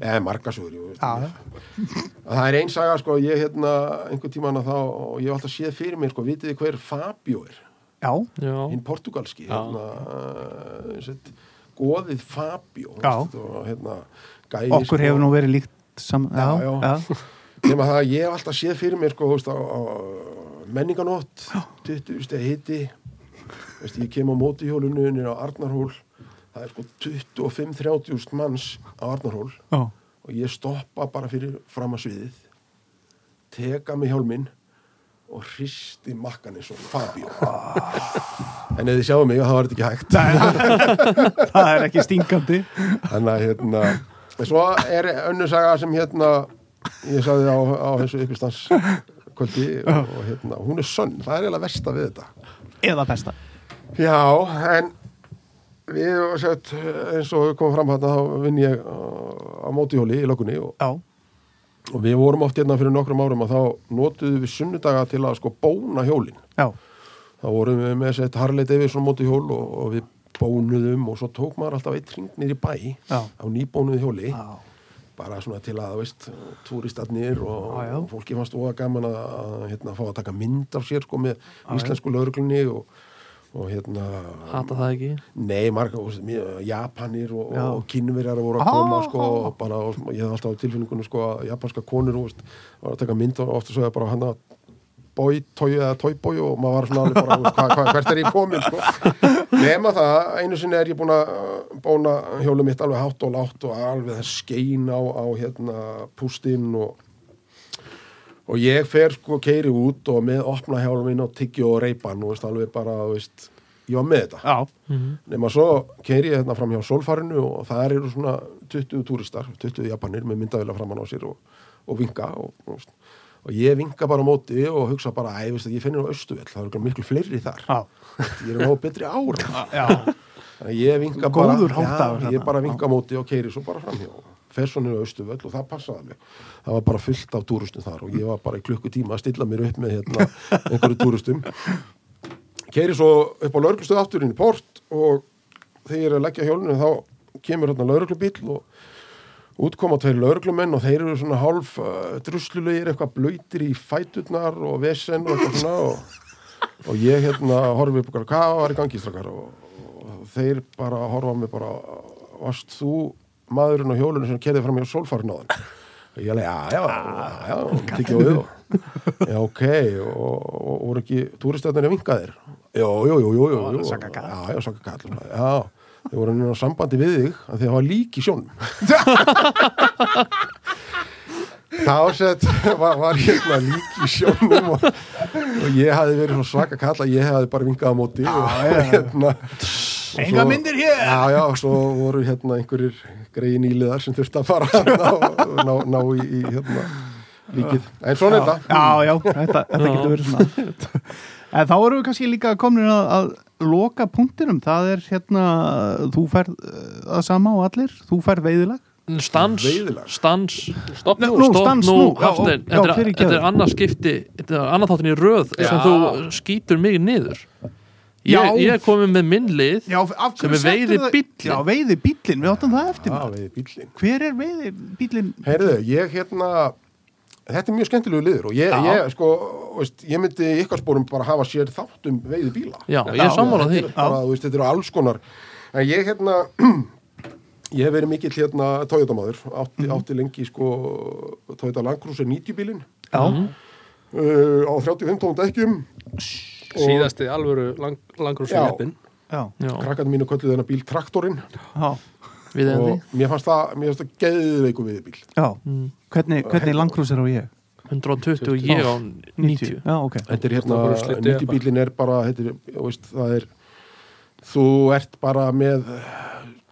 Speaker 1: eða markasögur jú, veist.
Speaker 2: Já.
Speaker 1: Að það er ein saga sko ég hérna einhvern tíman að þá og ég hef alltaf séð fyrir mér sko vitið þið hver Fabio er
Speaker 2: já,
Speaker 3: já.
Speaker 1: hinn portugalski hérna, uh, sett, goðið Fabio
Speaker 2: Já.
Speaker 1: veist, og, hérna, gæði,
Speaker 2: okkur hefur nú verið líkt saman.
Speaker 1: Já, já.
Speaker 2: sko- já.
Speaker 1: nema það að ég hef alltaf séð fyrir mér sko, þú veist, á, á menninganótt 20 steg hiti veist, ég kem á mótihjólinu niður á Arnarhól það er sko 25-30 manns á Arnarhól
Speaker 2: já.
Speaker 1: og ég stoppa bara fyrir fram að sviðið teka mig hjálminn og hristi makkan eins og Fabio en ef þið sjáum mig þá var þetta ekki hægt
Speaker 2: það er ekki stingandi
Speaker 1: Þannig að hérna Svo er önnur saga sem hérna Ég sagði á, á þessu uppistans kvöldi og, og hérna Hún er sönn, það er eiginlega versta við þetta
Speaker 2: eða besta
Speaker 1: Já, en Við og sett eins og við komum fram hérna þá vinn ég uh, á mótihjóli í lökunni og,
Speaker 2: já,
Speaker 1: og við vorum oft hérna fyrir nokkrum árum að þá notuðum við sunnudaga til að sko bóna hjólin
Speaker 2: já,
Speaker 1: þá vorum við með sett Harley Davidson mótihjól og, og við bónuðum og svo tók maður alltaf eitt hring niður í bæ
Speaker 2: Já.
Speaker 1: á nýbónuð hjóli
Speaker 2: já.
Speaker 1: bara svona til að, þú veist, túristarnir og,
Speaker 2: Já, já.
Speaker 1: og fólki fannst óa gaman að, að hérna, fá að taka mynd af sér sko, með íslensku lauruglunni og, og hérna
Speaker 3: hata það ekki
Speaker 1: nei, marga, þú veist, mér- Japanir og,
Speaker 2: Já.
Speaker 1: og kynverjar voru að
Speaker 2: Ah,
Speaker 1: koma sko,
Speaker 2: ah, ah.
Speaker 1: og bara, og, ég hef alltaf á tilfinningunum sko, að japanska konur þú veist, var að taka mynd og ofta svo bara hann að bói, tói eða tóibói og maður var svona alveg bara, þú veist, hva, hva, hvert er ég komin sko. nema það, einu sinni er ég búin að uh, bóna hjólum mitt alveg hátt og látt og alveg það skein á, á hérna, pústinn og og ég fer sko keiri út og með opna hjálum inn á tyggju og reipan og veist, alveg bara, þú veist, ég var með þetta
Speaker 2: Já,
Speaker 1: nema svo keiri ég hérna fram hjá sólfarinu og það eru svona 20 túristar, 20 japanir með myndavila framann á sér og, og vinka og, og, og ég vinka bara á móti og hugsa bara, æ, veist, ég finnir á austuvel það eru örugglega miklu fleiri þar
Speaker 2: já,
Speaker 1: ég er á betri ára
Speaker 2: já,
Speaker 1: Þannig að ég vinka bara,
Speaker 2: Góður háttur
Speaker 1: já,
Speaker 2: þarna.
Speaker 1: ég bara vinka á móti og keiri svo bara fram hjá fer svo niður á austuvel og það passaði mig það var bara fullt af túristum þar og ég var bara í klukkutíma að stilla mér upp með hérna, einhverju túristum keiri svo upp á lauruglustöð aftur inn í port og þegar ég er að leggja hjólinu þá kemur hérna lauruglubíl og útkoma tveir lauruglumenn og þeir eru svona hálf uh, druslulegir, eitthvað blöytir í fæturnar og vesen og eitthvað svona og, og ég hérna horfi upp okkar, hvað var í gangi strakkar og, og þeir bara horfa á mig bara varst þú maðurinn á hjólinu sem kerði fram í sólfarnáðan og ég alveg, já, já, já, já tekið á við og já, ok, og, og voru ekki túristöðnir að vinka þér? Jó, jó, jó, jó, jó, jó.
Speaker 2: Saka kall.
Speaker 1: Já, já, saka kall, já, þau voru nýna sambandi við þig að þið hafa lík í sjónum. Þá sett var, var hérna lík í sjónum og, og ég hafði verið svo svaka kall að ég hafði bara vingað á móti og hérna og
Speaker 2: Enga
Speaker 1: svo-
Speaker 2: myndir hér!
Speaker 1: Já, já, og svo voru hérna einhverjir greiði nýliðar sem þurfti að fara að ná, ná, ná í, í hérna líkið. En svona er þetta.
Speaker 2: já, já, þetta, þetta getur verið svona En þá erum við kannski líka komin að, að loka punktinum, það er hérna þú færð eh, það sama og allir þú færð veiðilag
Speaker 3: stans,
Speaker 1: Veiðilag.
Speaker 3: stans
Speaker 4: Stopp
Speaker 2: Nú,
Speaker 4: nú
Speaker 2: nú, stans
Speaker 3: nú,
Speaker 2: nú, já,
Speaker 3: Hafstein,
Speaker 2: já,
Speaker 3: þetta er,
Speaker 2: fyrirgefðu.
Speaker 3: þetta er annað skipti þetta er annað þáttin í röð sem
Speaker 4: Já.
Speaker 3: þú skýtur mig niður
Speaker 2: Já.
Speaker 3: ég, ég er komið með minn lið
Speaker 2: af
Speaker 3: Sem
Speaker 2: settirðu
Speaker 3: er
Speaker 2: það-
Speaker 3: veiðibíllinn.
Speaker 2: Já, veiðibíllinn, við áttum það eftir
Speaker 1: Já,
Speaker 2: maður.
Speaker 1: við bílinn.
Speaker 2: Hver er veiðibíllinn?
Speaker 1: Heyrðu, ég hérna þetta er mjög skemmtilegu liður og ég,
Speaker 2: Já.
Speaker 1: ég sko, veist, ég myndi í ykkar spórum bara hafa sér þátt um veiði bíla
Speaker 3: já, ég er sammála því
Speaker 1: Þetta er bara, þú veist, þetta eru alls konar en ég hérna ég hef verið mikill hérna Toyota-maður átti,
Speaker 3: Mhm.
Speaker 1: átti lengi sko Toyota Land Cruiser 90 bílinn
Speaker 2: Já,
Speaker 3: Mhm.
Speaker 1: uh, á 35 tónum dekkjum
Speaker 4: Síðasti alvöru lang, langur
Speaker 1: Já.
Speaker 4: sveppin
Speaker 2: já,
Speaker 3: já,
Speaker 1: krakkarnir mínu kölluðu þennan bíl traktorinn
Speaker 2: já,
Speaker 3: við erum
Speaker 1: og mér fannst það, mér fannst það geðveiku veiði bíl
Speaker 2: já.
Speaker 3: Mhm.
Speaker 2: Hvernig, hvernig langrúsir á ég?
Speaker 3: því 120 og ég á 90
Speaker 2: Já, ok
Speaker 1: Þetta er hérna,
Speaker 4: Þetta er bara slitið eða bara?
Speaker 1: nýtibílin er bara, þetta er, þú veist, það er, þú ert bara með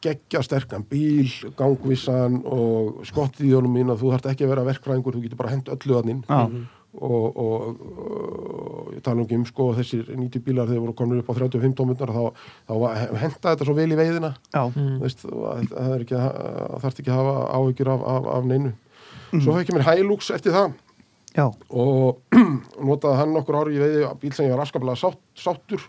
Speaker 1: geggja sterkan bíl, gangvissan og skottíðjónum mín að þú þarft ekki að vera verkfræðingur, þú getur bara hent öllu að inn
Speaker 2: Já,
Speaker 1: og, og, og ég tala ekki um sko þessir nýtibílar þegar voru komin upp á 35 tómundar þá, þá var- henta þetta svo vel í veiðina,
Speaker 2: já,
Speaker 1: þú veist, þú- að- það er ekki, að- að þarft ekki að hafa áhyggjur af, af, af neinu. Svo hef ekki mér hælúks eftir það
Speaker 2: já,
Speaker 1: og notaði hann nokkur ári í veiði á bíl sem ég var afskaplega sátt, sáttur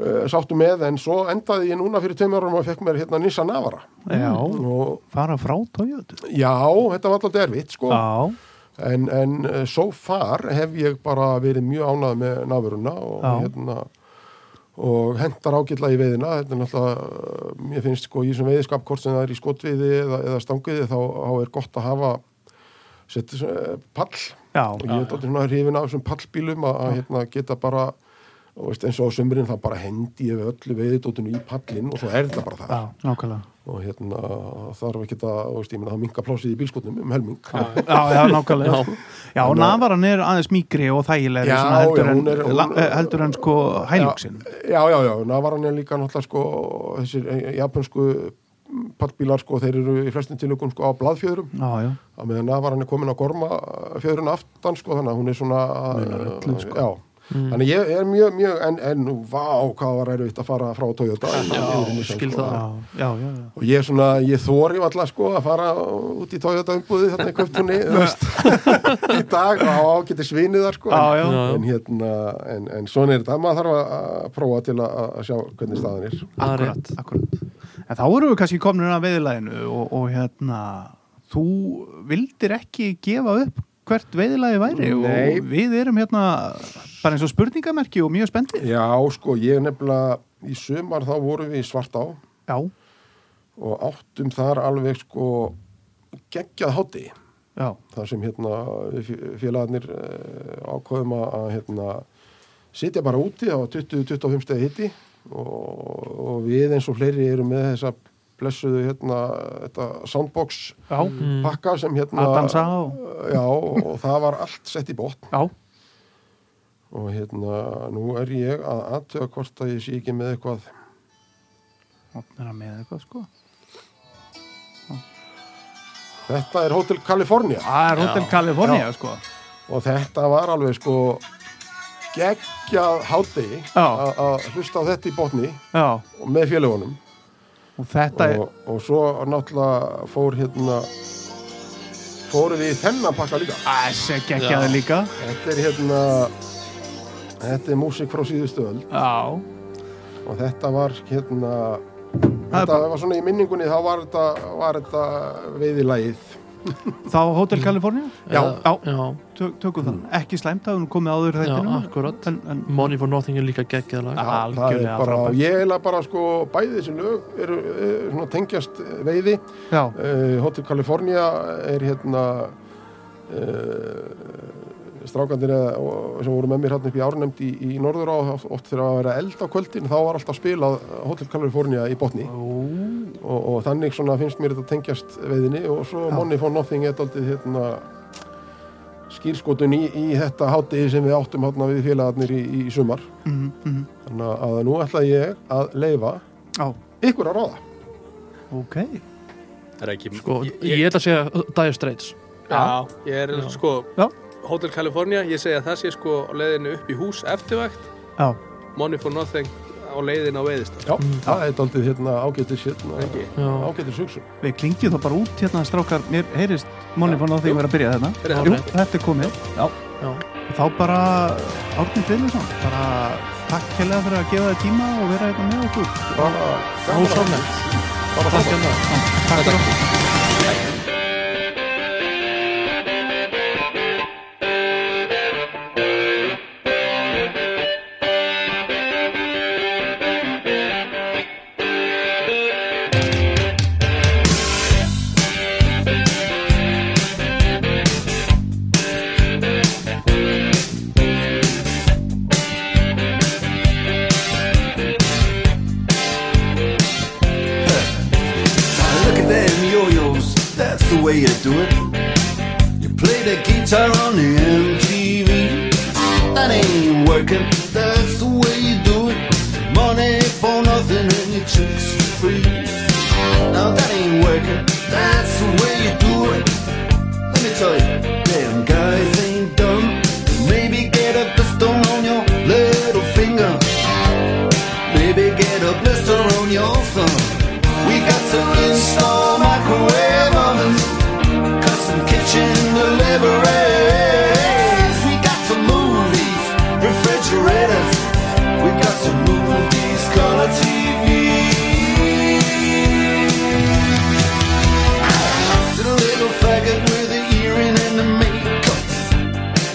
Speaker 1: uh, sáttur með en svo endaði ég núna fyrir tveim árum og fekk mér hérna Nissan Navara
Speaker 2: já
Speaker 1: og
Speaker 2: Fara frá Toyota
Speaker 1: já, þetta var alltaf erfitt sko
Speaker 2: Já,
Speaker 1: en, en eh, so far hef ég bara verið mjög ánað með Navaruna og
Speaker 2: Já.
Speaker 1: hérna og hendar ágætla í veiðina þetta er náttúrulega, eh, mér finnst sko í þessum veiðskap hvort sem það er í skotviði eða, eða stanguði þá, þá er gott að hafa sett eh, pall
Speaker 2: já,
Speaker 1: og ég er dálítið svona hrifin af þessum pallbílum að, að hérna, geta bara og veist, eins og á sömurinn það bara hendi ef öllu veiðdóttinu í pallin og svo er það bara það
Speaker 2: já, nákvæmlega
Speaker 1: og hérna þarf ekki að, og veist, ég meina það minka plásið í bílskotnum um helming
Speaker 2: Já, já, nákvæmlega Já, navaran er aðeins mýgri og þægilegri
Speaker 1: Já,
Speaker 2: svona heldur
Speaker 1: já,
Speaker 2: en-
Speaker 1: hún er- hún-
Speaker 2: la- eh, heldur en sko hælugsin
Speaker 1: já, já, já, navaran er líka náttúrulega sko þessir eh, japansku pallbílar sko, þeir eru í flestum tilökum sko á blaðfjöðrum
Speaker 2: Já, já,
Speaker 1: að meðan navaran er komin á gorma fjöðrun aftan sko þannig að hún er svona munar öllu sko já. þannig ég er mjög, mjög en, en nú, vá, hvað var erfitt að fara frá Toyota já,
Speaker 3: skil það.
Speaker 2: já, já, já, já.
Speaker 1: sko. og ég er svona, ég þóri alltaf sko að fara út í Toyota umbúði þarna í köptunni þú veist, í dag og ágæti svinið þar sko
Speaker 2: Já, já.
Speaker 1: en, en hérna, en, en svona er þetta maður þarf að- að prófa til að, að sjá hvernig staðan er
Speaker 3: Það er
Speaker 2: Akkurat, akkurat En þá erum við kannski komnir að veiðilæginu og, og hérna þú vildir ekki gefa upp hvert veiðilagi væri
Speaker 1: Nei.
Speaker 2: og við erum hérna bara eins og spurningamerki og mjög spendið
Speaker 1: Já, sko, ég nefnilega í sumar þá vorum við í Svartá
Speaker 2: Já,
Speaker 1: og áttum þar alveg sko geggjað hátti
Speaker 2: já,
Speaker 1: þar sem hérna við fé- félagarnir eh, ákvaðum að að, hérna sitja bara úti á 20-25 stegi hitti og, og við eins og fleiri erum með þessa blessuðu hérna þetta soundbox
Speaker 2: já,
Speaker 1: pakka sem hérna
Speaker 2: Að dansa á.
Speaker 1: Já, og það var allt sett í botn
Speaker 2: já
Speaker 1: og hérna nú er ég að aðtöga hvort að ég sé ekki með eitthvað
Speaker 2: Opnar hann með eitthvað sko
Speaker 1: Þetta er Hotel California
Speaker 2: Það Ah, er Hotel California sko
Speaker 1: og þetta var alveg sko geggjað hátegi
Speaker 2: Já.
Speaker 1: að að hlusta á þetta í botni
Speaker 2: Já,
Speaker 1: og með félagunum
Speaker 2: og þetta er
Speaker 1: og, og svo náttúrulega fór hérna fórum við í þennan pakka líka
Speaker 2: Æssi geggjaði líka
Speaker 1: þetta er hérna þetta er músík frá síðustu öll
Speaker 2: Já,
Speaker 1: og þetta var hérna
Speaker 2: Það er
Speaker 1: þetta var svona í minningunni þá var þetta, var þetta veiðilægið
Speaker 2: þá Hotel California
Speaker 1: Já.
Speaker 2: já,
Speaker 3: já.
Speaker 2: tök, tökum það, ekki slæmt að hún komið áður
Speaker 3: Já,
Speaker 2: þetta
Speaker 3: akkurat.
Speaker 2: en, en,
Speaker 3: Money for Nothing er líka geggjaðlag
Speaker 2: Já.
Speaker 1: Já, það er
Speaker 2: Algjörlega
Speaker 1: bara,
Speaker 2: frábært.
Speaker 1: ég heila bara sko bæði þessi lög eru, eru svona tengjast veiði
Speaker 2: já,
Speaker 1: uh, Hotel California er hérna uh, strákandir eða- eh, og- sem voru með mér hérna upp í árnefnd í, í norður á oft þegar að vera eld á kvöldin þá var alltaf spilað Hotel California í botni og, og þannig svona finnst mér þetta tengjast veiðinni og svo Money for Nothing er daldið hérna skýrskotun í, í þetta hátiði sem við áttum hérna við félagarnir í, í sumar
Speaker 2: mhm, mhm,
Speaker 1: Þannig að nú ætla ég að leifa
Speaker 2: já,
Speaker 1: ykkur að ráða.
Speaker 2: ok
Speaker 4: Það er ekki
Speaker 3: sko, ég, ég ætla að segja Dire Straits
Speaker 4: Já, ég er sko
Speaker 2: Já.
Speaker 4: Hotel California, ég segi að það sé sko á leiðinu upp í hús eftirvægt
Speaker 2: já,
Speaker 4: Money for Nothing á leiðinu á veiðist
Speaker 1: Já, það er daldið hérna ágættis hérna,
Speaker 4: Ekki,
Speaker 3: já.
Speaker 1: ágættis hugsun.
Speaker 2: við klingjum það bara út hérna strákar, mér heyrist Móni fann á því að vera að byrja
Speaker 4: Byrja
Speaker 2: þetta
Speaker 4: þarna.
Speaker 2: Jú, þetta er komið, já
Speaker 3: já.
Speaker 2: þá bara Árni Friðlisson, bara takk hérlega fyrir að gefa þér tíma og vera hérna með okkur
Speaker 1: Bara,
Speaker 3: Ósálegt.
Speaker 1: bara
Speaker 3: Takk
Speaker 1: þarna.
Speaker 3: hérna
Speaker 2: takk fyrir
Speaker 6: Look at them yo-yos, that's the way you do it. You play the guitar on the MTV. That ain't working, that's the way you do it. Money for nothing and your chicks for free. Now that ain't working, that's the way you do it. Let me tell you, damn guys ain't dumb. Maybe get a pistol on your little finger. Baby, get a blister on your thumb. We got to install microwave ovens, custom kitchen deliveries. We got some movies, refrigerators. We got some movies, color TV. To the little faggot with the earring and the makeup.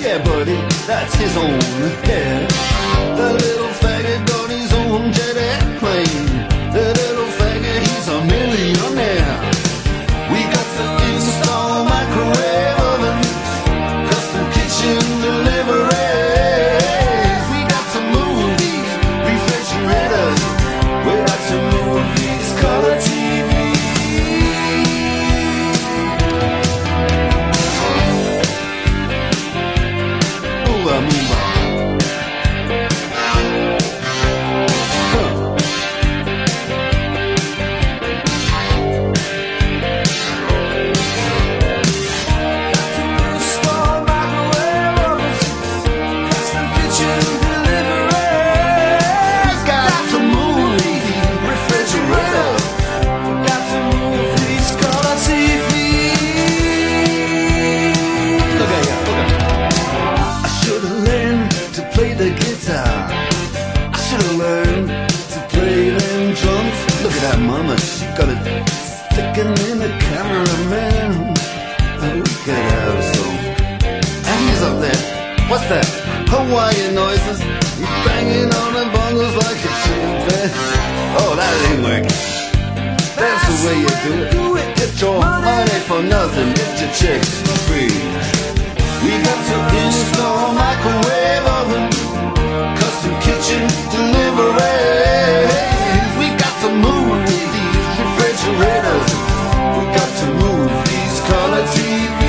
Speaker 6: Yeah, buddy, that's his own hair. The little faggot got his own jet airplane. The little faggot, he's a millionaire. We got to install microwave oven, custom kitchen deliveries. We got some movies, refrigerators. We got some movies, color TV. Ooh, I'm in love. Hawaiian noises. He's banging on the bongos like a chimpanzee. Oh, that ain't working. That's the way you do it. Get your money for nothing. Get your chicks for free. We got to install a microwave oven, custom kitchen deliveries. We got to move these refrigerators. We got to move these color TVs.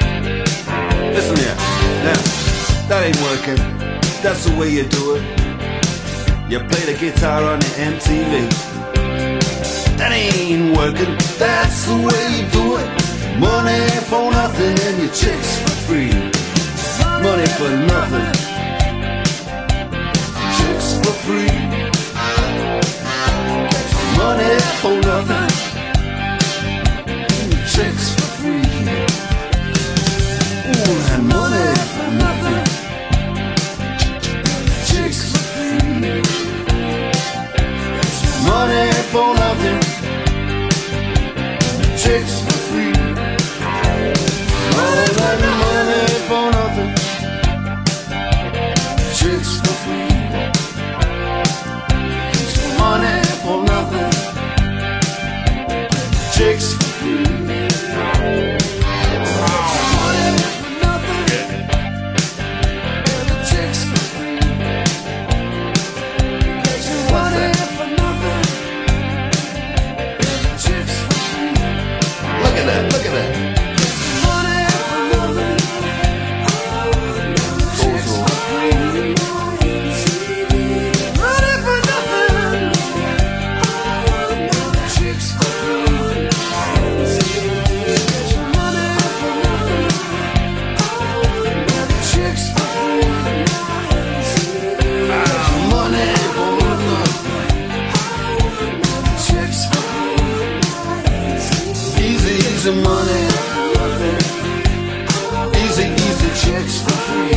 Speaker 6: Listen here. Now, that ain't working. That's the way you do it. You play the guitar on the MTV. That ain't working. That's the way you do it. Money for nothing and your chicks for free. Money for nothing. Chicks for free. Money for nothing. Chicks for free. Ooh, and money for nothing. Chicks for free. Money for nothing. Chicks for free. All that money for nothing. Chicks for free. Money for nothing. Chicks for free. Look at that, look at that. Money for nothing. Chicks for Easy, easy money. Easy, easy checks for free.